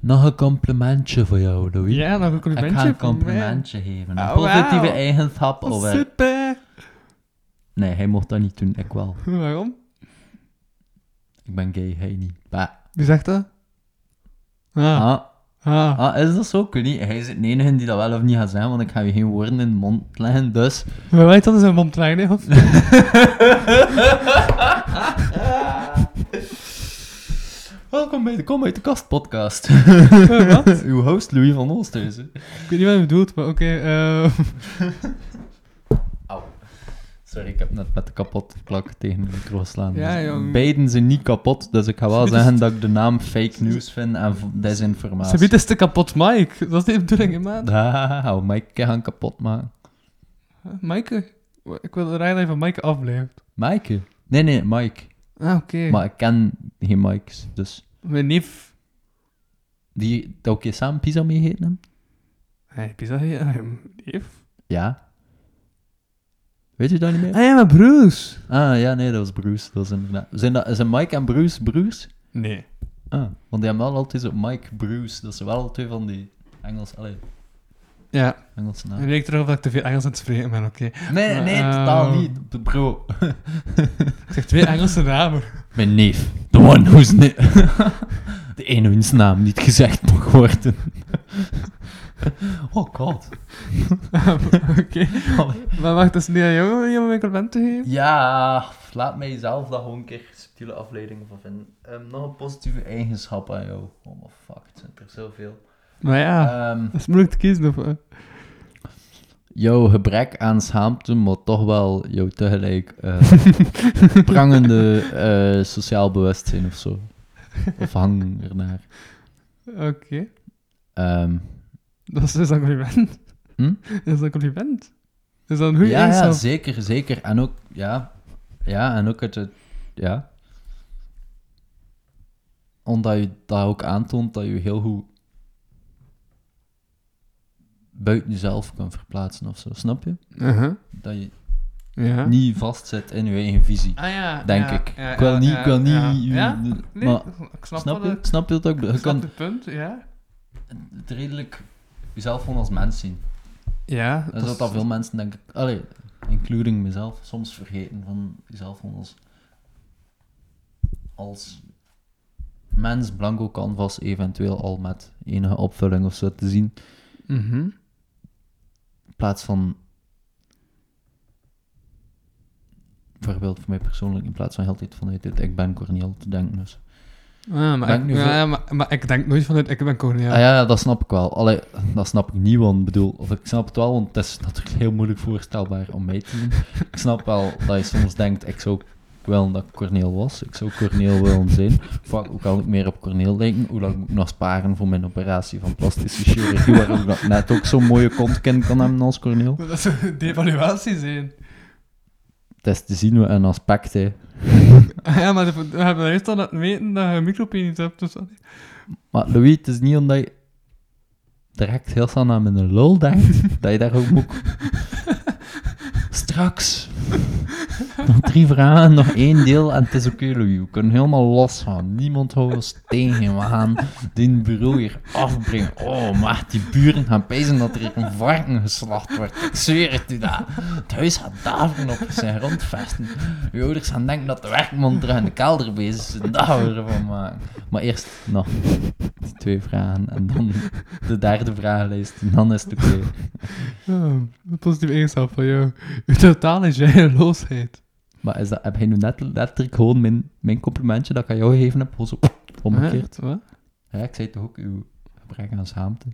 [SPEAKER 4] Nog een complimentje voor jou, Louis.
[SPEAKER 3] Ja, nog een
[SPEAKER 4] Ik
[SPEAKER 3] complimentje
[SPEAKER 4] ga een
[SPEAKER 3] voor mij.
[SPEAKER 4] complimentje geven. Een
[SPEAKER 3] Oh,
[SPEAKER 4] positieve
[SPEAKER 3] wauw.
[SPEAKER 4] eigenschap over...
[SPEAKER 3] Super!
[SPEAKER 4] Nee, hij mocht dat niet doen, ik wel.
[SPEAKER 3] Waarom?
[SPEAKER 4] Ik ben gay, hij niet. Bah.
[SPEAKER 3] Wie zegt dat? Ah,
[SPEAKER 4] Ah,
[SPEAKER 3] ah.
[SPEAKER 4] ah, is dat zo? Ik weet niet. Hij is de enige die dat wel of niet gaat zijn, want ik ga je geen woorden in de mond leggen, dus...
[SPEAKER 3] Maar wij dat is een mond klein, hè, of?
[SPEAKER 4] Welkom bij de Kom uit de Kast podcast.
[SPEAKER 3] Eh, Wat?
[SPEAKER 4] Uw host Louis van Oosthuizen.
[SPEAKER 3] Ik weet niet wat je bedoelt, maar oké. eh,
[SPEAKER 4] Sorry, ik heb net met de kapot klak tegen mijn micro geslaan.
[SPEAKER 3] Ja,
[SPEAKER 4] Dus
[SPEAKER 3] jong.
[SPEAKER 4] Beiden zijn niet kapot, dus ik ga wel
[SPEAKER 3] Ze
[SPEAKER 4] zeggen dat ik de naam fake news vind en v-
[SPEAKER 3] Ze biedt
[SPEAKER 4] desinformatie.
[SPEAKER 3] is te kapot, Mike. Dat is niet de bedoeling, hè, maat.
[SPEAKER 4] Ah, maar ik kan kapot maken.
[SPEAKER 3] Huh, Maaike? Ik wil er eigenlijk van Maaike afblijft.
[SPEAKER 4] Maaike? Nee, nee, Mike.
[SPEAKER 3] Ah, oké.
[SPEAKER 4] Maar ik ken geen Mikes, dus...
[SPEAKER 3] Mijn neef...
[SPEAKER 4] Die, dat ook je samen pizza mee heet hem?
[SPEAKER 3] Hey, pizza hier. eh, mijn neef?
[SPEAKER 4] Ja. Weet je dat niet meer?
[SPEAKER 3] Ah ja, maar Bruce.
[SPEAKER 4] Ah, ja, nee, dat was Bruce. Dat was inderdaad... Zijn, dat, zijn Mike en Bruce broers?
[SPEAKER 3] Nee.
[SPEAKER 4] Ah, want die hebben wel altijd zo Mike, Bruce. Dat zijn wel twee van die Engels, allee,
[SPEAKER 3] Ja,
[SPEAKER 4] Engelse naam.
[SPEAKER 3] ik weet ik erover dat ik te veel Engels aan het spreken ben, oké.
[SPEAKER 4] Nee,
[SPEAKER 3] Maar,
[SPEAKER 4] nee,
[SPEAKER 3] eh,
[SPEAKER 4] totaal niet, bro.
[SPEAKER 3] Ik zeg twee Engelse namen.
[SPEAKER 4] Mijn neef. The one who's... Ne- de ene wiens naam niet gezegd mag worden. oh god.
[SPEAKER 3] oké. Maar wacht, dat is niet aan jou om jou een compliment te geven?
[SPEAKER 4] Ja, laat mij zelf daar gewoon een keer subtiele afleidingen van vinden. Ehm, nog een positieve eigenschap aan jou. Oh my fuck, het zijn er zoveel.
[SPEAKER 3] Maar ja,
[SPEAKER 4] Ehm,
[SPEAKER 3] dat is moeilijk te kiezen. Of, eh.
[SPEAKER 4] jouw gebrek aan schaamte, maar toch wel jouw tegelijk eh, prangende eh, sociaal bewustzijn of zo. Of hang ernaar.
[SPEAKER 3] Oké,
[SPEAKER 4] Ehm,
[SPEAKER 3] dat is dus een compliment.
[SPEAKER 4] Hm?
[SPEAKER 3] Dat is een compliment. Is dat een goede
[SPEAKER 4] ja, ja,
[SPEAKER 3] eigenschap?
[SPEAKER 4] zeker, zeker. En ook, ja, ja, en ook uit het, ja. Omdat je daar ook aantoont dat je heel goed buiten jezelf kan verplaatsen of zo, snap je?
[SPEAKER 3] Uh-huh.
[SPEAKER 4] Dat je
[SPEAKER 3] Ja.
[SPEAKER 4] niet vastzit in je eigen visie,
[SPEAKER 3] Ah ja.
[SPEAKER 4] denk
[SPEAKER 3] ja,
[SPEAKER 4] ik.
[SPEAKER 3] ja,
[SPEAKER 4] ik wil
[SPEAKER 3] ja,
[SPEAKER 4] niet,
[SPEAKER 3] ja,
[SPEAKER 4] ik wil niet...
[SPEAKER 3] Ja?
[SPEAKER 4] je-
[SPEAKER 3] Ja?
[SPEAKER 4] de-
[SPEAKER 3] Nee,
[SPEAKER 4] maar,
[SPEAKER 3] ik snap,
[SPEAKER 4] snap
[SPEAKER 3] wel
[SPEAKER 4] je?
[SPEAKER 3] dat-
[SPEAKER 4] Snap je dat ook? Je
[SPEAKER 3] ik snap
[SPEAKER 4] kan
[SPEAKER 3] het punt, ja.
[SPEAKER 4] het redelijk jezelf gewoon als mens zien.
[SPEAKER 3] Ja.
[SPEAKER 4] Dat is wat dat veel mensen, denk ik, allee, including mezelf, soms vergeten van jezelf gewoon als, als mens blanco canvas eventueel al met enige opvulling of zo te zien,
[SPEAKER 3] Mhm.
[SPEAKER 4] in plaats van bijvoorbeeld voor mij persoonlijk, in plaats van heel de tijd vanuit dit ik ben Cornel te denken. Dus.
[SPEAKER 3] Ah, maar,
[SPEAKER 4] Denk
[SPEAKER 3] ik,
[SPEAKER 4] nu
[SPEAKER 3] ja,
[SPEAKER 4] veel-
[SPEAKER 3] ja, maar, maar ik denk nooit vanuit ik ben Cornel.
[SPEAKER 4] Ah ja, dat snap ik wel. Allee, dat snap ik niet, want ik bedoel, of ik snap het wel, want het is natuurlijk heel moeilijk voorstelbaar om mee te doen. Ik snap wel dat je soms denkt, ik zou wel dat ik Corneel was. Ik zou Corneel willen zijn. Fuck, hoe kan ik meer op Corneel lijken? Hoe lang moet ik nog sparen voor mijn operatie van plastische chirurgie, waar ik nog net ook zo'n mooie kontkin kan hebben als Corneel?
[SPEAKER 3] Dat zou een devaluatie zijn.
[SPEAKER 4] Het is te zien we een aspect, hè.
[SPEAKER 3] Ah ja, maar de- we hebben eerst al laten weten dat je een micropenis hebt. Dus... dat-
[SPEAKER 4] Maar Louis, het is niet omdat je direct heel snel naar mijn lul denkt, dat je daar ook moet... Straks. Nog drie vragen, nog één deel en het is oké, Louis. We kunnen helemaal los gaan. Niemand houdt ons tegen. We gaan dit bureau hier afbrengen. Oh, maar die buren gaan pezen dat er hier een varken geslacht wordt. Ik zweer het u dat. Het huis gaat daveren op zijn grondvesten. Uw ouders gaan denken dat de werkman er in de kelder bezig is. Daar houden we ervan maken. Maar eerst nou. nog die twee vragen en dan de derde vragenlijst. En dan is het oké.
[SPEAKER 3] Ja, een positieve eigenschap van jou. Je totale geloosheid.
[SPEAKER 4] Maar is dat, heb jij nu net letterlijk gewoon mijn, mijn complimentje dat ik aan jou gegeven heb, gewoon zo omgekeerd?
[SPEAKER 3] Hè? Wat?
[SPEAKER 4] Ja, ik zei toch ook uw gebrek aan schaamte.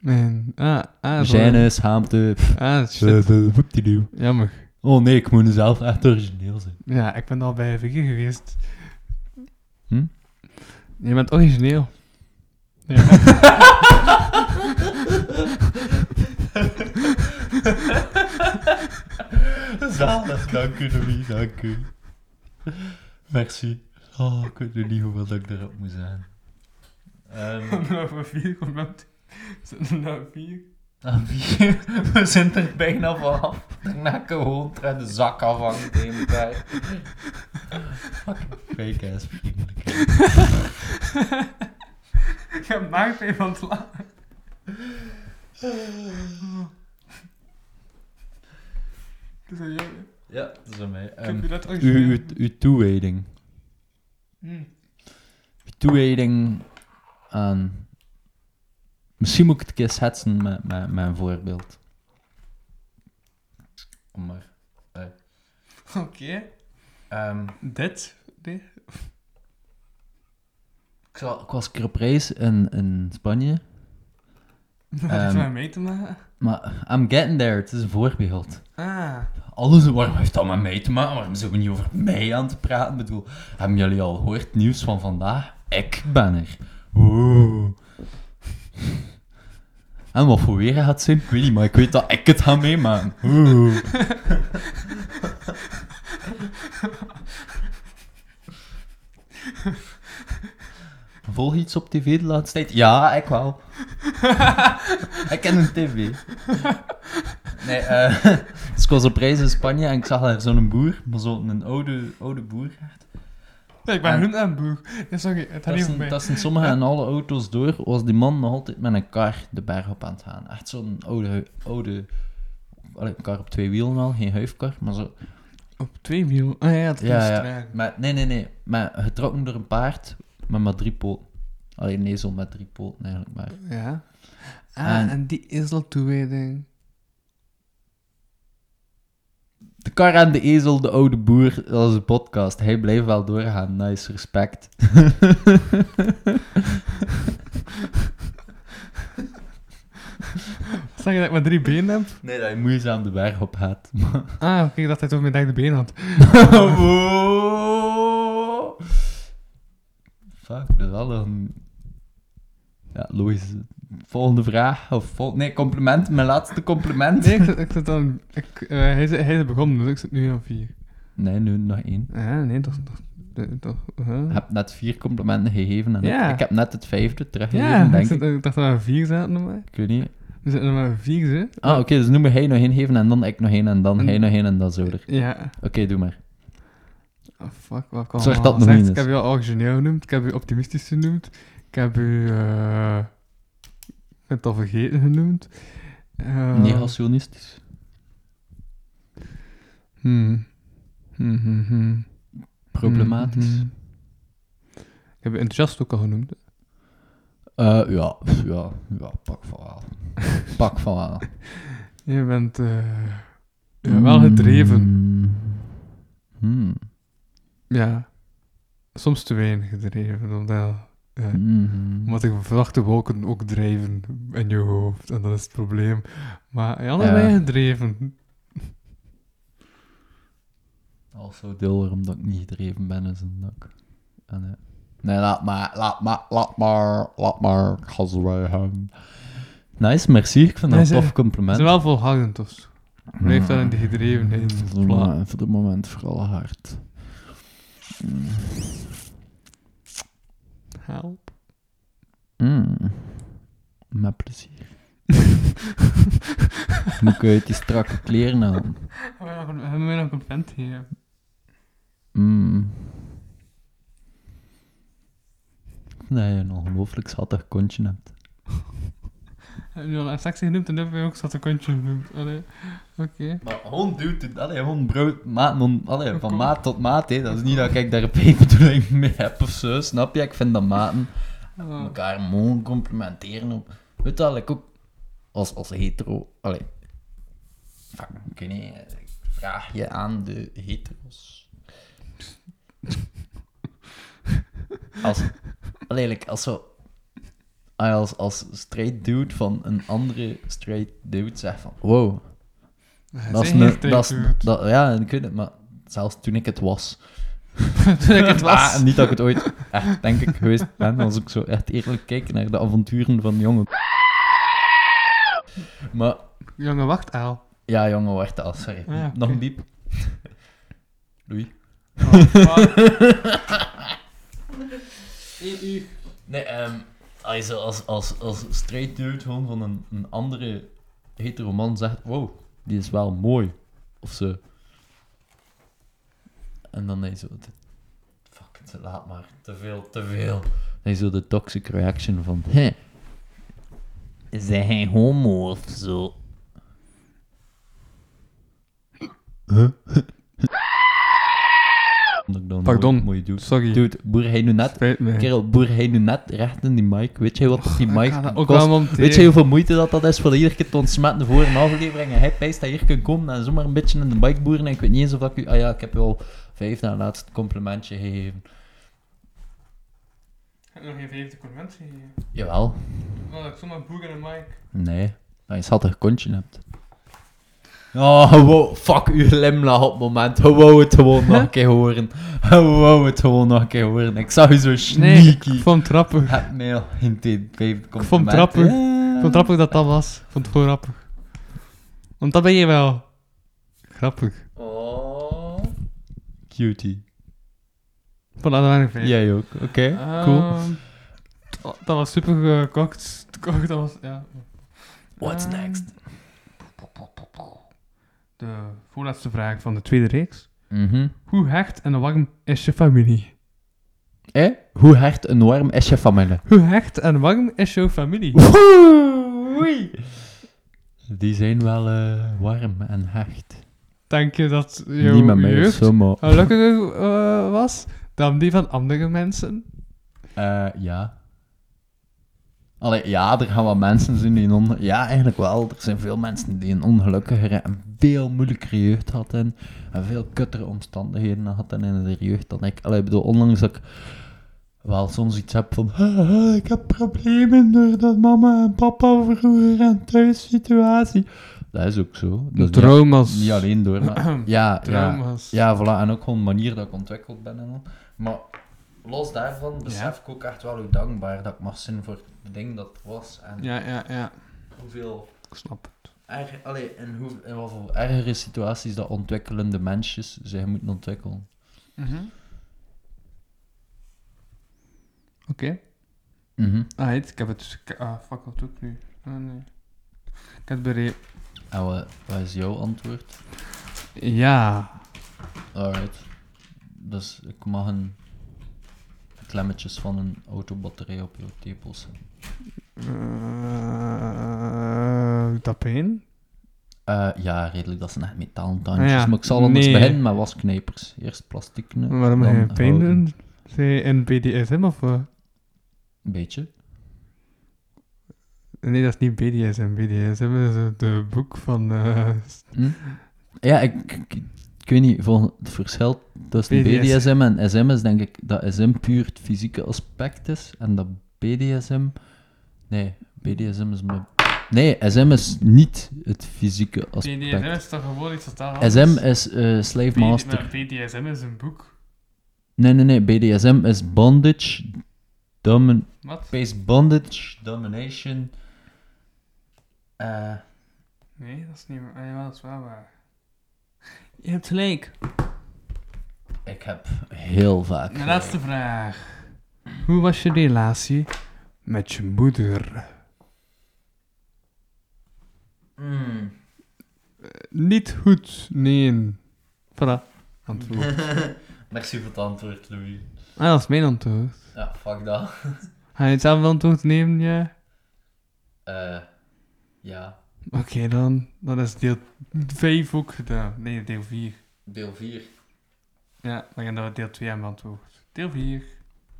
[SPEAKER 3] Nee. Ah, ah, zo.
[SPEAKER 4] Gêne, schaamte. pff,
[SPEAKER 3] Ah, shit.
[SPEAKER 4] eh, eh, woepdiedoe.
[SPEAKER 3] Jammer.
[SPEAKER 4] Oh nee, ik moet zelf echt origineel zijn.
[SPEAKER 3] Ja, ik ben al bij Vicky geweest.
[SPEAKER 4] Hm?
[SPEAKER 3] Je bent origineel. Ja.
[SPEAKER 4] Zalig, dank u Louis, dank u. Merci. Oh, ik weet nu niet hoeveel dat ik erop moet zijn. Ehm,
[SPEAKER 3] Over vier complimenten. Zitten er nou vier?
[SPEAKER 4] aan wie? Ah, We zijn er bijna vanaf. Daarna kan ik gewoon er uit de zak afhangen tegen elkaar. Fucking fake ass vriendelijkheid.
[SPEAKER 3] Je maakt mij van het lachen. Ah. Dus ja,
[SPEAKER 4] Ja, dat is aan mij.
[SPEAKER 3] ik
[SPEAKER 4] Ehm,
[SPEAKER 3] heb je dat
[SPEAKER 4] Uw,
[SPEAKER 3] origineel.
[SPEAKER 4] uw, uw toewijding.
[SPEAKER 3] Hm.
[SPEAKER 4] Uw toewijding aan... Misschien moet ik het een keer schetsen met, met, met een voorbeeld. Om maar...
[SPEAKER 3] Oké.
[SPEAKER 4] Ehm,
[SPEAKER 3] Dit? Nee.
[SPEAKER 4] ik, zal- ik was een keer op reis in, in Spanje.
[SPEAKER 3] Wat heeft
[SPEAKER 4] Ehm.
[SPEAKER 3] dat mee te maken?
[SPEAKER 4] Maar I'm getting there, het is een voorbeeld.
[SPEAKER 3] Ah.
[SPEAKER 4] Alles, waarom heeft dat met mij te maken? Waarom zijn we niet over mij aan te praten? Ik bedoel, hebben jullie al gehoord het nieuws van vandaag? Ik ben er. Oeh. En wat voor weer gaat zijn, ik weet niet, maar ik weet dat ik het ga meemaken. Oeh. Volg je iets op tv de laatste tijd? Ja, ik wel. ik ken een tv. Nee, eh, dus ik was op reis in Spanje en ik zag daar zo'n boer, maar zo'n een oude, oude boer.
[SPEAKER 3] Ik ben groen en boer. Ja, sorry, het gaat niet over mij.
[SPEAKER 4] Dat zijn sommige en alle auto's door, was die man nog altijd met een kar de berg op aan het gaan. Echt zo'n oude, oude allee, een kar op twee wielen al, geen huifkar, maar zo.
[SPEAKER 3] Op twee wiel. Ah ja, het is
[SPEAKER 4] Ja, ja.
[SPEAKER 3] traag.
[SPEAKER 4] Maar, nee, nee, nee. Maar getrokken door een paard, maar met drie poten. Alleen nee, zo met drie poten eigenlijk maar.
[SPEAKER 3] Ja. Ah, en,
[SPEAKER 4] En-
[SPEAKER 3] die is al toewijding.
[SPEAKER 4] De kar aan de ezel, de oude boer, dat is een podcast. Hij blijft wel doorgaan. Nice, respect.
[SPEAKER 3] Zeg je dat ik maar drie benen heb?
[SPEAKER 4] Nee, dat je moeizaam de berg op gaat.
[SPEAKER 3] Ah, oké, dat hij toch mijn derde been had.
[SPEAKER 4] Oh. Fuck, dat is wel een... Ja, logisch. Volgende vraag. Of vol... Nee, compliment. Mijn laatste compliment.
[SPEAKER 3] Nee, ik zit, ik zit dan... Ik, eh, hij, is, hij is begonnen, dus ik zit nu aan vier.
[SPEAKER 4] Nee, nu nog één.
[SPEAKER 3] Ja, nee, toch... toch, eh, toch
[SPEAKER 4] Ik
[SPEAKER 3] huh?
[SPEAKER 4] heb net vier complimenten gegeven. En
[SPEAKER 3] Ja.
[SPEAKER 4] Ik heb net het vijfde teruggegeven,
[SPEAKER 3] Ja, ik,
[SPEAKER 4] denk
[SPEAKER 3] zit,
[SPEAKER 4] ik.
[SPEAKER 3] ik dacht dat we aan vier zaten, maar...
[SPEAKER 4] Ik weet niet.
[SPEAKER 3] We zitten nog maar aan vier, hè?
[SPEAKER 4] Ah, oké. dus nu moet hij nog één geven en dan ik nog één en dan
[SPEAKER 3] En-
[SPEAKER 4] hij nog één en dan zo er.
[SPEAKER 3] Ja.
[SPEAKER 4] Oké, doe maar.
[SPEAKER 3] Oh, fuck, wat kan
[SPEAKER 4] Zorg dat nog niet
[SPEAKER 3] Ik
[SPEAKER 4] is.
[SPEAKER 3] heb je al origineel genoemd, ik heb je optimistisch genoemd, ik heb je... eh ik ben het al vergeten genoemd. Eh,
[SPEAKER 4] Negationistisch.
[SPEAKER 3] hmm. Hmm, hmm, hmm.
[SPEAKER 4] Problematisch.
[SPEAKER 3] Mhm. Ik heb je enthousiast ook al genoemd. hè?
[SPEAKER 4] Eh, ja, pff, ja, ja, pak van wel. pak van wel.
[SPEAKER 3] Je bent eh, ja,
[SPEAKER 4] Mm.
[SPEAKER 3] wel gedreven.
[SPEAKER 4] Hmm.
[SPEAKER 3] Ja. Soms te weinig gedreven, omdat, ja,
[SPEAKER 4] Mhm.
[SPEAKER 3] omdat ik verwachte wolken ook drijven in je hoofd. En dat is het probleem. Maar ja, dan
[SPEAKER 4] Ja.
[SPEAKER 3] ben je gedreven.
[SPEAKER 4] Al zo deel waarom dat ik niet gedreven ben, is een dak. En, eh, nee, laat maar, laat maar, laat maar, laat maar. Ik ga zo bij hem. Nice, merci. Ik vind dat
[SPEAKER 3] Nee,
[SPEAKER 4] een
[SPEAKER 3] ze-
[SPEAKER 4] tof
[SPEAKER 3] Het
[SPEAKER 4] compliment.
[SPEAKER 3] is wel volhardend of zo. Blijf dan in die gedrevenheid.
[SPEAKER 4] Voor de
[SPEAKER 3] Voilà.
[SPEAKER 4] mo- Voor het Hmm. moment vooral hard. Mm.
[SPEAKER 3] Help.
[SPEAKER 4] Mm. Met plezier. Moet ik uit die strakke kleren halen.
[SPEAKER 3] We hebben mij nog een vent hier.
[SPEAKER 4] Mm. Nee, een ongelooflijk schattig kontje hebt.
[SPEAKER 3] Heb je al een sexy genoemd en heb je ook zat een kontje genoemd. Allee. Oké.
[SPEAKER 4] Maar gewoon duwt het. Allee, gewoon brood. Maat, non, allee, van
[SPEAKER 3] Kom.
[SPEAKER 4] maat tot maat. Hè. Dat is niet dat ik daar een pijpbedoeling mee heb of zo. Snap je? Ik vind dat maten
[SPEAKER 3] Ah.
[SPEAKER 4] elkaar mogen complimenteren. Op. Weet je wel, ik ook als, als hetero. Allee. Fuck, ik weet niet. Ik vraag je aan de hetero's. Als, allee, like, als zo. ah, Als, als straight dude van een andere straight dude zegt van... Wow,
[SPEAKER 3] Hij
[SPEAKER 4] dat is
[SPEAKER 3] zei
[SPEAKER 4] een...
[SPEAKER 3] geen
[SPEAKER 4] Dat is,
[SPEAKER 3] stripdude.
[SPEAKER 4] dat, ja, ik weet het, maar zelfs toen ik het was.
[SPEAKER 3] Toen ik het was.
[SPEAKER 4] Ah, niet dat ik het ooit echt, denk ik, geweest ben, als ik zo echt eerlijk kijk naar de avonturen van jongen. Maar,
[SPEAKER 3] Jongen, wacht al.
[SPEAKER 4] ja, jongen, wacht al, sorry.
[SPEAKER 3] Ah, oké.
[SPEAKER 4] Nog een diep. Doei. Nee, ehm als, als, als, als straight dude gewoon van een, een andere hetero man zegt, wow, die is wel mooi, of zo. En dan nee, zo, de- fuck, te laat maar, te veel, te veel. Nee, zo de toxic reaction van, hè, is hij homo of zo? Huh?
[SPEAKER 3] Pardon.
[SPEAKER 4] Moet je doen.
[SPEAKER 3] Sorry.
[SPEAKER 4] Dude, boer hij nu net
[SPEAKER 3] Spijt me.
[SPEAKER 4] Kerel, boer hij nu net recht in die mic. Weet jij wat die mic
[SPEAKER 3] ga dat ook wel
[SPEAKER 4] kost?
[SPEAKER 3] monteren.
[SPEAKER 4] Weet jij hoeveel moeite dat, dat is voor iedere keer te ontsmetten voor een aflevering? En hij pijst dat hier kan komen en zomaar een beetje in de mic boeren. En ik weet niet eens of dat ik u... Ah ja, ik heb u al vijf na laatst complimentje gegeven.
[SPEAKER 3] Ik heb nog geen vijfde conventie hier.
[SPEAKER 4] Jawel.
[SPEAKER 3] Oh, ik zomaar boek en een mic.
[SPEAKER 4] Nee. Dat je een schattig kontje hebt. Oh, wow. Fuck uw glimlach op het moment. Hij wou het gewoon nog een keer horen. Hij wou het gewoon nog een keer horen. Ik zag u zo
[SPEAKER 3] Nee, ik
[SPEAKER 4] sneaky.
[SPEAKER 3] vond het grappig. Ik
[SPEAKER 4] Heb mij al geen tweede compliment.
[SPEAKER 3] vond het grappig. vond het grappig dat dat was. Ik vond het gewoon grappig. Want dat ben je wel. Grappig.
[SPEAKER 4] Oh. Cutie.
[SPEAKER 3] Ik vond dat weinig vijf.
[SPEAKER 4] Jij ook, oké. Cool.
[SPEAKER 3] Ehm, t- Dat was super gekocht. Gekocht, Dat was, ja.
[SPEAKER 4] What's
[SPEAKER 3] Ehm,
[SPEAKER 4] next?
[SPEAKER 3] De voorlaatste vraag van de tweede reeks.
[SPEAKER 4] Mhm.
[SPEAKER 3] Hoe hecht en warm is je familie?
[SPEAKER 7] Hè? Eh, Hoe hard en warm is je familie?
[SPEAKER 3] Hoe hecht en warm is jouw familie?
[SPEAKER 7] Die zijn wel eh, warm en hard.
[SPEAKER 3] Denk je dat jouw
[SPEAKER 7] Niet met mij,
[SPEAKER 3] jeugd
[SPEAKER 7] zomaar.
[SPEAKER 3] gelukkiger eh, was dan die van andere mensen?
[SPEAKER 7] Eh, ja. Allee, ja, er gaan wel mensen zijn die een on... Ja, eigenlijk wel. Er zijn veel mensen die een ongelukkigere en veel moeilijkere jeugd hadden. En veel kuttere omstandigheden hadden in de jeugd dan ik. Allee, ik bedoel, ondanks dat ik wel soms iets heb van... "Ah, ah, ik heb problemen door dat mama en papa vroeger en thuissituatie. Dat is ook zo. Dat is niet-
[SPEAKER 3] Traumas.
[SPEAKER 7] Niet alleen door, maar... Ja, ja.
[SPEAKER 3] Trauma's.
[SPEAKER 7] Ja, voilà. En ook gewoon de manier dat ik ontwikkeld ben en al. Maar los daarvan besef ik ook echt wel hoe dankbaar dat ik mag zijn voor het ding dat het was. En
[SPEAKER 3] Ja, ja, ja.
[SPEAKER 7] hoeveel
[SPEAKER 3] Ik snap het.
[SPEAKER 7] erger, allee, in, hoe, in wat voor ergere situaties dat ontwikkelende mensjes zich moeten ontwikkelen.
[SPEAKER 3] Mhm. Oké.
[SPEAKER 7] Mhm.
[SPEAKER 3] Ah, heet, ik heb het... ik- Ah, fuck, wat doe ik nu? Ah, nee. Ik heb het bereid.
[SPEAKER 7] En wat, wat is jouw antwoord?
[SPEAKER 3] Ja.
[SPEAKER 7] Alright. Dus ik mag een klemmetjes van een autobatterij op jouw tepels hebben.
[SPEAKER 3] Eh, Doet dat pijn?
[SPEAKER 7] Eh, ja, redelijk, dat zijn echt metalen tandjes.
[SPEAKER 3] Ah ja,
[SPEAKER 7] Maar ik zal anders
[SPEAKER 3] nee.
[SPEAKER 7] beginnen met wasknijpers. Eerst plastic knijpen.
[SPEAKER 3] Waarom ga
[SPEAKER 7] dan
[SPEAKER 3] je pijn
[SPEAKER 7] houden.
[SPEAKER 3] doen? Zij in BDSM of... eh? wat?
[SPEAKER 7] Een beetje.
[SPEAKER 3] Nee, dat is niet BDSM. BDSM is het eh, boek van eh,
[SPEAKER 7] Ja, ik, ik, ik weet niet, volgens het verschil tussen
[SPEAKER 3] BDSM.
[SPEAKER 7] BDSM. en SM is denk ik dat SM puur het fysieke aspect is en dat BDSM... Nee, BDSM is... maar- Nee, SM is niet het fysieke
[SPEAKER 3] BDSM
[SPEAKER 7] aspect.
[SPEAKER 3] is toch gewoon iets totaal
[SPEAKER 7] SM is eh slave master.
[SPEAKER 3] BDSM is een boek.
[SPEAKER 7] Nee, nee, nee, BDSM is bondage, domin
[SPEAKER 3] Wat?
[SPEAKER 7] Space Bondage, Domination. Eh,
[SPEAKER 3] Nee, dat is niet waar. Ah, Ja, dat is wel waar. Je hebt gelijk.
[SPEAKER 7] ik heb heel vaak.
[SPEAKER 3] Mijn laatste vraag. Hoe was je relatie met je moeder?
[SPEAKER 7] Mm.
[SPEAKER 3] Niet goed, nee. Voilà, Ah, antwoord.
[SPEAKER 7] Merci voor het antwoord, Louis.
[SPEAKER 3] ah, dat is mijn antwoord.
[SPEAKER 7] Ja, fuck dat.
[SPEAKER 3] Ga je het zelf wel antwoord nemen, ja?
[SPEAKER 7] Eh, ja,
[SPEAKER 3] Oké, dan. Dan is deel 5 ook gedaan. Nee, deel 4.
[SPEAKER 7] deel 4.
[SPEAKER 3] Ja, dan gaan we deel 2 aan beantwoord. Deel 4.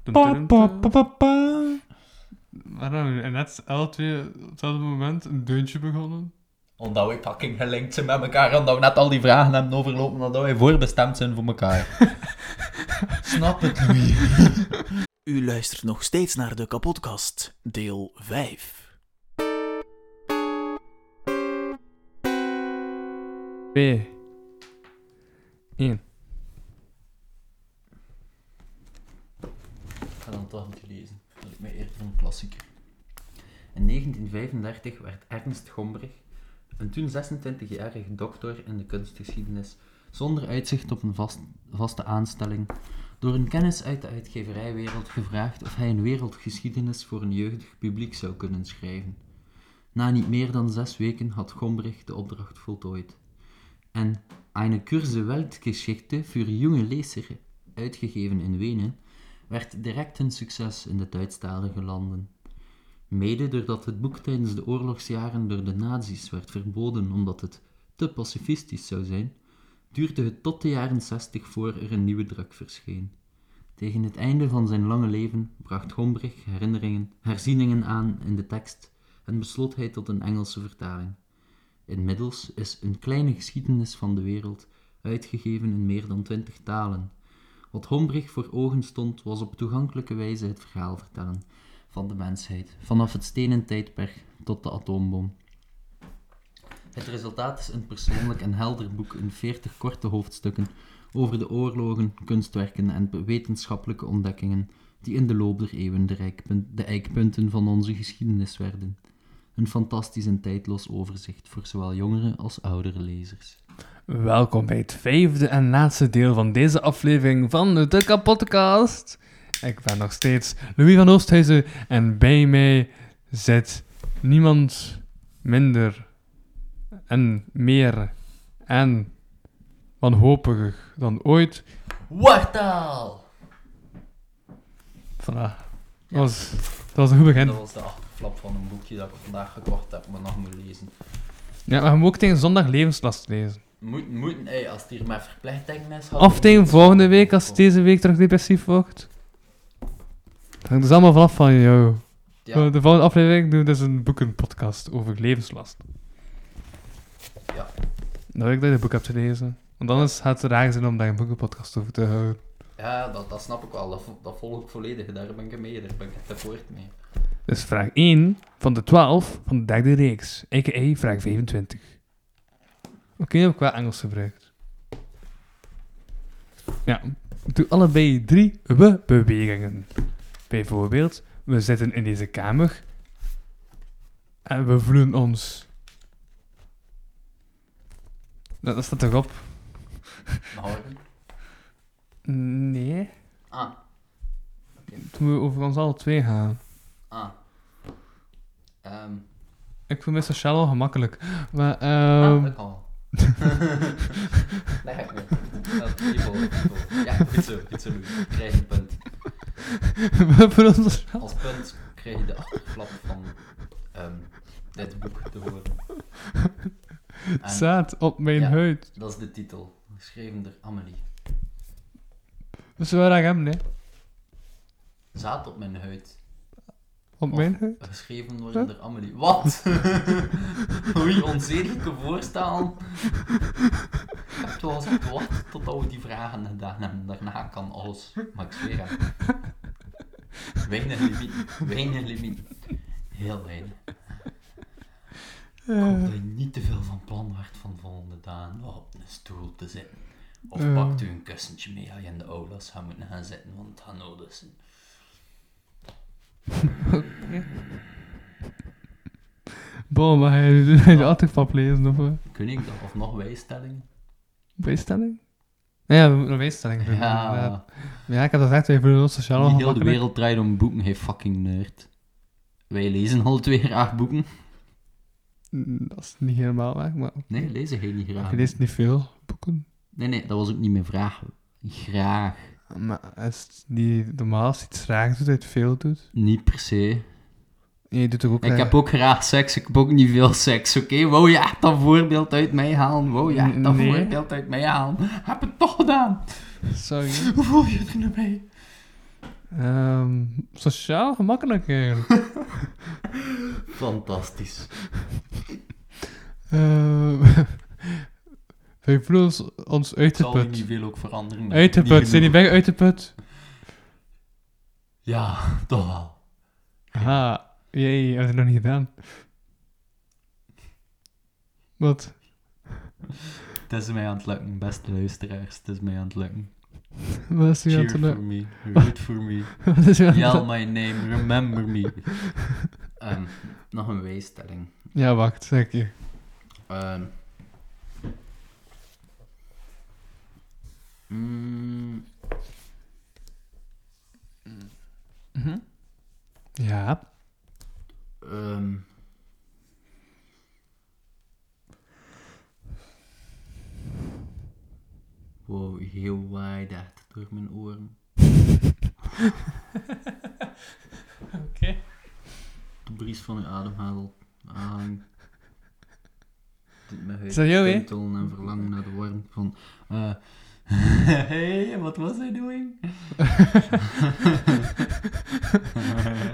[SPEAKER 3] Waarom? En net alle twee op hetzelfde moment een deuntje begonnen.
[SPEAKER 7] Omdat wij fucking gelinkt zijn met elkaar. Omdat we net al die vragen hebben overlopen. Omdat wij voorbestemd zijn voor elkaar. Snap het, Louis.
[SPEAKER 12] U luistert nog steeds naar de kapotkast, deel 5.
[SPEAKER 3] Twee. Eén.
[SPEAKER 7] Ik ga dan toch moeten lezen. Dat ik mij eerder een klassieker. In 1935 werd Ernst Gombrich, een toen 26-jarig doctor in de kunstgeschiedenis, zonder uitzicht op een vast- vaste aanstelling, door een kennis uit de uitgeverijwereld gevraagd of hij een wereldgeschiedenis voor een jeugdig publiek zou kunnen schrijven. Na niet meer dan zes weken had Gombrich de opdracht voltooid. En Eine Kurse Weltgeschichte für junge Lezer, uitgegeven in Wenen, werd direct een succes in de Duitsstalige landen. Mede doordat het boek tijdens de oorlogsjaren door de nazi's werd verboden omdat het te pacifistisch zou zijn, duurde het tot de jaren 60 voor er een nieuwe druk verscheen. Tegen het einde van zijn lange leven bracht Gombrich herinneringen, herzieningen aan in de tekst en besloot hij tot een Engelse vertaling. Inmiddels is een kleine geschiedenis van de wereld uitgegeven in meer dan twintig talen. Wat Hombrich voor ogen stond, was op toegankelijke wijze het verhaal vertellen van de mensheid, vanaf het stenen tijdperk tot de atoombom. Het resultaat is een persoonlijk en helder boek in 40 korte hoofdstukken over de oorlogen, kunstwerken en be- wetenschappelijke ontdekkingen die in de loop der eeuwen de, rijkpun- de eikpunten van onze geschiedenis werden. Een fantastisch en tijdloos overzicht voor zowel jongere als oudere lezers.
[SPEAKER 3] Welkom bij het vijfde en laatste deel van deze aflevering van de Kapotcast. Ik ben nog steeds Louis van Oosthuizen en bij mij zit niemand minder en meer en wanhopiger dan ooit.
[SPEAKER 7] Wartaal!
[SPEAKER 3] vandaag. Dat was, dat was een goed begin.
[SPEAKER 7] Dat was de achterflap van een boekje dat ik vandaag gekocht heb, maar nog moet lezen.
[SPEAKER 3] Ja, maar je moet ook tegen zondag levenslast lezen.
[SPEAKER 7] Moeten, moeten, ey, als het hier met verplichtingen is... had
[SPEAKER 3] Of
[SPEAKER 7] ik-
[SPEAKER 3] tegen volgende week, als het deze week terug depressief wordt. Dat hangt dus allemaal vanaf van jou.
[SPEAKER 7] Ja.
[SPEAKER 3] Eh, De volgende aflevering doen we dus een boekenpodcast over levenslast.
[SPEAKER 7] Ja.
[SPEAKER 3] Dat weet ik dat je een boek hebt gelezen. Want anders gaat het raar zijn om daar een boekenpodcast over te houden.
[SPEAKER 7] Ja, dat, dat snap ik wel. Dat, vo- dat volg ik volledig. Daar ben ik mee. Daar ben ik echt akkoord mee.
[SPEAKER 3] Dus vraag 1 van de 12 van de derde reeks, a.k.a. vraag 25. Oké, heb ik wel Engels gebruikt. Ja, doe allebei drie we-bewegingen. Bijvoorbeeld, we zitten in deze kamer en we voelen ons. Nou, Dat, dat staat toch op?
[SPEAKER 7] Houden.
[SPEAKER 3] Nee,
[SPEAKER 7] Ah,
[SPEAKER 3] toen moeten we over ons alle twee gaan.
[SPEAKER 7] ah. Ehm
[SPEAKER 3] Ik voel me sociaal al gemakkelijk. Maar,
[SPEAKER 7] ah,
[SPEAKER 3] ehm
[SPEAKER 7] dat kan. Leg ik me. Dat die volgende, die volgende. Ja, goed zo. Goed zo, Louis. Krijg je een punt.
[SPEAKER 3] we voelen ons sociaal
[SPEAKER 7] Als punt krijg je de achterflap van ehm, dit boek te horen. En
[SPEAKER 3] Zaad op mijn
[SPEAKER 7] Ja.
[SPEAKER 3] huid.
[SPEAKER 7] dat is de titel. Geschreven door Amelie.
[SPEAKER 3] Dat is wel aan hem, hè?
[SPEAKER 7] Zaad op mijn huid.
[SPEAKER 3] Op
[SPEAKER 7] Of-
[SPEAKER 3] mijn huid.
[SPEAKER 7] Geschreven worden door Amelie. Wat? Oei, onzedelijke voorstaan. Ik heb wel gezegd, wat? Totdat we die vragen gedaan hebben. Daarna kan alles. Maar ik zweer hem. Weinig limiet. Weinig limiet. Heel weinig. Ik hoop dat je niet te veel van plan werd van volgende dagen nog op een stoel te zitten. Of
[SPEAKER 3] Eh.
[SPEAKER 7] pakt u een kussentje mee als je in de aulas gaat moeten gaan zitten, want het gaat nodig zijn.
[SPEAKER 3] Boom, maar hij doet hij de achterpap lezen of een
[SPEAKER 7] Kun ik dat? Of nog wijsstellingen?
[SPEAKER 3] bijstelling? Ja, we moeten een bijstelling doen.
[SPEAKER 7] Ja.
[SPEAKER 3] inderdaad. ja, ik heb dat gezegd, wij voelen ons sociaal
[SPEAKER 7] Niet heel de
[SPEAKER 3] ongemakkelijk.
[SPEAKER 7] wereld draait om boeken, hey fucking nerd. Wij lezen al twee graag boeken.
[SPEAKER 3] Mm, Dat is niet helemaal waar, maar
[SPEAKER 7] Nee, lezen heel niet graag.
[SPEAKER 3] je leest niet veel boeken.
[SPEAKER 7] Nee, nee, dat was ook niet mijn vraag. Graag.
[SPEAKER 3] Maar als het niet normaal als je iets raar doet, dat je het veel doet.
[SPEAKER 7] Niet per se.
[SPEAKER 3] En je doet toch ook...
[SPEAKER 7] Ik
[SPEAKER 3] eh,
[SPEAKER 7] heb ook graag seks, ik heb ook niet veel seks, oké? Wou je echt dat voorbeeld uit mij halen? Wou je echt dat
[SPEAKER 3] Nee.
[SPEAKER 7] voorbeeld uit mij halen? Heb het toch gedaan?
[SPEAKER 3] Sorry.
[SPEAKER 7] Hoe voel je je erbij?
[SPEAKER 3] Ehm, sociaal gemakkelijk, eigenlijk.
[SPEAKER 7] Fantastisch.
[SPEAKER 3] Ehm, wij voelen ons, ons uit de
[SPEAKER 7] Zal er
[SPEAKER 3] put.
[SPEAKER 7] niet veel ook veranderen? maar
[SPEAKER 3] Uit de
[SPEAKER 7] niet
[SPEAKER 3] put, zijn die
[SPEAKER 7] genoeg.
[SPEAKER 3] weg uit de put?
[SPEAKER 7] Ja, toch wel.
[SPEAKER 3] Aha, jee, hebben we het nog niet gedaan. Wat?
[SPEAKER 7] Het is mij aan het lukken, beste luisteraars. Het is mij aan het lukken.
[SPEAKER 3] Wat is hier aan het
[SPEAKER 7] Cheer for
[SPEAKER 3] doen?
[SPEAKER 7] me, root for me.
[SPEAKER 3] Wat is hier aan het
[SPEAKER 7] Yell
[SPEAKER 3] doen?
[SPEAKER 7] my name, remember me. Ehm, nog een wijsstelling.
[SPEAKER 3] Ja, wacht, zeg je.
[SPEAKER 7] Ehm. Mm,
[SPEAKER 3] Ja.
[SPEAKER 7] ehm. Wow, heel waait echt door mijn oren.
[SPEAKER 3] Oké.
[SPEAKER 7] De bries van uw ademhaal aan. Doet me huid
[SPEAKER 3] Is dat jou, hè?
[SPEAKER 7] tintelen en verlangen naar de warmte van... eh hey, wat was I doing?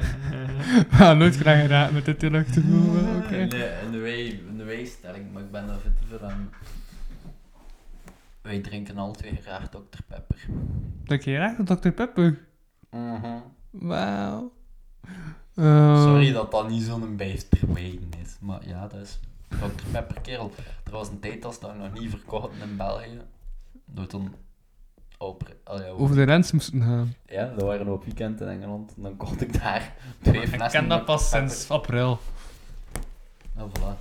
[SPEAKER 3] Ah, nooit graag geraakt met dit heel erg te voelen. Oké.
[SPEAKER 7] Nee, in de wij- in de wijstelling, maar ik ben daar fit voor aan. Wij drinken al twee graag Dr. Pepper.
[SPEAKER 3] Dank je graag, Dr. Pepper.
[SPEAKER 7] Mhm.
[SPEAKER 3] Wauw. Ehm,
[SPEAKER 7] Sorry dat dat niet zo'n bijstermijn is, maar ja, dat is Dr. Pepper, kerel. Er was een tijd dat ze dat nog niet verkochten in België. Door toen... Over, allee, over-
[SPEAKER 3] Over de rens moesten Nou. gaan.
[SPEAKER 7] Ja, dat waren we op weekend in Engeland. En dan kocht ik daar twee flessen. Dr. Pepper.
[SPEAKER 3] april.
[SPEAKER 7] Nou, voilà.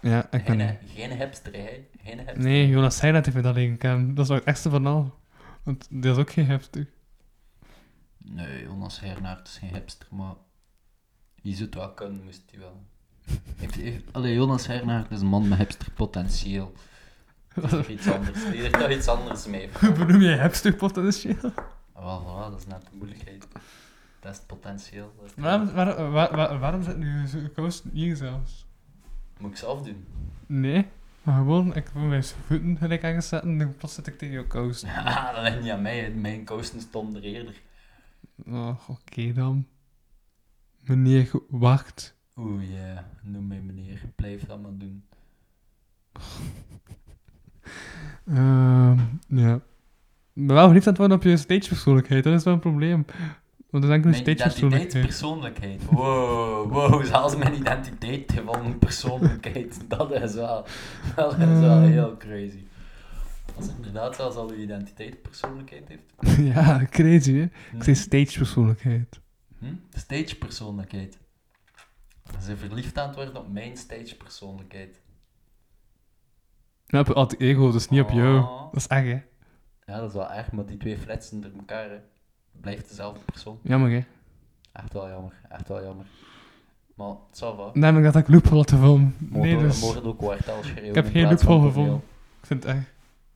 [SPEAKER 3] Ja, ik ben...
[SPEAKER 7] Geen, geen hipster, hè. Geen hipster.
[SPEAKER 3] Nee, Jonas zei dat hij dat alleen kan. Dat is wel het ergste van al. Want dat is ook geen heftig.
[SPEAKER 7] Nee, Jonas Hernaert is geen hipster, maar... Die zou het wel kunnen, moest hij wel. Ik- ik- Allee, Jonas Hernaert is een man met hipsterpotentieel. Die heeft er iets anders. Die heeft daar iets anders mee.
[SPEAKER 3] Hoe benoem jij hipster potentieel?
[SPEAKER 7] Ah, Wel, voilà, dat is net de moeilijkheid. Dat is het potentieel.
[SPEAKER 3] Waarom, waar, waar- waar- waarom zit nu zo- kous hier zelfs?
[SPEAKER 7] Moet ik zelf doen?
[SPEAKER 3] Nee, maar gewoon, ik wil mijn voeten gelijk aangezet en dan plots zit ik tegen jouw kous.
[SPEAKER 7] Ah, dat ligt niet aan mij. hè. Mijn kousen stonden er eerder.
[SPEAKER 3] Oh, oké dan. Meneer, Go- wacht.
[SPEAKER 7] Oeh, ja. Noem mij meneer. Blijf dat maar doen.
[SPEAKER 3] Ehm, ja. Ik ben wel verliefd aan het worden op je stagepersoonlijkheid, dat is wel een probleem. Want dat is enkel een
[SPEAKER 7] Mijn
[SPEAKER 3] stagepersoonlijkheid.
[SPEAKER 7] identiteitspersoonlijkheid. Wow, wow. Zelfs mijn identiteit van mijn persoonlijkheid. Dat is wel, dat is wel heel crazy. Als inderdaad zelfs al uw identiteit persoonlijkheid heeft.
[SPEAKER 3] ja, crazy hè. Ik zei stagepersoonlijkheid.
[SPEAKER 7] Hm? Stage persoonlijkheid. Ze verliefd aan het worden op mijn stage persoonlijkheid.
[SPEAKER 3] Nou, op het ego, dus niet op jou.
[SPEAKER 7] Oh.
[SPEAKER 3] Dat is echt hè.
[SPEAKER 7] Ja, dat is wel erg, maar die twee fletsen door elkaar. hè. Blijft dezelfde persoon.
[SPEAKER 3] Jammer hè.
[SPEAKER 7] Echt wel jammer, echt wel jammer. Maar het zal wel.
[SPEAKER 3] Namelijk dat ik loophole had gevonden. Nee,
[SPEAKER 7] Mogen
[SPEAKER 3] dus...
[SPEAKER 7] mogen ook kwartaal schreeuwen.
[SPEAKER 3] Ik heb
[SPEAKER 7] in
[SPEAKER 3] geen
[SPEAKER 7] plaats van
[SPEAKER 3] loophole
[SPEAKER 7] toneel.
[SPEAKER 3] gevonden. Ik vind het echt.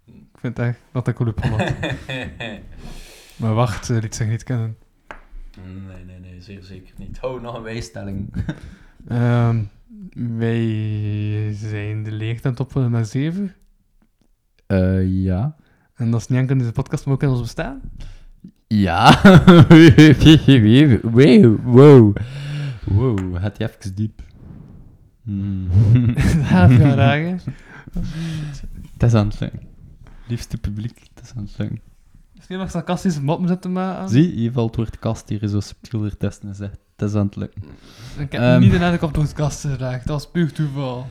[SPEAKER 3] Ik vind echt dat ik een loophole had. maar wacht, eh, liet zich niet kennen.
[SPEAKER 7] Nee, nee, nee, zeer zeker niet. Oh, nog een wijsstelling.
[SPEAKER 3] Ehm, wij zijn de leegtijd op van de 7.
[SPEAKER 4] Eh, ja.
[SPEAKER 3] En dat is niet enkel in deze podcast, maar ook in ons bestaan.
[SPEAKER 4] Ja. wow. Wow. Wow. Gaat die even diep. Hmm.
[SPEAKER 3] ja, dagen.
[SPEAKER 4] Dat is aan het lukken. Liefste publiek, dat is aan het lukken.
[SPEAKER 3] Misschien nog sarcastische moppen zetten, maar... eh,
[SPEAKER 4] Zie, je valt het woord kast hier zo subtieler testen en zegt, dat is aan het lukken.
[SPEAKER 3] Ik heb
[SPEAKER 4] Ehm.
[SPEAKER 3] niet de nadruk op de podcast geraakt. Dat was puur toeval.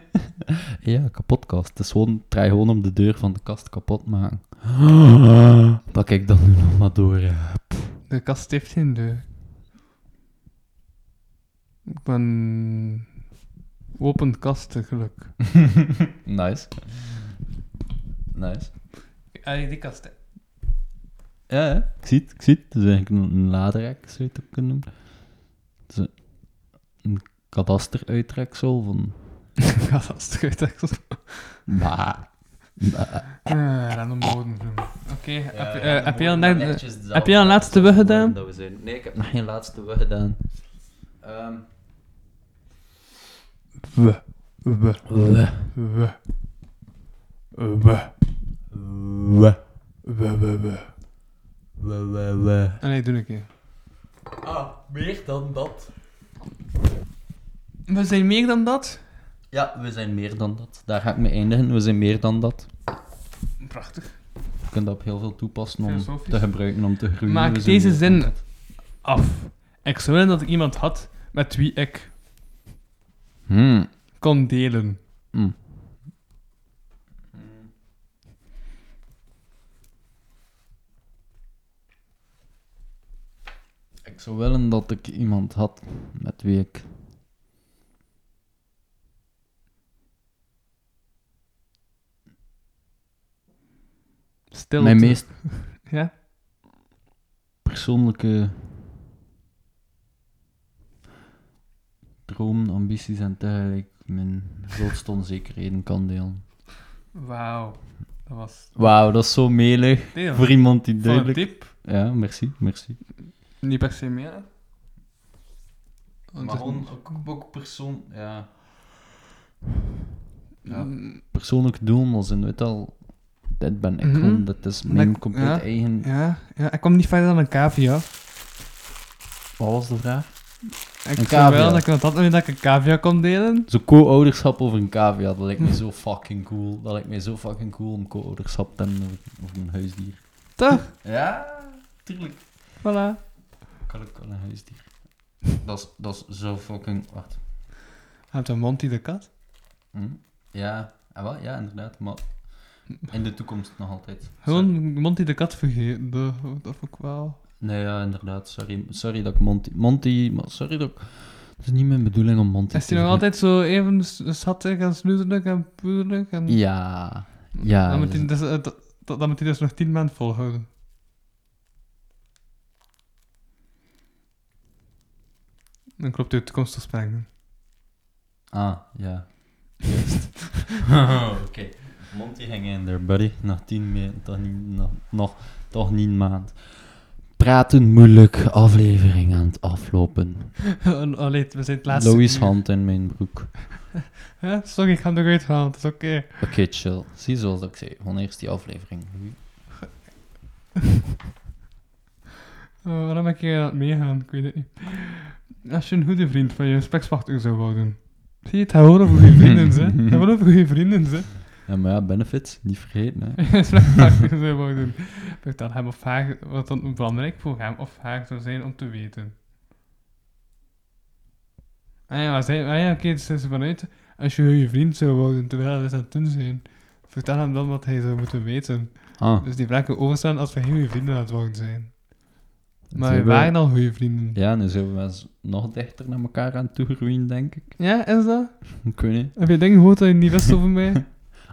[SPEAKER 4] ja, kapotkast. Het is gewoon, draai gewoon om de deur van de kast kapot maken. Dat kijk dan nu nog maar door. eh, ja.
[SPEAKER 3] De kast heeft geen deur. Ik ben... Open kasten, geluk.
[SPEAKER 4] Nice. Nice.
[SPEAKER 3] Ah, die kast, hè.
[SPEAKER 4] Ja, hè? ik zie het, ik zie het. Het is eigenlijk een, een laadrek, zou je het ook kunnen noemen. Het is een, een kadasteruitreksel van...
[SPEAKER 3] Kadastergedeksel.
[SPEAKER 4] Bah. Bah.
[SPEAKER 3] Eh, Random bodem. Oké, heb je- eh, heb je al
[SPEAKER 7] een
[SPEAKER 3] een- heb je al een laatste weg gedaan?
[SPEAKER 7] Nee, ik heb nog geen laatste weg gedaan. Ehm,
[SPEAKER 3] We. We.
[SPEAKER 4] Wah.
[SPEAKER 3] We. We.
[SPEAKER 4] Wah.
[SPEAKER 3] We. We. We.
[SPEAKER 4] Wah, wah, wah.
[SPEAKER 3] Ah, nee, doe een keer.
[SPEAKER 7] ah, meer dan dat.
[SPEAKER 3] We zijn meer dan dat.
[SPEAKER 4] Ja, we zijn meer dan dat. Daar ga ik mee eindigen. We zijn meer dan dat.
[SPEAKER 3] Prachtig.
[SPEAKER 4] Je kunt dat op heel veel toepassen om
[SPEAKER 3] Filosofisch.
[SPEAKER 4] te gebruiken om te groeien. We
[SPEAKER 3] Maak
[SPEAKER 4] zijn
[SPEAKER 3] deze
[SPEAKER 4] meer dan
[SPEAKER 3] zin
[SPEAKER 4] dat.
[SPEAKER 3] af. Ik zou willen dat ik iemand had met wie ik
[SPEAKER 4] Hmm.
[SPEAKER 3] kon delen.
[SPEAKER 4] Ik zou willen dat ik iemand had met wie ik.
[SPEAKER 3] Stil.
[SPEAKER 4] Mijn meest
[SPEAKER 3] Ja?
[SPEAKER 4] persoonlijke. dromen, ambities en tegelijk mijn grootste onzekerheden kan delen.
[SPEAKER 3] Wauw. Dat was...
[SPEAKER 4] Wauw, dat is zo melig
[SPEAKER 3] Nee, dat
[SPEAKER 4] voor iemand die
[SPEAKER 3] was een
[SPEAKER 4] duidelijk.
[SPEAKER 3] tip.
[SPEAKER 4] Ja, merci, merci.
[SPEAKER 3] Niet per se meer.
[SPEAKER 7] Maar gewoon ook, ook persoon... Ja. Ja.
[SPEAKER 4] Persoonlijk doel, als in weet al, dit ben ik
[SPEAKER 3] Mm. Mhm.
[SPEAKER 4] gewoon, dit is mijn
[SPEAKER 3] ik-
[SPEAKER 4] compleet
[SPEAKER 3] ja,
[SPEAKER 4] eigen.
[SPEAKER 3] Ja, ja, ik kwam niet verder dan een cavia.
[SPEAKER 4] Wat was de vraag?
[SPEAKER 3] Ik
[SPEAKER 4] Een
[SPEAKER 3] zou wel
[SPEAKER 4] cavia.
[SPEAKER 3] dat ik dat had dat ik een cavia kon delen.
[SPEAKER 4] Zo co-ouderschap over een cavia, dat lijkt me zo fucking cool. Dat lijkt me zo fucking cool om co-ouderschap te hebben over, over een huisdier.
[SPEAKER 3] Toch?
[SPEAKER 7] Ja, tuurlijk.
[SPEAKER 3] Voilà.
[SPEAKER 4] Kan ik wel een huisdier? Dat is, dat is zo fucking. Wacht.
[SPEAKER 3] Heb je Monty de kat?
[SPEAKER 4] Hm? Ja, ah, wel, ja, inderdaad, maar in de toekomst nog altijd.
[SPEAKER 3] Gewoon Monty de kat vergeten. Dat, dat vond ik wel...
[SPEAKER 4] Nee, ja, inderdaad. Sorry, sorry dat ik Monty... Monty, maar sorry dat ik... Het is niet mijn bedoeling om Monty
[SPEAKER 3] Is hij nog
[SPEAKER 4] zeggen.
[SPEAKER 3] altijd zo even s- schattig en snoezelig en poederig? En...
[SPEAKER 4] Ja. Ja.
[SPEAKER 3] dan, moet
[SPEAKER 4] dus-
[SPEAKER 3] hij dus, eh, dat- dat- dan moet hij dus nog tien maanden volhouden. Dan klopt uw toekomstgesprek.
[SPEAKER 4] Ah, ja. Juist. Oké. Monty hang in there, buddy. Nog tien maanden. Toch niet, nog, nog, toch niet maand. praten moeilijk aflevering aan het aflopen.
[SPEAKER 3] Allee, Oh, we zijn het laatste.
[SPEAKER 4] Louis
[SPEAKER 3] uur.
[SPEAKER 4] hand in mijn broek.
[SPEAKER 3] Ja, sorry, ik ga hem eruit halen. Het is oké.
[SPEAKER 4] Oké, chill. Zie zoals ik zei, gewoon eerst die aflevering.
[SPEAKER 3] Eh, waarom heb je aan het meegaan? Ik weet het niet. Als je een goede vriend van je spekswachter zou houden. Zie je, het gaat gewoon over goede vrienden, hè? Het gaat gewoon over goede vrienden, hè?
[SPEAKER 4] Ja, maar ja, benefits, niet vergeten hè.
[SPEAKER 3] Spekswachter zou houden. Vertel hem of haar wat dan belangrijk voor hem of haar zou zijn om te weten. Ah ja, maar zij- ah ja oké, dus het is vanuit... Als je je vriend zou houden terwijl we aan het doen zijn, vertel hem dan wat hij zou moeten weten.
[SPEAKER 4] Ah,
[SPEAKER 3] Dus die vragen overstaan als we geen goede vrienden aan het worden zijn. Maar
[SPEAKER 4] zijn
[SPEAKER 3] we
[SPEAKER 4] we-
[SPEAKER 3] waren al goede vrienden.
[SPEAKER 4] ja, nu zijn we wel eens nog dichter naar elkaar aan toegroeien, denk ik.
[SPEAKER 3] Ja, is dat?
[SPEAKER 4] Ik weet niet.
[SPEAKER 3] Heb je dingen gehoord dat je niet wist over mij?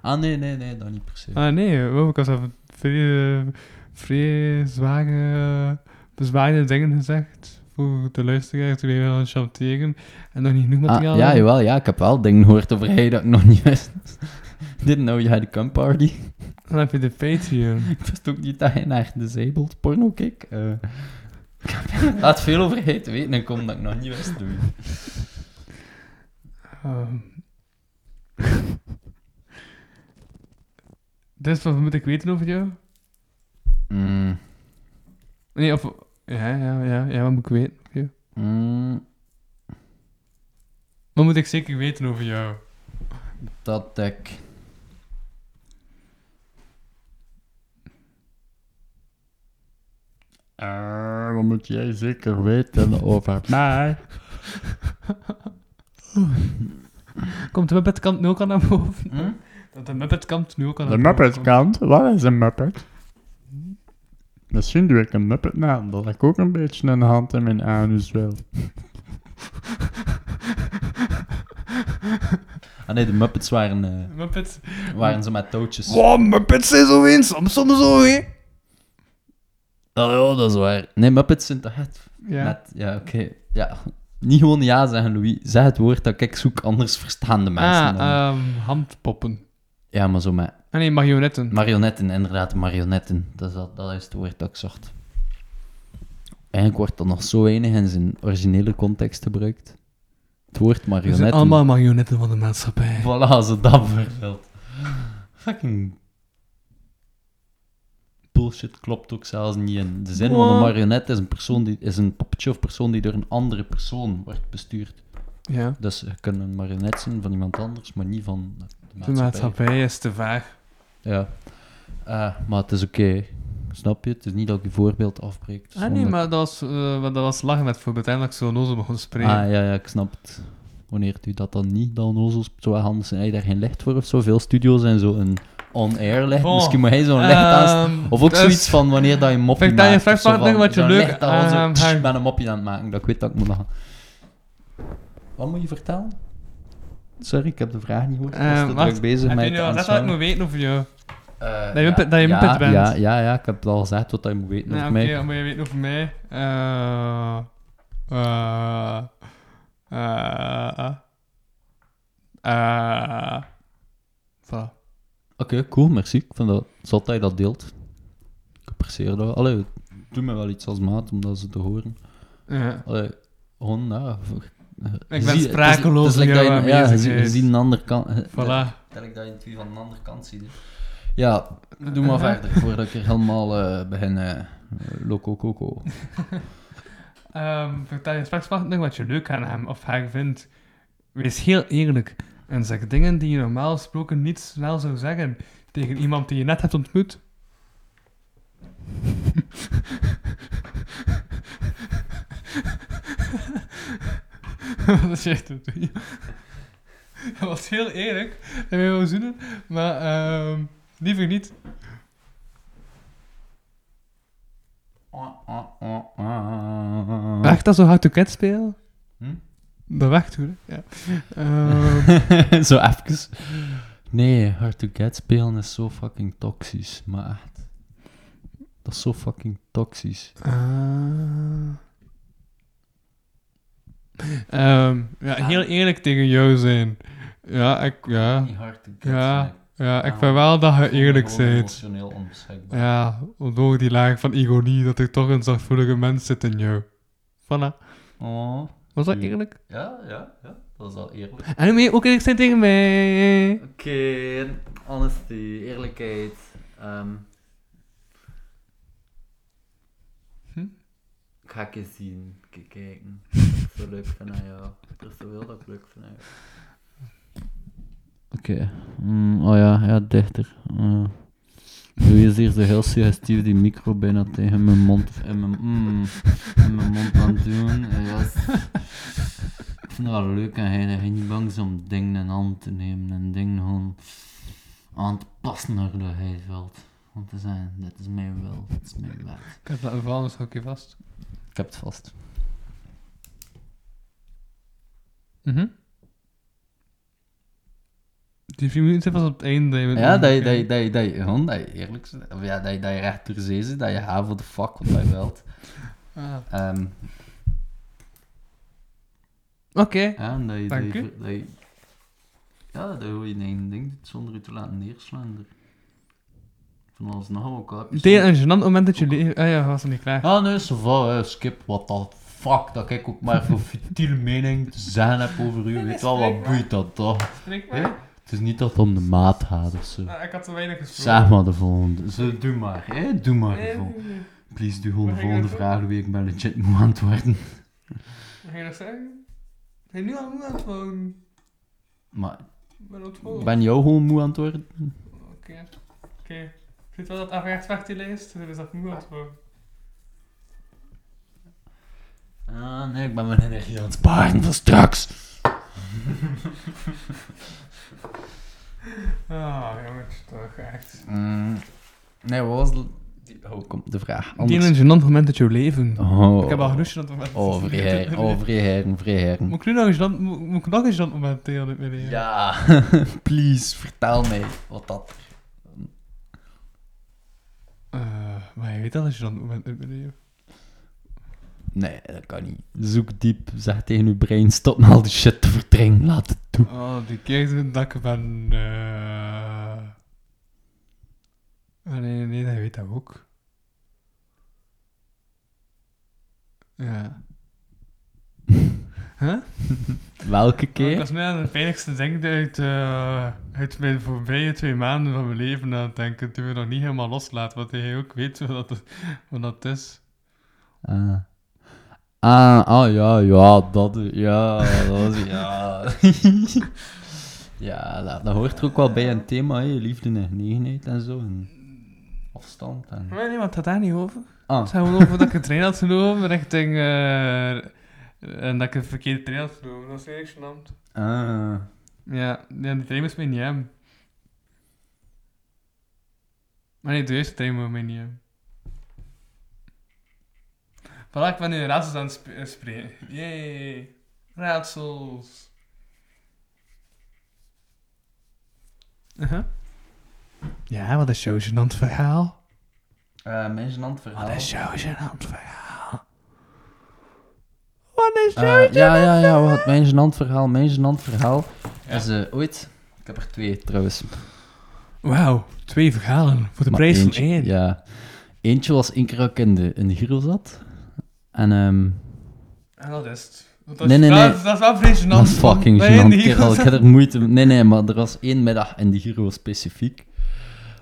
[SPEAKER 4] Ah, nee, nee, nee, dat niet per se.
[SPEAKER 3] Ah nee, wow, ik had zelf vrij, eh, vrij zware, bezwaarde dingen gezegd voor de luisteraar toen wij aan het chanteren en nog niet genoeg
[SPEAKER 4] Ah,
[SPEAKER 3] materiaal
[SPEAKER 4] ja,
[SPEAKER 3] hadden.
[SPEAKER 4] jawel, ja, ik heb wel dingen gehoord over hij dat ik nog niet wist. Didn't know you had a cum party.
[SPEAKER 3] Dan heb je de Patreon.
[SPEAKER 4] Ik wist ook niet dat hij naar disabled porno keek. Eh, ik heb laat veel over hij te weten en kom dat ik nog niet wist. Doei.
[SPEAKER 3] Ehm. dus wat moet ik weten over jou?
[SPEAKER 4] Mm,
[SPEAKER 3] Nee, of... Ja, ja, ja, ja, wat moet ik weten over jou?
[SPEAKER 4] mm,
[SPEAKER 3] Wat moet ik zeker weten over jou?
[SPEAKER 4] dat ik... Eh, wat moet jij zeker weten over mij?
[SPEAKER 3] Komt de Muppet-kant nu ook al naar boven?
[SPEAKER 4] Hm?
[SPEAKER 3] Dat de Muppet-kant nu ook al
[SPEAKER 13] De
[SPEAKER 3] naar boven komt.
[SPEAKER 13] Muppet-kant? Wat is een Muppet? Misschien doe ik een Muppet na, omdat ik ook een beetje een hand in mijn anus wil.
[SPEAKER 4] Ah nee, de Muppets waren, eh,
[SPEAKER 3] Muppet...
[SPEAKER 4] waren ze met touwtjes.
[SPEAKER 13] Wow, Muppets zijn zo eens, soms zo hè?
[SPEAKER 4] Oh, ja, dat is waar. Nee, Muppets zijn toch echt
[SPEAKER 3] Ja.
[SPEAKER 4] Met- ja, oké. Ja. Niet gewoon ja zeggen, Louis. Zeg het woord dat ik zoek, anders verstaan de mensen.
[SPEAKER 3] Ah,
[SPEAKER 4] dat niet.
[SPEAKER 3] ehm, handpoppen.
[SPEAKER 4] Ja, maar zo met
[SPEAKER 3] Ah nee, marionetten.
[SPEAKER 4] marionetten, inderdaad, marionetten. Dat is, dat, dat is het woord dat ik zocht. Eigenlijk wordt dat nog zo weinig in zijn originele context gebruikt. Het woord
[SPEAKER 3] We zijn
[SPEAKER 4] marionetten.
[SPEAKER 3] allemaal marionetten van de maatschappij.
[SPEAKER 4] Voilà, als het dat vervult. Fucking... Bullshit klopt ook zelfs niet in de zin, want een marionet is een, persoon die, is een poppetje of persoon die door een andere persoon wordt bestuurd.
[SPEAKER 3] Ja.
[SPEAKER 4] Dus je kunt een marionet zijn van iemand anders, maar niet van
[SPEAKER 3] De
[SPEAKER 4] de maatschappij.
[SPEAKER 3] maatschappij is te vaag.
[SPEAKER 4] Ja. Eh, maar het is oké. Snap je? Het is niet dat ik je voorbeeld afbreekt.
[SPEAKER 3] Ah nee,
[SPEAKER 4] zonder-
[SPEAKER 3] maar dat was, eh, want dat was lachen met voorbeeld. Uiteindelijk zo nozel begon spreken.
[SPEAKER 4] Ah, ja, ja, ik snap het. Wanneer u dat dan niet, dan ozels zo handig zijn. Heb je daar geen licht voor of zo? Veel studio's en zo een on-air licht.
[SPEAKER 3] Bon.
[SPEAKER 4] Misschien moet hij zo'n licht aan.
[SPEAKER 3] Ehm,
[SPEAKER 4] Of ook
[SPEAKER 3] dus-
[SPEAKER 4] zoiets van wanneer dat je een mopje
[SPEAKER 3] Vertel je
[SPEAKER 4] maakt. of zo
[SPEAKER 3] vrachtwagen
[SPEAKER 4] van
[SPEAKER 3] wat je
[SPEAKER 4] zo'n
[SPEAKER 3] leuk ehm,
[SPEAKER 4] licht dat al zo,
[SPEAKER 3] aan
[SPEAKER 4] tss,
[SPEAKER 3] hangt.
[SPEAKER 4] Ik ben een mopje aan het maken, dat ik weet dat ik moet lachen. Wat moet je vertellen? Sorry, ik heb de vraag niet gehoord. Ik was
[SPEAKER 3] Ehm,
[SPEAKER 4] te
[SPEAKER 3] wacht.
[SPEAKER 4] druk bezig
[SPEAKER 3] Heb
[SPEAKER 4] met
[SPEAKER 3] je nu
[SPEAKER 4] het
[SPEAKER 3] al gezegd wat ik
[SPEAKER 4] aanschouwen.
[SPEAKER 3] moet weten over jou?
[SPEAKER 4] Eh,
[SPEAKER 3] Dat je
[SPEAKER 4] ja,
[SPEAKER 3] muppet- dat je
[SPEAKER 4] ja,
[SPEAKER 3] muppet bent.
[SPEAKER 4] Ja, ja, ja, ik heb het al gezegd wat je moet weten
[SPEAKER 3] Nou,
[SPEAKER 4] over
[SPEAKER 3] oké,
[SPEAKER 4] mij.
[SPEAKER 3] wat moet je weten over mij? Eh, eh, eh, eh, voilà.
[SPEAKER 4] Oké, cool, merci. Ik vind dat zot dat je dat deelt. Ik apprecieer dat. Allee, het doet me wel iets als maat om dat ze te horen.
[SPEAKER 3] Ja.
[SPEAKER 4] Allee, gewoon, ja... voor-
[SPEAKER 3] ben
[SPEAKER 4] Zie- het is-
[SPEAKER 3] sprakeloos
[SPEAKER 4] het is like
[SPEAKER 3] door
[SPEAKER 4] dat
[SPEAKER 3] jouw
[SPEAKER 4] je- Ja, je
[SPEAKER 3] aanwezigheid.
[SPEAKER 4] ziet- je ziet een eh, andere kant.
[SPEAKER 3] Voilà.
[SPEAKER 4] Tel ik dat je twee van de andere kant ziet. hè. Ja, doe maar verder voordat ik er helemaal eh, begin. eh, eh, loco coco.
[SPEAKER 3] Ehm, vertel je gesprekspartner wat je leuk aan hem of haar vindt. Wees heel eerlijk en zeg dingen die je normaal gesproken niet snel zou zeggen tegen iemand die je net hebt ontmoet. Wat is echt dat? Dat was heel eerlijk, dat wil je wel zoenen, maar ehm, liever niet. Wacht dat zo hard to cat spelen?
[SPEAKER 4] Hm?
[SPEAKER 3] Dat wacht hoor. Ja. Ehm,
[SPEAKER 4] Zo even. Nee, hard to get spelen is zo fucking toxisch. Maar echt. Dat is zo fucking toxisch.
[SPEAKER 3] Ehm, ja, heel eerlijk tegen jou zijn. Ja, ik, ja.
[SPEAKER 4] hard to
[SPEAKER 3] Ja. Ja, ik vind wel dat je eerlijk
[SPEAKER 7] Gewoon
[SPEAKER 3] bent.
[SPEAKER 7] Emotioneel onbeschikbaar.
[SPEAKER 3] Ja, door die laag van ironie dat er toch een zachtvoelige mens zit in jou. Voilà.
[SPEAKER 7] Oh.
[SPEAKER 3] Was dat
[SPEAKER 7] Hmm.
[SPEAKER 3] eerlijk?
[SPEAKER 7] Ja, ja, ja. Dat is al eerlijk.
[SPEAKER 3] En nu moet je ook eerlijk zijn tegen mij.
[SPEAKER 7] Oké, honesty, eerlijkheid. Ehm,
[SPEAKER 3] Hm?
[SPEAKER 7] Kakje zien, kijken. Zo leuk van jou. Dat is zo heel dat leuk van jou.
[SPEAKER 4] Oké. Mm, oh ja, ja, dichter. Uh. Nu is hier zo heel suggestief die micro bijna tegen mijn mond of in mijn, mm, in mijn mond aan het doen. Eh, ja, het- ik vind het wel leuk en hij hij is niet bang is om dingen in hand te nemen en dingen gewoon aan te passen naar hoe hij het wilt. Om te zijn, dit is mijn wil, dit is mijn wet.
[SPEAKER 3] Ik heb dat een hokje vast.
[SPEAKER 4] Ik heb het vast.
[SPEAKER 3] Mhm. Die vier minuten zijn vast op het einde. je bent
[SPEAKER 4] Ja, dat je,
[SPEAKER 3] moeilijk,
[SPEAKER 4] dat,
[SPEAKER 3] hè.
[SPEAKER 4] je, dat, je, dat je gewoon dat je eerlijk bent. Of ja, dat je, dat je recht door zee zit, dat je gaat voor de fuck wat je wilt.
[SPEAKER 3] Ah.
[SPEAKER 4] Ehm,
[SPEAKER 3] Oké.
[SPEAKER 4] Ja, en dat je,
[SPEAKER 3] Dank
[SPEAKER 4] dat je-
[SPEAKER 3] u.
[SPEAKER 4] dat je- ja, dat je gewoon je eigen ding doet zonder je te laten neerslaan. door Van alles en nog wat elkaar.
[SPEAKER 3] Het is een gênant moment dat je leven... Ah ja, was nog niet klaar.
[SPEAKER 7] Ja, nee, zo va, skip, what the fuck. Dat ik ook maar voor futiele mening te zeggen heb over u. Weet wel, wat boeit dat toch?
[SPEAKER 3] Spreek
[SPEAKER 7] maar. Het is niet dat het om de maat gaat of zo.
[SPEAKER 3] Ah, ik had te weinig
[SPEAKER 7] Zeg maar de volgende. Zo, doe maar, hè? Doe maar
[SPEAKER 3] Eh,
[SPEAKER 7] de volgende. Please, doe gewoon de
[SPEAKER 3] Mag ik
[SPEAKER 7] volgende
[SPEAKER 3] dat
[SPEAKER 7] vraag, wie ik ben legit moe aan het worden.
[SPEAKER 3] Wat ga je nog zeggen? Ik ben nu al moe aan het wonen.
[SPEAKER 7] Maar
[SPEAKER 3] Ik ben aan het wonen.
[SPEAKER 7] ben jou gewoon moe aan het worden?
[SPEAKER 3] Oké. Oké. Ziet wel dat afrecht weg die lijst? Dan is dat moe aan het wonen.
[SPEAKER 7] Ah, nee, ik ben mijn energie aan het sparen voor straks.
[SPEAKER 3] Ah, jongens, toch echt.
[SPEAKER 4] Mm, nee, wat was de... die- Oh, kom, de vraag.
[SPEAKER 3] Het is
[SPEAKER 4] Anders.
[SPEAKER 3] een gênant moment dat je leven.
[SPEAKER 4] Oh,
[SPEAKER 3] Ik heb al genoeg gênant momenten.
[SPEAKER 4] Oh, vrijheren, oh, vrijheren, vrijheren.
[SPEAKER 3] Moet ik nu nog een gênant... Moet moet ik nog een gênant moment delen met jullie?
[SPEAKER 4] Ja, please, vertel mij wat dat...
[SPEAKER 3] Eh, maar je weet al een gênant moment uit mijn leven.
[SPEAKER 4] Nee, dat kan niet. Zoek diep, zeg tegen uw brein, stop met al die shit te verdringen, laat het toe.
[SPEAKER 3] Oh, die keer toen dat ik ben... eh Ah, Nee, nee, nee, dat weet dat ook. Ja. Huh?
[SPEAKER 4] Welke
[SPEAKER 3] Dat
[SPEAKER 4] keer?
[SPEAKER 3] is mij aan het pijnlijkste ding uit, eh, uit mijn voorbije twee maanden van mijn leven aan het denken. Toen we nog niet helemaal loslaten, want hij ook weet wat dat, wat dat is.
[SPEAKER 4] Ah. Ah, ah, ja, ja, dat, ja, dat is, ja. ja, dat, dat hoort er ook wel bij een thema, hè, liefde en genegenheid en zo, en afstand en...
[SPEAKER 3] Maar nee, want het gaat daar niet over.
[SPEAKER 4] Ah,
[SPEAKER 3] Het gaat gewoon over dat ik een trein had genomen richting... eh, en dat ik een verkeerde trein had genomen. Dat is eigenlijk gênant.
[SPEAKER 4] ah.
[SPEAKER 3] Ja, ja, die trein moest mij niet hebben. Maar nee, de eerste trein moest mij niet hebben. Voilà, ik ben nu raadsels aan het sp- eh, springen. Yay. Raadsels. Ja, wat is jouw gênant verhaal?
[SPEAKER 4] Eh, mijn gênant
[SPEAKER 7] Ah,
[SPEAKER 4] verhaal.
[SPEAKER 3] jouw gênant verhaal?
[SPEAKER 4] Eh, ja, ja, ja, wat, mijn gênant verhaal, mijn gênant verhaal is eh, ooit... Ik heb er twee, trouwens.
[SPEAKER 3] Wauw, twee verhalen voor de
[SPEAKER 4] Maar
[SPEAKER 3] prijs
[SPEAKER 4] eentje-
[SPEAKER 3] van één.
[SPEAKER 4] Ja. Eentje was één keer dat ik in de, in de Giro zat. En ehm
[SPEAKER 3] En dat is het. Want
[SPEAKER 4] Nee, nee,
[SPEAKER 3] dat,
[SPEAKER 4] nee.
[SPEAKER 3] Dat is wel vrij gênant.
[SPEAKER 4] dat is
[SPEAKER 3] want
[SPEAKER 4] fucking
[SPEAKER 3] wij in
[SPEAKER 4] gênant,
[SPEAKER 3] de
[SPEAKER 4] kerel.
[SPEAKER 3] Eagles-
[SPEAKER 4] Ik had er moeite mee. Nee, nee, maar er was één middag in de Giro specifiek.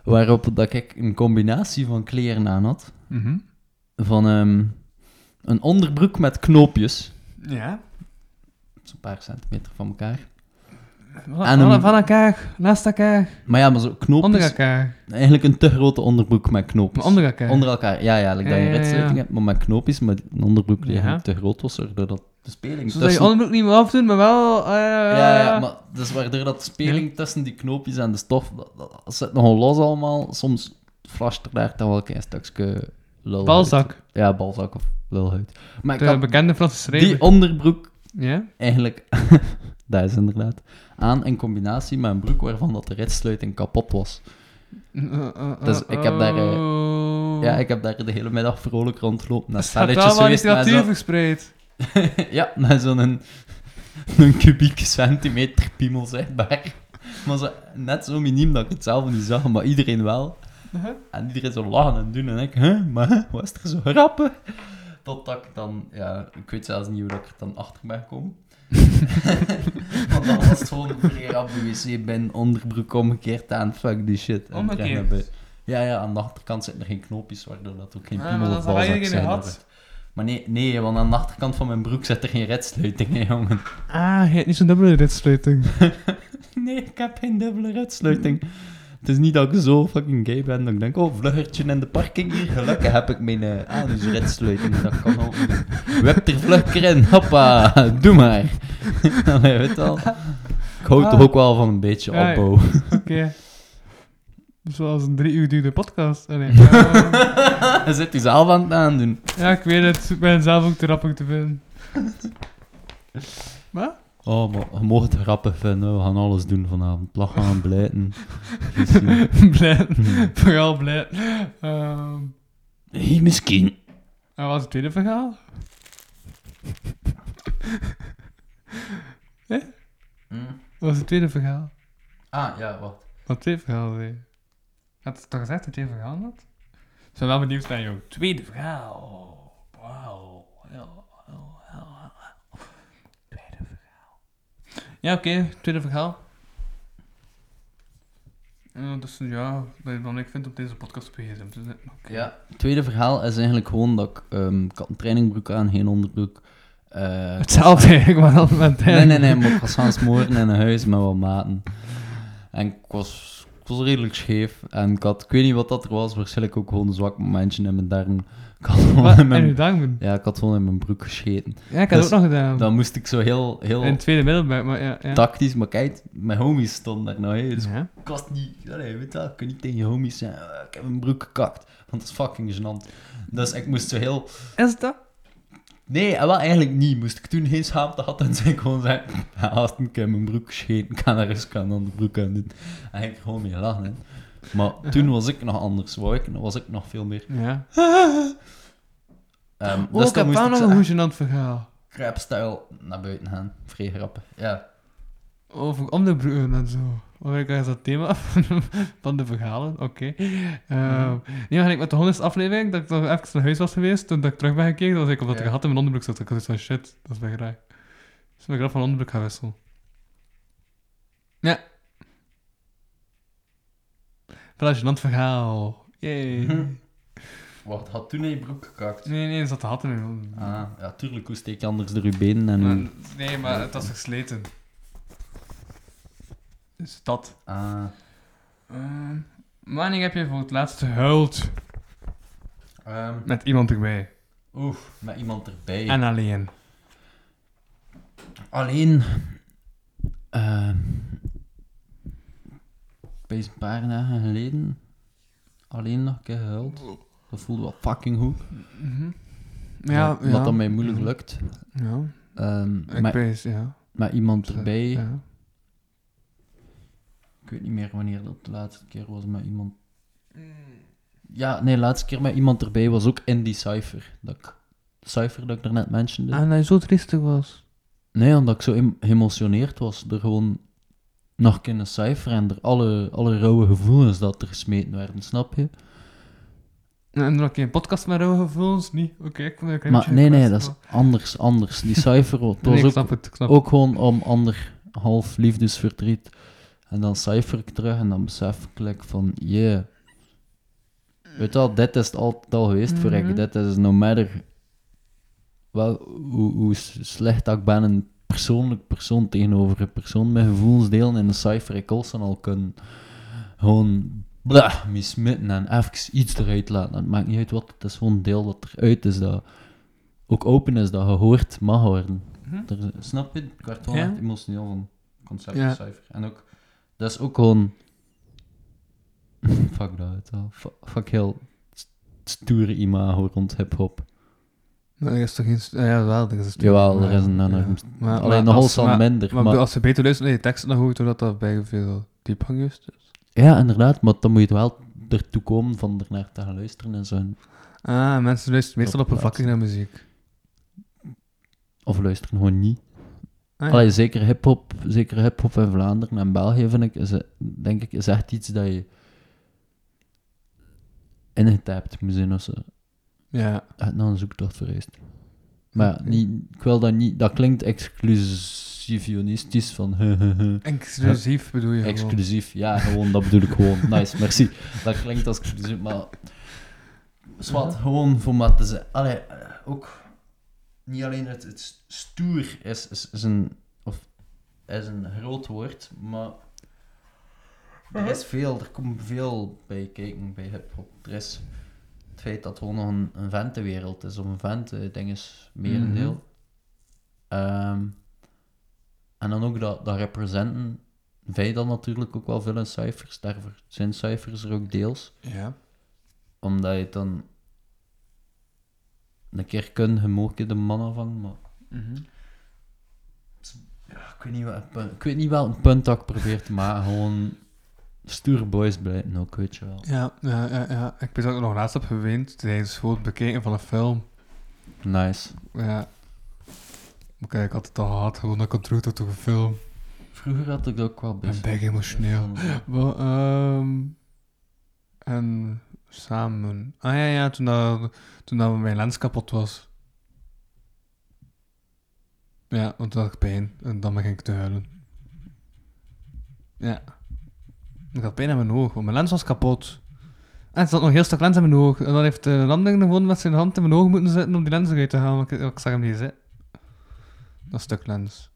[SPEAKER 4] Waarop dat ik een combinatie van kleren aan had.
[SPEAKER 3] Mhm.
[SPEAKER 4] Van ehm, een onderbroek met knoopjes.
[SPEAKER 3] Ja.
[SPEAKER 4] Zo'n paar centimeter van elkaar.
[SPEAKER 3] Van,
[SPEAKER 4] En
[SPEAKER 3] van,
[SPEAKER 4] een-
[SPEAKER 3] van elkaar, naast elkaar,
[SPEAKER 4] Maar ja, maar zo
[SPEAKER 3] onder
[SPEAKER 4] knoopjes.
[SPEAKER 3] elkaar,
[SPEAKER 4] Eigenlijk een te grote onderbroek met knoopjes.
[SPEAKER 3] maar onder elkaar.
[SPEAKER 4] Onder elkaar, ja, ja. Like dat
[SPEAKER 3] Ja,
[SPEAKER 4] je
[SPEAKER 3] ja, ja,
[SPEAKER 4] ritsluiting
[SPEAKER 3] ja.
[SPEAKER 4] hebt, maar met knoopjes. Maar een onderbroek die
[SPEAKER 3] Ja.
[SPEAKER 4] eigenlijk te groot was, waardoor dat de
[SPEAKER 3] Zodat
[SPEAKER 4] speling
[SPEAKER 3] Dus je
[SPEAKER 4] tussen-
[SPEAKER 3] onderbroek niet meer afdoen, maar wel... eh,
[SPEAKER 4] Ja, ja, maar dus waardoor dat speling tussen die knoopjes en de stof, dat, dat, dat zit nogal los allemaal. Soms flasht er daar dan wel een klein stukje lul
[SPEAKER 3] Balzak,
[SPEAKER 4] uit. Ja, balzak of lulhuid. Maar ik
[SPEAKER 3] de
[SPEAKER 4] had
[SPEAKER 3] bekende Franse
[SPEAKER 4] die
[SPEAKER 3] schrijver.
[SPEAKER 4] onderbroek
[SPEAKER 3] Ja?
[SPEAKER 4] eigenlijk, dat is inderdaad, aan in combinatie met een broek waarvan dat de ritsluiting kapot was. Dus ik heb daar, eh, Ja, ik heb daar de hele middag vrolijk rondgelopen. Dat
[SPEAKER 3] Het gaat
[SPEAKER 4] spelletjes
[SPEAKER 3] Oh. wel wat
[SPEAKER 4] geweest met
[SPEAKER 3] literatuur
[SPEAKER 4] zo,
[SPEAKER 3] verspreid.
[SPEAKER 4] ja, met zo'n een kubieke centimeter piemel, zeg maar. Maar zo, net zo miniem dat ik het zelf niet zag, maar iedereen wel. En iedereen zo lachen en doen. En ik, hè, maar hè, wat is er zo grappig? Totdat ik dan, ja, ik weet zelfs niet hoe dat ik er dan achter ben gekomen. Want dan was het gewoon keer op de wc, ben onderbroek omgekeerd aan, fuck die shit. En
[SPEAKER 3] Omgekeerd?
[SPEAKER 4] rennen bij- Ja, ja, aan de achterkant zitten er geen knoopjes, waardoor dat ook geen
[SPEAKER 3] Ah, maar
[SPEAKER 4] piemel
[SPEAKER 3] dat
[SPEAKER 4] of
[SPEAKER 3] is waar
[SPEAKER 4] balzak
[SPEAKER 3] iedereen
[SPEAKER 4] zijn.
[SPEAKER 3] had.
[SPEAKER 4] Maar nee, nee, want aan de achterkant van mijn broek zit er geen redsluiting, hè, jongen.
[SPEAKER 3] Ah, je hebt niet zo'n dubbele ritsluiting.
[SPEAKER 4] Nee, ik heb geen dubbele uitsluiting. Het is niet dat ik zo fucking gay ben dat ik denk, oh, vluggertje in de parking hier. Gelukkig heb ik mijn eh, anusritsluiting, dat kan ook. Web er vlugger in, hoppa, doe maar. Allee, weet wel. Ik hou toch ook wel van een beetje
[SPEAKER 3] Ah. Ja,
[SPEAKER 4] opbouw.
[SPEAKER 3] Oké. Zoals een drie uur duurde podcast. Allee, ehm,
[SPEAKER 4] Dan zit hij zelf aan het aandoen.
[SPEAKER 3] ja, ik weet het. Ik ben zelf ook te rappig te vinden.
[SPEAKER 4] Oh, maar je mag het grappig vinden, we gaan alles doen vanavond. Lachen en blijten.
[SPEAKER 3] blij. Vooral blij. Ehm,
[SPEAKER 4] Hey, misschien.
[SPEAKER 3] en wat is het tweede verhaal? Hé? Wat is het tweede verhaal?
[SPEAKER 7] Ah, ja, wacht.
[SPEAKER 3] Wat twee verhaal zei je? Had het toch gezegd dat je twee verhaal had? Ik ben wel benieuwd naar jouw tweede verhaal. Wauw. Ja, ja, ja, ja. Tweede verhaal. Ja, oké, tweede verhaal. En ondertussen, ja, dat je dan ik vind om deze podcast op dus, eh. gsm te zetten. Oké.
[SPEAKER 4] Ja, het tweede verhaal is eigenlijk gewoon dat ik... ehm, ik had een trainingbroek aan, geen onderbroek. Eh,
[SPEAKER 3] Hetzelfde eigenlijk, maar dan met
[SPEAKER 4] Nee, nee, nee, maar ik was gaan smoren in een huis met wat maten. En ik was, ik was redelijk scheef. En ik had, ik weet niet wat dat er was, waarschijnlijk ook gewoon een zwak momentje in mijn darm. Ik had gewoon, in
[SPEAKER 3] Wat? En uw
[SPEAKER 4] mijn,
[SPEAKER 3] darmen?
[SPEAKER 4] ja, ik had gewoon in mijn broek gescheten.
[SPEAKER 3] Ja, ik had het
[SPEAKER 4] Dus
[SPEAKER 3] ook nog gedaan.
[SPEAKER 4] Dan moest ik zo heel, heel
[SPEAKER 3] In het tweede middelbaar, maar ja. ja.
[SPEAKER 4] tactisch, maar kijk, mijn homies stonden daar nou, hè, dus
[SPEAKER 3] Ja.
[SPEAKER 4] ik was niet, allee, weet je wel, ik kan niet tegen je homies zijn. Eh, Ik heb mijn broek gekakt, want dat is fucking gênant. Dus ik moest zo heel...
[SPEAKER 3] Is dat?
[SPEAKER 4] Nee, eh, wel eigenlijk niet. Moest ik toen geen schaamte had, dan zei ik gewoon zeggen... Ja, als ik in mijn broek scheet, ik kan er eens een andere broek aan doen. En ik gewoon mee lachen, hè. Maar toen was ik nog anders. Wou ik, was ik nog veel meer...
[SPEAKER 3] Ja.
[SPEAKER 4] Ehm
[SPEAKER 3] Oh, ik heb wel nog een hoegenant verhaal.
[SPEAKER 4] crap-style naar buiten gaan. Vrij grappig. Ja.
[SPEAKER 3] Over onderbroeken en zo. Oh, ik is dat thema van, van de verhalen. Oké. Ehm, nee, maar ik met de honderdste aflevering, dat ik nog even naar huis was geweest, toen dat ik terug ben gekeken, was ik op dat
[SPEAKER 4] Ja.
[SPEAKER 3] ik had in mijn onderbroek zat. Ik had zoiets van shit, dat is mijn graag. Dus ben ik dat van onderbroek gaan wisselen. Ja. Vlaasje verhaal. Yay.
[SPEAKER 4] Wacht, had toen in je broek gekakt?
[SPEAKER 3] Nee, nee, er zat de gat in mijn onderbroek.
[SPEAKER 4] Ah, ja, tuurlijk. Hoe steek je anders door je benen en hoe...
[SPEAKER 3] Maar- Nee, maar het was versleten. Dus dat.
[SPEAKER 4] Ah.
[SPEAKER 3] Ehm, wanneer heb je voor het laatst gehuild
[SPEAKER 4] Ehm,
[SPEAKER 3] met iemand erbij?
[SPEAKER 4] oef, met iemand erbij.
[SPEAKER 3] En alleen.
[SPEAKER 4] Alleen. ehm bij een paar dagen geleden. Alleen nog een keer gehuild. Dat voelde wel fucking goed.
[SPEAKER 3] Ja,
[SPEAKER 4] Wat-
[SPEAKER 3] ja.
[SPEAKER 4] Wat dan mij moeilijk lukt.
[SPEAKER 3] Ja,
[SPEAKER 4] Ehm,
[SPEAKER 3] ik
[SPEAKER 4] met,
[SPEAKER 3] weet, ja.
[SPEAKER 4] met iemand erbij.
[SPEAKER 3] Ja.
[SPEAKER 4] Ik weet niet meer wanneer dat de laatste keer was met iemand. Ja, nee, de laatste keer met iemand erbij was ook in die cijfer. Dat ik, de cijfer dat ik daarnet mentionde.
[SPEAKER 11] En hij zo triestig was.
[SPEAKER 4] Nee, omdat ik zo em- geëmotioneerd was. Er gewoon nog kunnen cijferen en er alle, alle rauwe gevoelens dat er gesmeten werden, snap je?
[SPEAKER 3] En dan heb je een podcast met rauwe gevoelens? Niet? Oké, ik vond het een
[SPEAKER 4] maar
[SPEAKER 3] beetje
[SPEAKER 4] nee, nee, dat
[SPEAKER 3] gekwetst,
[SPEAKER 4] is anders, anders. Die cijfer wa- het
[SPEAKER 3] maar- Nee,
[SPEAKER 4] was
[SPEAKER 3] ik
[SPEAKER 4] ook,
[SPEAKER 3] snap het, ik snap
[SPEAKER 4] ook gewoon om anderhalf liefdesverdriet. En dan cijfer ik terug en dan besef ik like, van, yeah. Weet je wel, dit is het altijd al geweest voor
[SPEAKER 3] Mhm.
[SPEAKER 4] ik. Dit is no matter wel, hoe, hoe s- slecht dat ik ben, een persoonlijk persoon tegenover een persoon met gevoelens delen in de cijfer ik also al kunnen gewoon blah, mismitten en even iets eruit laten. Het maakt niet uit wat, het is gewoon een deel dat eruit is, dat ook open is, dat gehoord mag worden. Er- snap je? Ik werd gewoon
[SPEAKER 3] Ja.
[SPEAKER 4] echt emotioneel van het concept
[SPEAKER 3] Ja.
[SPEAKER 4] cijfer. En ook, dat is ook gewoon... fuck dat, weet je wel. Fu- fuck heel st- stoere imago rond hip-hop.
[SPEAKER 3] Maar er is toch geen... st- ah, Ja, wel, er is een stuk.
[SPEAKER 4] Jawel, er
[SPEAKER 3] maar-
[SPEAKER 4] is een... eh,
[SPEAKER 3] ja.
[SPEAKER 4] een-
[SPEAKER 3] Maar- maar
[SPEAKER 4] Alleen nogal
[SPEAKER 3] als-
[SPEAKER 4] zal
[SPEAKER 3] maar-
[SPEAKER 4] minder,
[SPEAKER 3] Maar,
[SPEAKER 4] maar-
[SPEAKER 3] als je beter luistert naar je tekst, dan hoor je toch dat dat bij veel diepgang is. dus.
[SPEAKER 4] Ja, inderdaad, maar dan moet je het wel ertoe komen van ernaar te gaan luisteren en zo.
[SPEAKER 3] Ah, mensen luisteren meestal op
[SPEAKER 4] Dat
[SPEAKER 3] een
[SPEAKER 4] plaatst.
[SPEAKER 3] vakje naar muziek.
[SPEAKER 4] Of luisteren gewoon niet.
[SPEAKER 15] Ah, ja.
[SPEAKER 4] Allee, zeker hip-hop, zeker hip-hop in Vlaanderen en België, vind ik, is, het- denk ik, is echt iets dat je ingetapt moet zijn als ze
[SPEAKER 15] Ja.
[SPEAKER 4] het naar een zoektocht vereist. Maar ja, niet, ik wil dat niet, dat klinkt exclusivionistisch van
[SPEAKER 3] Exclusief bedoel je gewoon.
[SPEAKER 4] exclusief. Ja, gewoon, dat bedoel ik gewoon. Nice, merci. Dat klinkt als exclusief, maar. Zwart, gewoon voor maar te zijn. Allee, eh, ook. Niet alleen het, het stoer is, is, is een. Of, is een groot woord, maar. Er is veel, er komt veel bij kijken bij hip-hop. Er is het feit dat het gewoon nog een, een ventenwereld is, of een ventending is, merendeel. Ehm, en dan ook dat, dat representen wij dan natuurlijk ook wel veel in cijfers. Daarvoor zijn cijfers er ook deels.
[SPEAKER 15] Ja.
[SPEAKER 4] Omdat je het dan een keer kunt, je mag je de mannen vangen, maar... Het is- Ja, ik, weet niet wat, ik weet niet wel een punt dat ik probeer te maken. Gewoon stoer boys blijven ook, weet je wel.
[SPEAKER 3] Ja, ja, ja, ja. Ik weet dat ik nog laatst heb geweend tijdens voor het bekijken van een film.
[SPEAKER 4] Nice.
[SPEAKER 3] Ja. Maar kijk, ik had het al gehad, gewoon dat ik het droeg tot een film.
[SPEAKER 4] Vroeger had ik dat ook wel
[SPEAKER 3] Ik ben
[SPEAKER 4] best.
[SPEAKER 3] bijna emotioneel. Wel, ehm, en samen. Ah ja, ja, toen, dat, toen dat mijn lens kapot was. Ja, want toen had ik pijn. En dan begon ik te huilen. Ja. Ik had pijn aan mijn oog, want mijn lens was kapot. En er zat nog een heel stuk lens in mijn oog. En dan heeft de ander gewoon met zijn hand in mijn oog moeten zetten om die lens eruit te halen. want Ik, ik zag hem niet zitten. Dat stuk lens.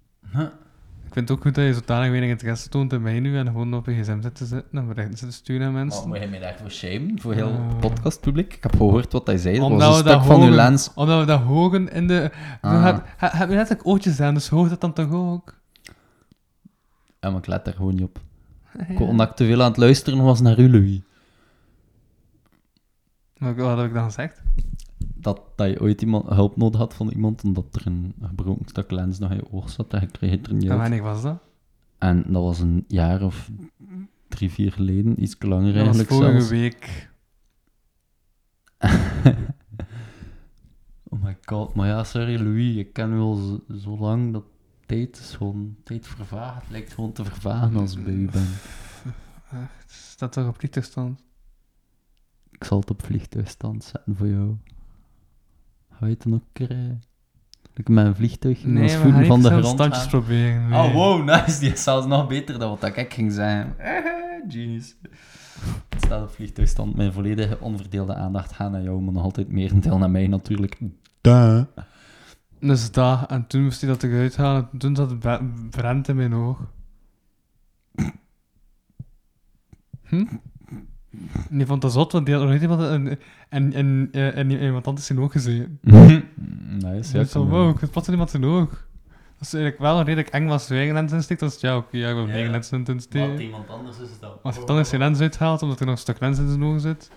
[SPEAKER 3] Ik vind het ook goed dat je zodanig weinig interesse toont in mij nu en gewoon op je gsm zit te zitten en berichten zit te sturen aan mensen.
[SPEAKER 4] Oh, moet je mij daarvoor shamen? Voor heel
[SPEAKER 3] Eh.
[SPEAKER 4] het podcastpubliek? Ik heb gehoord wat hij zei. Dat
[SPEAKER 3] Omdat
[SPEAKER 4] was
[SPEAKER 3] we
[SPEAKER 4] een
[SPEAKER 3] dat
[SPEAKER 4] stuk van uw
[SPEAKER 3] horen.
[SPEAKER 4] lens.
[SPEAKER 3] Omdat we dat hogen in de...
[SPEAKER 4] Ah.
[SPEAKER 3] Heb je hebt letterlijk oortjes aan, dus hoort dat dan toch ook?
[SPEAKER 4] En maar ik let daar gewoon niet op. Ik- Omdat ik te veel aan het luisteren was naar u, Louis.
[SPEAKER 3] Wat, wat heb ik dan gezegd?
[SPEAKER 4] dat, dat je ooit iemand, hulp nodig had van iemand omdat er een gebroken stuk lens nog in je oog zat en je kreeg het er niet
[SPEAKER 3] En
[SPEAKER 4] uit.
[SPEAKER 3] wanneer was dat?
[SPEAKER 4] En dat was een jaar of drie, vier geleden, iets langer
[SPEAKER 3] Dat was
[SPEAKER 4] eigenlijk
[SPEAKER 3] vorige
[SPEAKER 4] zelfs.
[SPEAKER 3] week.
[SPEAKER 4] oh my god, maar ja, sorry Louis, ik ken u al zo, zo lang dat tijd is gewoon, tijd vervaagt, Het lijkt gewoon te vervagen als ik bij u ben.
[SPEAKER 3] Staat toch op Pieterstand?
[SPEAKER 4] Ik zal het op vliegtuigstand zetten voor jou. Ga je het dan ook krijgen? Ik met een vliegtuig in
[SPEAKER 3] Nee,
[SPEAKER 4] ons
[SPEAKER 3] we gaan
[SPEAKER 4] voeten
[SPEAKER 3] niet
[SPEAKER 4] van de
[SPEAKER 3] zelf
[SPEAKER 4] grond
[SPEAKER 3] standjes
[SPEAKER 4] gaan.
[SPEAKER 3] proberen. nee.
[SPEAKER 4] Oh, wow, nice. Die is zelfs nog beter dan wat ik ging zeggen. Genius. Het staat op vliegtuigstand. Mijn volledige onverdeelde aandacht gaat naar jou, maar nog altijd merendeel naar mij natuurlijk.
[SPEAKER 13] Duh.
[SPEAKER 3] Dus dat, en toen moest hij dat eruit halen. en Toen zat het be- brand in mijn oog. Hm? En die vond dat zot, want die had nog niet iemand en, en, en, eh, en iemand anders zijn oog gezien. Dus
[SPEAKER 4] nice,
[SPEAKER 3] Ja,
[SPEAKER 4] ja.
[SPEAKER 3] ik van, wow, ik vind plots in iemand zijn oog. Dat is eigenlijk wel redelijk eng als je eigen lens insteekt. Dan is het, ja, oké, ja, ik heb mijn eigen lens in het insteken.
[SPEAKER 4] iemand anders is dat.
[SPEAKER 3] Maar als je dan eens je lens uithaalt, omdat er nog een stuk lens in zijn ogen zit.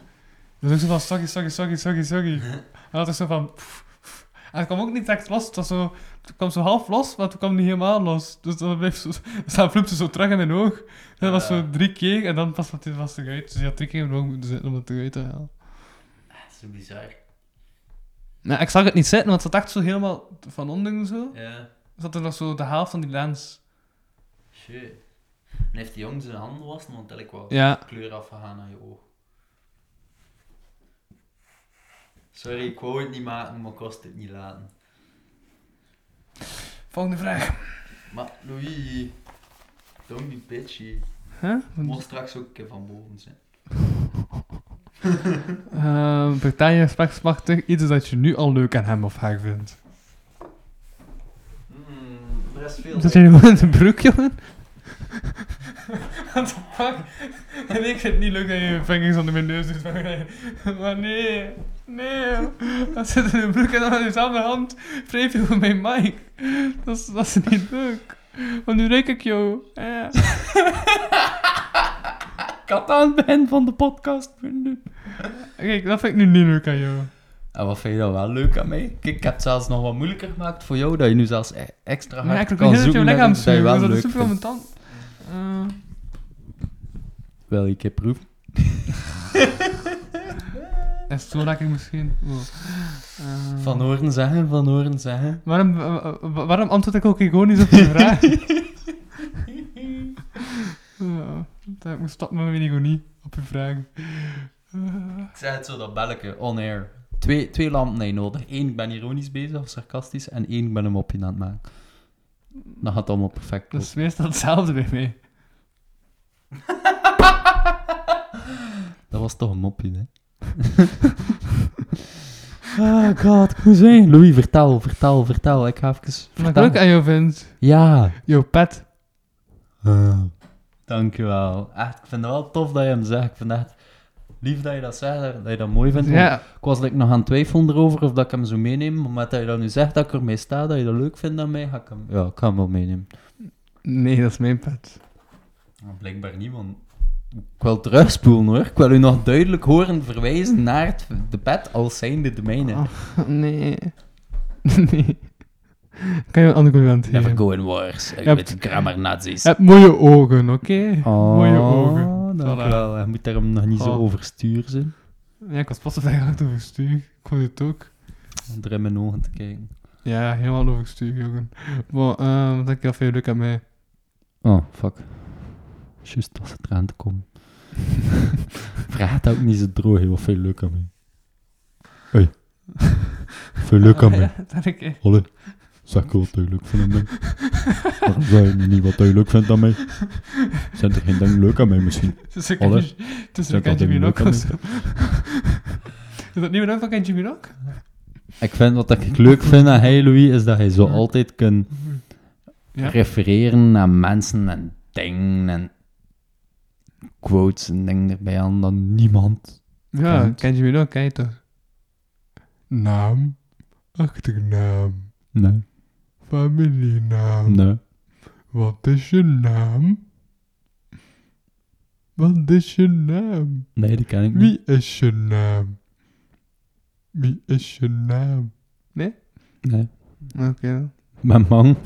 [SPEAKER 3] Dan is ook zo van, sorry, sorry, sorry, sorry, sorry. En dat is zo van... pff, pff. En het kwam ook niet echt los. Het, was zo, het kwam zo half los, maar het kwam niet helemaal los. Dus dan bleef zo... Dus dan vloept ze zo terug in mijn oog. Dat was zo drie keer, en dan pas wat dit was eruit. Dus je had drie keer in mijn oog moeten zitten om het eruit te halen.
[SPEAKER 4] Dat is zo bizar.
[SPEAKER 3] Nou, ik zag het niet zitten, want het zat echt zo helemaal van onder zo.
[SPEAKER 4] Ja,
[SPEAKER 3] Zat Dus er nog zo de helft van die lens.
[SPEAKER 4] shit. En heeft die jongen zijn handen wassen, want ik wel
[SPEAKER 3] Ja.
[SPEAKER 4] kleur afgegaan naar je oog. Sorry, ik wou het niet maken, maar ik kost het niet laten.
[SPEAKER 3] Volgende vraag.
[SPEAKER 4] Maar Louis, don't be bitchy.
[SPEAKER 3] Huh?
[SPEAKER 4] Mocht straks ook een keer van boven zijn.
[SPEAKER 3] Uh, Partij je respectmachtig iets dat je nu al leuk aan hem of haar vindt?
[SPEAKER 4] Hmm, er is veel.
[SPEAKER 3] Zit je nu gewoon in zijn broek, jongen? What the fuck? En ik vind het niet leuk dat je je vingers onder mijn neus doet. Maar maar nee, nee. Dat zit in je broek en dan met dezelfde hand wreef je over mijn mic. Dat is, dat is niet leuk. Want nu reik ik jou. Ja.
[SPEAKER 4] Ik had aan het begin van de podcast moeten doen.
[SPEAKER 3] Kijk, dat vind ik nu niet leuk aan jou.
[SPEAKER 4] En wat vind je dan wel leuk aan mij? Kijk, ik heb het zelfs nog wat moeilijker gemaakt voor jou, dat je nu zelfs e- extra
[SPEAKER 3] Maar ja,
[SPEAKER 4] hard
[SPEAKER 3] ik
[SPEAKER 4] kan
[SPEAKER 3] probeer dat
[SPEAKER 4] zoeken
[SPEAKER 3] jouw
[SPEAKER 4] naar
[SPEAKER 3] lichaam
[SPEAKER 4] iets dat je wel
[SPEAKER 3] Dat is
[SPEAKER 4] leuk
[SPEAKER 3] super aan mijn
[SPEAKER 4] vindt.
[SPEAKER 3] tand. Eh,
[SPEAKER 4] Wel, ik heb proef.
[SPEAKER 3] Is het zo dat ik misschien... Oh. Wow. Eh,
[SPEAKER 16] Van horen zeggen, van horen zeggen.
[SPEAKER 3] waarom, wa- wa- wa- waarom antwoord ik ook gewoon niet op die vraag? ja, dat ik moet stoppen met mijn egonie op uw vraag.
[SPEAKER 4] Ik zei het zo, dat belletje, on air. Twee, twee lampen heb je nodig. Eén, ik ben ironisch bezig of sarcastisch. En één, ik ben een mopje aan het maken. Dan gaat het allemaal perfect.
[SPEAKER 3] Dat is meestal hetzelfde bij mij.
[SPEAKER 4] Dat was toch een mopje, hè?
[SPEAKER 16] Ah, god, ik moet zijn. Louis, vertel, vertel, vertel. Ik ga even...
[SPEAKER 3] Wat ik
[SPEAKER 16] Vertel.
[SPEAKER 3] leuk aan jou vind,
[SPEAKER 16] Ja.
[SPEAKER 3] jouw pet.
[SPEAKER 4] Dankjewel. Echt, ik vind het wel tof dat je hem zegt. Ik vind het echt lief dat je dat zegt, dat je dat mooi vindt.
[SPEAKER 3] Ja,
[SPEAKER 4] Ik was like, nog aan het twijfelen erover of dat ik hem zou meenemen. Maar met dat je dat nu zegt, dat ik ermee sta, dat je dat leuk vindt aan mij, ga ik hem... Ja, ik ga hem wel meenemen.
[SPEAKER 3] nee, dat is mijn pet.
[SPEAKER 4] Maar Blijkbaar niet, want... Ik wil terugspoelen, hoor. Ik wil u nog duidelijk horen verwijzen naar het debat als zijnde de mijne.
[SPEAKER 3] Nee. nee. Kan je een andere kant
[SPEAKER 4] Never
[SPEAKER 3] geven?
[SPEAKER 4] going wars. Ik
[SPEAKER 3] Ja,
[SPEAKER 4] weet grammar nazis.
[SPEAKER 3] Je hebt mooie ogen, oké?
[SPEAKER 4] Oh,
[SPEAKER 3] Mooie ogen.
[SPEAKER 4] Dankjewel. Je moet daarom nog niet zo
[SPEAKER 3] Oh.
[SPEAKER 4] overstuur zijn.
[SPEAKER 3] Ja, ik was pas op eigenlijk overstuur. Ik vond het ook.
[SPEAKER 4] Om er in mijn ogen te kijken.
[SPEAKER 3] Ja, helemaal overstuur, jongen. Maar, ehm wat heb ik al veel leuk aan mij?
[SPEAKER 4] Oh, fuck. Juist als het eraan te komen. Vraag het ook niet zo droog, heel veel leuk aan mij. Hoi. Veel leuk aan mij.
[SPEAKER 3] Ja, dat ik echt...
[SPEAKER 4] Allee. Zeg ik wat je leuk vindt aan mij? Waarom zou je niet wat je leuk vindt aan mij? Zijn er geen dingen leuk aan mij misschien?
[SPEAKER 3] Tussen
[SPEAKER 4] Alles.
[SPEAKER 3] Tussen
[SPEAKER 4] Zet dat
[SPEAKER 3] Ken Jimmy
[SPEAKER 4] in
[SPEAKER 3] Rock
[SPEAKER 4] elkaar.
[SPEAKER 3] of zo. Is dat niet meer ook van Ken Jimmy Rock?
[SPEAKER 4] Ik vind wat ik leuk vind aan hij, Louis, is dat hij zo altijd kan
[SPEAKER 3] Ja.
[SPEAKER 4] refereren naar mensen en dingen en quotes en dingen erbij aan dan niemand.
[SPEAKER 3] Ja,
[SPEAKER 4] Kent.
[SPEAKER 3] Ken Jimmy Rock, kijk toch. Naam. Achternaam.
[SPEAKER 4] Nee,
[SPEAKER 3] Familienaam.
[SPEAKER 4] nee.
[SPEAKER 3] Wat is je naam? Wat is je naam?
[SPEAKER 4] Nee, die ken ik niet.
[SPEAKER 3] Wie is je naam? Wie is je naam?
[SPEAKER 4] Nee.
[SPEAKER 3] Oké.
[SPEAKER 4] Ik ben bang.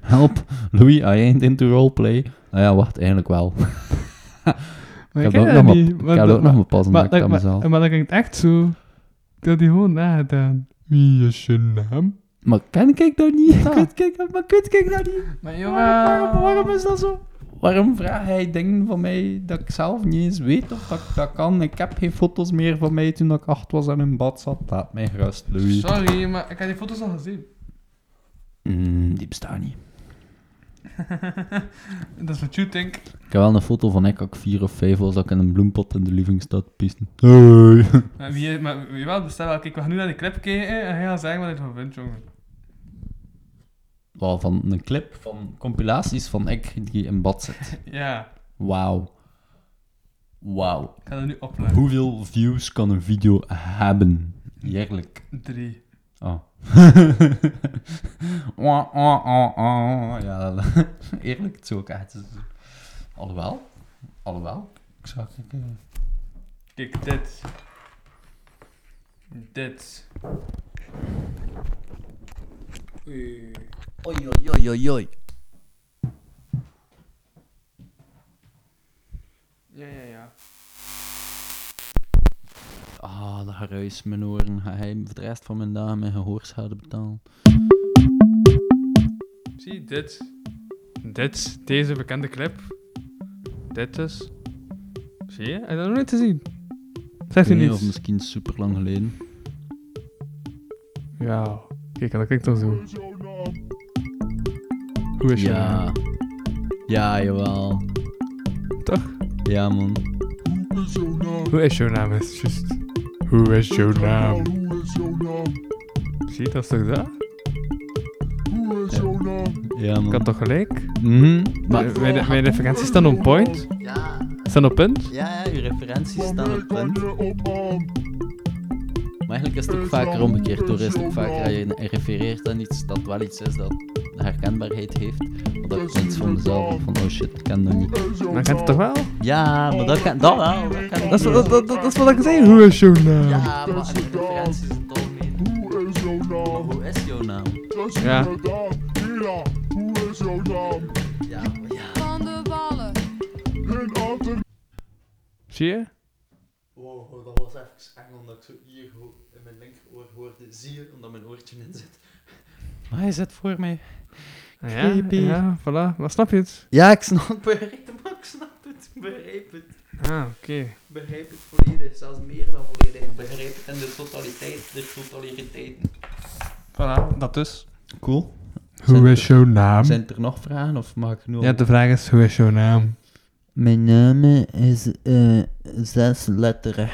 [SPEAKER 4] Help, Louis, I ain't into roleplay. Nou ja, wacht, eigenlijk wel.
[SPEAKER 3] Maar
[SPEAKER 4] Ik heb
[SPEAKER 3] ken
[SPEAKER 4] ook
[SPEAKER 3] dat
[SPEAKER 4] nog
[SPEAKER 3] niet,
[SPEAKER 4] mijn- ik
[SPEAKER 3] maar
[SPEAKER 4] heb
[SPEAKER 3] dat-
[SPEAKER 4] ook nog mijn pas
[SPEAKER 3] Maar,
[SPEAKER 4] ontdekt
[SPEAKER 3] dat,
[SPEAKER 4] aan
[SPEAKER 3] maar,
[SPEAKER 4] mezelf.
[SPEAKER 3] maar dat klinkt echt zo. Ik had die gewoon nagedaan. Wie is je naam?
[SPEAKER 4] Maar ken ik dat niet?
[SPEAKER 3] Ja.
[SPEAKER 4] Kut, kijk dat- maar kut, kijk dat niet.
[SPEAKER 3] Maar
[SPEAKER 4] Waarom, waarom is dat zo? Waarom vraagt hij dingen van mij dat ik zelf niet eens weet of dat ik dat kan? Ik heb geen foto's meer van mij toen ik acht was en in bad zat. Laat mij gerust, Louis.
[SPEAKER 3] Sorry, maar ik had die foto's al gezien.
[SPEAKER 4] Mm, die bestaan niet.
[SPEAKER 3] Dat is wat you think.
[SPEAKER 4] Ik heb wel een foto van ik, als ik vier of vijf was, dat ik in een bloempot in de living staat te pissen. Hey.
[SPEAKER 3] Maar wie, maar wie wel, bestel wel. Kijk, we gaan nu naar de clip kijken en hij gaat zeggen wat hij ervan vindt, jongen.
[SPEAKER 4] Wel, van een clip van compilaties van ik die in bad zit.
[SPEAKER 3] Ja,
[SPEAKER 4] Wauw. Wauw.
[SPEAKER 3] ik ga dat nu opleggen.
[SPEAKER 4] Hoeveel views kan een video hebben? Jaarlijk.
[SPEAKER 3] Drie.
[SPEAKER 4] Oh. Wah, wah, wah, wah. Oh, Ja, eerlijk, het is ook echt. Alhoewel. Alhoewel. Ik zag ik. eh,
[SPEAKER 3] Kijk, dit. Dit.
[SPEAKER 17] Oei, oei, oei, oei, oei.
[SPEAKER 3] Ja, ja, ja.
[SPEAKER 4] Ah, dat geruis, mijn oren. Ga hij voor de rest van mijn dagen mijn gehoorschade betalen?
[SPEAKER 3] Zie dit. Dit, deze bekende clip. Dit dus. Zie je? Heb je dat nog niet te zien? Zegt u
[SPEAKER 4] Nee, of
[SPEAKER 3] niet?
[SPEAKER 4] misschien super lang geleden.
[SPEAKER 3] Ja. Kijk, dat klinkt dan zo. Hoe is je naam?
[SPEAKER 4] Ja. Ja, jawel.
[SPEAKER 3] Toch?
[SPEAKER 4] Ja, man.
[SPEAKER 3] Hoe is jouw naam? Is het juist. Hoe is jouw naam? Zie je, dat is toch dat?
[SPEAKER 4] Ja, man.
[SPEAKER 3] Ik had toch gelijk?
[SPEAKER 4] Mhm. Maar
[SPEAKER 3] Mijn, mijn, mijn referenties staan on point.
[SPEAKER 17] Ja,
[SPEAKER 3] Staan op punt.
[SPEAKER 17] ja,
[SPEAKER 4] je referenties staan op punt. Maar eigenlijk is het ook vaker omgekeerd. Door is het ook vaker dat je refereert aan iets dat wel iets is dat herkenbaarheid heeft. Maar dat ik iets van mezelf heb van oh shit, ik ken dat niet.
[SPEAKER 3] Dan kent het toch wel?
[SPEAKER 4] Ja, maar dat kan dat wel. Dat kan
[SPEAKER 3] Dat is, dat, dat, dat is wat ik zei. Hoe is jouw naam?
[SPEAKER 4] Ja, maar de referenties is het algemeen. Maar Hoe is jouw naam?
[SPEAKER 3] Ja.
[SPEAKER 4] Ja, maar ja.
[SPEAKER 18] van de wallen.
[SPEAKER 3] Zie je?
[SPEAKER 4] Wow, oh, dat was echt straks eng, omdat ik zo hier ho- in mijn linkeroor hoorde, zie je, omdat mijn oortje in zit.
[SPEAKER 19] Hij zit voor mij.
[SPEAKER 20] Ja, ja, voilà. Maar snap je het?
[SPEAKER 21] Ja, ik snap.
[SPEAKER 4] Ik begrijp het, maar ik snap het. Ik Begrijp het.
[SPEAKER 20] Ah, oké.
[SPEAKER 4] Ik Begrijp het volledig. Zelfs meer dan volledig. Ik Begrijp het in de totaliteit. De totaliteiten.
[SPEAKER 3] Voilà, dat dus.
[SPEAKER 7] Cool.
[SPEAKER 13] Hoe is jouw naam?
[SPEAKER 7] Zijn er nog vragen of maak ik nu al-
[SPEAKER 3] Ja, de vraag is, hoe is jouw naam?
[SPEAKER 21] Mijn naam is eh zes letteren.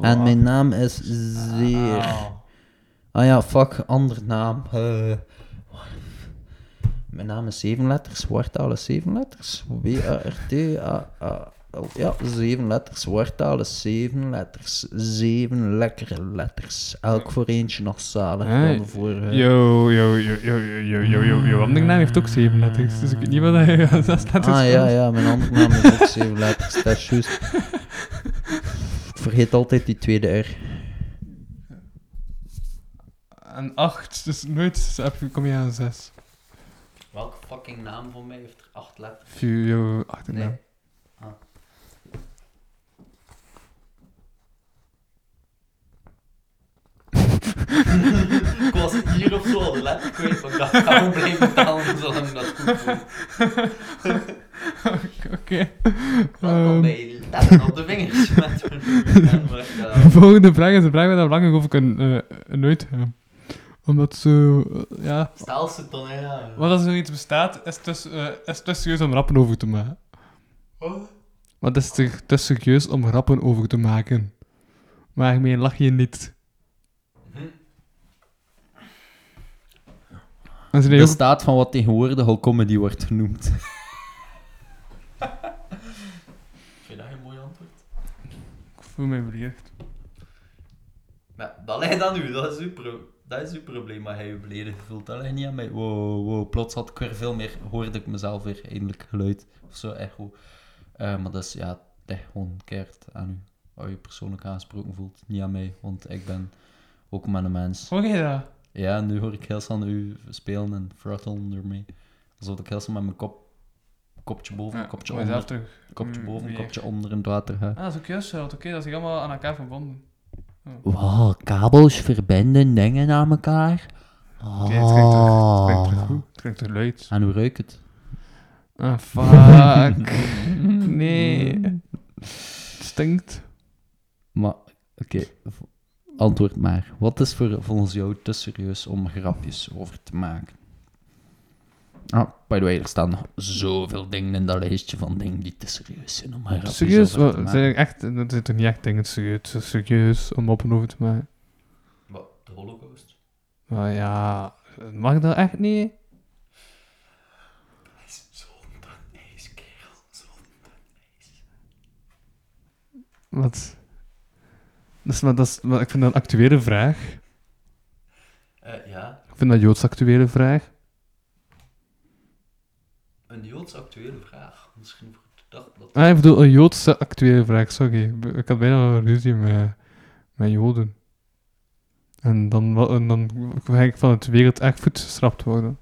[SPEAKER 21] En mijn naam is Zeer.
[SPEAKER 7] Ah ja, fuck, ander naam. Eh, mijn naam is zeven letters, Wartaal is zeven letters. W-A-R-T-A-A-L. Oh, Ja, zeven letters, Wartaal is zeven letters. Zeven lekkere letters. Elk voor eentje nog zaliger
[SPEAKER 20] Hey.
[SPEAKER 7] dan eh, de vorige.
[SPEAKER 20] Yo, yo, yo, yo, yo, yo, yo, yo. Want mijn
[SPEAKER 3] nou?
[SPEAKER 20] naam heeft ook zeven letters, dus ik weet niet wat hij zes letters
[SPEAKER 7] Ah ja,
[SPEAKER 20] was.
[SPEAKER 7] ja, mijn andere naam is ook zeven letters, dat is juist. Ik vergeet altijd die tweede R.
[SPEAKER 3] Een acht, dus nooit heb- kom je aan een zes.
[SPEAKER 4] Welke fucking naam van mij heeft er acht letters?
[SPEAKER 3] Vier, jouw achternaam.
[SPEAKER 4] Nee. ik was hier of zo al letter kwijt, maar dat kan ik blijven tellen zolang ik dat goed voel.
[SPEAKER 3] Oké.
[SPEAKER 4] Welkom
[SPEAKER 3] Ehm.
[SPEAKER 4] bij Letten op de vingers met mijn maar, eh,
[SPEAKER 3] De volgende vraag is een vraag waar we lang over kunnen eh, nooit gaan. Omdat zo... eh, ja...
[SPEAKER 4] Stel ze dan, ja.
[SPEAKER 3] Want als er zoiets bestaat, is het dus, eh, is het te serieus om rappen over te maken. Want het is te, te serieus om rappen over te maken. Waarmee lach je niet. Hm. En ze
[SPEAKER 7] De
[SPEAKER 3] ook
[SPEAKER 7] staat van wat tegenwoordig al comedy wordt genoemd.
[SPEAKER 4] Vind je dat een mooi antwoord?
[SPEAKER 3] voor mij beledigd.
[SPEAKER 4] Maar dat ligt aan u, dat is uw, pro- dat is uw probleem, maar hij je beledigd voelt. Dat ligt niet aan mij. Wow, wow, plots had ik weer veel meer, hoorde ik mezelf weer eindelijk geluid of zo, echo. Eh maar dat is, ja, het ligt gewoon keert aan u. Waar je persoonlijk aangesproken voelt, niet aan mij, want ik ben ook maar een mens.
[SPEAKER 3] Hoor je dat?
[SPEAKER 4] Ja, nu hoor ik heel snel u spelen en frattelen ermee. Alsof ik heel snel met mijn kop, kopje boven, kopje
[SPEAKER 3] kom je zelf
[SPEAKER 4] onder,
[SPEAKER 3] Oh, terug.
[SPEAKER 4] kopje
[SPEAKER 3] mm,
[SPEAKER 4] boven,
[SPEAKER 3] weer.
[SPEAKER 4] kopje onder in het water ga.
[SPEAKER 3] Ah, dat is ook juist zo. Oké, dat is allemaal aan elkaar verbonden.
[SPEAKER 19] Wow, kabels verbinden dingen aan elkaar. Oh.
[SPEAKER 3] Oké, het klinkt toch- het
[SPEAKER 7] Ah.
[SPEAKER 3] klinkt toch goed? Het klinkt toch luid?
[SPEAKER 7] En hoe ruikt het?
[SPEAKER 3] Ah, fuck. nee. Het stinkt.
[SPEAKER 7] Maar, oké. v- Antwoord maar. Wat is voor, volgens jou te serieus om grapjes over te maken? Ah, by the way, er staan nog zoveel dingen in dat lijstje van dingen die te serieus zijn om grapjes
[SPEAKER 3] Serieus?
[SPEAKER 7] over te
[SPEAKER 3] Wat,
[SPEAKER 7] maken.
[SPEAKER 3] zijn er echt, dat zit toch niet echt dingen serieus, het is serieus om op en over te maken?
[SPEAKER 4] Wat, de holocaust?
[SPEAKER 3] Maar ja, mag dat echt niet?
[SPEAKER 4] Zonde, ijs, kerel, zonde, ijs.
[SPEAKER 3] Wat? Dat is, maar, dat is, maar ik vind dat een actuele vraag.
[SPEAKER 4] Eh, ja,
[SPEAKER 3] Ik vind dat een Joods actuele vraag.
[SPEAKER 4] Een Joods actuele vraag. Misschien voor het dagblad.
[SPEAKER 3] Ah, ik bedoel, een Joodse actuele vraag, sorry. B- Ik had bijna een ruzie met, met Joden. En dan, wa- en dan ga ik van het wereld echt voet geschrapt worden.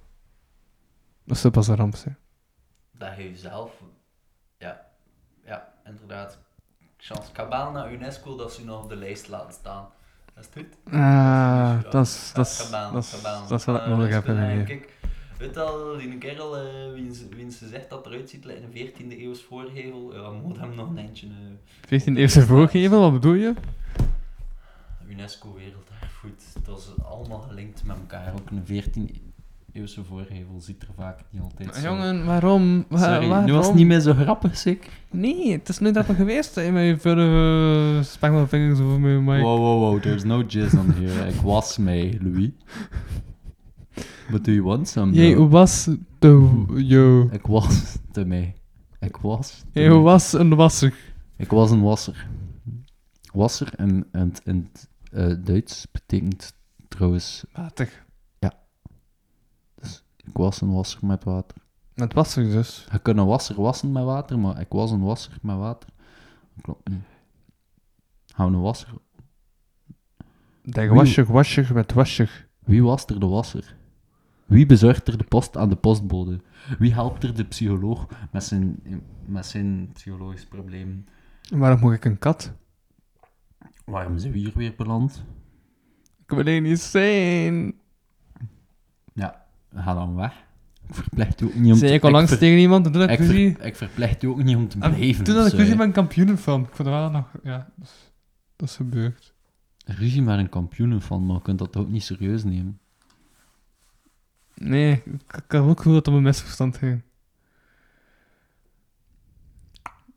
[SPEAKER 3] Dat zou pas een ramp zijn.
[SPEAKER 4] Dat je zelf. Ja, ja, inderdaad. Chance Kabaal naar UNESCO dat ze u nog op de lijst laten staan. Dat is het.
[SPEAKER 3] Ah,
[SPEAKER 4] Ja,
[SPEAKER 3] dat is, dat is,
[SPEAKER 4] Kabaal,
[SPEAKER 3] dat is,
[SPEAKER 4] Kabaal.
[SPEAKER 3] dat is wat ik
[SPEAKER 4] Eh,
[SPEAKER 3] nodig
[SPEAKER 4] dus
[SPEAKER 3] heb in
[SPEAKER 4] dan
[SPEAKER 3] mijn
[SPEAKER 4] denk
[SPEAKER 3] leven.
[SPEAKER 4] ik, Weet je al, die kerel, eh wiens, wiens ze zegt dat eruit ziet, lijkt een 14e eeuws voorgevel. Ja, moet hem nog een eindje. eh,
[SPEAKER 3] 14 eerste voorgeven, wat bedoel je?
[SPEAKER 4] UNESCO Werelderfgoed. Dat is allemaal gelinkt met elkaar. Ook een 14e eeuwse voorgevel ziet er vaak niet altijd zo.
[SPEAKER 3] Jongen, waarom? Wa-
[SPEAKER 4] Sorry,
[SPEAKER 3] waarom?
[SPEAKER 4] nu was het niet meer zo grappig, zeker.
[SPEAKER 3] Nee, het is nooit dat geweest. hè, Met je verre uh, vingers over mijn mic.
[SPEAKER 4] Wow, wow, wow, there's no jizz on here. Ik was mee, Louis. But do you want some?
[SPEAKER 3] Jij
[SPEAKER 4] though?
[SPEAKER 3] was de... Yo.
[SPEAKER 4] Ik was te mee. Ik was. te
[SPEAKER 3] Jij
[SPEAKER 4] mee.
[SPEAKER 3] was een wasser.
[SPEAKER 4] Ik was een wasser. Wasser in, in, het- in het eh, Duits betekent trouwens.
[SPEAKER 3] Water.
[SPEAKER 4] Ik was een wasser met water.
[SPEAKER 3] Met wasser dus.
[SPEAKER 4] Je kunt een wasser wassen met water, maar ik was een wasser met water. Dat klopt niet. Gaan we een wasser.
[SPEAKER 3] Denk wasser, wasser met wasser.
[SPEAKER 4] Wie was er de wasser? Wie bezorgt er de post aan de postbode? Wie helpt er de psycholoog met zijn, met zijn psychologisch probleem?
[SPEAKER 3] Waarom moet ik een kat?
[SPEAKER 4] Waarom zijn we hier weer beland?
[SPEAKER 22] Ik wil er niet zijn.
[SPEAKER 4] Ja, ga dan weg. Ik verplicht ook niet om
[SPEAKER 3] Zei ik al langs
[SPEAKER 4] ver-
[SPEAKER 3] tegen iemand en toen had ik
[SPEAKER 4] ik, ver-
[SPEAKER 3] ruzie.
[SPEAKER 4] ik verplicht ook niet om te
[SPEAKER 3] En
[SPEAKER 4] blijven.
[SPEAKER 3] Toen had ik
[SPEAKER 4] dus,
[SPEAKER 3] ruzie
[SPEAKER 4] eh,
[SPEAKER 3] met een kampioenenfilm. Ik vond dat wel nog... Ja, dat is, dat is gebeurd.
[SPEAKER 4] ruzie met een kampioen van, maar je kunt dat ook niet serieus nemen.
[SPEAKER 3] Nee, ik, ik had ook het gevoel dat het om een misverstand ging.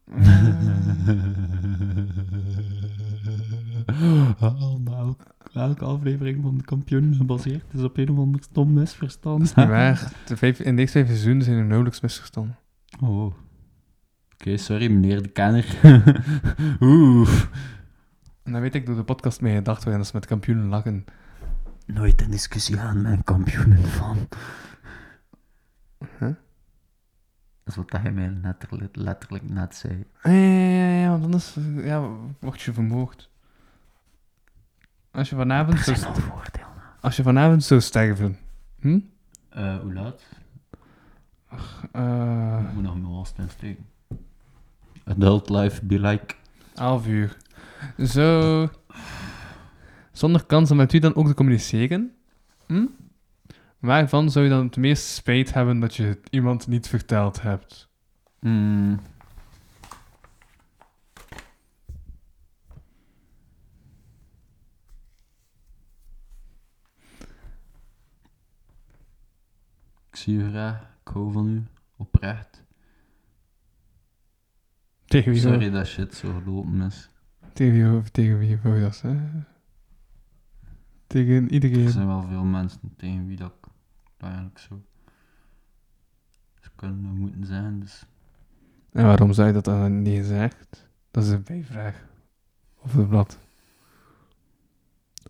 [SPEAKER 4] Allemaal. Welke aflevering van de kampioen gebaseerd is op een of ander stom misverstand.
[SPEAKER 3] Dat is niet waar. De vijf, in deze vijf seizoenen zijn er nauwelijks misverstanden.
[SPEAKER 4] Oh. Oké, sorry meneer de kenner. Oeh.
[SPEAKER 3] En dan weet ik door de podcast mee gedacht waarin ze met kampioenen lachen.
[SPEAKER 4] Nooit een discussie aan met kampioenen van.
[SPEAKER 3] Huh?
[SPEAKER 4] Dat is wat hij mij letterlijk, letterlijk net zei.
[SPEAKER 3] Ja, ja, ja, ja, want anders ja, word je vermoord. Als je vanavond zou, st- als je vanavond zou sterven, hm?
[SPEAKER 4] hoe laat?
[SPEAKER 3] Eh,
[SPEAKER 4] Ik moet nog mijn last insteken. Adult life be like.
[SPEAKER 3] 11 uur. Zo. Zonder kans om met u dan ook te communiceren? Hm? Waarvan zou je dan het meest spijt hebben dat je het iemand niet verteld hebt?
[SPEAKER 4] Mm. Ik zie u graag, ik hou van u, oprecht.
[SPEAKER 3] Tegen wie,
[SPEAKER 4] Sorry dat shit zo gelopen is.
[SPEAKER 3] Tegen wie, tegen wie wou je dat zeggen? Tegen
[SPEAKER 4] Er
[SPEAKER 3] iedereen.
[SPEAKER 4] zijn wel veel mensen tegen wie dat ik dat eigenlijk zo zou kunnen en moeten zijn, dus
[SPEAKER 3] En waarom zou je dat dan niet gezegd? Dat is een bijvraag. Of het blad.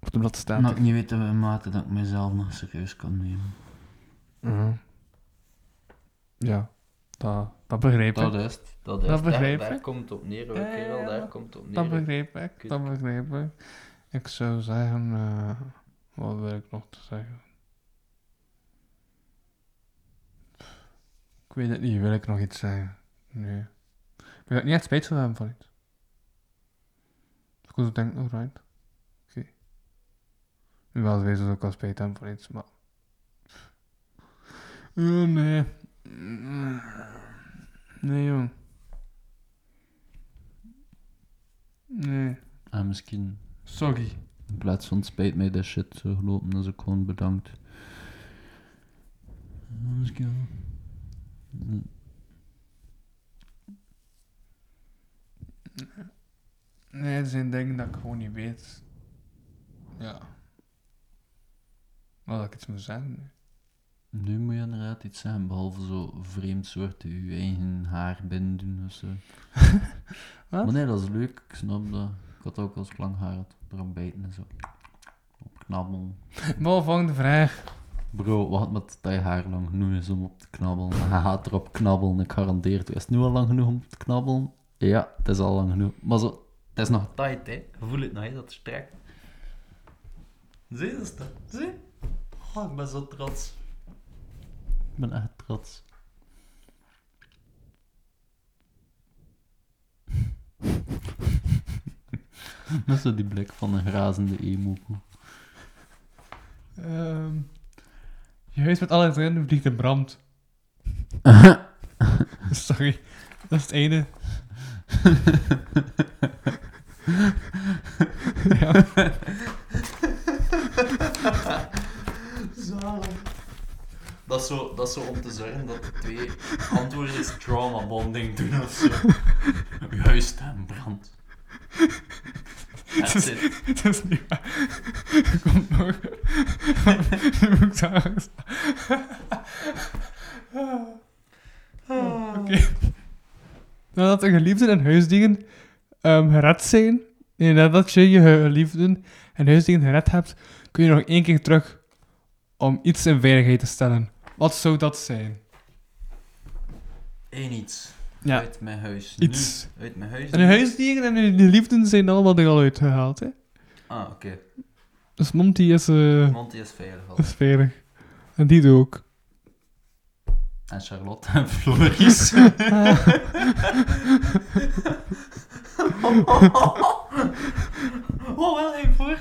[SPEAKER 3] Of de blad staat.
[SPEAKER 4] omdat ik niet weet in welke mate dat ik mezelf nog serieus kan nemen.
[SPEAKER 3] Ja, Mhm. ja dat, dat begrijp ik.
[SPEAKER 4] Dat is het, dat is
[SPEAKER 3] Dat
[SPEAKER 4] het.
[SPEAKER 3] begrijp
[SPEAKER 4] daar,
[SPEAKER 3] ik.
[SPEAKER 4] daar komt het op neer, hoor,
[SPEAKER 3] Ja, ja,
[SPEAKER 4] kerel,
[SPEAKER 3] ja.
[SPEAKER 4] daar komt het op neer.
[SPEAKER 3] Dat begreep ik,
[SPEAKER 4] Kut.
[SPEAKER 3] dat begreep ik. Ik zou zeggen, eh, wat wil ik nog te zeggen? Pff, Ik weet het niet, wil ik nog iets zeggen? Nee. Ik wil niet echt spijt van hebben van iets. Ik was denken, alright. Oké. Nu wel weten dat ik al spijt heb van iets, maar... Ja, nee. Nee, jong. Nee.
[SPEAKER 4] En Ah, misschien
[SPEAKER 3] Sorry.
[SPEAKER 4] in plaats van spijt mij dat shit zo gelopen, dus ik gewoon bedankt. Ja, Misschien wel. Mm.
[SPEAKER 3] Nee, er zijn dingen dat ik gewoon niet weet. Ja. Wel dat ik iets moet zeggen. nu.
[SPEAKER 4] Nu moet je inderdaad iets zijn, behalve zo vreemd soort je eigen haar binnen doen of zo.
[SPEAKER 3] Wat?
[SPEAKER 4] Maar nee, dat is leuk, ik snap dat. Ik had ook als ik lang haar had, erop bijten en zo. Op knabbelen.
[SPEAKER 3] Maar volgende vraag.
[SPEAKER 4] Bro, wacht maar tot je haar lang genoeg is om op te knabbelen. Hij gaat erop knabbelen, ik garandeer het. Is het nu al lang genoeg om te knabbelen? Ja, het is al lang genoeg. Maar zo, het is nog tight, hè. Je Voelt het nog, hè, dat strekt. Zie je dat? staan? Zie? Oh, ik ben zo trots. Ik ben echt trots. Met zo die blik van een razende emo.
[SPEAKER 3] Ehm, je huis met alle erin vliegt in brand. Sorry. Dat is het ene. ja.
[SPEAKER 4] Dat is, zo, dat is zo om te zorgen dat de twee antwoorden is trauma bonding doen of zo. Juist, en brand. That's it.
[SPEAKER 3] Dat is niet waar. Komt nog. Nu moet ik daar angst. Oh, Oké. Nadat de geliefden en huisdieren ehm, gered zijn, nee, nadat je je geliefden en huisdieren gered hebt, kun je nog één keer terug om iets in veiligheid te stellen. Wat zou dat zijn?
[SPEAKER 4] Eén iets.
[SPEAKER 3] Ja.
[SPEAKER 4] Uit mijn huis.
[SPEAKER 3] Iets.
[SPEAKER 4] Nu. Uit mijn huis.
[SPEAKER 3] En de huisdieren en de geliefden zijn allemaal er al uitgehaald, hè?
[SPEAKER 4] Ah, oké. Okay.
[SPEAKER 3] Dus Monty is, eh,
[SPEAKER 4] Monty is veilig al.
[SPEAKER 3] is veilig. En die ook.
[SPEAKER 4] En Charlotte en Floris. Oh, wel even voor.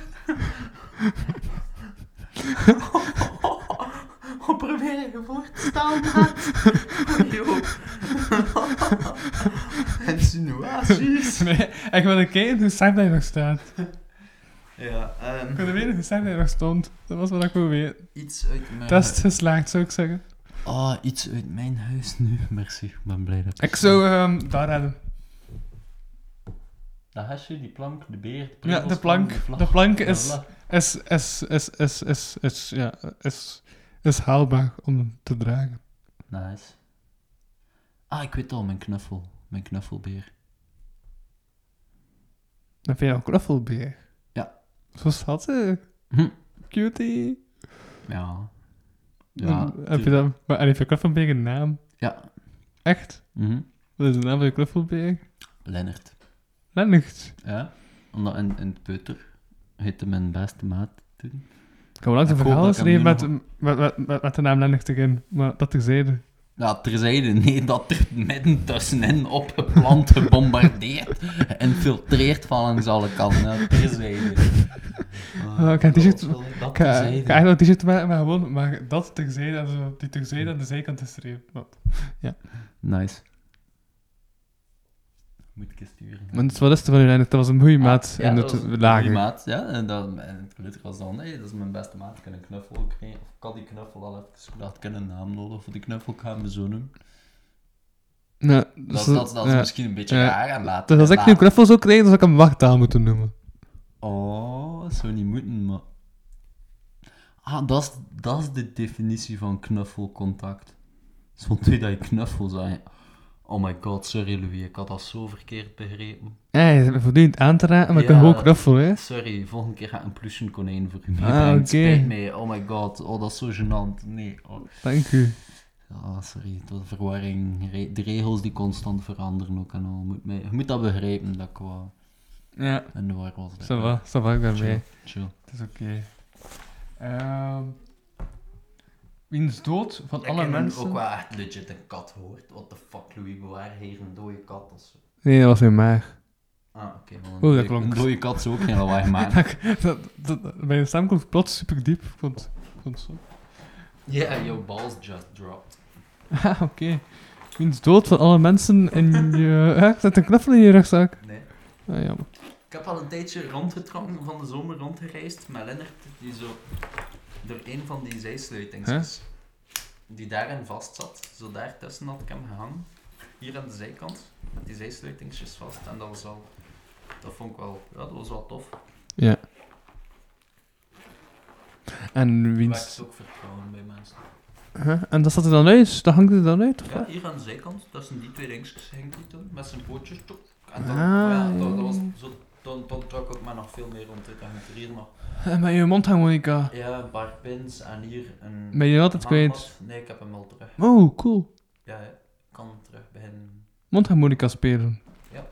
[SPEAKER 4] Oh, probeer even voor te staan, maat. Yo. Insinuaties.
[SPEAKER 3] Nee, ik wil een keer hoe sterk dat je nog staat.
[SPEAKER 4] Ja, ehm,
[SPEAKER 3] Ik wil weten hoe sterk dat je nog stond. Dat was wat ik wil weten.
[SPEAKER 4] iets uit mijn...
[SPEAKER 3] Test geslaagd, zou ik zeggen.
[SPEAKER 4] Ah, iets uit mijn huis nu. Merci, ik ben blij dat
[SPEAKER 3] Ik zou ehm daar hebben.
[SPEAKER 4] Dat hesje, die plank, de beer, de
[SPEAKER 3] Ja, de
[SPEAKER 4] prikkels,
[SPEAKER 3] plank.
[SPEAKER 4] vlag,
[SPEAKER 3] De plank
[SPEAKER 4] de
[SPEAKER 3] is...
[SPEAKER 4] vlag.
[SPEAKER 3] is, is, is, is, is, is, ja, is, is haalbaar om te dragen.
[SPEAKER 4] Nice. Ah, ik weet al, mijn knuffel. Mijn knuffelbeer.
[SPEAKER 3] Dan vind je een knuffelbeer.
[SPEAKER 4] Ja.
[SPEAKER 3] Zo schattig.
[SPEAKER 4] Hm.
[SPEAKER 3] Cutie.
[SPEAKER 4] Ja. Ja.
[SPEAKER 3] Dan Mm, heb je dan, maar en heeft je knuffelbeer een naam?
[SPEAKER 4] Ja.
[SPEAKER 3] Echt?
[SPEAKER 4] Mhm.
[SPEAKER 3] Wat is de naam van je knuffelbeer?
[SPEAKER 4] Lennart.
[SPEAKER 3] Lennart.
[SPEAKER 4] Ja. Omdat in, in het peuter heette mijn beste maat toen.
[SPEAKER 3] Ik heb langs een
[SPEAKER 4] Ik hoop
[SPEAKER 3] verhaal
[SPEAKER 4] dat ik hem
[SPEAKER 3] geschreven met,
[SPEAKER 4] nu
[SPEAKER 3] met, met, met, met de naam Lennart erin, maar dat terzijde.
[SPEAKER 4] Ja, terzijde. Nee, dat er midden tussenin opgeplant, gebombardeerd, geïnfiltreerd van langs alle kanten. Ja, terzijde.
[SPEAKER 3] Ah, ik heb een t-shirt-
[SPEAKER 4] Dat- Dat
[SPEAKER 3] Ik ga ik ga
[SPEAKER 4] terzijde.
[SPEAKER 3] eigenlijk wel een t-shirt maken, maar gewoon maar dat terzijde, en zo die terzijde aan de zijkant is streep. Wat?
[SPEAKER 4] Nice. Moet ik eens sturen.
[SPEAKER 3] Want wat is er van u, Lennart? Ah, Dat was een goede maat
[SPEAKER 4] Ja,
[SPEAKER 3] in
[SPEAKER 4] dat
[SPEAKER 3] het
[SPEAKER 4] was een goeie
[SPEAKER 3] lager.
[SPEAKER 4] maat, ja. En, dan, en het gelukkig was dan, hé, dat is mijn beste maat, ik kan een knuffel ook geven. Of ik had die knuffel al even gedacht, ik heb een naam nodig voor die knuffel, ik ga hem zo noemen.
[SPEAKER 3] Ja,
[SPEAKER 4] Dat,
[SPEAKER 3] dus
[SPEAKER 4] dat, dat is
[SPEAKER 3] ja.
[SPEAKER 4] misschien een beetje
[SPEAKER 3] Ja.
[SPEAKER 4] raar en later.
[SPEAKER 3] Dus als ik nu
[SPEAKER 4] later-
[SPEAKER 3] knuffel zou krijgen, dan zou ik hem wachttaal moeten noemen.
[SPEAKER 4] Oh, dat zou niet moeten, maar... Ah, dat is, dat is de definitie van knuffelcontact. Zo'n twee dat je knuffel zijn. Oh my god, sorry Louis, ik had dat zo verkeerd begrepen.
[SPEAKER 3] Ja, je bent me voortdurend aan te raken, maar ik
[SPEAKER 4] Ja.
[SPEAKER 3] kan gewoon knuffelen, hè.
[SPEAKER 4] Sorry, volgende keer ga ik een pluchen konijn voor u meebrengen.
[SPEAKER 3] Ah, oké.
[SPEAKER 4] Spijt me. Oh my god. Oh, dat is zo gênant. Nee. Oh,
[SPEAKER 3] Dank u.
[SPEAKER 4] Ah, sorry. Het was verwarring. Re- de regels die constant veranderen ook en al. Moet mij- je moet dat begrijpen, dat ik wel
[SPEAKER 3] Ja,
[SPEAKER 4] in de war was.
[SPEAKER 3] ça va, ça va, ik ben
[SPEAKER 4] Chill.
[SPEAKER 3] mee.
[SPEAKER 4] Chill.
[SPEAKER 3] Het is oké. Ehm, wiens dood van alle
[SPEAKER 4] Ik heb
[SPEAKER 3] mensen...
[SPEAKER 4] ook wel echt legit een kat gehoord. What the fuck, Louis? Bewaar hier een dode kat of zo.
[SPEAKER 3] Nee, dat was mijn maag.
[SPEAKER 4] Ah, oké. wel een
[SPEAKER 3] dat
[SPEAKER 4] dode-
[SPEAKER 3] klonk.
[SPEAKER 4] Een dode kat zou ook geen lawaai maken.
[SPEAKER 3] dat, dat, dat- mijn stem komt plots super diep. Ik vond, ik vond het zo.
[SPEAKER 4] Ja, yeah, your balls just dropped.
[SPEAKER 3] Ah, oké. Wiens dood van alle mensen in je... Ja, ik zet een knuffel in je rugzak.
[SPEAKER 4] Nee.
[SPEAKER 3] Ah, jammer.
[SPEAKER 4] Ik heb al een tijdje rondgetrokken, van de zomer rondgereisd met Lennart, die zo door een van die zijsluitingsjes, die daarin vast zat, zo daar tussen had ik hem gehangen, hier aan de zijkant, met die zijsluitingsjes vast, en dat was al, dat vond ik wel, ja, dat was wel tof.
[SPEAKER 3] En
[SPEAKER 4] Wekt
[SPEAKER 3] wiens...
[SPEAKER 4] ook vertrouwen bij mensen.
[SPEAKER 3] Huh? En dat staat er dan uit? Dat hangt er dan uit, of
[SPEAKER 4] Ja,
[SPEAKER 3] wat?
[SPEAKER 4] hier aan de zijkant, tussen die twee ringsjes hing die toen, met zijn pootjes, tok. en dan,
[SPEAKER 3] Ah,
[SPEAKER 4] ja, dat,
[SPEAKER 3] ja.
[SPEAKER 4] dat was zo, dan, dan trok ik me nog veel meer rond, ik hang er hier nog,
[SPEAKER 3] En Eh, met je mondharmonica.
[SPEAKER 4] ja, een paar pins, en hier een...
[SPEAKER 3] Ben je nog
[SPEAKER 4] Ah,
[SPEAKER 3] altijd kwijt?
[SPEAKER 4] Hangmat? Nee, ik heb hem al terug.
[SPEAKER 3] Oh, cool.
[SPEAKER 4] Ja, ik kan terug beginnen.
[SPEAKER 3] Mondharmonica spelen.
[SPEAKER 4] Ja.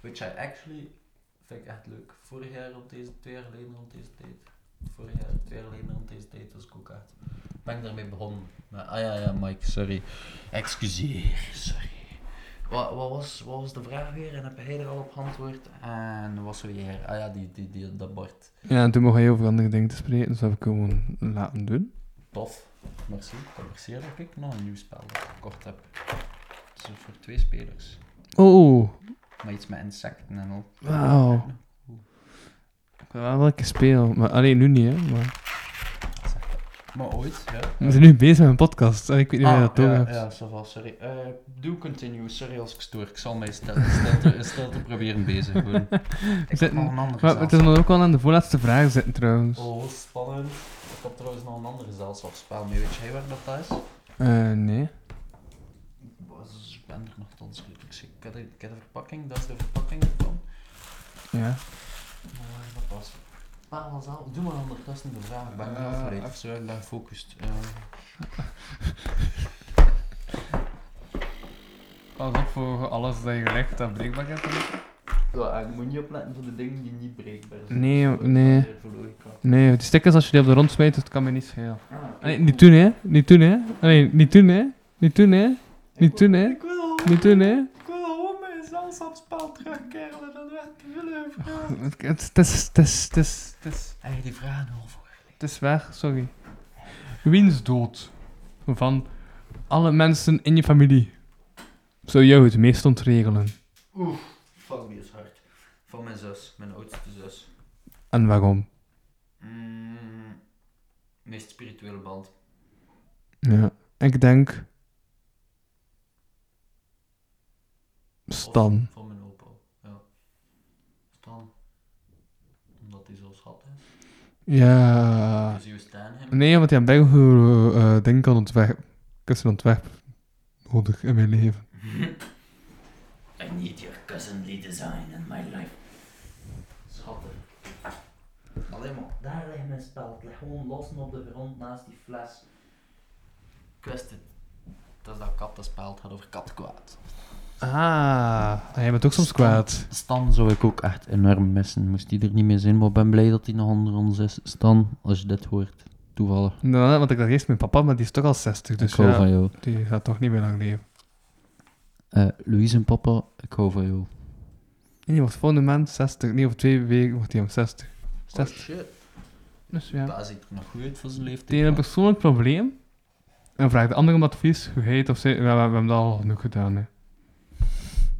[SPEAKER 4] Which I actually vind ik echt leuk. Vorig jaar rond deze, twee jaar geleden rond deze tijd. Vorig jaar, twee jaar geleden rond deze tijd was ik ook echt. Ben ik daarmee begonnen. Maar, ah ja, ja, Mike, sorry. Excuseer, sorry. Wat, wat, was, wat was de vraag weer? En heb hij er al op geantwoord? En was zo hier? Ah ja, die, die, die, dat bord.
[SPEAKER 3] Ja, en toen mocht hij over andere dingen te spreken, dus dat heb ik gewoon laten doen.
[SPEAKER 4] Tof. Merci. Commerceer dat ik nog een nieuw spel dat ik kort heb. Het is voor twee spelers.
[SPEAKER 3] Oh,
[SPEAKER 4] Maar iets met insecten en al.
[SPEAKER 3] wauw. Ik wil wel welke speel, maar alleen nu niet, hè. Maar...
[SPEAKER 4] Maar ooit, ja.
[SPEAKER 3] We zijn nu bezig met een podcast, en ik weet niet of je dat door
[SPEAKER 4] Ah, ja,
[SPEAKER 3] hebt.
[SPEAKER 4] ja, ça va, sorry. Eh do continue, sorry als ik stoor. Ik zal mij stil, stil, te, stil te proberen bezig houden. Ik heb
[SPEAKER 3] Zitten-
[SPEAKER 4] nog een andere
[SPEAKER 3] Maar het is
[SPEAKER 4] zelfs.
[SPEAKER 3] dan ook wel aan de voorlaatste vraag zitten, trouwens.
[SPEAKER 4] Oh, spannend. Ik heb trouwens nog een andere gezelschapsspel mee. Weet jij waar dat thuis?
[SPEAKER 3] Eh, nee.
[SPEAKER 4] Ik ben er nog tot Ik zie- ik heb de- ik heb de verpakking, dat is de verpakking ervan.
[SPEAKER 3] Ja.
[SPEAKER 4] Maar waar Eh, dat was? Spel was al. Doe maar ondertussen de vraag. Ik ben niet
[SPEAKER 3] Eh,
[SPEAKER 4] afgeleid. Of zo, ik ben gefocust. Eh,
[SPEAKER 3] Pas op voor alles dat je legt, dat breekbaar gaat.
[SPEAKER 4] Ja, en je moet niet opletten voor de dingen die niet breekbaar zijn.
[SPEAKER 3] Nee,
[SPEAKER 4] Dat is
[SPEAKER 3] nee.
[SPEAKER 4] weer voor logica.
[SPEAKER 3] Nee, die stickers, als je die op de rond smijt, dat kan me niet schelen. Nee, niet doen, hè. Niet doen, hè. Nee, niet doen, hè. Niet doen, hè. Niet doen, hè.
[SPEAKER 4] Ik wil,
[SPEAKER 3] Niet doen, hè.
[SPEAKER 4] ik wil gewoon mijn gezelschapsspel terugkeren en dat werd te veel
[SPEAKER 3] Het- Het is, het is, het is, het is,
[SPEAKER 7] Eigenlijk die vragen al voor.
[SPEAKER 3] het is weg, sorry. Wiens dood van alle mensen in je familie zou jou het meest ontregelen?
[SPEAKER 7] Fuck, die is hard. Van mijn zus, mijn oudste zus.
[SPEAKER 3] En waarom?
[SPEAKER 7] Mm, meest spirituele band.
[SPEAKER 3] Ja, ik denk... Stan.
[SPEAKER 7] Of Van mijn opa. Ja. Stan. Omdat hij zo schat is.
[SPEAKER 3] Ja... Ah.
[SPEAKER 7] Dus je staan hem.
[SPEAKER 3] Nee, want die hebben heel eh eh, dingen aan ontwerp. Kussen ontwerp nodig in mijn leven.
[SPEAKER 7] I need your cousinly design in my life. Schatten. Alleen maar, daar leg mijn speld. Leg gewoon lossen op de grond naast die fles. Kwestie. Dat is dat kattenspeld. Het gaat over kattenkwaad.
[SPEAKER 3] Ah, jij bent ook soms kwaad.
[SPEAKER 4] Stan zou ik ook echt enorm missen. Moest die er niet meer zijn, maar ik ben blij dat hij nog onder ons is. Stan, als je dit hoort, toevallig.
[SPEAKER 3] Nou, want ik dacht eerst mijn papa, maar die is toch al 60, dus
[SPEAKER 4] ik hou
[SPEAKER 3] ja,
[SPEAKER 4] van jou.
[SPEAKER 3] die gaat toch niet meer lang leven.
[SPEAKER 4] Eh Louise en papa, ik hou van jou.
[SPEAKER 3] Nee, die wordt volgende maand 60. Nee, over twee weken wordt hij om 60.
[SPEAKER 7] Oh
[SPEAKER 3] 60.
[SPEAKER 7] shit.
[SPEAKER 3] Dus ja.
[SPEAKER 7] Dat ziet er nog goed uit voor zijn
[SPEAKER 3] De ene
[SPEAKER 7] leeftijd.
[SPEAKER 3] een persoonlijk probleem en vraagt de ander om advies, hoe hij het of zij... Ja, we, we hebben dat al genoeg gedaan, hè.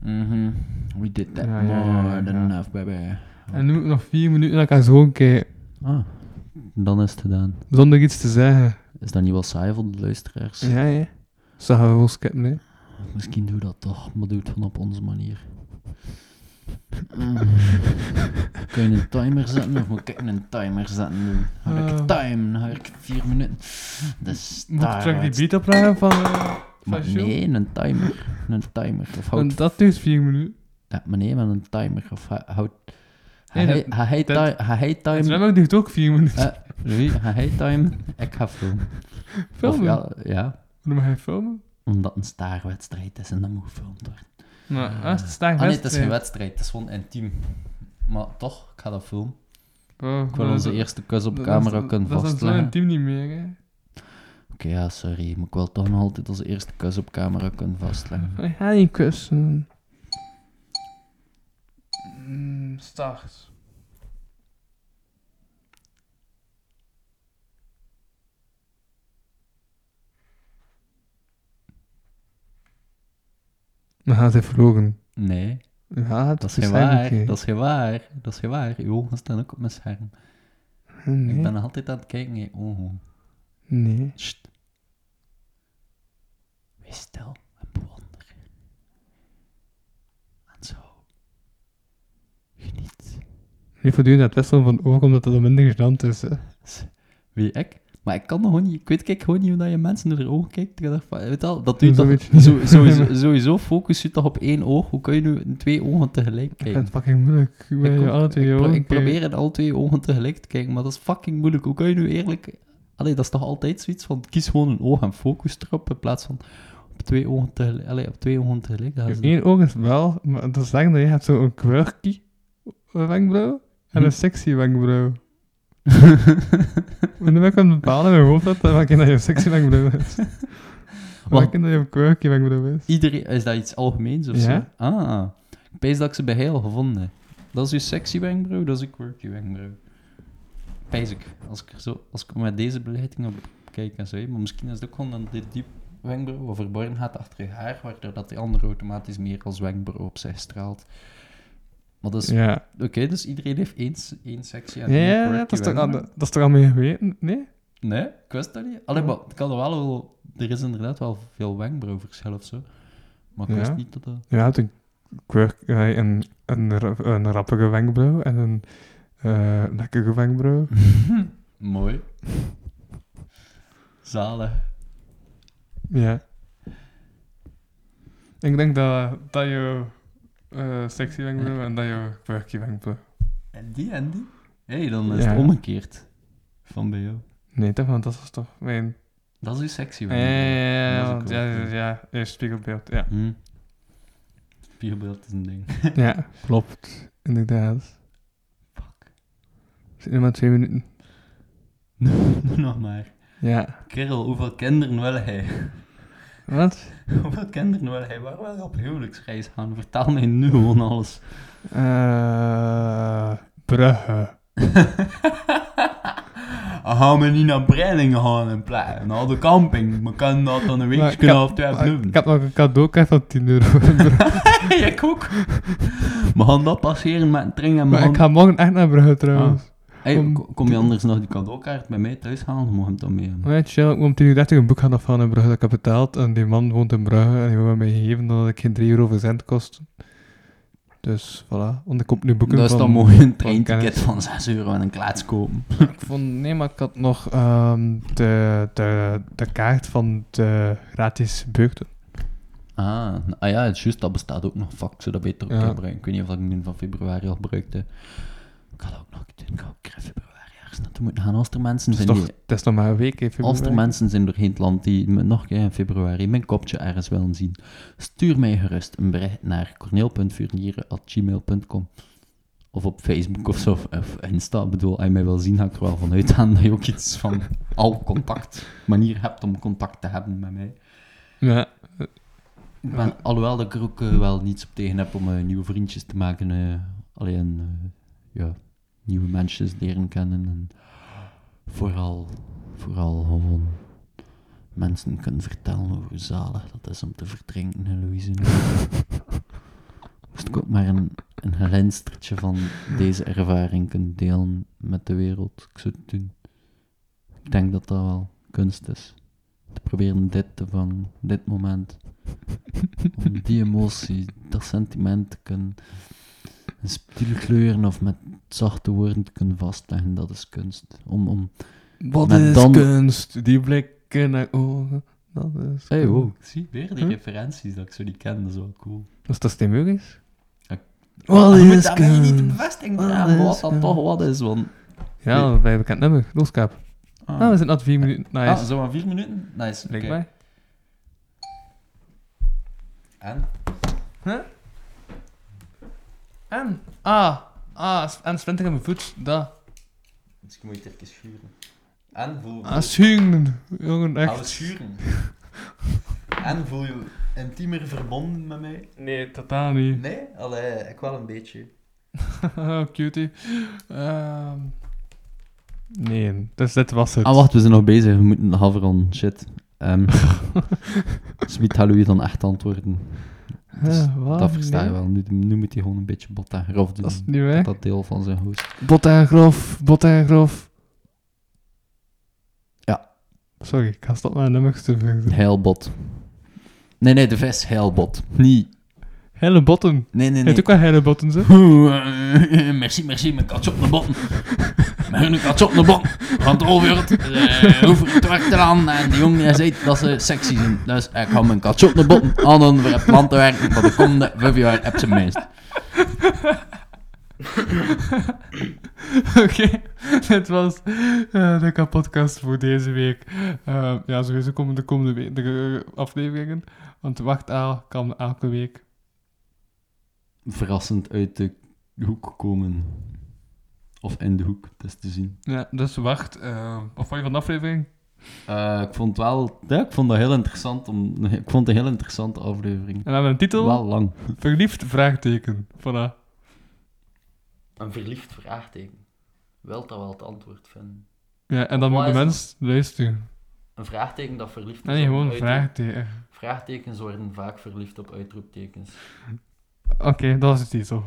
[SPEAKER 4] Mhm. We did that
[SPEAKER 3] Ja, ja, ja,
[SPEAKER 4] more
[SPEAKER 3] ja,
[SPEAKER 4] than
[SPEAKER 3] ja.
[SPEAKER 4] enough, baby.
[SPEAKER 3] En nu moet ik nog vier minuten naar elkaar zo kijken,
[SPEAKER 4] Ah, dan is het gedaan.
[SPEAKER 3] zonder iets te zeggen.
[SPEAKER 4] Is dat niet wel saai voor de luisteraars?
[SPEAKER 3] Ja, ja. Zo gaan we wel skippen, hè.
[SPEAKER 4] Misschien doe dat toch, maar doe het van op onze manier. Mm. Kun je een timer zetten of moet ik een timer zetten doen? Had ik
[SPEAKER 3] Eh.
[SPEAKER 4] time, dan had ik vier minuten. Dus, Dat is
[SPEAKER 3] Moet ik
[SPEAKER 4] daar
[SPEAKER 3] terug die
[SPEAKER 4] wat-
[SPEAKER 3] beat opleggen van... eh,
[SPEAKER 4] Ah, Maar
[SPEAKER 3] Jules?
[SPEAKER 4] nee, een timer. Een timer. Of
[SPEAKER 3] en
[SPEAKER 4] houd...
[SPEAKER 3] dat duurt vier minuten.
[SPEAKER 4] Ja, maar nee, maar een timer. Of hou- houd...
[SPEAKER 3] Nee,
[SPEAKER 4] Hij-
[SPEAKER 3] dat-
[SPEAKER 4] Hij
[SPEAKER 3] dat-
[SPEAKER 4] time... Hij
[SPEAKER 3] Het
[SPEAKER 4] time...
[SPEAKER 3] nummer duurt ook vier minuten.
[SPEAKER 4] Eh, Louis, hij time... Ik ga filmen.
[SPEAKER 3] Filmen?
[SPEAKER 4] Of ja, ja,
[SPEAKER 3] Waarom ga je filmen?
[SPEAKER 4] omdat een staarwedstrijd is en dat moet gefilmd worden.
[SPEAKER 3] Nou, ah, het is vandaag
[SPEAKER 4] Ah nee,
[SPEAKER 3] best,
[SPEAKER 4] het is
[SPEAKER 3] eh,
[SPEAKER 4] geen wedstrijd, het is gewoon intiem. Maar toch, ik ga dat filmen.
[SPEAKER 3] oh,
[SPEAKER 4] Ik wil
[SPEAKER 3] dat-
[SPEAKER 4] onze eerste kus op
[SPEAKER 3] dat-
[SPEAKER 4] camera
[SPEAKER 3] dat-
[SPEAKER 4] kunnen
[SPEAKER 3] Dat is dan zo
[SPEAKER 4] vastleggen.
[SPEAKER 3] intiem niet meer, hè.
[SPEAKER 4] Oké, ja, sorry, maar ik wil toch nog altijd onze eerste kus op camera kunnen vastleggen.
[SPEAKER 3] Ik ga niet kussen. Mm, Start. Dan gaat hij verloren.
[SPEAKER 4] Nee,
[SPEAKER 3] Ja,
[SPEAKER 4] dat is geen waar. Dat is geen waar. Dat is geen waar. Uw ogen staan ook op mijn scherm.
[SPEAKER 3] nee.
[SPEAKER 4] Ik ben nog altijd aan het kijken Oh, in je ogen.
[SPEAKER 3] nee.
[SPEAKER 4] Sst. Wees stil en bewonder. En zo. Geniet.
[SPEAKER 3] Niet voortdurend aan het wisselen van oog, omdat dat dan minder gênant is. Hè.
[SPEAKER 4] Wie ik? Maar ik kan nog gewoon niet, ik weet kijk gewoon niet hoe dat je mensen naar de ogen kijkt. Ik dacht van, weet je wel, dat doe je
[SPEAKER 3] Zo
[SPEAKER 4] toch,
[SPEAKER 3] weet je niet.
[SPEAKER 4] zo- sowieso, sowieso focus je toch op één oog. Hoe kan je nu in twee ogen tegelijk
[SPEAKER 3] Ik vind
[SPEAKER 4] kijken?
[SPEAKER 3] het fucking moeilijk. Ik ben je
[SPEAKER 4] ook-
[SPEAKER 3] alle twee
[SPEAKER 4] ik, pro-
[SPEAKER 3] jongen.
[SPEAKER 4] ik probeer in al twee ogen tegelijk te kijken, maar dat is fucking moeilijk. Hoe kan je nu eerlijk... Allee, dat is toch altijd zoiets van, kies gewoon een oog en focus erop, in plaats van op twee ogen tegelijk. Allee, op twee ogen tegelijk. Dat is-
[SPEAKER 3] Eén oog is wel, maar dat is zeggen dat je hebt zo'n quirky wenkbrauw en een
[SPEAKER 4] Hm.
[SPEAKER 3] sexy wenkbrauw. En dan ben ik aan het bepalen in mijn hoofd dat, dat je een sexy wenkbrauw is.
[SPEAKER 4] Want-
[SPEAKER 3] Welke dat je een quirky wenkbrauw is.
[SPEAKER 4] Iedereen, is dat iets algemeens of
[SPEAKER 3] Ja.
[SPEAKER 4] zo? Ah, ik pees dat ik ze bij heel gevonden heb. Dat is uw sexy wenkbrauw, dat is uw quirky wenkbrauw. Pees ik. Als ik, er zo, als ik met deze belichting op kijk en zo, hè, maar misschien is het ook gewoon dat dit diep wenkbrauw wat verborgen gaat achter je haar, waardoor dat die andere automatisch meer als wenkbrauw op zich straalt. Maar dat is,
[SPEAKER 3] Ja,
[SPEAKER 4] oké, dus iedereen heeft één, s- één sexy en
[SPEAKER 3] ja,
[SPEAKER 4] één
[SPEAKER 3] ja,
[SPEAKER 4] quirky
[SPEAKER 3] dat, is toch ah, al,
[SPEAKER 4] wenkbrauw.
[SPEAKER 3] dat is toch al mee geweten? Nee?
[SPEAKER 4] Nee, ik wist dat niet. Allee, maar ik had er wel wel... Er is inderdaad wel veel wenkbrauwverschil of zo. Maar ik
[SPEAKER 3] Ja.
[SPEAKER 4] wist niet dat dat...
[SPEAKER 3] Je hebt een quirk, eh, een, een, ra- een rappige wenkbrauw en een eh lekkere wenkbrauw.
[SPEAKER 4] Mooi. Zalig.
[SPEAKER 3] Ja. Ik denk dat, dat je eh, sexy wenkbrauw en dat je quirky wenkbrauw.
[SPEAKER 4] En die en die? Hé, hey, dan is
[SPEAKER 3] Ja.
[SPEAKER 4] het omgekeerd. Van bij jou.
[SPEAKER 3] Nee, toch, want dat was toch mijn...
[SPEAKER 4] Dat is uw sexy
[SPEAKER 3] Ja,
[SPEAKER 4] man.
[SPEAKER 3] ja,
[SPEAKER 15] Eh.
[SPEAKER 3] ja, ja,
[SPEAKER 4] Dat is ook
[SPEAKER 3] want-
[SPEAKER 4] wel
[SPEAKER 3] ja, ja,
[SPEAKER 4] cool.
[SPEAKER 3] ja, ja, spiegelbeeld, ja.
[SPEAKER 4] Hm. Spiegelbeeld is een ding.
[SPEAKER 3] ja, klopt, inderdaad. Fuck. Het zijn nog maar twee minuten.
[SPEAKER 4] Doe nog maar.
[SPEAKER 3] Ja.
[SPEAKER 4] Kerel, hoeveel kinderen wil hij?
[SPEAKER 15] Wat?
[SPEAKER 7] Hoeveel kinderen wil hij? Waar wil hij op huwelijksreis gaan? Vertel mij nu gewoon alles.
[SPEAKER 15] Eh Brugge.
[SPEAKER 7] Dan gaan we Ah, niet naar Breilingen gaan in plaats naar de camping. We kunnen dat dan een
[SPEAKER 15] Maar ik
[SPEAKER 7] weekje
[SPEAKER 15] had-
[SPEAKER 7] of twee
[SPEAKER 15] maar
[SPEAKER 7] blijven.
[SPEAKER 15] Ik had nog een cadeaukaart van 10 euro.
[SPEAKER 7] Ja, ik ook. We gaan dat passeren met een tring en we
[SPEAKER 15] Maar
[SPEAKER 7] gaan...
[SPEAKER 15] ik ga morgen echt naar Brugge trouwens.
[SPEAKER 7] Hey,
[SPEAKER 15] om-
[SPEAKER 7] ko- kom je anders nog die cadeaukaart bij mij thuis halen? Dan mogen we hem dan mee hebben.
[SPEAKER 15] Maar ja, chill, ik moet om 10 uur 30 een boek gaan afhalen in Brugge dat ik heb betaald. En die man woont in Brugge en die wil mij geven dat ik geen 3 euro voor cent kost. Dus voilà, want ik koop nu boeken
[SPEAKER 7] Dat is
[SPEAKER 15] van...
[SPEAKER 7] dan mooi
[SPEAKER 15] kennis.
[SPEAKER 7] een treinticket van 6 euro en een klaats kopen.
[SPEAKER 15] Ik vond, nee, maar ik had nog ehm, de, de, de kaart van de gratis beugden.
[SPEAKER 7] Ah, ah ja, het is juist, dat bestaat ook nog. Fuck, zou dat beter ook
[SPEAKER 15] Ja.
[SPEAKER 7] gebruiken. Ik weet niet of ik nu van februari al gebruikte. Ik had ook nog doen. Ik had ook in februari ergens naartoe moeten gaan. Als er mensen
[SPEAKER 15] Het is,
[SPEAKER 7] zijn
[SPEAKER 15] toch,
[SPEAKER 7] die...
[SPEAKER 15] het is nog maar een week, even.
[SPEAKER 7] Als er mensen zijn doorheen het land die me nog een keer in februari mijn kopje ergens willen zien, stuur mij gerust een bericht naar corneel.furnieren.gmail.com of op Facebook of zo, of- of Insta. Ik bedoel, als je mij wil zien, ga ik er wel van uitgaan dat je ook iets van al contact, manier hebt om contact te hebben met mij.
[SPEAKER 15] Ja,
[SPEAKER 7] Ik ben- alhoewel dat ik er ook eh, wel niets op tegen heb om eh, nieuwe vriendjes te maken. eh, alleen eh, ja, nieuwe mensen leren kennen. En vooral, vooral gewoon mensen kunnen vertellen over zalig dat is om te verdrinken, hè, Louise. Moest ik ook maar een, een glinstertje van deze ervaring kunnen delen met de wereld. Ik zou het doen. Ik denk dat dat wel kunst is. Te proberen dit te vangen, dit moment om die emotie, dat sentiment te kunnen in subtiele kleuren of met zachte woorden te kunnen vastleggen, dat is kunst. Om, om...
[SPEAKER 15] wat
[SPEAKER 7] Maar
[SPEAKER 15] is
[SPEAKER 7] dan-
[SPEAKER 15] kunst? Die blikken naar ogen, dat is
[SPEAKER 7] Hey,
[SPEAKER 15] kunst.
[SPEAKER 7] wow, ik zie weer die
[SPEAKER 15] Huh?
[SPEAKER 7] referenties dat ik zo niet ken, dat is wel cool.
[SPEAKER 15] Als dat stem is?
[SPEAKER 7] Ja.
[SPEAKER 15] Wat
[SPEAKER 7] Je moet
[SPEAKER 15] is
[SPEAKER 7] dat mij niet de
[SPEAKER 15] kunst?
[SPEAKER 7] bevestiging
[SPEAKER 15] Wat
[SPEAKER 7] vragen, wat
[SPEAKER 15] is
[SPEAKER 7] dat
[SPEAKER 15] kunst?
[SPEAKER 7] toch wat is, want...
[SPEAKER 15] Ja, bij een bekend nummer, Loskaap.
[SPEAKER 7] Ah,
[SPEAKER 15] Nou, we zitten net vier minuten, nice.
[SPEAKER 7] Ah, zo aan vier minuten? Nice, oké.
[SPEAKER 15] Blijkbaar.
[SPEAKER 7] En?
[SPEAKER 15] En? Ah, ah, s- en splinter in mijn voet, dat.
[SPEAKER 7] Misschien moet je het even schuren. En voel
[SPEAKER 15] Ah, schuren, jongen,
[SPEAKER 7] Gaan we
[SPEAKER 15] echt.
[SPEAKER 7] schuren? en voel je intiemer verbonden met mij?
[SPEAKER 15] Nee, totaal niet.
[SPEAKER 7] Nee? Allee, ik wel een beetje.
[SPEAKER 15] Cutie. Ehm nee, dus dit was het.
[SPEAKER 7] Ah, wacht, we zijn nog bezig. We moeten nog afronden. Shit. Ehm Sweet Halloween dan echt antwoorden.
[SPEAKER 15] Eh,
[SPEAKER 7] Dus
[SPEAKER 15] wat?
[SPEAKER 7] dat versta je
[SPEAKER 15] Nee.
[SPEAKER 7] wel. Nu, nu moet hij gewoon een beetje bot en grof doen.
[SPEAKER 15] Dat is
[SPEAKER 7] Dat,
[SPEAKER 15] niet weg.
[SPEAKER 7] deel van zijn hoest.
[SPEAKER 15] Bot en grof, bot en grof.
[SPEAKER 7] Ja.
[SPEAKER 15] Sorry, ik ga stop mijn nummers te vinden.
[SPEAKER 7] Heilbot. Nee, nee, de vest heilbot. Niet.
[SPEAKER 15] Hele botten. Nee,
[SPEAKER 7] Nee, nee,
[SPEAKER 15] nee.
[SPEAKER 7] nee.
[SPEAKER 15] ook wel hele botten, zo.
[SPEAKER 7] Oeh, eh, merci, merci, mijn katje op de botten. Mijn katje op de botten. Want over het, eh, over het werk eraan. En die jongen zei dat ze sexy zijn. Dus ik hou mijn katje op de botten aan om weer op het land te werken. Voor de komende vijf jaar heb ze meest.
[SPEAKER 3] Oké, dit was eh, de kapodcast voor deze week. Eh, ja, sowieso komen de komende we- de, eh, afleveringen. Want wacht aan kan elke week.
[SPEAKER 7] Verrassend uit de hoek komen. Of in de hoek, dat is te zien.
[SPEAKER 3] Ja, dus wacht. eh, wat vond je van de aflevering?
[SPEAKER 7] Eh, ik vond wel... Ja, ik vond dat heel interessant. Om, ik vond het een heel interessante aflevering.
[SPEAKER 3] En we hebben een titel.
[SPEAKER 7] Wel lang.
[SPEAKER 3] Verliefd vraagteken. Voilà.
[SPEAKER 7] Een verliefd vraagteken. Wilt dat wel het antwoord vinden?
[SPEAKER 3] Ja, en dan
[SPEAKER 7] Wat
[SPEAKER 3] moet de
[SPEAKER 7] is
[SPEAKER 3] mens luisteren.
[SPEAKER 7] Een vraagteken dat verliefd
[SPEAKER 3] Nee, gewoon
[SPEAKER 7] een
[SPEAKER 3] vraagteken.
[SPEAKER 7] Vraagtekens worden vaak verliefd op uitroeptekens.
[SPEAKER 3] Oké, dat was de titel.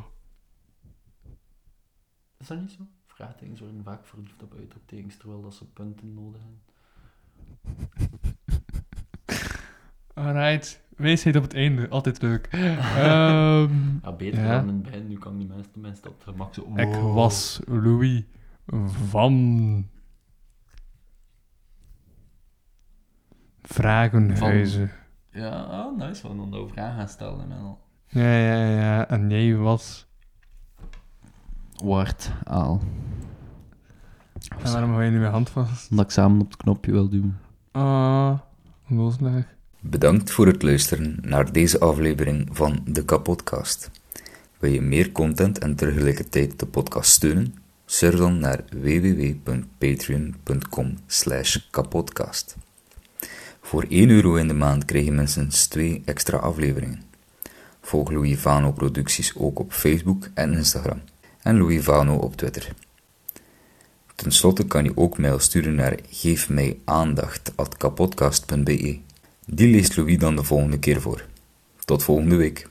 [SPEAKER 7] Is dat niet zo? Vraagtekens worden vaak verliefd op uitroeptekens, terwijl dat ze punten nodig hebben.
[SPEAKER 3] Alright. Weesheid op het einde. Altijd leuk. Ehm,
[SPEAKER 7] Ja, beter
[SPEAKER 3] Ja.
[SPEAKER 7] dan in het begin. Nu kan die mensen tenminste op het gemak zo...
[SPEAKER 3] ik was Louis van... Vragenhuizen.
[SPEAKER 7] Ja, ah, nice. Want dan over vragen gaan stellen en al.
[SPEAKER 3] Ja, ja, ja. En jij was...
[SPEAKER 7] Word, al.
[SPEAKER 3] En waarom hou je nu mijn hand vast?
[SPEAKER 7] Omdat ik samen op het knopje wil doen.
[SPEAKER 3] Ah, losleg.
[SPEAKER 23] Bedankt voor het luisteren naar deze aflevering van de Kapodcast. Wil je meer content en tegelijkertijd de podcast steunen? Surf dan naar www.patreon.com slash kapodcast.
[SPEAKER 7] Voor 1 euro in de maand krijg je minstens 2 extra afleveringen. Volg Louis Vano Producties ook op Facebook en Instagram. En Louis Vano op Twitter. Ten slotte kan je ook mail sturen naar geefmijaandacht.kapodcast.be. Die leest Louis dan de volgende keer voor. Tot volgende week.